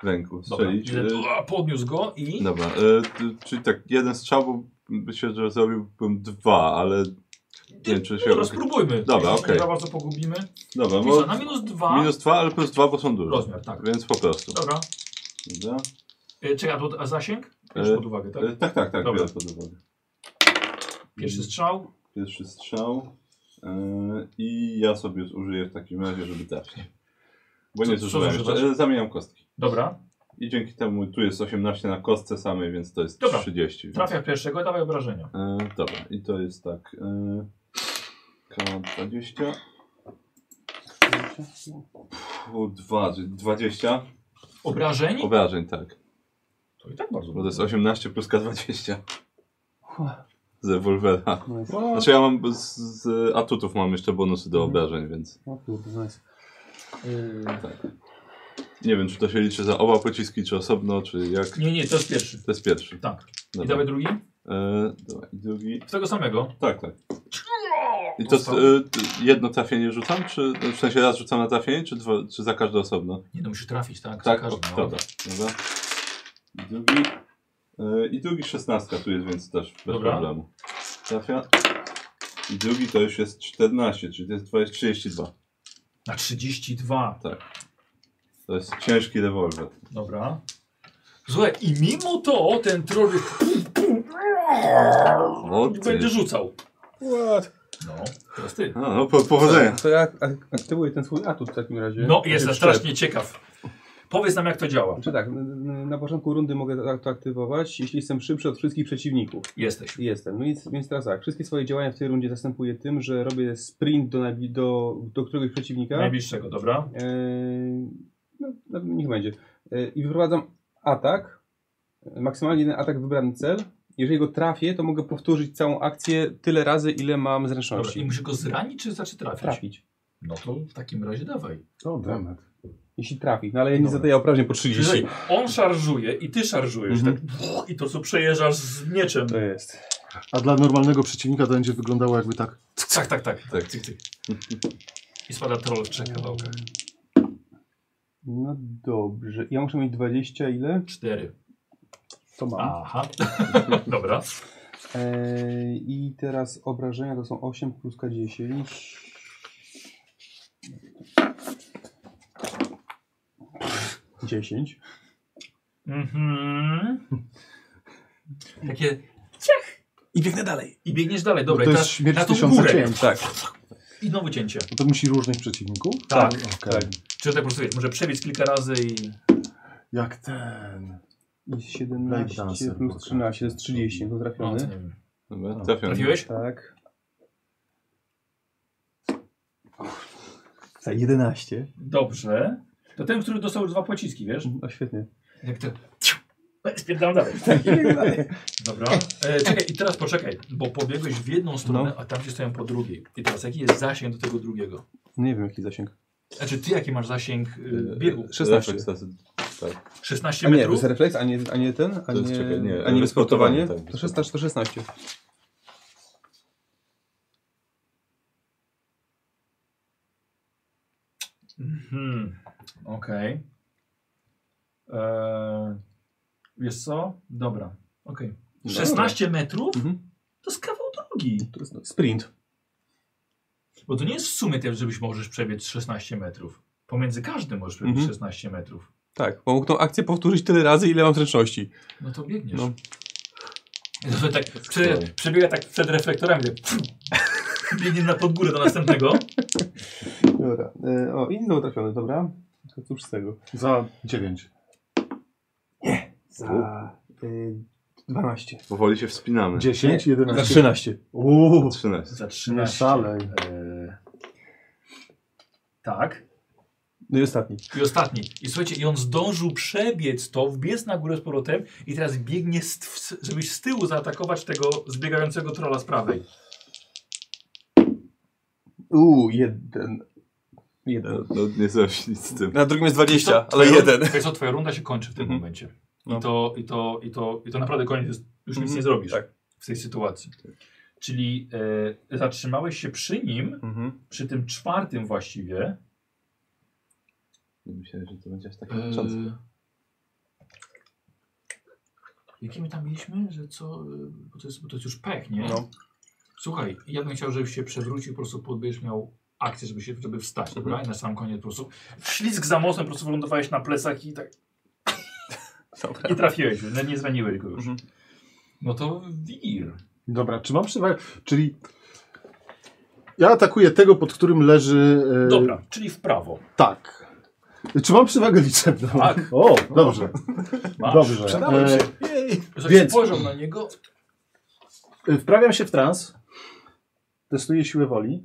w ręku dobra. strzelić. Jeden- E, Ua, Podniósł go i... Dobra, e, t- czyli tak, jeden strzał był- myślę, że zrobiłbym dwa, ale nie wiem, czy się... No Dobra, spróbujmy. Dobra, Jeśli się okej. Za bardzo pogubimy. Dobra, Pisa, bo na minus dwa minus dwa, ale plus dwa, bo są duże. rozmiar, tak. Więc po prostu. Dobra. Dobra. E, Czekaj, a to- a zasięg? Bierz E, pod uwagę, tak? E, tak, tak, tak, Dobra. biorę pod uwagę. Pierwszy strzał. Pierwszy strzał e, i ja sobie użyję w takim razie, żeby dać. Bo Co- nie co zużyłem, zużywasz? e, zamieniam kostki. Dobra. I dzięki temu tu jest 18 na kostce samej, więc to jest Dobra. 30. Więc, Trafia w pierwszego, dawaj obrażenia. e, dobra, i to jest tak. E, K20. Pfu, dwa, czyli 20 Obrażeń? obrażeń, tak. To i tak bardzo Bo to jest dużo. 18 plus K20. Z rewolwera. O, Znaczy ja mam z, z atutów mam jeszcze bonusy Mhm. do obrażeń, więc o kurde, no nice. nie wiem czy to się liczy za oba pociski, czy osobno, czy jak. Nie, nie, to jest pierwszy. To jest pierwszy. Tak. I Dobra. dawaj drugi? E, dobra. I drugi. W tego samego. Tak, tak. I to Dostał. e, t- jedno trafienie rzucam, czy w sensie raz rzucam na trafienie, czy, dwa, czy za każde osobno? Nie, no musisz trafić, tak? Za Tak, każdym, no. o, dobra. dobra. I drugi. E, I drugi 16 tu jest, więc też bez Dobra. problemu. Trafia. I drugi to już jest 14, czyli to jest 20, 32. Na 32. To jest ciężki rewolwer. Dobra. Słuchaj, i mimo to ten troll O, ty. będzie rzucał. What? No, teraz ty. A, no, po, powodzenia. To ja ak- aktywuję ten swój atut w takim razie. No, jestem Szczep. strasznie ciekaw. Powiedz nam, jak to działa. Znaczy tak, n- n- na początku rundy mogę tak to aktywować, jeśli jestem szybszy od wszystkich przeciwników. Jesteś. Jestem. No więc, więc teraz tak, wszystkie swoje działania w tej rundzie zastępuję tym, że robię sprint do, najbli- do, do któregoś przeciwnika. Najbliższego, dobra? Eee, no, no, niech będzie. Eee, I wyprowadzam atak. Eee, Maksymalnie jeden atak w wybrany cel. Jeżeli go trafię, to mogę powtórzyć całą akcję tyle razy, ile mam Dobra. zręczności. I musisz go zranić, czy znaczy trafić? trafić. No to w takim razie dawaj. To demet. Jeśli trafi. No ale ja nie zadaję uprawnień po 30. Jeżeli on szarżuje i ty szarżujesz, Mhm. tak brrr, i to co przejeżdżasz z mieczem. To jest. A dla normalnego przeciwnika to będzie wyglądało jakby tak. Tak, tak, tak. Tak. Cyk, cyk. I spada troll w trzech kawałkach. No dobrze. Ja muszę mieć 20 ile? Cztery. To mam. Aha. Dobra. Eee, I teraz obrażenia to są 8 plus K10. Dziesięć. Mhm. Takie I biegnę dalej. i biegniesz dalej. Bo Dobra, to i jest teraz śmierć na tą tysiąca górę. cięć. Tak. I znowu cięcie. No To musi różnych przeciwników? Tak. Okej. Czy tak po prostu wiesz, może przebiec kilka razy i... Jak ten. I 17 Dancer plus pokaże. 13 to jest 30. To No, to trafiony. nie wiem. Dobra, A, trafiam. Trafiłeś? Tak. Za 11. Dobrze. To ten, który dostał już dwa pociski, wiesz? O No świetnie. Jak to... Spierdalam No, dalej. Dobra. E, czekaj, i teraz poczekaj, bo pobiegłeś w jedną stronę, a tam się stoją po drugiej. I teraz jaki jest zasięg do tego drugiego? Nie wiem jaki zasięg. Znaczy ty jaki masz zasięg y, E, biegu? 16. refleks asy- Tak. 16 A nie, to metrów? jest refleks, a nie, a nie ten, a To jest, nie, czekaj, nie, a nie wysportowanie, wysportowanie. tak, To 16, to 16. Mhm. Okej. Eee, Wiesz co? Dobra. Okej. 16 metrów? Mhm. To jest kawał drogi. To jest no- sprint. Bo to nie jest w sumie też, żebyś możesz przebiec 16 metrów. Pomiędzy każdym możesz przebiec Mhm. 16 metrów. Tak, bo mógł tą akcję powtórzyć tyle razy, ile mam zręczności. No to biegniesz. No. No. Tak, prze, przebiega tak przed reflektorami. Tak, biegnie na podgórę do następnego. Dobra. E, o, i znowu trafiony, dobra. To Cóż z tego? Za 9. Za y, 12. Powoli się wspinamy. 10, Za 11. 13. Uuu, 13. Za 13. szalej. Eee, tak. No i ostatni. I ostatni. I słuchajcie, i on zdążył przebiec to, wbiec na górę z powrotem i teraz biegnie, z, w- żebyś z tyłu zaatakować tego zbiegającego trola z prawej. Uuu, jeden. Jeden. No nie zrobisz nic z tym. Na drugim jest 20, Twoja ale runda- jeden. Wiesz co, twoja runda się kończy w tym Mhm. momencie. I, No. to, i, to, i, to, I to naprawdę koniec jest. Już nic Mhm. nie zrobisz Tak. w tej sytuacji. Czyli e, zatrzymałeś się przy nim, Mhm. przy tym czwartym właściwie. Nie myślałem, że to będzie aż takie E, męczące. jakie my tam mieliśmy? Że co? e, Bo to jest, bo to jest już pech, nie? No. Słuchaj, ja bym chciał, żebyś się przewrócił, po prostu podbierz miał akcję, żeby się żeby wstać, dobra? I na sam koniec po prostu ślizg za mocem, po prostu wylądowałeś na plecach i tak Dobra. i trafiłeś, no nie zraniłeś go już. Mhm. No to wir. Dobra, czy mam przewagę? Czyli ja atakuję tego, pod którym leży. e, Dobra, czyli w prawo. Tak. Czy mam przewagę liczebną? Tak. O, dobrze. Masz. Dobrze. Przydałem się. E, Jej. Więc Więc- spojrzał na niego. Y, Wprawiam się w trans. Testuję siłę woli.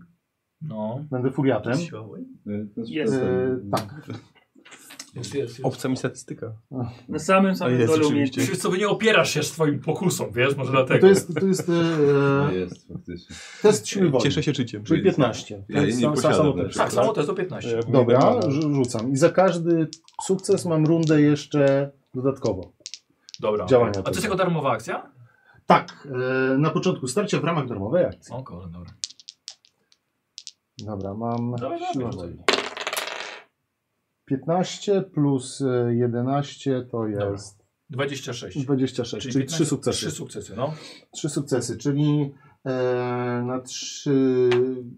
No. Będę furiatem. E, to jest Jest. E, przestępne. Eee, tak. Jest, jest, jest. Obca mi statystyka. Na samym A samym jest, dole oczywiście. umiejętności. Wiesz co, wy nie opierasz się swoim pokusom, wiesz, może To dlatego. jest, to jest No e, jest, faktycznie. test siły woli. Cieszę się czyciem. Czyli 15. Ja jej nie Sam- sam- posiadam samo na też. Tak, samo to jest do 15. Dobra, rzu- rzucam. I za każdy sukces mam rundę jeszcze dodatkowo. Dobra. Działania A to jest tego. jako darmowa akcja? Tak, e, na początku starcia w ramach darmowej akcji. O kurde, dobra. Dobra, mam Dawaj, dawaj, siłę rzucaj. woli. 15 plus e, 11 to Dobra. jest 26. 26, czyli, 3 sukcesy. 3 sukcesy, no. Trzy sukcesy, czyli e, na trzy,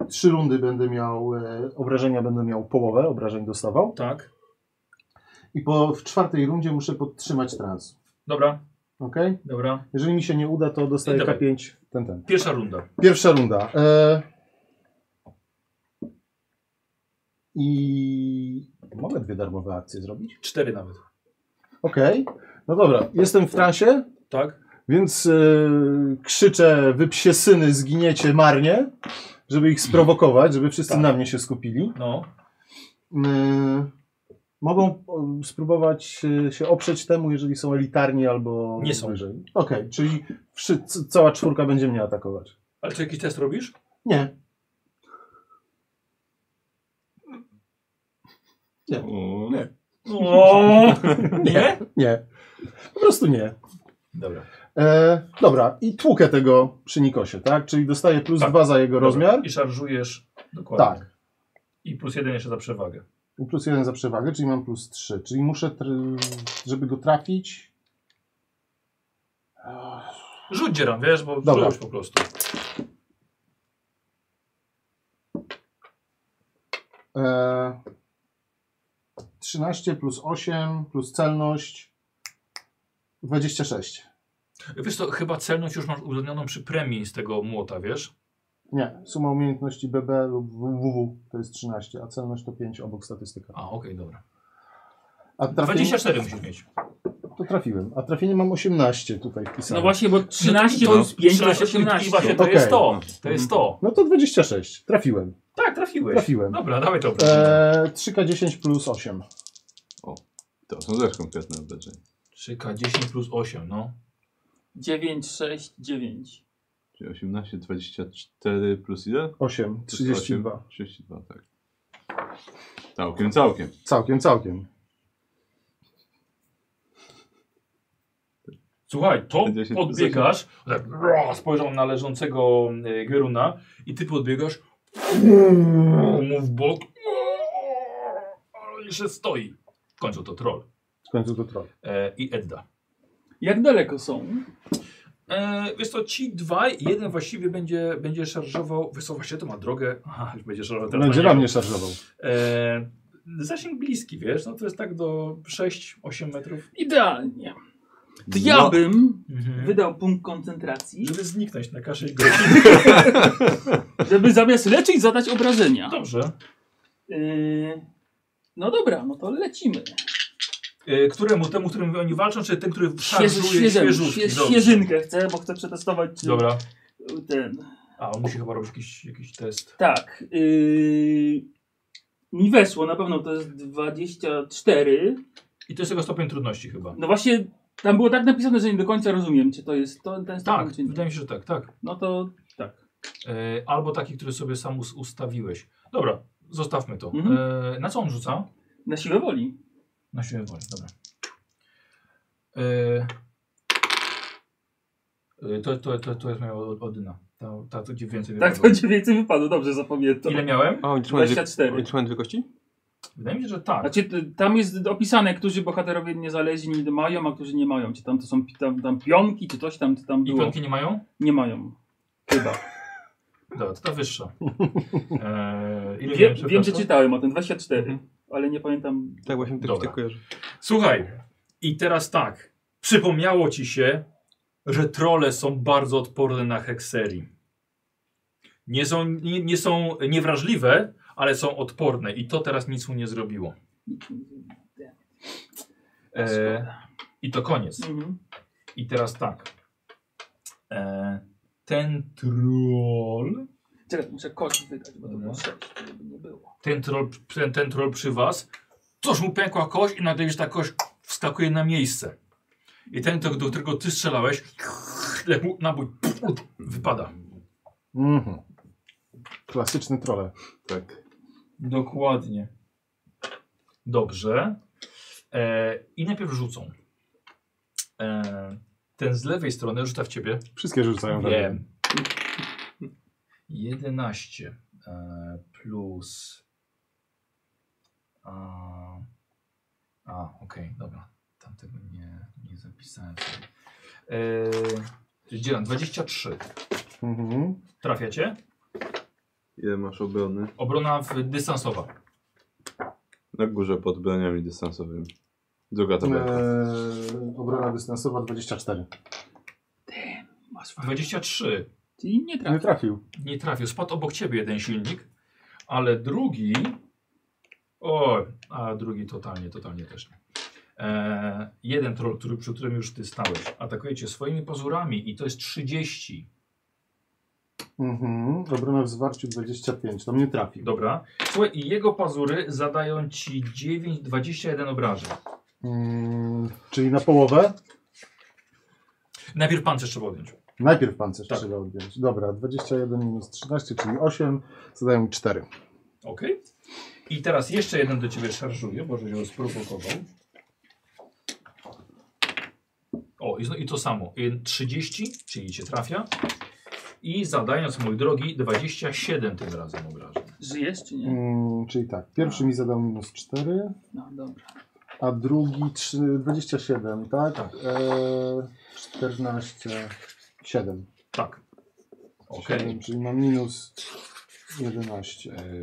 trzy rundy będę miał e, obrażenia, będę miał połowę obrażeń dostawał Tak. i po, w czwartej rundzie muszę podtrzymać trans. Dobra, Ok? dobra. Jeżeli mi się nie uda, to dostaję Dawaj. K5 ten ten. Pierwsza runda. Pierwsza runda. E, I mogę dwie darmowe akcje zrobić? Cztery nawet. Ok. No dobra, jestem w transie, Tak? więc e, krzyczę, wy psie syny zginiecie marnie, żeby ich sprowokować, żeby wszyscy Tak. na mnie się skupili. No. E, mogą e, spróbować e, się oprzeć temu, jeżeli są elitarni albo Nie są. wyżej. Okej, czyli wszy, c- cała czwórka będzie mnie atakować. Ale czy jakiś test robisz? Nie. Nie. O, Nie. O, nie? Nie. Po prostu nie. Dobra. E, dobra, i tłukę tego przy Nikosie, tak? Czyli dostaję plus Tak. dwa za jego Dobra. rozmiar. I szarżujesz. Dokładnie. Tak. I plus jeden jeszcze za przewagę. I plus jeden za przewagę, czyli mam plus trzy. Czyli muszę, tr- żeby go trafić. Rzuć dzieram, wiesz, bo Dobra. rzuć po prostu. E, 13 plus 8 plus celność 26. Wiesz to chyba celność już masz uwzględnioną przy premii z tego młota, wiesz? Nie, suma umiejętności BB lub WW to jest 13, a celność to 5 obok statystyka. A, okej, dobra. A trafienie, 24 musisz mieć. to trafiłem, a trafienie mam 18 tutaj wpisane. No właśnie, bo 13 No to- plus 5 to jest 13, 18. I właśnie to Okej. jest to. To jest to. No to 26, trafiłem, Tak, trafiłeś. trafiłem. No. Dobra, dawaj to. E, 3K10 plus 8. To są też konkretne obrażenia. 3K10 plus 8, no. 9, 6, 9. Czyli 18, 24 plus ile? 8, 32. 32, tak. Całkiem, całkiem. Całkiem, całkiem. Słuchaj, to 10 plus podbiegasz, tak, ro, spojrzał na leżącego y, Geruna i ty podbiegasz mu w bok, ale jeszcze stoi. W końcu to troll. W końcu to troll. E, I Edda. Jak daleko są? E, wiesz co, ci dwaj, jeden właściwie będzie, będzie szarżował, wiesz co, właśnie to ma drogę, aha, już będzie szarżował teraz Będzie na na niego. mnie szarżował. E, zasięg bliski, wiesz, no to jest tak do 6-8 metrów, Idealnie. To No. ja No, bym mhm. wydał punkt koncentracji, żeby zniknąć na K6 żeby zamiast leczyć zadać obrażenia. No Dobrze. Yy, no dobra, no to lecimy. E, Któremu? Temu, którym oni walczą, czy ten, który Świeży, szarżuje świeżym, świeżutki? świe, Dobrze. świeżynkę chcę, bo chcę przetestować czy Dobra. ten. A, on musi chyba robić jakiś, jakiś test. Tak. Yy, mi weszło, na pewno to jest 24. I to jest jego stopień trudności chyba. No właśnie, tam było tak napisane, że nie do końca rozumiem, czy to jest to, ten stopień, Tak, czy nie. wydaje mi się, że tak, tak. No to tak. E, albo taki, który sobie sam us ustawiłeś. Dobra, zostawmy to. Mhm. E, na co on rzuca? Na siłę woli. Na siłę woli, dobra. E, e, to, to, to, to jest moja od- odyna. Ta, ta to gdzie więcej Tak, to wypadło. dziewięć więcej wypadło, dobrze zapamiętam. Ile miałem? A oni trzymają dwie, 24. oni trzymają dwie kości? Wydaje mi się, że tak. Znaczy, t- tam jest opisane, którzy bohaterowie niezależni mają, a którzy nie mają. Czy tam to są pi- tam, tam pionki, czy coś tam, czy tam I było. piątki nie mają? Nie mają. Chyba. Dobra, to ta wyższa. E, ile Wie, miałem, wiem, że przepraszam? czytałem o tym, 24, Mhm. ale nie pamiętam. Tak, właśnie tak, Dobra. tak kojarzę. Słuchaj, i teraz tak. Przypomniało ci się, że trole są bardzo odporne na hekserii. Nie są, nie, nie są niewrażliwe, ale są odporne i to teraz nic mu nie zrobiło. E, I to koniec. Mhm. I teraz tak. E, ten troll, Czekaj, muszę kość wydać, bo to było 6, żeby nie było. ten troll, ten, ten troll przy was, coś mu pękła kość i nagle już ta kość wskakuje na miejsce. I ten, do którego ty strzelałeś, jak mu nabój wypada. Mhm. Klasyczny trole. Tak. Dokładnie. Dobrze. E, I najpierw rzucą. E, ten z lewej strony rzuca w ciebie. Wszystkie rzucają we mnie. Wiem. 11 e, plus. A, a okej, dobra. Tamtego nie, nie zapisałem. sobie. E, dzielam 23. Mhm. Trafiacie? Ile masz obrony? Obrona w dystansowa. Na górze pod broniami dystansowymi. Druga E. tabelka. Eee, obrona dystansowa 24. Masz 23. Czyli nie Nie trafi. trafił. nie trafił. Spadł obok ciebie jeden silnik, ale drugi. O, a drugi totalnie, totalnie też nie. E, jeden troll, który, przy którym już ty stałeś, atakuje cię swoimi pazurami i to jest 30. Mhm. Obrona w zwarciu 25. Tam nie trafił. Dobra. Słuchaj, i jego pazury zadają ci 9, 21 obrażeń. Mm, czyli na połowę? Najpierw pancerz trzeba odjąć. Najpierw pancerz Tak. trzeba odjąć. Dobra, 21 minus 13, czyli 8. Zadają mi 4. Okej. I teraz jeszcze jeden do ciebie szarżuje, bo żeś go sprowokował. O, i, zno- i to samo. Y, 30, czyli cię trafia. I zadając, mój drogi, 27 tym razem obrażeń. Żyjesz czy nie? Mm, czyli tak, pierwszy mi zadał minus 4, No dobra. a drugi trzy- 27, tak? Tak. E, 14, 7. Tak. Okej. Siedem, Czyli mam minus 11. E.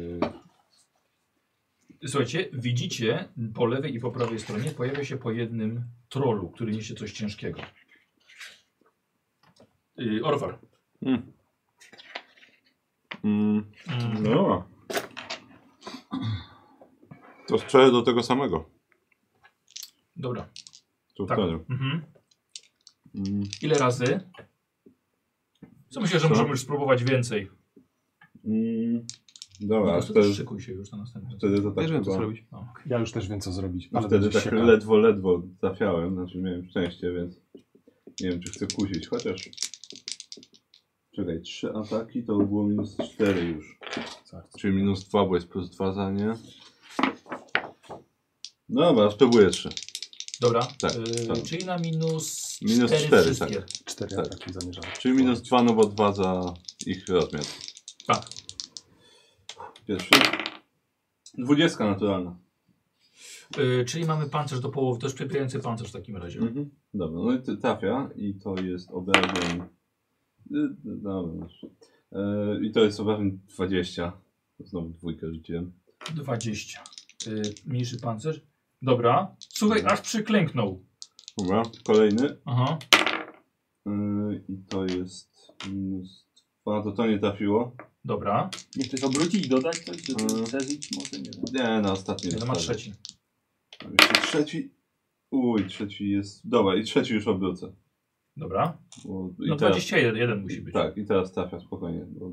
Yy, Słuchajcie, widzicie po lewej i po prawej stronie pojawia się po jednym trolu, który niesie coś ciężkiego. Yy, Orwar. Mm, no. To strzelę do tego samego. Dobra. Tu Tak. tak. mm, Mhm. Ile razy? Co myślę, że Co? możemy już spróbować więcej. mm, Po Dobra, prostu wtedy, szykuj się już na następny. wtedy to tak Wierzyłem to chyba- zrobić. No. Ja już też wiem co zrobić, ale Wtedy będzie tak sieka. ledwo, ledwo trafiałem, znaczy miałem szczęście, więc nie wiem czy chcę kusić, chociaż... Czekaj, trzy ataki to było minus cztery już. Czyli minus dwa, bo jest plus dwa za nie. No Dobra, to były trzy. Dobra, Tak, yy, tak. czyli na minus, Minus cztery cztery, wszystkie. tak. Cztery Tak. ataki zamierzałem. Czyli minus dwa, no bo dwa za ich rozmiar. Tak. Pierwszy. Dwudziestka naturalna. tak. Yy, czyli mamy pancerz do połowy, też przebijający pancerz w takim razie. Mhm. Dobra, no i ty- trafia i to jest obrażeń. y, y, Dobra. E, I to jest obrażeń 20. Znowu dwójkę rzuciłem. 20. Y, mniejszy pancerz. Dobra. Słuchaj, aż przyklęknął. Dobra, kolejny. Aha. Y, I to jest minus 2. To to nie trafiło. Dobra. Nie chcesz obrócić, dodać coś, żeby Mm. przeżyć? Może nie wiem. Nie, na ostatnie. To ma wpadło. trzeci. Tam jeszcze trzeci. Uj, trzeci jest. Dobra, i trzeci już obrócę. Dobra. Bo- i No teraz- 21 jeden musi być. Tak, i teraz trafia spokojnie. Bo...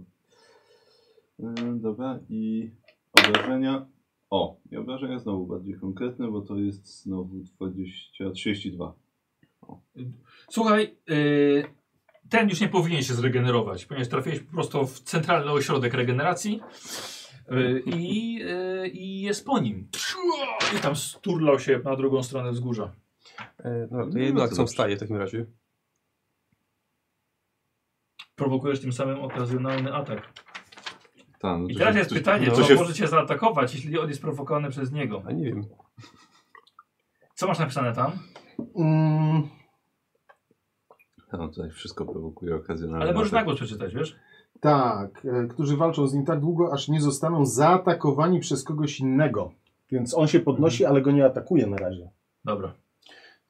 Yy, dobra, i obrażenia. O, i obrażenia znowu bardziej konkretne, bo to jest znowu 20, 32. Słuchaj, y, ten już nie powinien się zregenerować, ponieważ trafiłeś po prostu w centralny ośrodek regeneracji y, i y, i jest po nim. I tam sturlał się na drugą stronę wzgórza. E, no, to No, jedną to akcją dobrze. wstaje w takim razie. Prowokujesz tym samym okazjonalny atak. Ta, no I to teraz się- jest to się- pytanie, to co się- może cię zaatakować, jeśli on jest prowokowany przez niego. A nie wiem. Co masz napisane tam? Mm, Tam no tutaj wszystko prowokuje okazjonalnie. no Ale tak, możesz na głos przeczytać, wiesz? tak, e, którzy walczą z nim tak długo, aż nie zostaną zaatakowani przez kogoś innego. Więc on się Mhm. podnosi, ale go nie atakuje na razie. Dobra.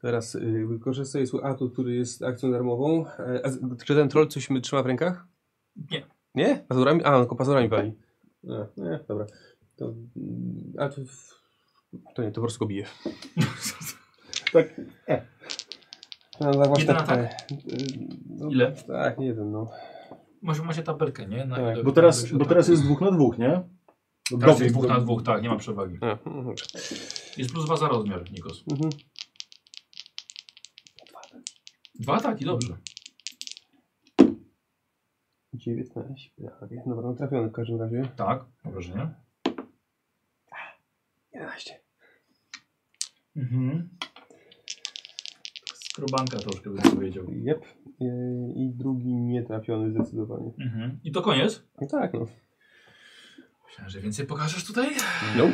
Teraz y, wykorzystuję swój atut, który jest akcją darmową. E, a, z- czy ten troll coś mi trzyma w rękach? Nie. Nie? Pazurami? A, tylko pazurami pali. E, nie, dobra. To, mm, a to, to nie, to po prostu go bije. Tak, E. e. No, no, właśnie Jeden tak, atak? e, no, Ile? Tak, nie wiem, no. Może macie tabelkę, nie? Na Tak, ile- Bo teraz, ile- bo teraz jest dwóch na dwóch, nie? Bo Teraz dobieg jest dwóch do- na dwóch, tak, nie ma przewagi. A, mhm. Jest plus dwa za rozmiar, Nikos. Mhm. Dwa ataki, dobrze. 19, prawie. Dobra, no trafiony w każdym razie. Tak, obrażenia. 11. Mhm. Skrobanka troszkę bym powiedział. Jep. E, I drugi nietrafiony zdecydowanie. Mhm. I to koniec. No tak, no. Myślałem, że więcej pokażesz tutaj. Nope.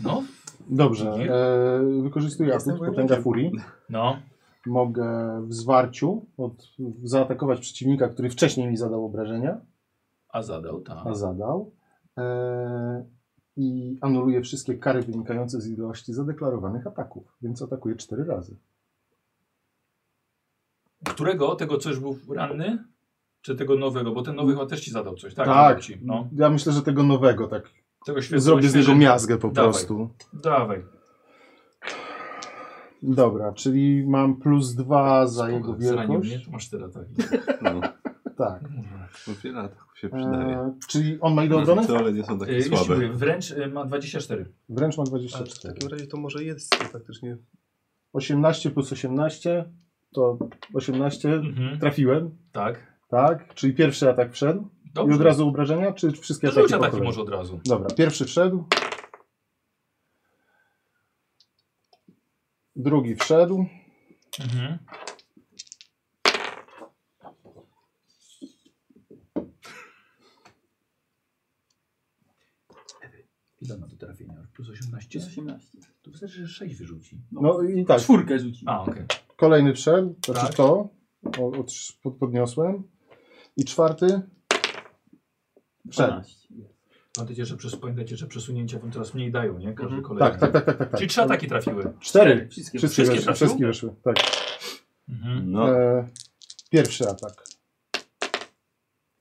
No. Dobrze, Nie? e, wykorzystuję Jestem atut Potęga Furii. No. Mogę w zwarciu od, zaatakować przeciwnika, który wcześniej mi zadał obrażenia, A zadał, tak. a zadał. E, I anuluję wszystkie kary wynikające z ilości zadeklarowanych ataków, więc atakuję cztery razy. Którego? Tego, co już był ranny? Czy tego nowego? Bo ten nowy chyba też ci zadał coś, tak? Zadał Ci. No. Ja myślę, że tego nowego tak Tego świeżego- zrobię z niego świeżego- miazgę po Dawaj. prostu. Dawaj. Dobra, czyli mam plus dwa za Spoko, jego zranił mnie, wielkość. to masz cztery ataki. No, Tak. bo wiele ataków się przydaje. E, czyli on ma ile obrony? Te ale nie są takie Yy, już ci mówię, słabe. wręcz y, ma 24. Wręcz ma A w 24. takim razie to może jest to faktycznie. 18 plus 18 to 18. Mhm. Trafiłem, Tak. tak? Czyli pierwszy atak wszedł. Dobrze. I od razu obrażenia, czy wszystkie Rzuć ataki po ataki kolei? może od razu. Dobra, pierwszy wszedł. Drugi wszedł. Mhm. Ile ma do trafienia? Plus 18? Jest 18. To wystarczy, że 6 wyrzuci. No i tak, Czwórkę rzuci. A, okej. kolejny wszedł, znaczy Tak. to, o, o, trz- pod- podniosłem. I czwarty wszedł. 12. Pamiętajcie, że, przez, pamiętajcie, że przesunięcia wam coraz mniej dają, nie? Każdy kolejny. Tak, tak, tak, tak, tak. tak. Czyli trzy ataki trafiły. Cztery. Tak, Wszystkie. Wszystkie, Wszystkie weszły, trafił? wszystkie weszły, tak. Mhm. No, E, pierwszy atak.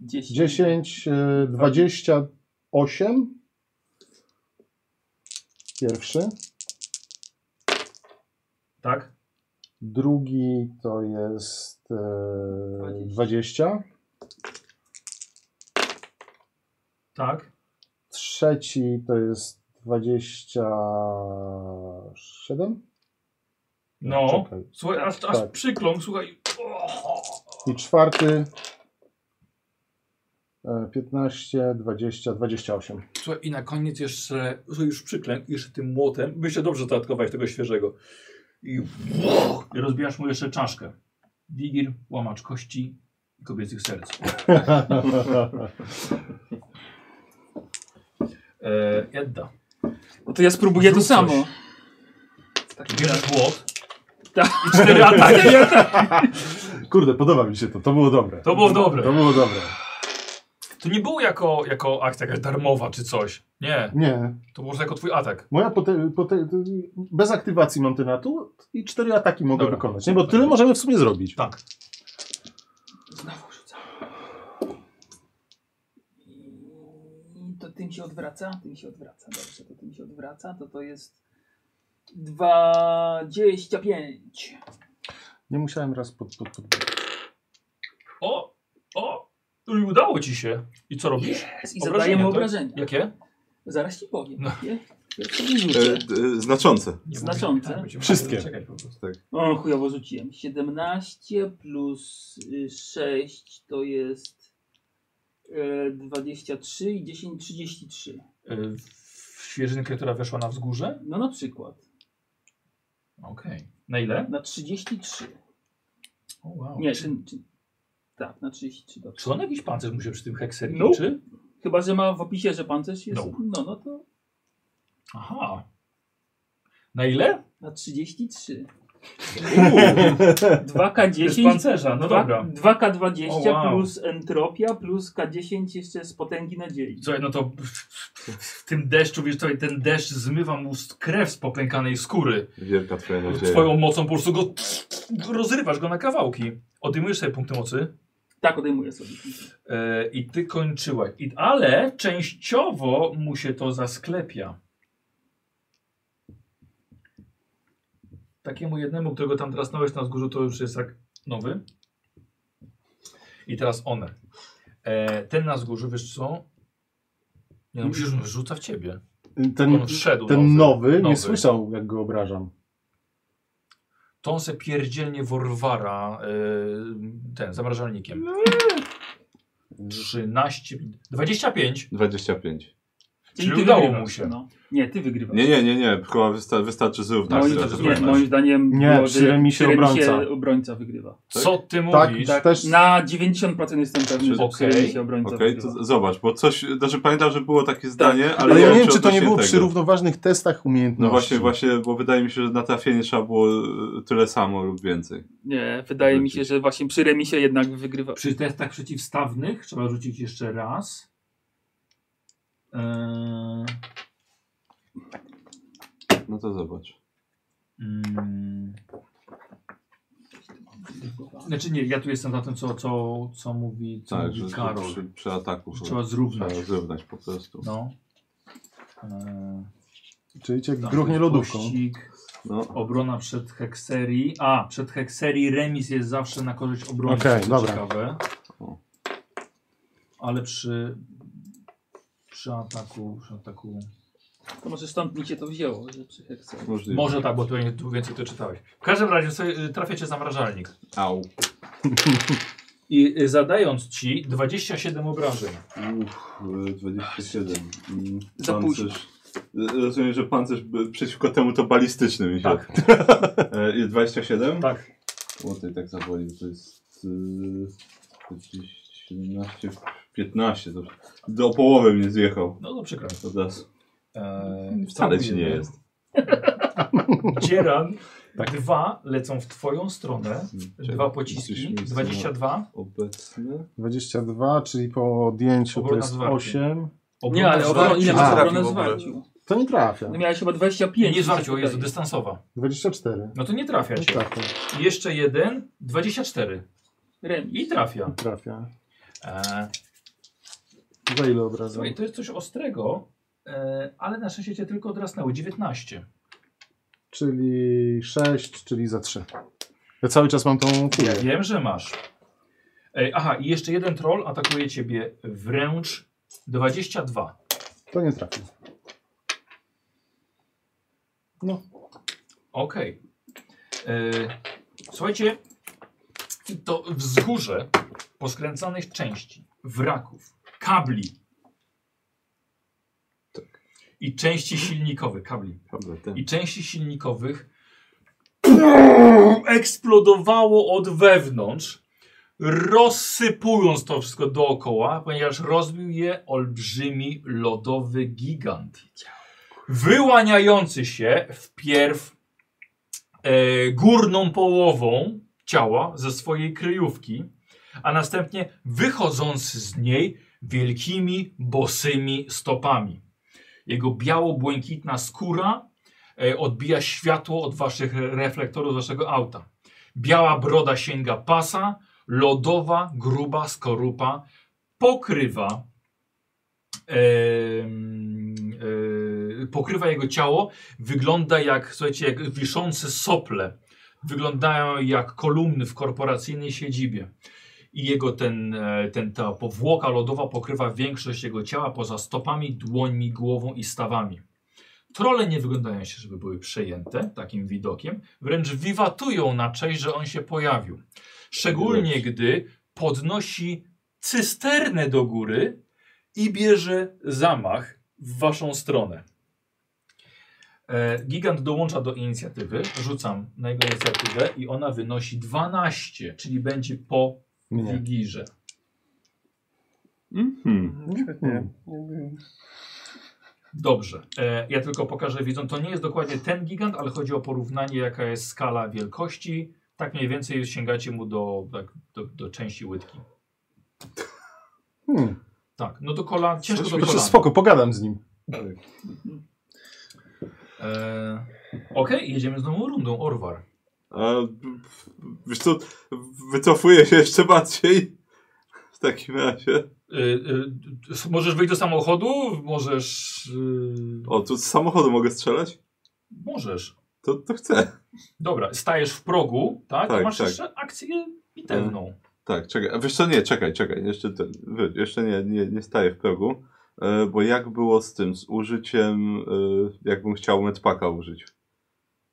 10. 10, e, 28. Pierwszy. Tak? Drugi to jest e, 20. Tak. Trzeci to jest 27. No. Czekaj. Słuchaj, aż, aż Tak. przykląkł, słuchaj. O! I czwarty. e, 15, 20, 28. Słuchaj, i na koniec jeszcze, że już przyklękł, jeszcze tym młotem. Myślę, dobrze dodatkować tego świeżego. I, I rozbijasz mu jeszcze czaszkę. Digir, łamacz kości i kobiecych serc. E, Edda. No to ja spróbuję to Zrób samo. coś. Bierzesz młot. Tak. I cztery ataki. Kurde, podoba mi się to, to było dobre. To było dobre. To było dobre. To nie było jako, jako akcja jakaś darmowa czy coś. Nie, Nie. to było jako twój atak. Moja pote, pote, bez aktywacji mam ten atut i cztery ataki mogę Dobra. wykonać. Nie, bo tyle możemy w sumie zrobić. Tak. Znowu rzucam. I to tym się odwraca, tym się odwraca. Dobrze, to tym się odwraca, to to jest 25. Nie musiałem raz pod, pod, pod... O, o, No i udało ci się. I co robisz? Yes. I Obrażenia, zadaję mu tak? obrażenia. Jakie? Zaraz ci powiem. No. Nie? Ja sobie e, rzucę. e, znaczące. Nie Znaczące. mówię, tak, będziemy Wszystkie. czekać po prostu. O, chujowo rzuciłem. 17 plus y, 6 to jest y, 23 i 10, 33. Y, Świeżynkę, która weszła na wzgórze? No na przykład. Okej. Na ile? Na 33. O, wow. Nie, czy, czy, czy, tak, na 33. Dobrze. czy on jakiś pancerz mu się przy tym hekserii No. liczy? Chyba, że ma w opisie, że pancerz jest. No. No, no, to Aha. Na ile? na 33. Uuu, bez 2K10. pancerza, no dobra. 2K20 O, wow. plus entropia plus K10 jeszcze z potęgi nadziei. Słuchaj, no to w tym deszczu, wiesz, tutaj ten deszcz zmywa mu z- krew z popękanej skóry. Wielka twoja nadzieja. Twoją mocą po prostu go rozrywasz go na kawałki. Odejmujesz sobie punkty mocy. Tak odejmuję sobie. E, I ty kończyłeś. I, ale częściowo mu się to zasklepia. Takiemu jednemu, którego tam teraz nałeś na wzgórzu, to już jest jak nowy. I teraz one. E, ten na wzgórzu, wiesz co? Nie, no musisz, on rzuca w ciebie. Ten, On wszedł ten nowy, Nowy. nie słyszał, jak go obrażam. To on se pierdzielnie Warwara e, ten, zamrażalnikiem. 13, 25. 25. Czyli ty udało wygrywasz, mu się. No. Nie, ty wygrywasz. Nie, nie, nie, nie. Chyba wysta wystarczy zrównać. moim, teraz. No to nie, zrównać. moim zdaniem Nie, było, przy że remisie przy remisie obrońca. obrońca wygrywa. Co ty Tak, mówisz? tak, też Na 90% jestem pewny, że przy Okej. remisie obrońca Okej, wygrywa. to zobacz, bo coś, znaczy pamiętam, że było takie zdanie, ale, Tak, Ale ja nie wiem, wiem, czy to nie odnośnie było tego. przy równoważnych testach No umiejętności. właśnie, właśnie, bo wydaje mi się, że na trafienie trzeba było e, tyle samo lub więcej. Nie, wydaje mi się, że właśnie przy remisie jednak wygrywa. Przy testach przeciwstawnych trzeba rzucić jeszcze raz. Eee, No to zobacz. mm. Znaczy nie, ja tu jestem za tym, co, co, co mówi, co Tak, że mówi Karol. przy, przy ataku Że trzeba zrównać. Trzeba zrównać po prostu. No. Eee, Czyli cię Tak. tam gruchnie jest lodówką. pościg, No. Obrona przed hekserii. A, przed hekserii remis jest zawsze na korzyść obrony. Okej, to dobra. Ciekawe. O. Ale przy, przy ataku, przy ataku To może stąd mi się to wzięło, że przy heksa. Możliwe. Może tak, bo tu, tu więcej to czytałeś. W każdym razie sobie y, trafia cię zamrażalnik. Au. I y, zadając ci 27 obrażeń. Uff, e, 27. Mm, Za późno. Pancerz Rozumiem, że pancerz by- przeciwko temu to balistyczny mi się. Tak. E, i 27? Tak. O, tutaj tak zawoli, to jest yy, 17, 15. To, do połowy mnie zjechał. No to przykro. To teraz Eee, wcale ci nie jest. Tak. Dzieran, dwa lecą w twoją stronę. Dwa Jesteśmy pociski, w stanie 22. Obecne. 22, czyli po odjęciu to Obrona jest zwarciu. 8. Nie, ale zwarciu. obron, ile A, masz obronę trafił w ogóle. zwarciu? To nie trafia. No miałeś chyba Nie, 25. nie zwarciu, tutaj. jest to dystansowa. 24. No to nie trafia Nie cię. trafia. I Jeszcze jeden, 24. Remis. I trafia. Nie trafia. Eee, Za ile od razu? słuchaj, to jest coś ostrego, eee, ale na szczęście cię tylko odrasnęły. 19. Czyli 6, czyli za 3. Ja cały czas mam tą kulę. Wiem, że masz. Ej, aha, i jeszcze jeden troll atakuje ciebie wręcz 22. To nie trafi. No, Okej. E, Słuchajcie, to wzgórze poskręcanych części, wraków, kabli. I części silnikowych, kabli. Dobra, ten. I części silnikowych eksplodowało od wewnątrz, rozsypując to wszystko dookoła, ponieważ rozbił je olbrzymi lodowy gigant. Wyłaniający się wpierw e, górną połową ciała ze swojej kryjówki, a następnie wychodzący z niej wielkimi, bosymi stopami. Jego biało-błękitna skóra e, odbija światło od waszych reflektorów, z waszego auta. Biała broda sięga pasa, lodowa, gruba skorupa pokrywa em, e, pokrywa jego ciało, wygląda jak, słuchajcie, jak wiszące sople. Wyglądają jak kolumny w korporacyjnej siedzibie. I jego ten, e, ten, ta powłoka lodowa pokrywa większość jego ciała poza stopami, dłońmi, głową i stawami. Trole nie wyglądają się, żeby były przejęte takim widokiem, wręcz wiwatują na cześć, że on się pojawił. Szczególnie gdy podnosi cysternę do góry i bierze zamach w waszą stronę. E, Gigant dołącza do inicjatywy. Rzucam na jego inicjatywę i ona wynosi 12, czyli będzie po nie. wigirze. Hmm. Nie. Dobrze. E, ja tylko pokażę widzą. To nie jest dokładnie ten gigant, ale chodzi o porównanie, jaka jest skala wielkości. Tak mniej więcej sięgacie mu do, tak, do, do części łydki. Hmm. Tak, no do kolan. Ciężko do Znaczy, kolana. spoko, pogadam z Mhm. nim. E, Okej, jedziemy z nową rundą. Orwar. A, wiesz co, wycofuję się jeszcze bardziej. W takim razie. E, e, możesz wyjść do samochodu? Możesz. e, O, tu z samochodu mogę strzelać? możesz. To, to chcę. Dobra, stajesz w progu, tak? Tak, Masz tak. jeszcze akcję bitewną. Tak, czekaj. A wiesz co, nie, czekaj, czekaj. Jeszcze, ten, wy- jeszcze nie, nie, nie staję w progu. E, bo jak było z tym, z użyciem, e, jakbym chciał medpaka użyć?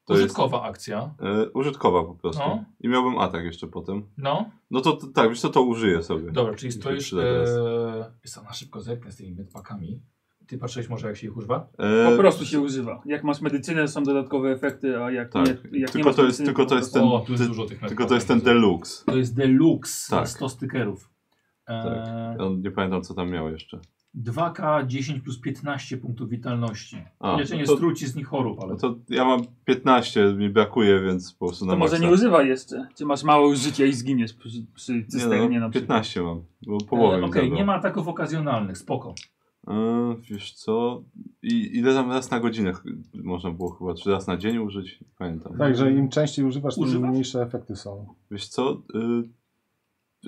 To Użytkowa akcja. Jest, e, użytkowa po prostu. No. I miałbym atak jeszcze potem. No. No to, to tak, wiesz co, to użyję sobie. Dobra, czyli Mi się stoisz. przyda teraz. E, jest na szybko zerknę z tymi medpakami. Ty patrzyłeś może jak się ich używa? E, Po prostu się używa. Jak masz medycynę, są dodatkowe efekty, a jak Tak. nie, jak nie Tylko masz to jest- medycyny, tylko to po jest prostu- Ten- o, tu jest ty- dużo tych medpaków. tylko to jest ten deluxe. To jest deluxe, Tak. 100 stykerów. E, Ja nie pamiętam, co tam miał jeszcze. 2K 10 plus 15 punktów witalności. A, Leczenie no to- struci z nich chorób, ale No to ja mam 15, mi brakuje, więc po prostu na To może maksa. nie używaj jeszcze. Czy masz mało już życia i zginiesz przy, przy cysternie nie, na no, przykład. 15 mam, bo E, połowę mi Okej, zabrał. nie ma ataków okazjonalnych, spoko. E, wiesz co, I, ile tam raz na godzinę ch- można było chyba, czy raz na dzień użyć? Nie Pamiętam. Także im częściej używasz, tym Używasz? mniejsze efekty są. Wiesz co,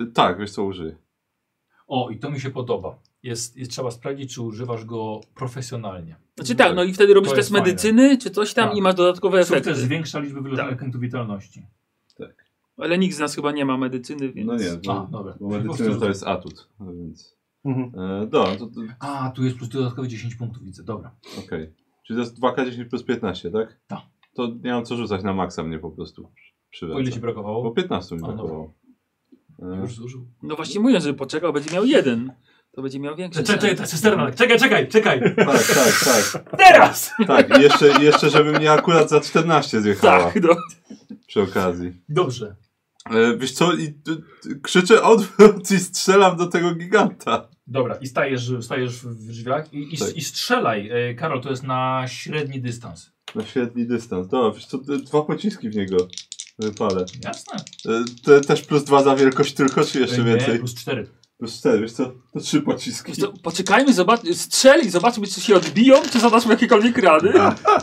y, tak, wiesz co, użyję. O, i to mi się podoba. Jest, jest, trzeba sprawdzić, czy używasz go profesjonalnie. Znaczy tak, no i wtedy robisz To też jest fajne. medycyny, czy coś tam Tak. i masz dodatkowe efekty. Sukces zwiększa liczbę wylożonych Tak. punktów witalności. Ale nikt z nas chyba nie ma medycyny, więc... No nie, A, bo, dobra. bo medycyna to jest atut, no więc... Mhm. E, dobra, to, to A, tu jest plus dodatkowe 10 punktów, widzę, dobra. okej. Czyli to jest 2K10 plus 15, tak? Tak. To nie mam co rzucać na maksa, mnie po prostu Po ile ci przywraca. Bo brakowało? 15 mi A, dobra. brakowało. E, Już zużył. No właśnie mówiąc, że poczekał, będzie miał jeden. to będzie miał większe Czekaj, czekaj, ta cysterna. Czekaj, czekaj, czekaj. Tak, tak, tak. Teraz! Tak, i jeszcze, jeszcze żeby mnie akurat za 14 zjechała Tak, no. przy okazji. Dobrze. E, wiesz co, i, y, y, krzyczę odwrót i strzelam do tego giganta. Dobra, i stajesz, stajesz w drzwiach i, i, Tak. i strzelaj. E, Karol, to jest na średni dystans. Na średni dystans. Dobra, wiesz co, y, dwa pociski w niego wypalę. Jasne. E, te, też plus dwa za wielkość tylko, czy jeszcze E, nie, więcej? Plus cztery. Plus cztery, wiesz co, to trzy pociski. Wiesz co, Poczekajmy, zobacz, strzeli, zobaczmy, czy się odbiją, czy zadaszmy jakiekolwiek rady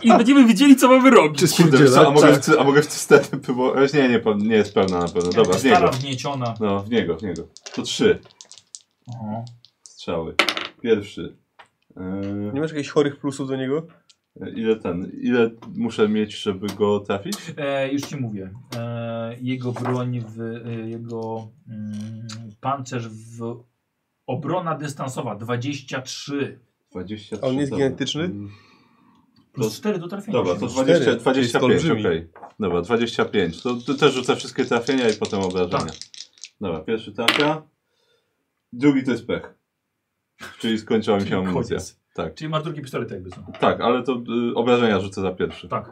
i będziemy wiedzieli, co mamy robić. Czy Kurde, wiesz co, a mogę, tak. w, a mogę w cysterny próbować? e, Nie, nie, pan- nie jest pełna na pewno. Dobra, w niego. Stara wnieciona. No, w niego, w niego. To trzy Aha. strzały. Pierwszy. Eee, Nie masz jakichś chorych plusów do niego? ile ten, ile muszę mieć, żeby go trafić? E, już ci mówię. E, jego broń, w, e, jego mm, pancerz w obrona dystansowa 23 23. A on jest dobra. genetyczny? Mm, plus 4 do trafienia. Dobra, to Czyli 20, Cztery, czyli 25, jest okej. olbrzymi. Dobra, 25. To, to też rzucę wszystkie trafienia i potem obrażenia. Dobra, pierwszy trafia. Drugi to jest pech. Czyli skończyła mi się koniec. amunicja. Tak, Czyli masz drugi pistolet jakby są. tak, ale to y, obrażenia rzucę za pierwszy. Tak.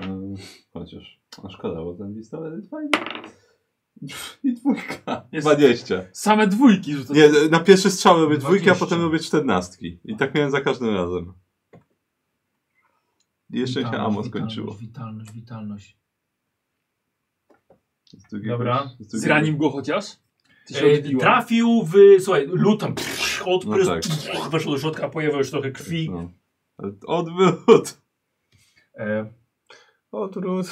Mm, Chociaż. A szkoda, bo ten pistolet jest fajny. I dwójka. Jest- 20. Same dwójki rzucę. Nie, na pierwszy strzał robię dwójki, a 20. potem robię czternastki. I tak miałem za każdym razem. I jeszcze się amo skończyło. Witalność, witalność. Z drugiego- Dobra. drugiego- Zranił go chociaż? Czy się E, odbiło? trafił w, słuchaj, lutem odprysk, No tak. pff, weszło do środka, pojawiło już trochę krwi. No. Ale to Odwrót. E, O, trud.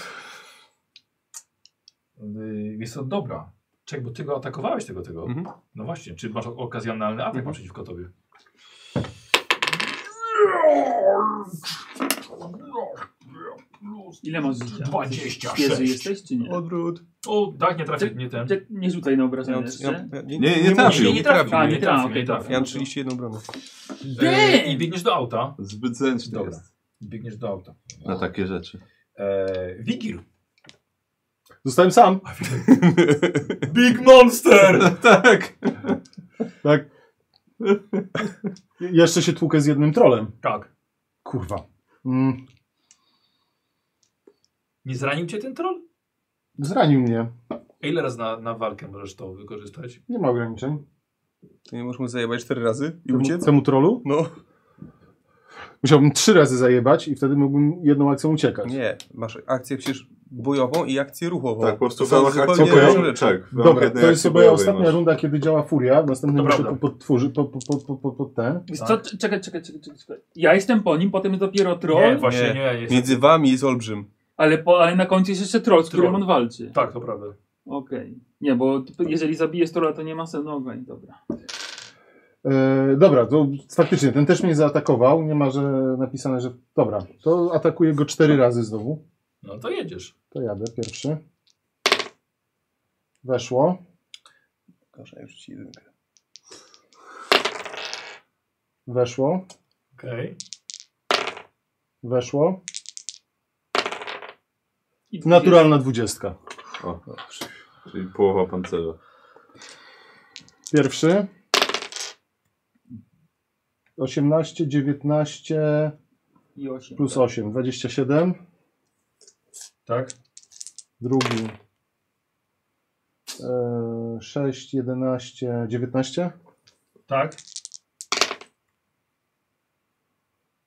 y, jest to dobra. Czek, bo ty go atakowałeś tego, tego. Mhm. No właśnie, czy masz okazjonalny atak Mhm. przeciwko tobie? Ile masz życia? 26. Świeży jesteś, czy nie? Odwrót. O, tak, nie trafię, nie ten. Czek- Nie rzucaj na obrażenia Ja, ja, jeszcze. ja, nie, nie nie trafił. mówię, Nie, nie trafił. A, nie nie trafił, trafił, nie okej, dobra. trafił. Ja mam 31 bronę. E, I Damn! biegniesz do auta. Zbyt zręczny Dobra. No. jest Biegniesz do auta. na takie rzeczy. E, Wigil. Zostałem sam. Big Monster! tak. Je- Jeszcze się tłukę z jednym trolem. tak. Kurwa. Mm, Nie zranił cię ten troll? zranił mnie. A Ile razy na, na walkę możesz to wykorzystać? Nie ma ograniczeń. To nie możesz mu zajebać 4 razy i Temu, uciec? temu trolu? No. Musiałbym trzy razy zajebać i wtedy mógłbym jedną akcją uciekać. Nie, masz akcję przecież bojową i akcję ruchową. Tak, po prostu To są w ramach zupełnie akcji różne bojowej. rzeczy. Tak, w ramach Dobra, jednej to jest akcji chyba bojowej ostatnia masz. runda, kiedy działa furia. W następnym muszę prawda. po, podtworzy, po, po, po, po, po, po ten. Wiesz co, czekaj, czekaj, czekaj, czekaj, czekaj. Ja jestem po nim, potem jest dopiero troll, Nie, właśnie nie, Nie. jest. Między wami jest olbrzym. ale, po, ale na końcu jest jeszcze troll, z którym Troll. on walczy. Tak, to prawda. Okej. Nie, bo ty- jeżeli zabijesz trolla, to nie ma sensu. No okej, dobra. E, dobra, to faktycznie ten też mnie zaatakował. Nie ma, że napisane, że. Dobra, to atakuję go cztery razy znowu. No to jedziesz. To jadę pierwszy. Weszło. Proszę, już ci jedynkę. Weszło. Okej. Weszło. I dwudziesty- Naturalna dwudziestka. O, czyli połowa pancerza. Pierwszy. 18, 19 I osiem. plus 8, 27. Tak? Drugi. E, 6, 11, 19. Tak.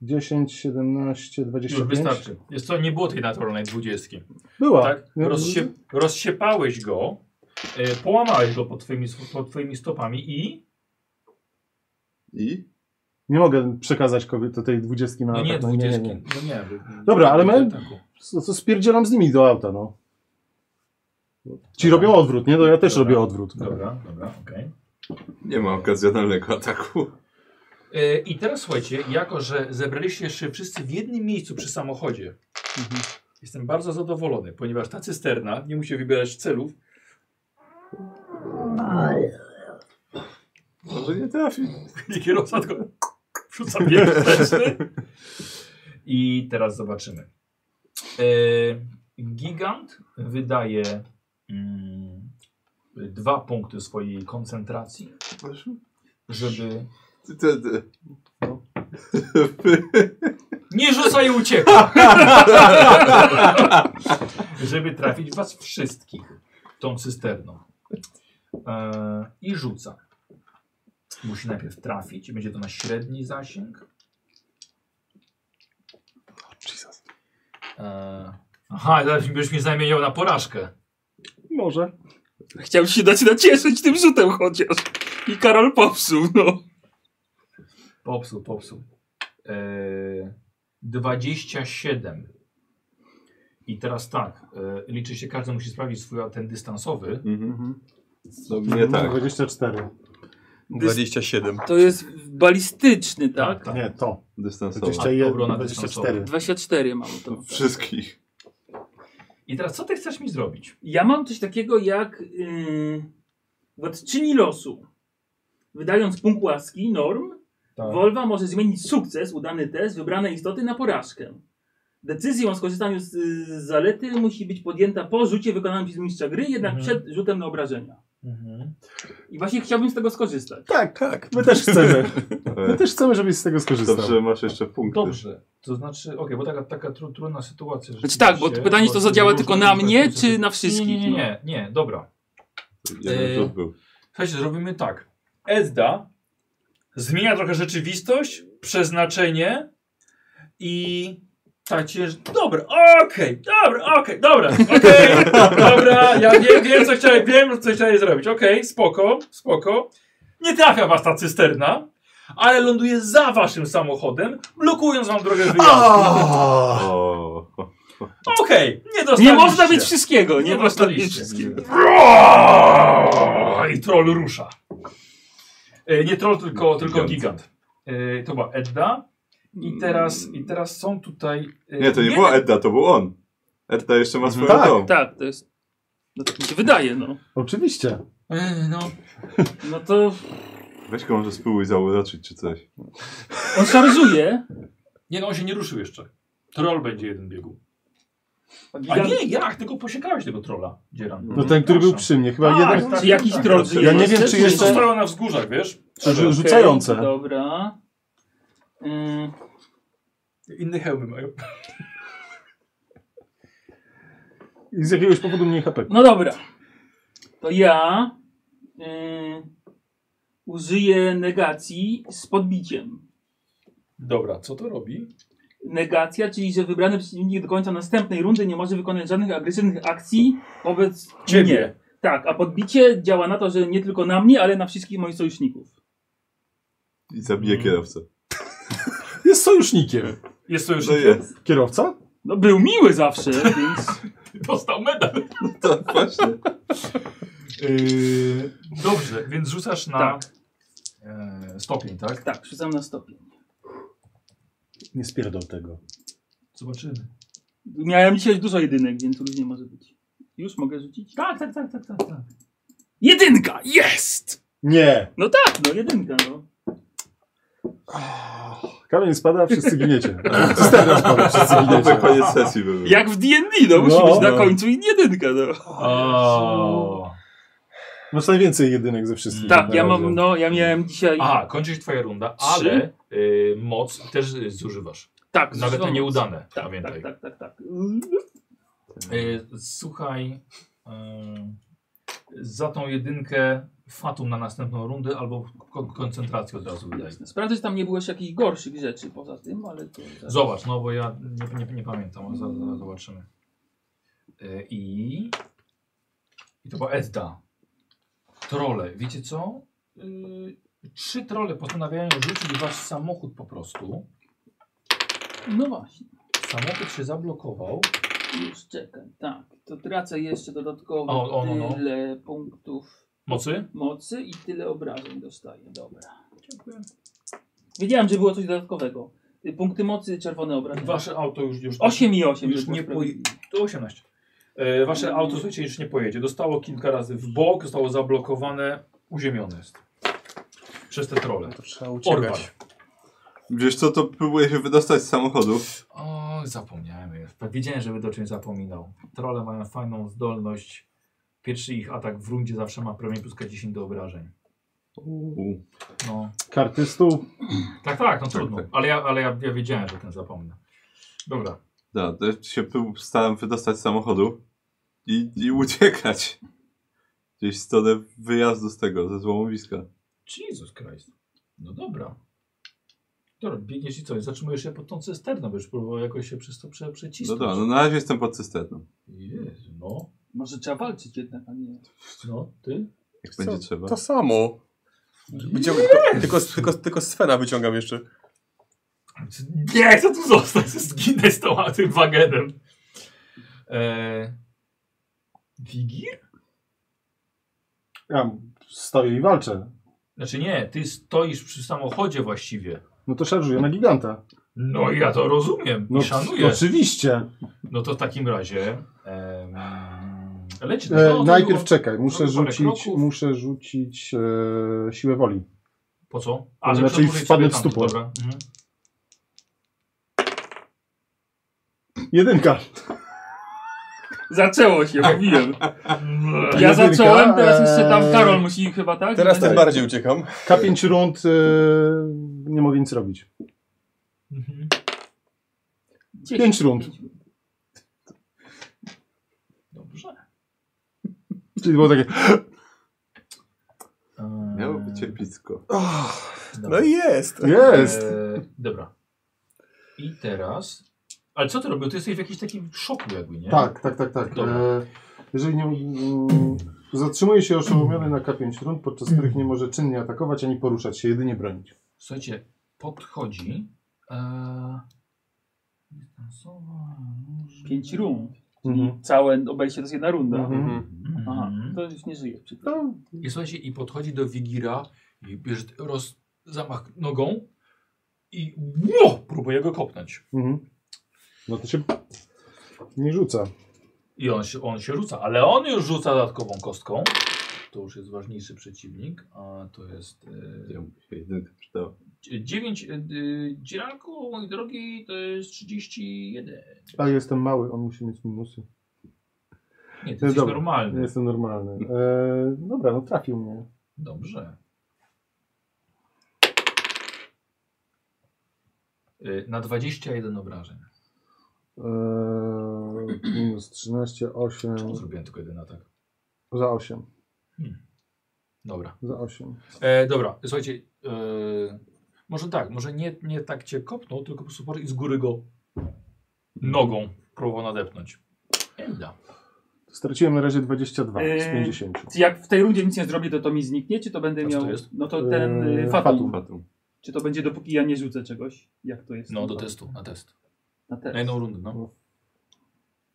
10, 17, Już 25. wystarczy. Jest co, nie było tej naturalnej dwudziestki. Była. Tak? Nie- Rozsie, rozsiepałeś go, e, połamałeś go pod twoimi, pod twoimi stopami i... I? Nie mogę przekazać kobiet tej dwudziestki na No nie, atak, dwudziestki. No nie. by- Dobra, ale my- ataku. Co, co spierdzielam z nimi do auta, no. Ci robią odwrót, nie? No ja też Dobra. robię odwrót. Dobra, dobra, okej. Nie ma okazjonalnego ataku. E, I teraz słuchajcie, jako że zebraliście się wszyscy w jednym miejscu przy samochodzie, Mhm. jestem bardzo zadowolony, ponieważ ta cysterna nie musi wybierać celów. Może nie trafi. I kierowca tylko wrzuca bieg wsteczny. I teraz zobaczymy. E, gigant wydaje mm, dwa punkty swojej koncentracji. żeby... Ty, ty, ty. Nie rzucaj ucieka! żeby trafić was wszystkich tą cysterną. E, I rzuca. Musi najpierw trafić. Będzie to na średni zasięg. E, aha, zaraz byś mnie zamieniał na porażkę. Może. Chciałbym się dać nacieszyć tym rzutem chociaż. I Karol popsuł, no. Popsuł, popsuł. Eee, 27. I teraz tak, e, liczy się, każdy musi sprawdzić swój ten dystansowy. Mhm. To mnie Mhm. tak. 24. 27. To jest balistyczny, tak? Nie, to. Dystansowo. 21, obrona 24. 24 mam to. Wszystkich. I teraz co ty chcesz mi zrobić? Ja mam coś takiego jak yy, władczyni losu. Wydając punkt łaski, norm, Wolwa może zmienić sukces, udany test, wybranej istoty na porażkę. Decyzja o skorzystaniu z, z zalety musi być podjęta po rzucie wykonanym przez mistrza gry, jednak przed rzutem na obrażenia. Mhm. I właśnie chciałbym z tego skorzystać. Tak, tak. My też chcemy. My E, też chcemy, żebyś z tego skorzystał. Dobrze, że masz jeszcze punkty. Dobrze, to znaczy, okej, bo taka, taka tru, trudna sytuacja. Znaczy tak, bo rzeczywiście, pytanie, czy bo to są zadziała różne tylko na różne mnie, procesy. czy na wszystkich? Nie, nie, nie, nie, nie dobra. Jeden E, rzut był. Słuchajcie, zrobimy tak. Ezda zmienia trochę rzeczywistość, przeznaczenie i ta cięż... Dobra, okej, dobra, okej, dobra, okej, dobra, ja wiem, wiem, co chciałem, wiem, co chciałem zrobić, okej, spoko, spoko. Nie trafia was ta cysterna, ale ląduje za waszym samochodem, blokując wam drogę wyjazdu. O! O, o, Okej, nie No. Nie dostaliście. można mieć wszystkiego, nie Nie można mieć dostaliście. wszystkiego. Roar! I troll rusza. E, Nie troll, tylko, tylko gigant. E, To była Edda. I teraz, I teraz są tutaj. e, Nie, to nie jeden- była Edda, to był on. Edda jeszcze ma swoją Tak, tą. Tak, to jest... No tak mi się wydaje, no. Oczywiście. E, No. No to Weź go może spróbuj zauroczyć czy coś. on szarżuje. Nie, no on się nie ruszył jeszcze. Troll będzie jeden biegu. A Gigant... nie, jak? Tylko posiekałeś tego trolla, Dzieran. No ten, który był przy mnie. Chyba Tak, jeden tak, Czy jakiś tak, troll tak. Ja nie wiem, czy Jeszcze- jeszcze- Zostają na wzgórzach, wiesz? rzu- Okej, Znaczy, rzucające. dobra. Y, Ym, Inne hełmy mają. I z jakiegoś powodu mniej HP. No dobra. To ja y, użyję negacji z podbiciem. Dobra, co to robi? Negacja, czyli że wybrany przeciwnik do końca następnej rundy nie może wykonać żadnych agresywnych akcji wobec Ciebie. mnie. Tak, a podbicie działa na to, że nie tylko na mnie, ale na wszystkich moich sojuszników. I zabije kierowcę. Jest sojusznikiem. Jest to już. No jest. Kierowca? No był miły zawsze, więc Dostał medal. To tak, właśnie. Yy, dobrze, więc rzucasz na Tak. e, stopień, tak? tak, rzucam na stopień. Nie spierdol tego. Zobaczymy. Miałem dzisiaj dużo jedynek, więc różnie może być. Już mogę rzucić? Tak, tak, tak, tak, tak. tak. Jedynka! Jest! Nie. No tak, no jedynka, no. Kamień spada, wszyscy giniecie. Cysterna spada, wszyscy To tak giniecie. koniec sesji by był. Jak w D&D, no, musi No. być na końcu i jedynka, no. O. Masz No najwięcej jedynek ze wszystkich. Tak, na ja razie. mam, no, ja miałem dzisiaj... Aha, kończy się twoja runda, Trzy. ale y, moc też y, zużywasz. tak, Nawet te zresztą- nieudane, Tak, pamiętaj. tak, tak, tak, tak. Y, słuchaj, y, za tą jedynkę fatum na następną rundę albo ko- koncentrację od razu wydaj. Jasne. Sprawdzę, czy tam nie było jeszcze jakichś gorszych rzeczy poza tym, ale to... Zobacz, no bo ja nie, nie, nie pamiętam, ale zaraz, zaraz zobaczymy. Y, I... I to była Edda. Trole, wiecie co? Y, trzy trole postanawiają rzucić wasz samochód po prostu. No właśnie, Samochód się zablokował. już czekaj, tak. To tracę jeszcze dodatkowo O, o, no, no. tyle punktów Mocy? mocy i tyle obrażeń dostaję, dobra. Dziękuję. Wiedziałem, że było coś dodatkowego. Y, Punkty mocy, czerwone obrażenia. Wasze auto już... już 8 i 8. Już żeby było nie sprawiedliwie. To 18. E, wasze auto, słuchajcie, już nie pojedzie. Dostało kilka razy w bok, zostało zablokowane, uziemione jest. Przez te trole. To trzeba Orwar. uciekać. Wiesz co, to próbuję się wydostać z samochodu. O, zapomniałem już. Tak Wiedziałem, że będę o czymś zapominał. Trole mają fajną zdolność. Pierwszy ich atak w rundzie zawsze ma promień plus K10 do obrażeń. No. Karty stół. Tak, tak, no trudno. tak. Ale, ja, ale ja, ja wiedziałem, że ten zapomnę. Dobra. Da, to ja się prób- staram wydostać z samochodu i, i uciekać. Gdzieś w stronę wyjazdu z tego, ze złomowiska. Jesus Christ. No dobra. Dobra, biegniesz i co? I Zatrzymujesz się pod tą cysterną, będziesz próbował jakoś się przez to prze, No przecisnąć. dobra, no na razie jestem pod cysterną. Jezu, no. Może trzeba walczyć jednak, a nie. No, ty? Jak Co? będzie trzeba. To samo. Gdzie, tylko, tylko, tylko Svena wyciągam jeszcze. Nie chcę tu zostać, zginę z tą, tym wagenem. Eee, Wigir? Ja stoję i walczę. Znaczy nie, ty stoisz przy samochodzie właściwie. No to szarżuję na giganta. No i ja to rozumiem No i szanuję. Oczywiście. No to w takim razie... em, leci do- E, no, to najpierw było- czekaj, muszę było parę rzucić, kroków. muszę rzucić e, siłę woli. Po co? To żeby znaczy przedłużyć wpadnę sobie w tam, stupor. Dobra. Mhm. Jedynka. Zaczęło się, mówiłem. Ja Jedynka, zacząłem, teraz jeszcze tam eee, Karol musi chyba, tak? Teraz Będzie- tym bardziej uciekam. K5 rund e, nie mogę nic robić. Mhm. Dziesięć. Pięć rund, Dobrze. czyli było takie Eee, Miało być epicko. No i jest. jest. Eee, dobra. I teraz. Ale co ty robił? Ty jesteś w jakimś takim szoku, jakby, nie? Tak, tak, tak, tak. Dobra. E, jeżeli nie mm, zatrzymuje się oszołomiony na K5 rund, podczas których nie może czynnie atakować ani poruszać się, jedynie bronić. Słuchajcie, podchodzi. Eee, dystansowa, może- Pięć rund. Mhm. Całe obejście to jest jedna runda. Mhm. Mhm. Aha, to już nie żyje. Przykro. To I słuchajcie, i podchodzi do Wigira i bierze roz... zamach nogą i Ło! próbuje go kopnąć. Mhm. No to się nie rzuca. I on się, on się rzuca, ale on już rzuca dodatkową kostką. To już jest ważniejszy przeciwnik, a to jest. eee, Ja mu się jedynka przydała. 9 yy, dzieranku, mój drogi, to jest 31. Ale jestem mały, on musi mieć minusy. Nie, to jest Dobra. Ja normalny. jestem normalny. E, dobra, no trafił mnie. Dobrze. Yy, Na 21 obrażeń. E, minus 13, 8. Czemu zrobiłem tylko jeden atak? Za 8. Dobra. Za 8. E, dobra, słuchajcie. e, może tak, może nie, nie tak cię kopnął, tylko po prostu poszedł i z góry go nogą próbował nadepnąć. Nie da. Straciłem na razie 22 z Eee, 50. Czy jak w tej rundzie nic nie zrobię, to to mi zniknie, czy to będę A co miał... to jest? No to ten Eee, y, fatum. fatum. Fatum. Czy to będzie dopóki ja nie rzucę czegoś? Jak to jest? No, do testu, na test. Na test. Na jedną rundę, no.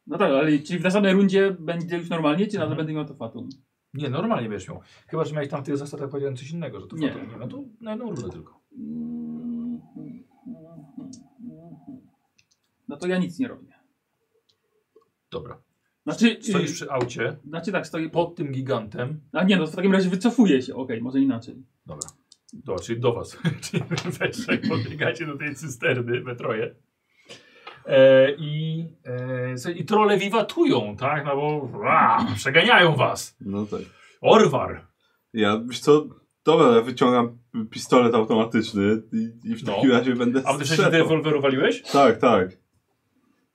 No tak, ale czyli w następnej rundzie będzie już normalnie, czy nadal Mhm. będę miał to fatum? Nie, normalnie będziesz miał. Chyba, że miałeś tam w tych zasadach powiedziałem coś innego, że to Nie. nie. nie no to na jedną rundę tylko. No to ja nic nie robię. Dobra. Znaczy, Stoisz y, przy aucie, znaczy tak, stoję po... pod tym gigantem. A nie, no to w takim razie wycofuję się, okej, może inaczej. Dobra. Do, No, czyli do was. czyli we trzech podbiegacie do tej cysterny we troje. E, I, e, słuchaj, I trole wiwatują, tak? No bo ra, przeganiają was. No tak. Orwar. Ja, wiesz co, dobra, ja wyciągam pistolet automatyczny i, i w No. takim razie będę A ty wcześniej strzelał. rewolweru waliłeś? Tak, tak.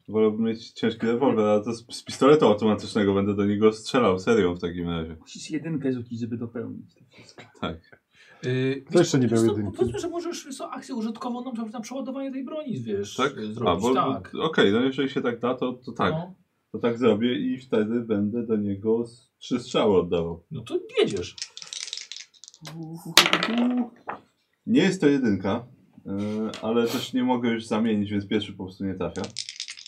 Wolałbym mieć ciężki rewolwer, ale to z, z pistoletu automatycznego będę do niego strzelał serią w takim razie. Musisz jedynkę rzucić, żeby dopełnić. to wszystko. Tak. Yy, To jeszcze nie miał jedynki. Powiedzmy, że możesz wiesz co, akcję użytkową na, na przeładowanie tej broni, wiesz, Tak? y, A, zrobić. bo, tak. Okej, no jeżeli się tak da, to, to tak. No, To tak zrobię i wtedy będę do niego z- trzy strzały oddawał. no to jedziesz. Nie jest to jedynka, yy, ale też nie mogę już zamienić, więc pierwszy po prostu nie trafia.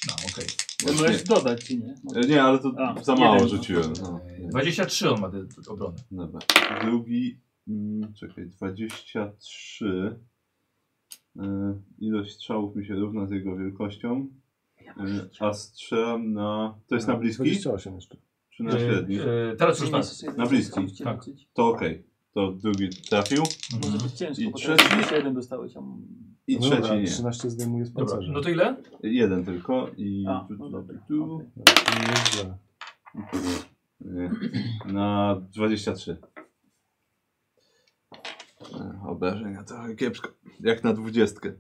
No, okej. No, Właśnie. Możesz dodać, czy nie? Yy, Nie, ale to A, za mało jeden, no. rzuciłem. No. Eee, 23 on ma tę obronę. Dobra. Drugi, mm, czekaj, 23. Yy, ilość strzałów mi się równa z jego wielkością. Yy, a strzelam na. To No, jest na bliski? 28 jeszcze. Czy na średni? E, e, teraz już Nie tak. musisz jedynki Na bliski, rzucić, tak. rzucić. To okej. To drugi trafił Może Mhm. być ciężko, I bo trzeci? teraz jeszcze jeden dostałeś, a m- i No trzeci dobra, nie. 13 zdejmuje z Dobra, pancerza. no to ile? Jeden tylko i. A, tu, no tu, dobra, tu, tu. okej. Nieźle. E, Nie. Na 23. E, Obrażenia trochę kiepsko. Jak na dwudziestkę.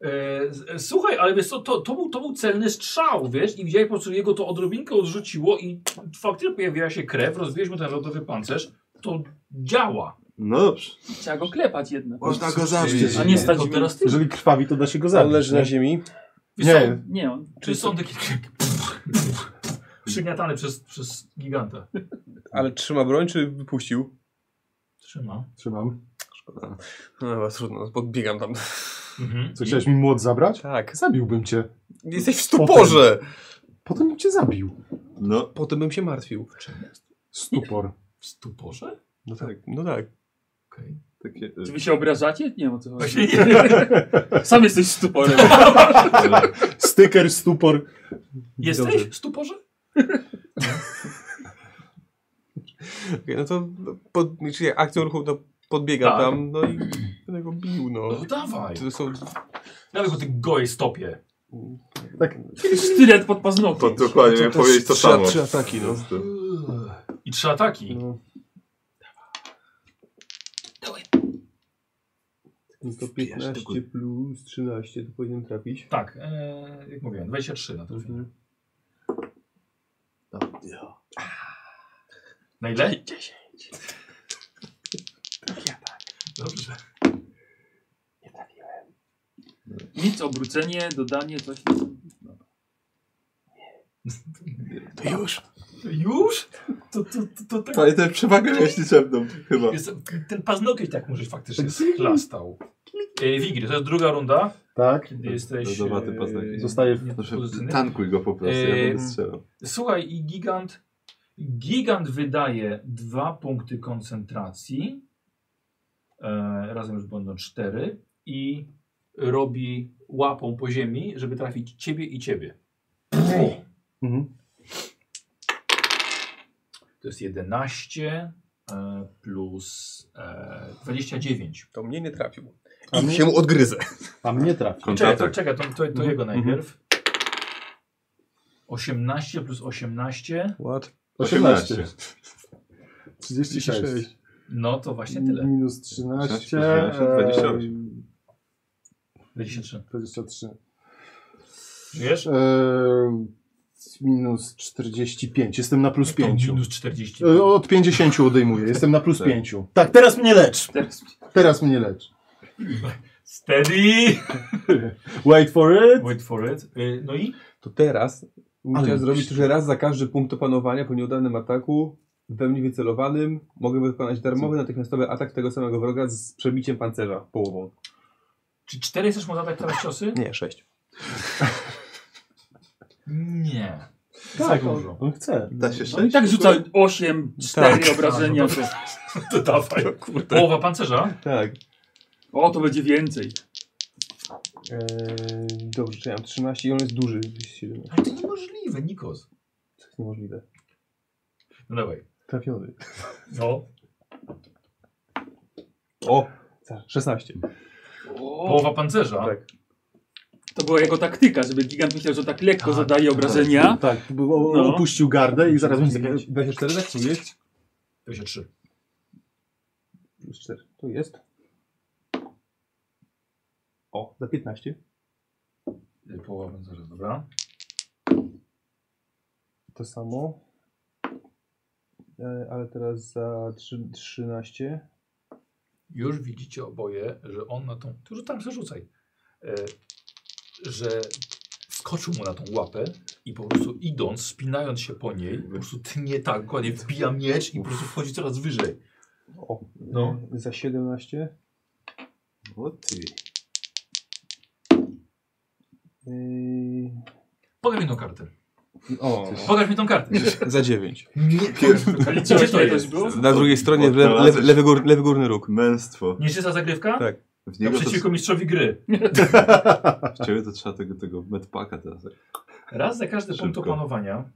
E, z- e, słuchaj, ale wiesz co, to, to, był, to był celny strzał, wiesz, i widziałeś po prostu jego to odrobinkę odrzuciło i faktycznie pojawiła się krew, rozbiliśmy ten lodowy pancerz, to działa. No dobrze. Trzeba go klepać jednak. Można go A nie stać mi. teraz ty. Jeżeli krwawi, to da się go On zabić. leży na nie? ziemi. Wiesz nie. co, Nie, on. Czy są takie... Przygniatany przez, przez giganta. Ale trzyma broń, czy wypuścił? Trzyma. Trzymam. No chyba trudno, podbiegam tam. Mhm. Co, chciałeś mi młot zabrać? Tak. Zabiłbym cię. Jesteś w stuporze! Potem bym cię zabił. No, Potem bym się martwił. Stupor. W stuporze? No tak, no tak. Okej. takie... e, Czy wy się obrażacie? Nie wiem o co chodzi. Właśnie nie. Sam jesteś stuporem. no Styker, stupor. Jesteś Dobrze. w stuporze? Okej, no to pod, czyli akcja ruchu to podbiega Tak. tam, no i będę go bił, no. No dawaj. To są... Dawaj go ty goje stopie. Sztylet pod To paznokciem. dokładnie miałem też powiedzieć to trzy- samo. trzy ataki, no. Jest to- I trzy ataki. no. Dawaj. To 15 plus 13, to powinien trafić. Tak, e, jak mówiłem, 23 na trafienie. Na ile? 10. Dobrze. Nic, obrócenie, dodanie, coś. To już. Już? To, to, to, to tak. Pamiętaj przewagę leśniczebną chyba. Jest, ten paznokieć tak może faktycznie schlastał. E, Wigry, to jest druga runda. Tak. Kiedy jesteś. e, Lodowaty paznokieć. Zostaje w... nie, Proszę, pozycyjny. tankuj go po prostu, ja Ehm, będę strzelał. Słuchaj, i gigant. Gigant wydaje dwa punkty koncentracji. E, razem już będą cztery. I robi łapą po ziemi, żeby trafić ciebie i ciebie. Mhm. To jest 11 e, plus e, 29. To mnie nie trafił. A I mnie- się mu odgryzę. A mnie trafi. Czekaj, tak. to, Kontratak. czekaj, to, to, to Mhm. jego najpierw. 18 plus 18, What? 18. 18. 36. no to właśnie tyle. Minus Eee, 13. 28. 23. 23. Wiesz? Eee, minus 45. Jestem na plus 5. Minus 40. E, Od 50 odejmuję. Jestem na plus Tak. 5. Tak, teraz mnie lecz. Teraz Teraz mnie lecz. Steady! Wait for it. Wait for it. Y, No i? To teraz musiałem Ale- zrobić to, że raz za każdy punkt opanowania po nieudanym ataku we mnie wycelowanym mogę wykonać darmowy, natychmiastowy atak tego samego wroga z przebiciem pancerza połową. Czy 4 chcesz mu zadać teraz ciosy? Nie, sześć. Nie. Tak, Za on, dużo. on chce. Da się No i sześć? tak rzuca 8, 4 obrażenia. A, no To dawaj. Kurde. Połowa pancerza? Tak. O, to będzie więcej. Eee, dobrze, czy ja mam 13 i on jest duży. 17, Ale to niemożliwe, Nikos. to jest niemożliwe. No dawaj. Trafiony. No. O! 16. O, Połowa pancerza? Tak. to była jego taktyka, żeby gigant myślał, że tak lekko zadaje obrażenia. Tak, bo o- No. opuścił gardę i zaraz będzie takie... 24 tak tu jest. 23. Plus 4. Tu jest. O, za 15. Y, Połowa pancerza, dobra. To samo. E, ale teraz za trzy- 13. Już widzicie oboje, że on na tą. To już tam przerzucaj. E, że skoczył mu na tą łapę i po prostu idąc, spinając się po niej, po prostu tnie tak, dokładnie wbija miecz i po prostu wchodzi coraz wyżej. O, No. e, za 17. O ty. E, Pokaż mi tą kartę. o, Pokaż mi tą kartę. za 9. Nie, Ale co to jest? Na drugiej stronie, Od- lewy, lewy, odnalazłeś- lewy, gór, lewy górny róg. Męstwo. Nieczysta zagrywka? Tak. W niego to, Naprzeciwko mistrzowi gry. w ciebie to trzeba tego, tego medpaka teraz. Raz za każdy punkt Szybko. opanowania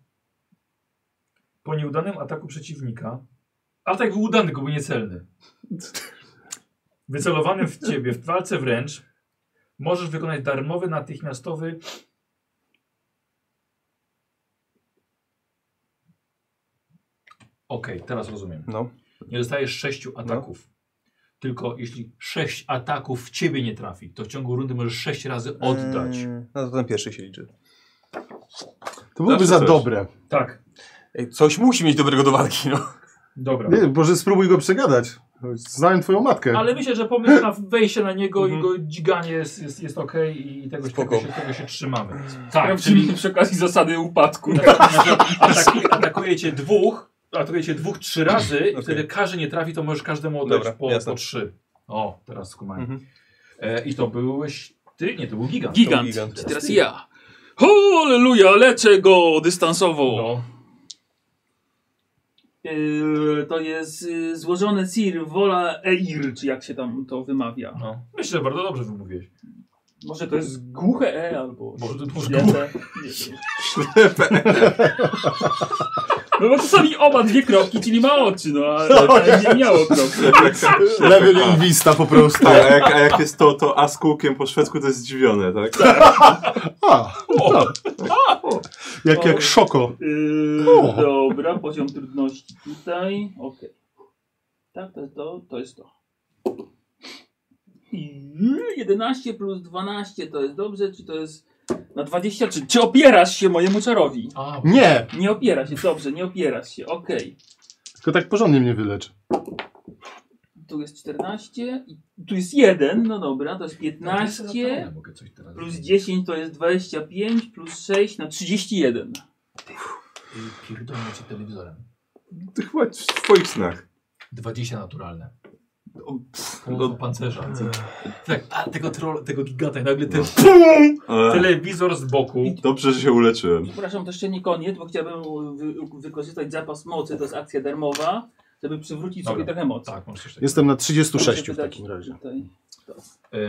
po nieudanym ataku przeciwnika. Atak był udany, tylko był niecelny. Wycelowany w ciebie, w walce wręcz, możesz wykonać darmowy, natychmiastowy. Okej, teraz rozumiem. No. Nie dostajesz sześciu ataków. Tylko jeśli sześć ataków w ciebie nie trafi, to w ciągu rundy możesz sześć razy oddać. Eee, no to ten pierwszy się liczy. To byłoby Zawsze za coś. dobre. Tak, Ej, coś musi mieć dobrego do walki, no. dobra. Tak. Nie, może spróbuj go przegadać. Znałem twoją matkę. Ale myślę, że pomysł Tak, na wejście na niego i go dziganie jest, jest, jest okej i tego, się- Mhm. Spoko. tego, się, tego się trzymamy. Tak, Sprawdzimy czyli znaczy, to przy okazji zasady upadku. Tak. Ataki, atakujecie dwóch, atakujecie dwóch trzy razy i Okej. wtedy każdy nie trafi, to możesz każdemu oddać Dobra, po, jasne. po trzy. O, teraz skumanie. Mhm. E, I to byłeś ty? Nie, to był gigant. Tak. Gigant. gigant. I teraz ja. Halleluja, leczę go dystansowo. No. Yy, to jest yy, złożone Sir Wola Eir, czy jak się tam to wymawia. no. Myślę, że bardzo dobrze wymówiłeś. Może to jest głuche E albo... Może to może Ślepe. Nie wiem. No bo czasami oba dwie kropki, czyli ma oczy, no ale ale nie miało kropki. Lewy lingwista po prostu. A jak, a jak jest to, to a z kółkiem po szwedzku to jest zdziwione, tak? A, no. Jak, jak szoko. Yy, O. dobra, poziom trudności tutaj. Okej. Tak, to jest to, to jest to. I 11 plus 12 to jest dobrze, czy to jest na 20? Czy, czy opierasz się mojemu czarowi? A, bo- Nie, Nie opiera się, dobrze, nie opierasz się, okej. tylko tak porządnie mnie wylecz. Tu jest 14, i tu jest 1, no dobra, to jest no, to jest za 15, to, ja mogę coś teraz plus zrobić. 10 to jest 25, plus 6 na I 31. Y, Pierdolę cię telewizorem. Ty chyba w twoich snach. 20 naturalne. O, pff, Połowa no, pancerza. Tak, a tego, troll, tego giganta i nagle ten e, telewizor z boku. dobrze, że się uleczyłem. Przepraszam, to jeszcze nie koniec, bo chciałbym wy wykorzystać zapas mocy, to jest akcja darmowa, żeby przywrócić Dobra. sobie trochę mocy. Tak, możesz coś takiego. Jestem na Muszę 36 w wydać takim razie. Tutaj. Ty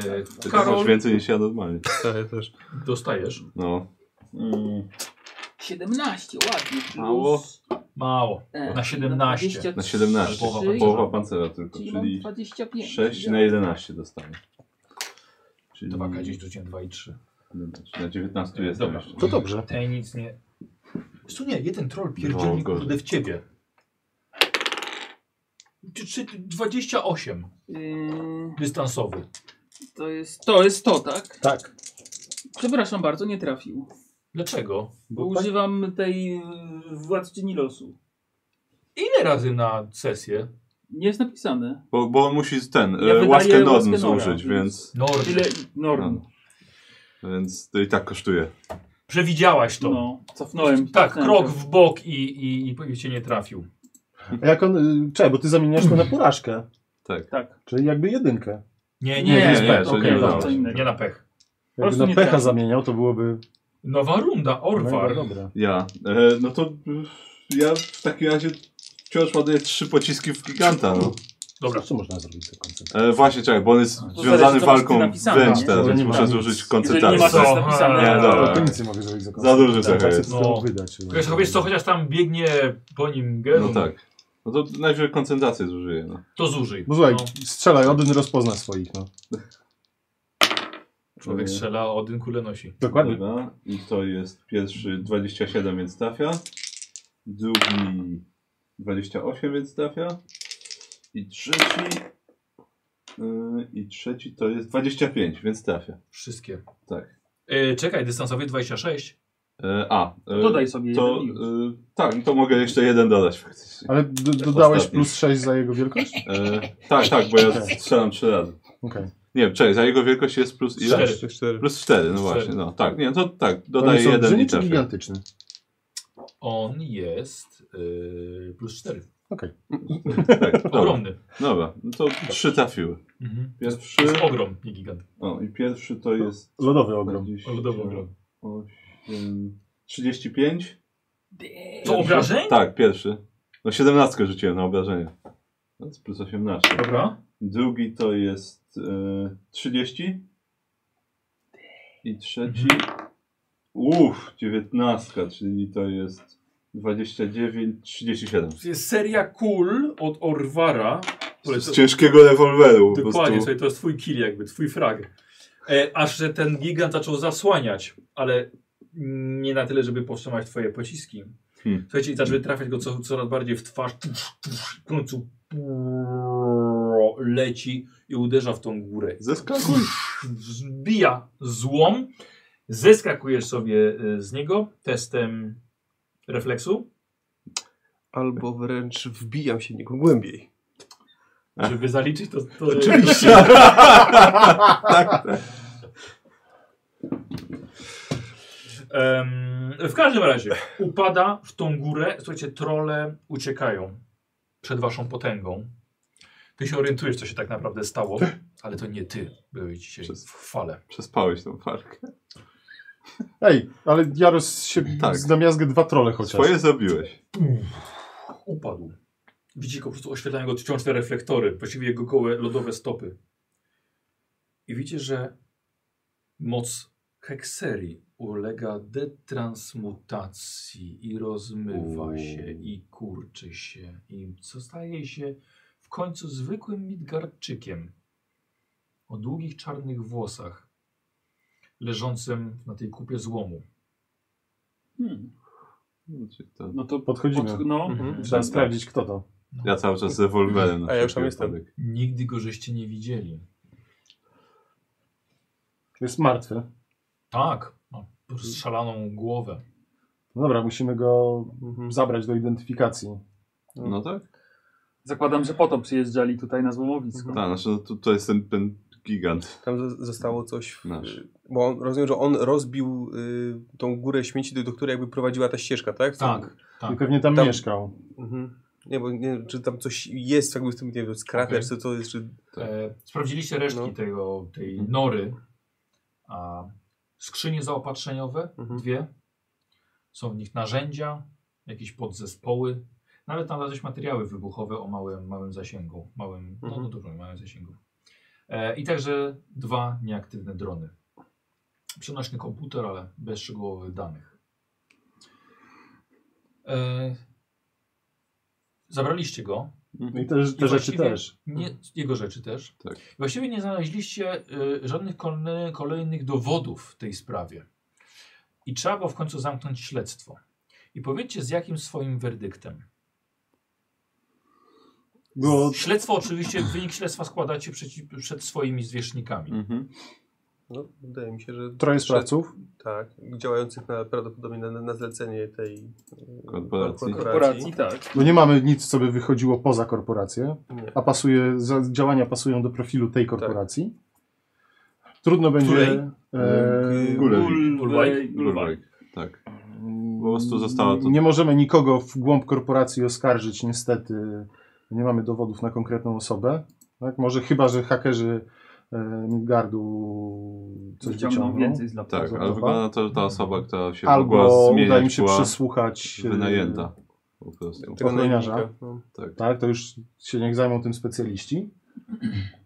E, to masz Karol, więcej niż ja normalnie. Tak, też. dostajesz. No. 17, ładnie. Plus, Mało. Mało. e, Na 17. Na 17. Połowa Czyli, Połowa pancerza tylko, czyli mam czyli 25. 6 na 11 dostanę. Czyli 2K dziś rzuciłem 2 i 3. 11. Na 19 jestem Dobra. Mm. jeszcze. To dobrze. Tej nic nie. Wiesz co nie, jeden troll Było pierdzieli gorzej. kurde w ciebie. Czy- czy 28 Yy, dystansowy. to, jest, to jest to, tak? Tak. Przepraszam bardzo, nie trafił. Dlaczego? Bo tak- używam tej yy, władczyni losu. Ile razy na sesję? Nie jest napisane. Bo, bo on musi ten, Ja e, wydaję łaskę łaskę Norn Nora, zużyć, więc, No, Tyle Norn. No. więc to i tak kosztuje. przewidziałaś to. No, cofnąłem. Tak, cofnąłem krok to. w bok i, i, i, i cię nie trafił. A jak on. y, Czekaj, bo ty zamieniasz to na porażkę. Tak. Tak. Czyli jakby jedynkę. Nie, Nie, nie, nie, nie, nie, to okej, nie dobra. udało się. nie na pech. Jakby prostu nie na pecha trafił. zamieniał, to byłoby. Nowa runda, Orwar. mega dobre. Ja. E, no to e, ja w takim razie wciąż ładuję trzy pociski w giganta. No. Dobra. Co można zrobić za koncentrację? E, właśnie, czekaj, bo on jest To związany zależy, co walką jest napisane, wręcz nie? Jeżeli teraz, więc nie ma muszę nic. zużyć Jeżeli nie koncentrację. ma co jest Co? napisane. Tak, Nie, To dobra. nic nie mogę zrobić za Tak. Za koncentrację. duży trochę Tacy jest. to No. wydać. Wiesz, wiesz co, chociaż tam biegnie po nim Gerun, No tak. No to najpierw koncentrację zużyję. No. to zużyj. Bo słuchaj, No, strzelaj, Odyn rozpozna swoich, no. człowiek strzela, a Odyn kulę nosi. Dokładnie. Dobra. I to jest pierwszy 27, więc trafia. Drugi 28, więc trafia. I trzeci. Yy, I trzeci to jest 25, więc trafia. Wszystkie. Tak. E, czekaj, dystansowy 26. E, a. e, Dodaj sobie To, jeden już. e, tak, to mogę jeszcze jeden dodać faktycznie. Ale d- dodałeś Ostatni. plus 6 za jego wielkość? E, tak, tak, bo ja Okej. strzelam trzy razy. Okej. Nie, czekaj, za jego wielkość jest plus ile? Cztery. Jeszcze cztery. Plus 4, no Cztery. właśnie, no tak, nie, to tak, Okay. dodaję jeden i czy trafię. gigantyczny? On jest e, plus 4. Tak, No dobra, Ogromny. dobra, no to trzy trafiły. Mhm. Pierwszy, To jest ogrom, nie gigant. o i pierwszy to jest Lodowy ogrom. 28, Lodowy ogrom. 35. To obrażeń? Tak, pierwszy. No 17 rzuciłem na obrażenie. To jest plus 18. Dobra. Drugi to jest e, 30. I trzeci. Mhm. Uff, 19, czyli to jest 29, 37. Jest seria kul od Orwara. Z ciężkiego rewolweru. po Dokładnie, prostu. słuchaj, to jest twój kill jakby, twój frag. E, aż że ten gigant zaczął zasłaniać, ale nie na tyle, żeby powstrzymać twoje pociski. Hmm. Słuchajcie, i zaczęły trafiać go co, coraz bardziej w twarz. Tusz, tusz, w końcu ciało leci i uderza w tą górę. Zeskakuj. Zbija złom. Zeskakujesz sobie y, z niego testem refleksu, Albo wręcz wbijam się w niego głębiej. żeby zaliczyć to. to Oczywiście. Em, w każdym razie upada w tą górę. Słuchajcie, trole uciekają przed waszą potęgą. Ty się orientujesz, co się tak naprawdę stało, ale to nie ty byłeś dzisiaj Przez- w chwale. Przespałeś tą parkę. Ej, ale Jaros się Tak. tak. z namiazgę dwa trole chociaż. Swoje zrobiłeś. Upadł. Widzicie go po prostu oświetlają go wciąż te reflektory, właściwie jego gołe lodowe stopy. I widzicie, że moc hekserii ulega detransmutacji i rozmywa Uuu. się i kurczy się i zostaje się w końcu zwykłym Midgardczykiem o długich czarnych włosach leżącym na tej kupie złomu. Hmm. Znaczy, to- No to Podchodzimy. Pod, no, Mhm. Trzeba sprawdzić kto to. Ja cały czas z rewolwerem. na A ja już tam wszelki jestem. wypadek. Nigdy go żeście nie widzieli. Jest martwy. Tak, ma rozstrzelaną głowę. No dobra, musimy go zabrać do identyfikacji. No tak? zakładam, że po to przyjeżdżali tutaj na złomowisko. Tak, znaczy no, to, to jest ten, ten gigant. Tam zo- zostało coś. W, Nasz. Bo on, rozumiem, że on rozbił y, tą górę śmieci, do, do której jakby prowadziła ta ścieżka, tak? Tak. I pewnie tam, Tam- mieszkał. Mhm. Nie, bo nie, wiem, czy tam coś jest, jakby w tym, nie wiem, skrater, Okej. czy co jest, czy... E, sprawdziliście resztki Tak. No. tego, tej nory. A skrzynie zaopatrzeniowe, Mhm. dwie. Są w nich narzędzia, jakieś podzespoły. Nawet tam jakieś materiały wybuchowe o małym, małym zasięgu. Małym, no, Mhm. no dobrze, małym zasięgu. E, I także dwa nieaktywne drony. Przenośny komputer, ale bez szczegółowych danych. E, zabraliście go, I te, te I rzeczy właściwie- też. nie, jego rzeczy też. Tak. Właściwie nie znaleźliście y, żadnych kolne, kolejnych dowodów w tej sprawie. I trzeba było w końcu zamknąć śledztwo. I powiedzcie z jakim swoim werdyktem. Było Śledztwo oczywiście, wynik śledztwa składacie przeciw, przed swoimi zwierzchnikami. Mhm. No, wydaje mi się, że... troje sprawców. Tak, działających na, prawdopodobnie na, na zlecenie tej e, Korporacji. Korporacji, tak. Bo No nie mamy nic, co by wychodziło poza korporację, Nie. a pasuje, za- działania pasują do profilu tej korporacji. Trudno będzie. E, Gulewik. Gulwaj. Gulwaj. Gulwajk, Tak. Po prostu została to- Nie możemy nikogo w głąb korporacji oskarżyć, niestety. Nie mamy dowodów na konkretną osobę. Tak? Może chyba, że hakerzy e, Midgardu coś Wyciągną wyciągną. więcej z laptopa. Tak, Zabawa. ale wygląda na to, że ta osoba, która się Albo mogła zmieniać, uda im się była przesłuchać. e, wynajęta. Po prostu. tego Ochroniarza. najemnika, No. Tak, to już się niech zajmą tym specjaliści.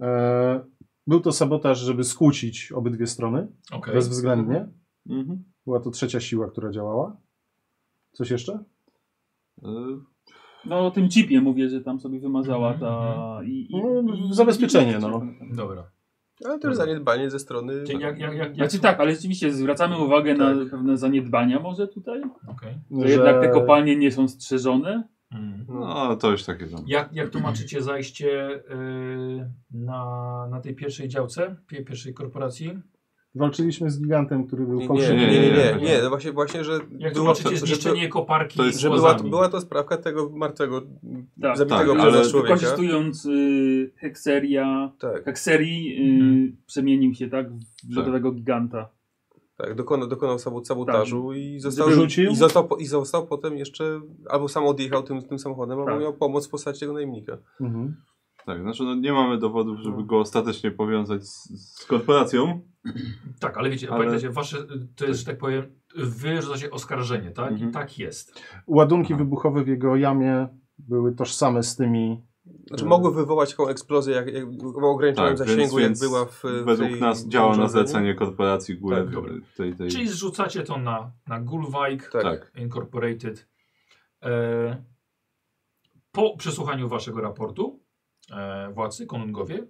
E, był to sabotaż, żeby skłócić obydwie strony Okej. bezwzględnie. Mhm. Była to trzecia siła, która działała. Coś jeszcze? Y, No o tym chipie mówię, że tam sobie wymazała ta... I, i, No, zabezpieczenie, no. Dobra. Ale też zaniedbanie ze strony... Czyli jak, jak, jak, jak... Znaczy tak, ale rzeczywiście zwracamy uwagę na pewne zaniedbania może tutaj, Okej. że jednak te kopalnie nie są strzeżone. Mhm. No, ale to już takie tam. Jak, jak tłumaczycie zajście y, na, na tej pierwszej działce, pie- pierwszej korporacji? Walczyliśmy z gigantem, który był Nie, nie, fałszywy. nie, nie, nie, nie, nie. nie, no właśnie, właśnie, że Jak było, tłumaczycie że- zniszczenie koparki to jest- że głazami? była, była to sprawka tego martwego, Tak, zabitego tak, ale- przez człowieka. Wykorzystując y, hekseria, Tak, hekserii y, Mhm. przemienił się tak w lodowego giganta. tak, dokonał, dokonał sabo- sabotażu i został, Wyrzucił? i, został po, i został potem jeszcze, albo sam odjechał tym, tym samochodem, albo Tak. miał pomoc w postaci tego najemnika. Mhm. Tak, znaczy no, nie mamy dowodów, żeby go ostatecznie powiązać z, z korporacją. Tak, ale wiecie, Ale- pamiętajcie, wasze, to jest, że tak powiem, wy rzucacie oskarżenie, tak? Mhm. I tak jest. Ładunki Aha. wybuchowe w jego jamie były tożsame z tymi. Znaczy mogły wywołać taką eksplozję jak, jak, w ograniczonym Mm. Tak, więc, zasięgu, więc jak była w, w według tej, nas działa na urządzeniu. zlecenie korporacji góry. Tak, dobra. tej, tej, Czyli zrzucacie to na, na Gulwajk Tak. tak. Incorporated. E, po przesłuchaniu waszego raportu e, władcy, konungowie,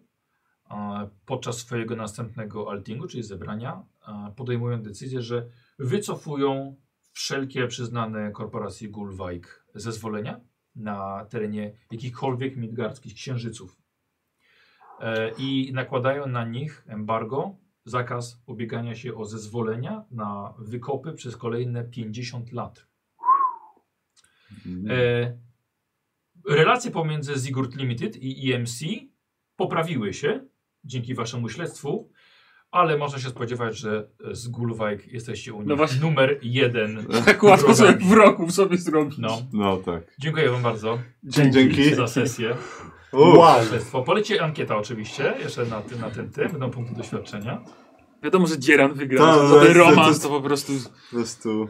e, podczas swojego następnego altingu, czyli zebrania, e, podejmują decyzję, że wycofują wszelkie przyznane korporacji Gulwajk zezwolenia na terenie jakichkolwiek midgardzkich księżyców. e, i nakładają na nich embargo, zakaz ubiegania się o zezwolenia na wykopy przez kolejne 50 lat. Mm. E, relacje pomiędzy Zigurd Limited i EMC poprawiły się dzięki waszemu śledztwu, ale można się spodziewać, że z Gulwajk jesteście u nich No właśnie. numer jeden. Tak łatwo sobie wrogami. wroków sobie zrobić. No. No tak. Dziękuję wam bardzo Dzięki. za sesję. Uff. Śledztwo. Poleci ankieta oczywiście, jeszcze na, ty, na ten tym, będą punkty doświadczenia. Wiadomo, że Dzieran wygra. Tak, To, to jest- romans to- to po prostu... Po prostu.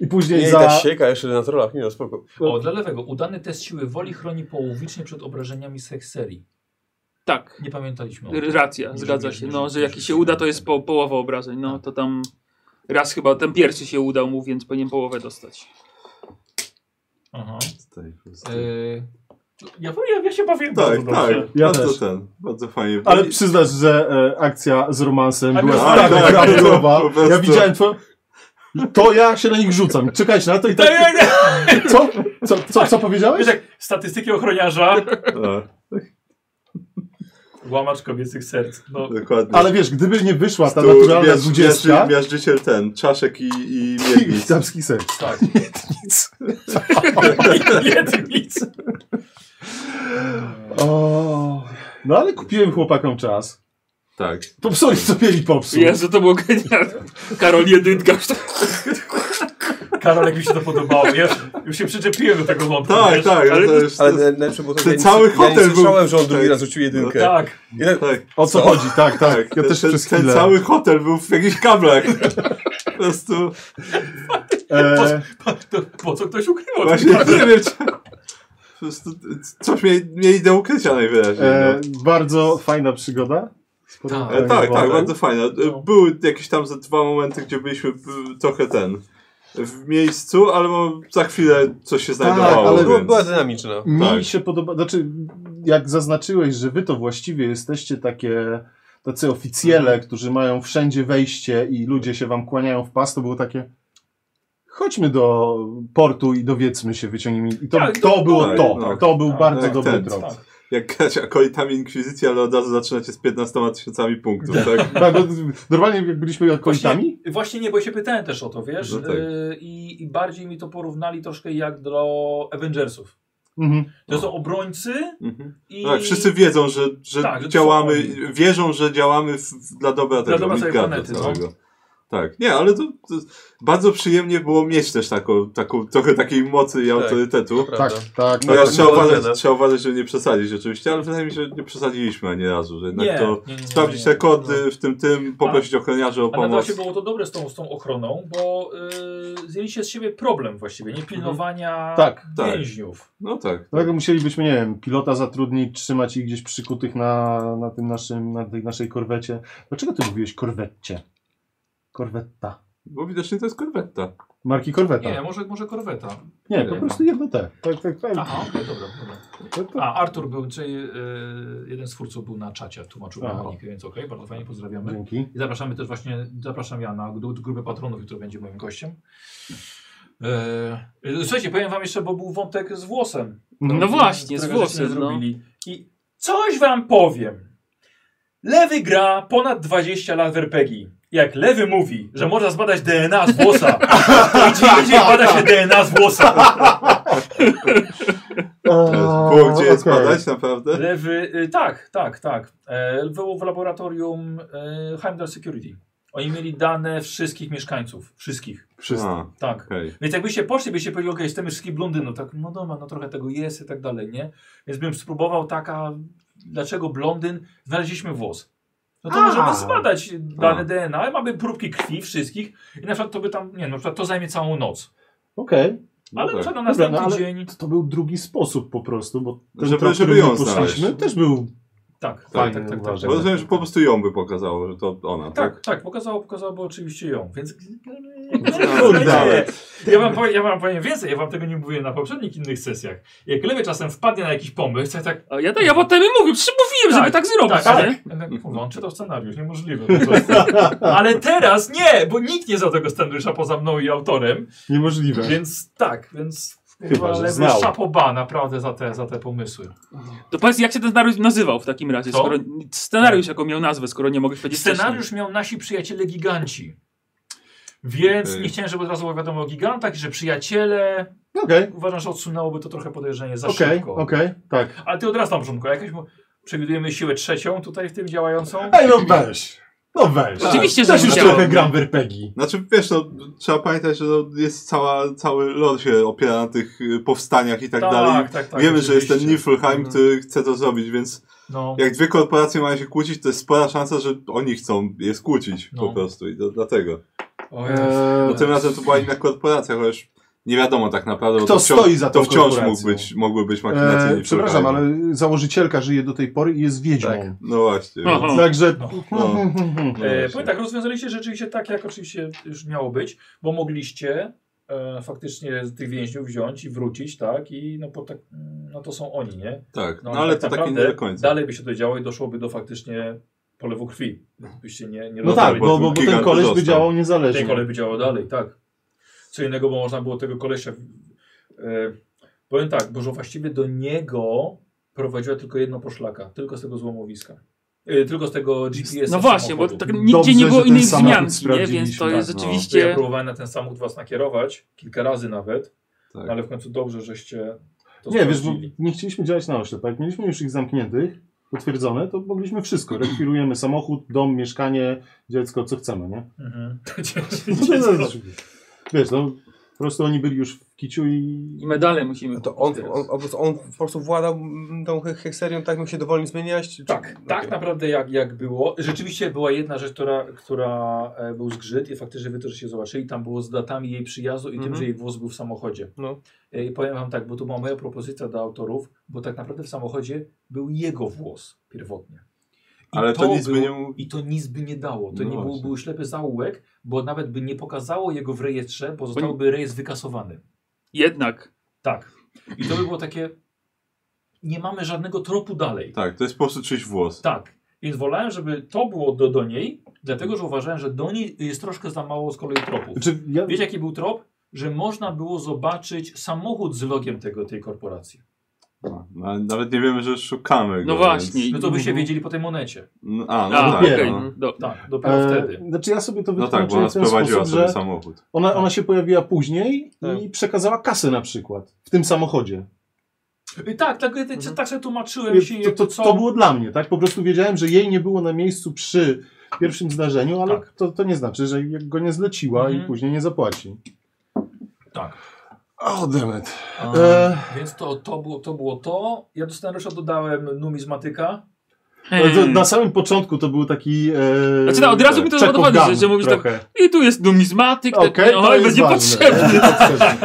E, I później Nie, za... ta sieka jeszcze na trollach, nie no spoko. O, dla lewego. Udany test siły woli chroni połowicznie przed obrażeniami z hekserii. Tak. Nie pamiętaliśmy o tym. Racja, Nie zgadza żegnaj- się. nie No, żegnaj- że nie jaki się żegnaj- uda, to jest po, połowa obrażeń. No, to tam raz chyba, ten pierwszy się udał mu, więc powinien połowę dostać. Aha. Tutaj, po prostu. Yy, ja, ja, ja się bawiłem Tak, bardzo tak. dobrze. Ja bardzo też. ten. Bardzo fajnie. Ale przyznasz, że e, akcja z romansem Ale była no, tak, tak, tak, tak, prawidłowa. po prostu. Ja widziałem twoją... To ja się na nich rzucam. Czekajcie na to i tak... Co? Co, co, co powiedziałeś? Wiesz jak statystyki ochroniarza, A, łamacz kobiecych serc. No, dokładnie. Ale wiesz, gdyby nie wyszła ta Tu naturalna miażdż- dwudziestka... miażdży- Miażdżyciel ten, czaszek i, i I miednic. damski seks. tak. Jednic. O, no ale kupiłem chłopakom czas. Tak. Popsuli, co mieli popsuć. Jezu, to było genialne. Karol Jedynka. już tak- Karol, jak mi się to podobało. Ja już się przyczepiłem do tego wątku. Tak, wiesz? tak. ale- Ale to jest, Ale to jest, na- najlepsze było to, że ten ja nie- cały ja hotel był- nie słyszałem, że on drugi tak. raz rzucił jedynkę. Tak. I tak- tak. O co chodzi? Tak, tak. Ja ten, też ten, przez ten chwilę. cały hotel był w jakichś kablach. Po prostu E, To po co ktoś ukrywał? właśnie nie wiem. czy- Po prostu coś mieli, mieli do ukrycia najwyraźniej. e, no. bardzo fajna przygoda. Tak. E, tak, tak, bardzo fajne. E, No. Były jakieś tam ze dwa momenty, gdzie byliśmy b- trochę ten w miejscu, ale mam- za chwilę coś się znajdowało. Tak, ale Ale była, więc... była dynamiczna. Mi Tak. się podoba, znaczy jak zaznaczyłeś, że wy to właściwie jesteście takie, tacy oficjele, którzy mają wszędzie wejście i ludzie się wam kłaniają w pas, to było takie chodźmy do portu i dowiedzmy się, wyciągnijmy. I to, Tak, to no, było tak, to, tak. to był Tak, bardzo tak, dobry ten, trop. tak. Jak grać akolitami inkwizycji, ale od razu zaczynacie z 15 tysiącami punktów, tak? Tak, bo normalnie jak byliśmy okolitami, Właśnie, właśnie nie, bo się pytałem też o to, wiesz? No tak. y, I, I bardziej mi to porównali troszkę jak do Avengersów. mhm. To są obrońcy Mhm. i... tak wszyscy wiedzą, że, że Tak, że to działamy, są wierzą, że działamy w, w, dla dobra tego dobra całej Midgardu planety, no. całego. Tak, nie, ale to, to bardzo przyjemnie było mieć też taką, taką trochę takiej mocy i autorytetu. Prawda. tak, tak. No, ja trzeba, była uważać, cena. trzeba uważać, żeby nie przesadzić oczywiście, ale wydaje mi się, że nie przesadziliśmy ani razu, że jednak Nie, tak, to nie, nie, nie, sprawdzić nie. te kody w tym tym, poprosić ochroniarzy o Ale pomoc. właśnie było to dobre z tą, z tą ochroną, bo y, zdjęliście z siebie problem właściwie, nie pilnowania Tak, tak. więźniów. No tak. Dlatego musielibyśmy, nie wiem, pilota zatrudnić, trzymać ich gdzieś przykutych na, na tym naszym, na tej naszej korwecie. Dlaczego ty mówiłeś korwetcie? Korwetta. Bo widocznie to jest korwetta. Marki korweta. Nie, Nie, może, może korweta. po prostu jedno te. Tak, tak, tak. Aha, okej, dobra, dobra. To- No to- A, Artur był, czyli y, jeden z twórców był na czacie, tłumaczył Aha. No. mechanikę, więc okej, bardzo fajnie pozdrawiamy. Dzięki. I zapraszamy też właśnie, zapraszam ja na gru- grupę patronów, który będzie moim gościem. E, Słuchajcie, powiem wam jeszcze, bo był wątek z włosem. No właśnie, z którego żeście nie włosem, no. zrobili. I coś wam powiem. Lewy gra ponad 20 lat w RPG. Jak lewy mówi, że można zbadać DNA z włosa, to gdzie indziej bada się DNA z włosa. Było gdzie je okej. spadać, naprawdę. Lewy, y, tak, tak, tak. E, było w laboratorium e, Heimdall Security. Oni mieli dane wszystkich mieszkańców. Wszystkich, Wszystko. A, tak. okej. Więc jakbyście poszli, byście powiedzieli, okej, z tym wszystkich blondynów, tak, no dobra, no trochę tego jest i tak dalej, nie? Więc bym spróbował taka, dlaczego blondyn, znaleźliśmy włos. No to A. możemy zbadać dane Tak. A. DNA, mamy próbki krwi wszystkich i na przykład to by tam, nie na przykład to zajmie całą noc. Okej. Ale No na tak. przykład na Dobra, następny no ale- dzień, To był drugi sposób po prostu, bo ten Żeby- żeby, trop, żeby który ją my poszliśmy, znaleźć. też był tak, tak, Fajnie, tak, tak, tak, uważam. Bo tak. rozumiem, że po prostu ją by pokazało, że to ona, tak? Tak, tak, pokazało, pokazałoby oczywiście ją, więc... no, Kurde. Ja wam, powiem, ja wam powiem więcej, ja wam tego nie mówiłem na poprzednich innych sesjach. Jak lewy czasem wpadnie na jakiś pomysł, ja tak A ja, tak- ja potem mówię, przecież mówiłem, żeby tak zrobić, tak, nie? tak. Kurwa, on czytał scenariusz, niemożliwe. po prostu. Ale teraz nie, bo nikt nie znał tego scenariusza poza mną i autorem, niemożliwe. więc tak, więc Chyba, że Ale znał. szapoba naprawdę za te, za te pomysły. To powiedz, jak się ten scenariusz nazywał w takim razie? Co? Skoro, scenariusz, jaką miał nazwę, skoro nie mogę powiedzieć Scenariusz miał nasi przyjaciele giganci. Więc Okej. nie chciałem, żeby od razu było wiadomo o gigantach i że przyjaciele... Okej, Uważam, że odsunęłoby to trochę podejrzenie za okej, szybko. okej, tak. Ale ty od razu na początku. Jakaś mu... Przewidujemy siłę trzecią tutaj w tym działającą. Ej, no weź. No weź. Tak. Tak. Oczywiście, że Też już musiało trochę być. gram w RPG. Znaczy, wiesz, no, trzeba pamiętać, że no, jest cała, cały lore się opiera na tych y, powstaniach i tak, dalej. tak, Wiemy, że jest ten oczywiście. Niflheim, Mhm. który chce to zrobić, więc No, jak dwie korporacje mają się kłócić, to jest spora szansa, że oni chcą je skłócić No. po prostu i do, dlatego. E, O Jezu. Bo Eee, tym razem to była inna korporacja, chociaż nie wiadomo tak naprawdę. bo Kto to wciąż, stoi za tą To wciąż mógł korporacją? być, mogły być machinacje eee, Niflheim. przepraszam, Tak. ale założycielka żyje do tej pory i jest wiedźmą. No właśnie. więc- Aha. Także... No. No e, właśnie. powiem tak, rozwiązaliście rzeczywiście tak, jak oczywiście już miało być, bo mogliście e, faktycznie tych więźniów wziąć i wrócić, tak? I no, po tak, no to są oni, nie? Tak, no, No, ale tak to takie nie naprawdę do końca. Dalej by się to działo i doszłoby do faktycznie polewu krwi. Mhm. Byście nie, nie No rozmawiali. tak, bo, bo, bo ten Gigant koleś by został. działał Tej kolej niezależnie. by działo dalej, tak. Co innego, bo można było tego kolesia. E, powiem tak, bo że właściwie do niego prowadziła tylko jedno poszlaka, tylko z tego złomowiska. E, tylko z tego GPS. No właśnie, bo tak nigdzie Dobrze, nie było że ten innej samochód wzmianki, nie? więc sprawdziliśmy, to jest tak, no. Ja rzeczywiście... próbowałem na ten samochód was nakierować, kilka razy nawet, Tak. ale w końcu dobrze, żeście to Nie, wiesz, bo sprawdzili. nie chcieliśmy działać na oślep. Jak mieliśmy już ich zamkniętych, potwierdzone, to mogliśmy wszystko. Rekwirujemy samochód, dom, mieszkanie, dziecko, co chcemy, nie? Mhm. No to, to, to, wiesz, no po prostu oni byli już w kiciu i... I medale musimy... No to on, on, on, on po prostu władał mm, tą he- hekserią, tak mógł się dowolnie zmieniać? Czy... Tak, tak naprawdę jak, jak było. Rzeczywiście była jedna rzecz, która, która e, był zgrzyt i faktycznie wy to, że się zobaczyli, tam było z datami jej przyjazdu i tym, Mhm. że jej włos był w samochodzie. No. E, I powiem wam tak, bo to była moja propozycja dla autorów, bo tak naprawdę w samochodzie był jego włos pierwotnie. I Ale to, nic by było- nie mógł. I to nic by nie dało. To No nie był, właśnie. był ślepy zaułek, bo nawet by nie pokazało jego w rejestrze, bo zostałby rejestr wykasowany. Jednak. Tak. I to by było takie... Nie mamy żadnego tropu dalej. Tak, to jest po prostu czyjś włos. Tak. Więc wolałem, żeby to było do, do niej, dlatego że uważałem, że do niej jest troszkę za mało z kolei tropów. Znaczy, ja, Wiecie jaki był trop? Że można było zobaczyć samochód z logiem tego, tej korporacji. No, ale nawet nie wiemy, że szukamy go. No właśnie. Więc... No to Mhm. byście wiedzieli po tej monecie. No, a, no A, tak. okej. No. Do- Tak, dopiero wtedy. e, znaczy ja sobie to no tak, bo wytłumaczyłem ona w ten sprowadziła sposób, sobie tak. że samochód. ona, ona się pojawiła później Tak. i przekazała kasę na przykład w tym samochodzie. I tak, tak, tak, tak sobie tłumaczyłem się. To, jak to, co- to było dla mnie, tak? Po prostu wiedziałem, że jej nie było na miejscu przy pierwszym zdarzeniu, ale Tak. to, to nie znaczy, że jak go nie zleciła Mhm. i później nie zapłaci. Tak. O, demet. A, E. Więc to, to, było, to było to. Ja do scenariusza dodałem numizmatyka. No To, na samym początku to był taki... E, Hmm. Znaczy, no, od razu mi to Check of zapadło, Gun że- że mówisz tak- trochę. I tu jest numizmatyk, tak, Okej, no, to i jest będzie ważne. potrzebny.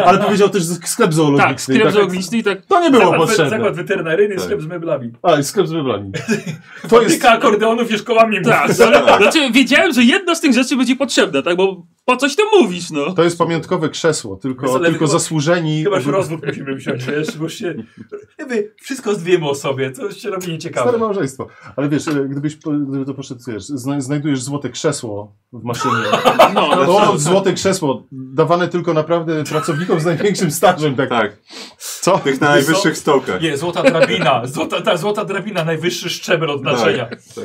Ale powiedział też że sklep zoologiczny. Tak, sklep Tak, zoologiczny i tak... To nie było Zakład, we- potrzebne. zakład weterynaryjny, Tak. sklep z meblami. A, i sklep z meblami. To jest... Patyka akordeonów i szkołami. Tak, znaczy wiedziałem, że jedna z tych rzeczy będzie potrzebna, tak, bo po coś to mówisz, no. To jest pamiątkowe krzesło, Wiesz tylko, co, ale tylko chyba- zasłużeni. Chyba że rozwód musimy wziąć, wiesz, bo się... Jakby wszystko z dwiema o sobie, to się robi Stare nieciekawe. małżeństwo. Ale wiesz, e, gdybyś po- gdyby to poszedł, wiesz, zna, znajdujesz złote krzesło w maszynie. No, no. To złote krzesło, dawane tylko naprawdę pracownikom z największym stażem. Tak. Tak, Co? tych na najwyższych stołkach. Nie, złota drabina, złota, ta złota drabina, najwyższy szczebel odznaczenia. Tak, tak.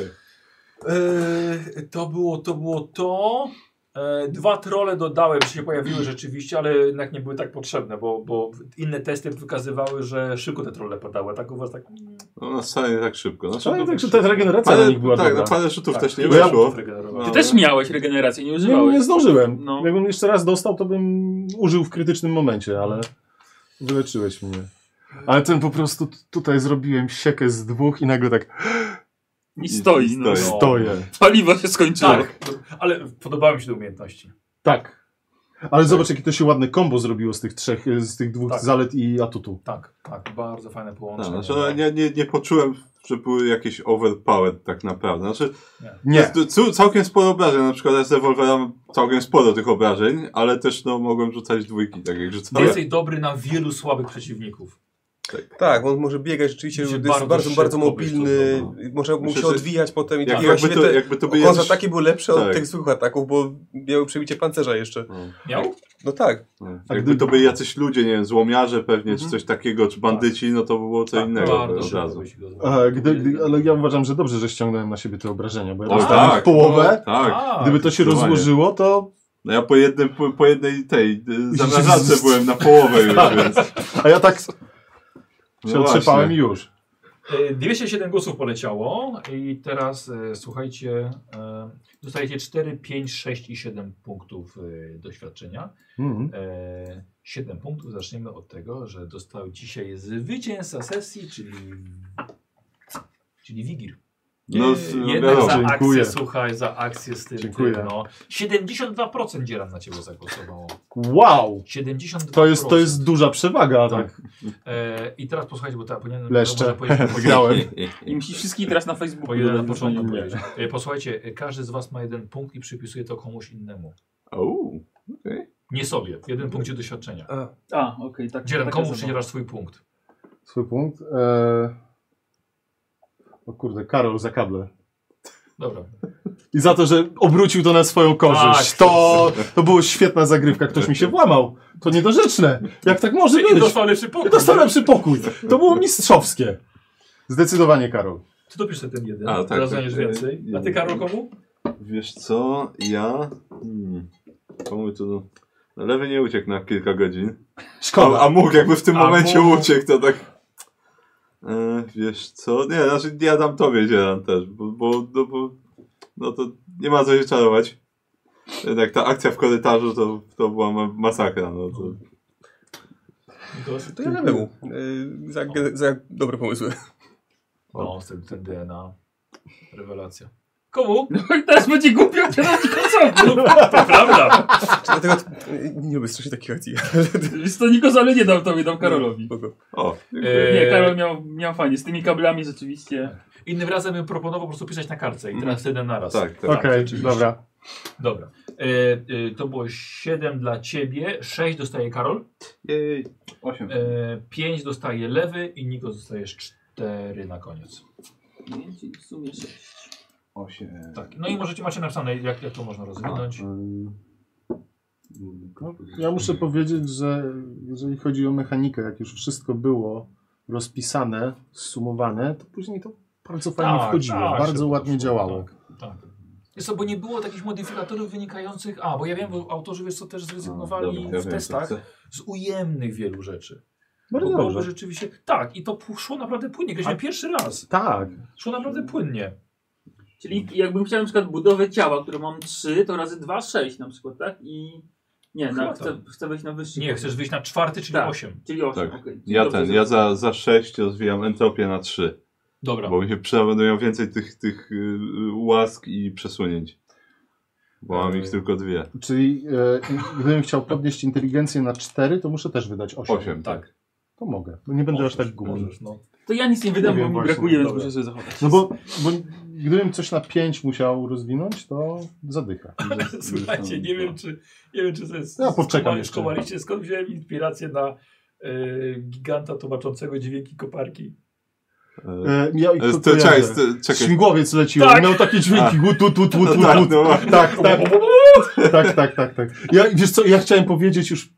Eee, to było to. Było to. Eee, dwa trole dodałem, się pojawiły rzeczywiście, ale jednak nie były tak potrzebne, bo, bo inne testy wykazywały, że szybko te trole padały, a tak u was tak... No, no wcale nie tak szybko. Znaczy, Ale tak, że ta regeneracja na ale, nich była tak, na dobra. parę rzutów tak, też nie ile ja- wyszło. punktów regenerowało? No. Ty też miałeś regenerację, nie Nie, używałeś. nie zdążyłem. No. Jakbym jeszcze raz dostał, to bym użył w krytycznym momencie, ale wyleczyłeś mnie. Ale ten po prostu t- tutaj zrobiłem siekę z dwóch i nagle tak I stoi, no. Stoi. stoję. Paliwo się skończyło. Tak, ale podobały mi się te umiejętności. Tak. Ale zobacz, jakie to się ładne kombo zrobiło z tych trzech, e, z tych dwóch Tak. zalet i atutu. Tak, tak, bardzo fajne No, połączenie. znaczy, no, nie, nie, nie poczułem, że były jakieś overpowered tak naprawdę. Znaczy, Nie. Jest tu- cu- całkiem sporo obrażeń, na przykład z rewolwerem całkiem sporo tych obrażeń, ale też no, mogłem rzucać dwójki, tak jak rzucałem. Jesteś dobry na wielu słabych przeciwników. Tak, on może biegać rzeczywiście, Gdzie jest bardzo bardzo, bardzo, szybko byś to mobilny, zdobył. może mógł Myślę, się że- odwijać potem i Jak, Tak. takie jakby, właśnie to, te jakby to by kontra ataki były lepsze od Tak. tych zwykłych ataków, bo miały przebicie pancerza jeszcze. No. Miał? No tak. No. Jakby to byli jacyś ludzie, nie wiem, złomiarze pewnie, czy coś takiego, czy bandyci, no to by było co innego by Mhm. Tak, Bardzo od szybko razu. byś go zrobił. A, gdy, gdy, ale ja uważam, że dobrze, że ściągnąłem na siebie te obrażenia, bo ja O, dostałem tak, w połowę. Tak. A, Gdyby to się zdecydowanie. rozłożyło, to... No ja po, jednym, po, po jednej tej y, zamrażarce byłem na połowę już, więc... A ja tak się No otrzepałem i właśnie. już. E, 207 głosów poleciało i teraz e, słuchajcie, e, dostajecie 4, 5, 6 i 7 punktów e, doświadczenia. Mhm. E, 7 punktów. Zaczniemy od tego, że dostał dzisiaj zwycięzca sesji, czyli, czyli Wigir. No, z- no Jednak za wiadomo. dziękuję. akcję, słuchaj, za akcję z tym. Dziękuję. tym, No. 72% dzieran na ciebie zagłosowało. Wow! 72%. To jest, to jest duża przewaga, tak? E, I teraz posłuchajcie, bo ta powinienem... Leszcze. może powiedzieć- Wygrałem. I musisz wszystkich teraz na Facebooku. Po jeden na dodać, początku nie? powiedzieć. E, Posłuchajcie, e, każdy z was ma jeden punkt i przypisuje to komuś innemu. Au, okej. Nie sobie. Jeden punkt ci doświadczenia. A, okej, tak. Dzieran, taka komu zabawa. przydzielasz swój punkt? Swój punkt. E... O kurde, Karol za kable. Dobra. I za to, że obrócił to na swoją korzyść. Tak. To, to była świetna zagrywka. Ktoś Tak. mi się włamał. To niedorzeczne. Jak tak może Ty być? dostał lepszy punkt. Dostał lepszy pokój. To było mistrzowskie. Zdecydowanie, Karol. Ty dopisz sobie ten jeden. A, A, tak, tak, Rozumiesz tak, więcej. e, A ty Karol komu? Wiesz co, ja... Hmm. Komu to... No, no lewy nie uciekł na kilka godzin. Szkoda. A, a mógł, jakby w tym A momencie mógł. uciekł, to tak... E, wiesz co, nie, znaczy ja dam tobie dzielam też, bo, bo, no, bo... No to nie ma co się czarować. Jednak ta akcja w korytarzu to, to była ma- masakra, no to... To ja lewemu. Y, Za, za dobre pomysły. No, z tym, tym DNA. Rewelacja. Komu? No i teraz będzie głupio dzieran Nikozalowi. Prawda. Dlatego y, nie lubię strasznie takich akcji. Więc to Nikozalowi nie dam tobie, dam Karolowi. Spoko. O, dziękuję. E, Nie, Karol miał, miał fajnie. Z tymi kablami rzeczywiście. Innym razem bym proponował po prostu pisać na kartce i teraz jeden na raz. tak, tak. Okej, rzeczywiście. dobra. Dobra. E, e, to było 7 dla ciebie, 6 dostaje Karol, Jej, osiem. e, 5 dostaje lewy i Niko dostajesz 4 na koniec. Nie, czyli W sumie sześć. Osiem. Tak. No i możecie macie napisane, jak, jak to można rozwinąć. No, ja muszę powiedzieć, że jeżeli chodzi o mechanikę, jak już wszystko było rozpisane, sumowane, to później to bardzo fajnie Tak, wchodziło. tak, bardzo szybko ładnie szło, działało. Tak. Jest to, bo nie było takich modyfikatorów wynikających. A, bo ja wiem, bo autorzy wiesz co też No, zrezygnowali w testach z ujemnych wielu rzeczy. No, No Bardzo bo byłoby dobrze. rzeczywiście. Tak, i to pu- szło naprawdę płynnie. Gdzieś A- na pierwszy raz. Tak. Szło naprawdę płynnie. Czyli jakbym chciał na przykład budowę ciała, które mam 3, to razy 2, 6 na przykład, tak? I nie, Chyba na, tak. chcę, chcę wejść na wyższy. Nie, poziom. chcesz wyjść na czwarty, czyli Tak. osiem. Czyli 8, Tak. okej. Ja Dobrze, ten, ja za, za 6 rozwijam entropię na 3, Dobra. bo mi się przyda będą miał więcej tych, tych y, y, łask i przesunięć. Bo mam ich tylko dwie. Czyli e, gdybym chciał podnieść inteligencję na 4, to muszę też wydać 8. 8, tak. Tak. To mogę. No nie będę aż tak głupi. Możesz, no. To ja nic nie wydam, Nie bo wiem, mi właśnie, brakuje, więc dobra. muszę sobie zachować. No bo, bo gdybym coś na 5 musiał rozwinąć, to zadycha. Słuchajcie, nie wiem czy, nie wiem, czy to jest. Ja poczekam jeszcze. Skowaliście, skąd wziąłem inspirację na y, giganta tłumaczącego dźwięki koparki. E, E, ja ich e, to, kojarzę. czekaj, st- czekaj. Śmigłowiec lecił, Tak. miał takie dźwięki, łut, łut, łut, łut, łut, No tak, łut. no. Tak, tak, tak, tak, tak, tak. Ja, wiesz co, ja chciałem powiedzieć już,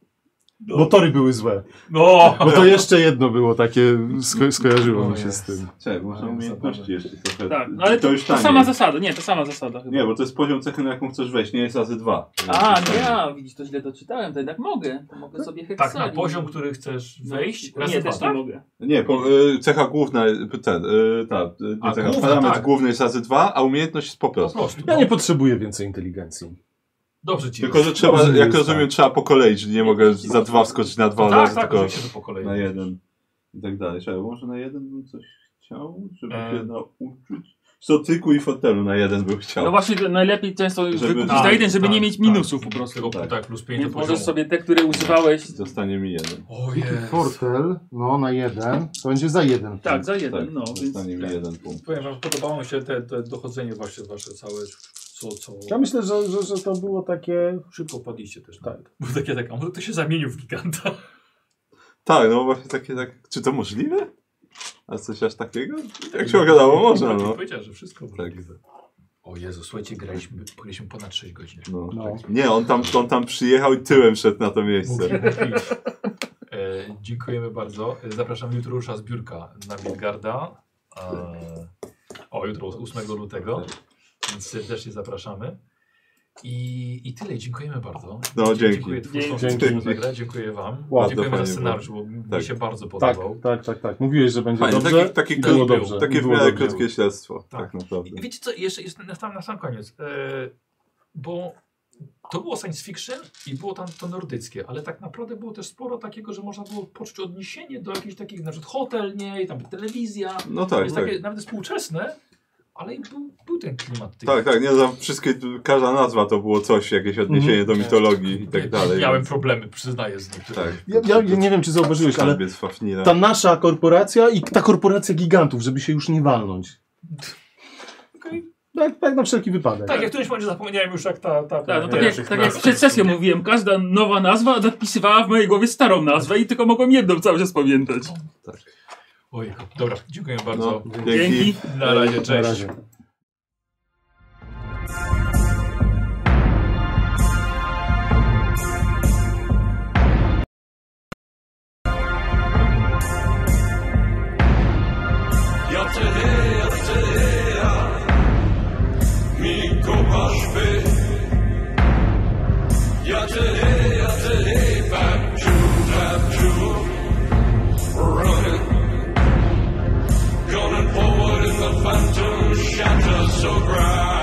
No. bo tory były złe, No! bo to jeszcze jedno było takie, sko skojarzyło mi się z tym. Czekaj, może umiejętności jeszcze trochę. Tak, no ale to, to to, już tanie. sama zasada, nie, to sama zasada chyba. Nie, bo to jest poziom cechy, na jaką chcesz wejść, nie jest razy 2. A, nie, ja, widzisz, to źle doczytałem, to jednak mogę. To mogę sobie Tak, heksalin. na poziom, który chcesz No, wejść. Nie, raz też dwa, nie tak? mogę. Nie, po, y, cecha główna, y, ten, y, ta, y, nie A, cecha, główna, parametr tak. główny jest razy 2, a umiejętność jest po Po prostu. prostu. Ja no. nie potrzebuję więcej inteligencji. Dobrze ci. Tylko, że trzeba, Dobrze, jak jest rozumiem, tak. trzeba po kolei, czyli nie mogę za dwa wskoczyć na dwa, No od tak, razu, tak, tylko oczywiście, że po kolei. na jeden i tak dalej. Czekaj, może na jeden bym coś chciał, żeby E. się nauczyć? Sotyku i fotelu na jeden bym No chciał. właśnie, to najlepiej często Żeby- wykupić tak, na jeden, żeby tak, nie mieć tak. minusów po prostu. Tego Tak. tak. plus 5 Więc do możesz poziomu. sobie tak. te, które używałeś... Zostanie mi jeden. O jest. Portal, no na jeden, to będzie za jeden. Tak, za Tak, jeden, no. Więc... zostanie mi jeden punkt. Powiem wam, podobało mi się te, te dochodzenie wasze, wasze całe, co, co... Ja myślę, że, że, że to było takie... Szybko padliście też. Tak. Tak. Bo takie, tak, a może to się zamienił w giganta? Tak, no właśnie takie tak. Czy to możliwe? A coś aż takiego? Jak się okazało, można, no. no. powiedział, że wszystko Tak. możliwe. O Jezu, słuchajcie, graliśmy, graliśmy ponad 6 godzin. No. No. Nie, on tam, on tam przyjechał i tyłem szedł na to Mówi, miejsce. mówi. E, dziękujemy bardzo. E, Zapraszam jutro rusza zbiórka na Midgarda. E, o, jutro 8 lutego. Więc serdecznie zapraszamy. I, I tyle, dziękujemy bardzo. No, Dzie- dzięki. Dziękuję twórcom, Dzięki. dziękuję za grę, dziękuję wam. Ładnie, dziękujemy za fajnie scenariusz, bo mi Tak. się bardzo Tak, podobał. tak, tak, tak. Mówiłeś, że będzie Fajnie, dobrze. taki- taki i było krótki- dobrze. Takie i w było miarę dobrze. krótkie śledztwo, Tak. tak naprawdę. I Wiecie co, jeszcze, jeszcze na, sam, na sam koniec. E, bo to było science fiction i było tam to nordyckie, ale tak naprawdę było też sporo takiego, że można było poczuć odniesienie do jakichś takich, na przykład hotel, nie, i tam telewizja. No To tak, jest tak. takie nawet współczesne, ale i był, był ten klimat tych. Tak, tak, nie, za wszystkie, każda nazwa to było coś, jakieś odniesienie do mitologii i tak Nie, dalej. Miałem więc- problemy, przyznaję z niektórych. Tak. Ja, ja, ja nie wiem, czy zauważyłeś, ale Skarbiec Fafnira. ta nasza korporacja i ta korporacja gigantów, żeby się już nie walnąć. Okej. Tak, tak na wszelki wypadek. Tak, jak w którymś momencie zapomniałem już jak ta... ta Tak, no tak, jak jak, tak jak przed sesją mówiłem, każda nowa nazwa nadpisywała w mojej głowie starą nazwę i tylko mogłem jedną cały czas pamiętać. Ojej, dobra, dziękuję bardzo. No, dzięki. Na razie, Na cześć. razie. Gonna forward in the phantom shatter so bright.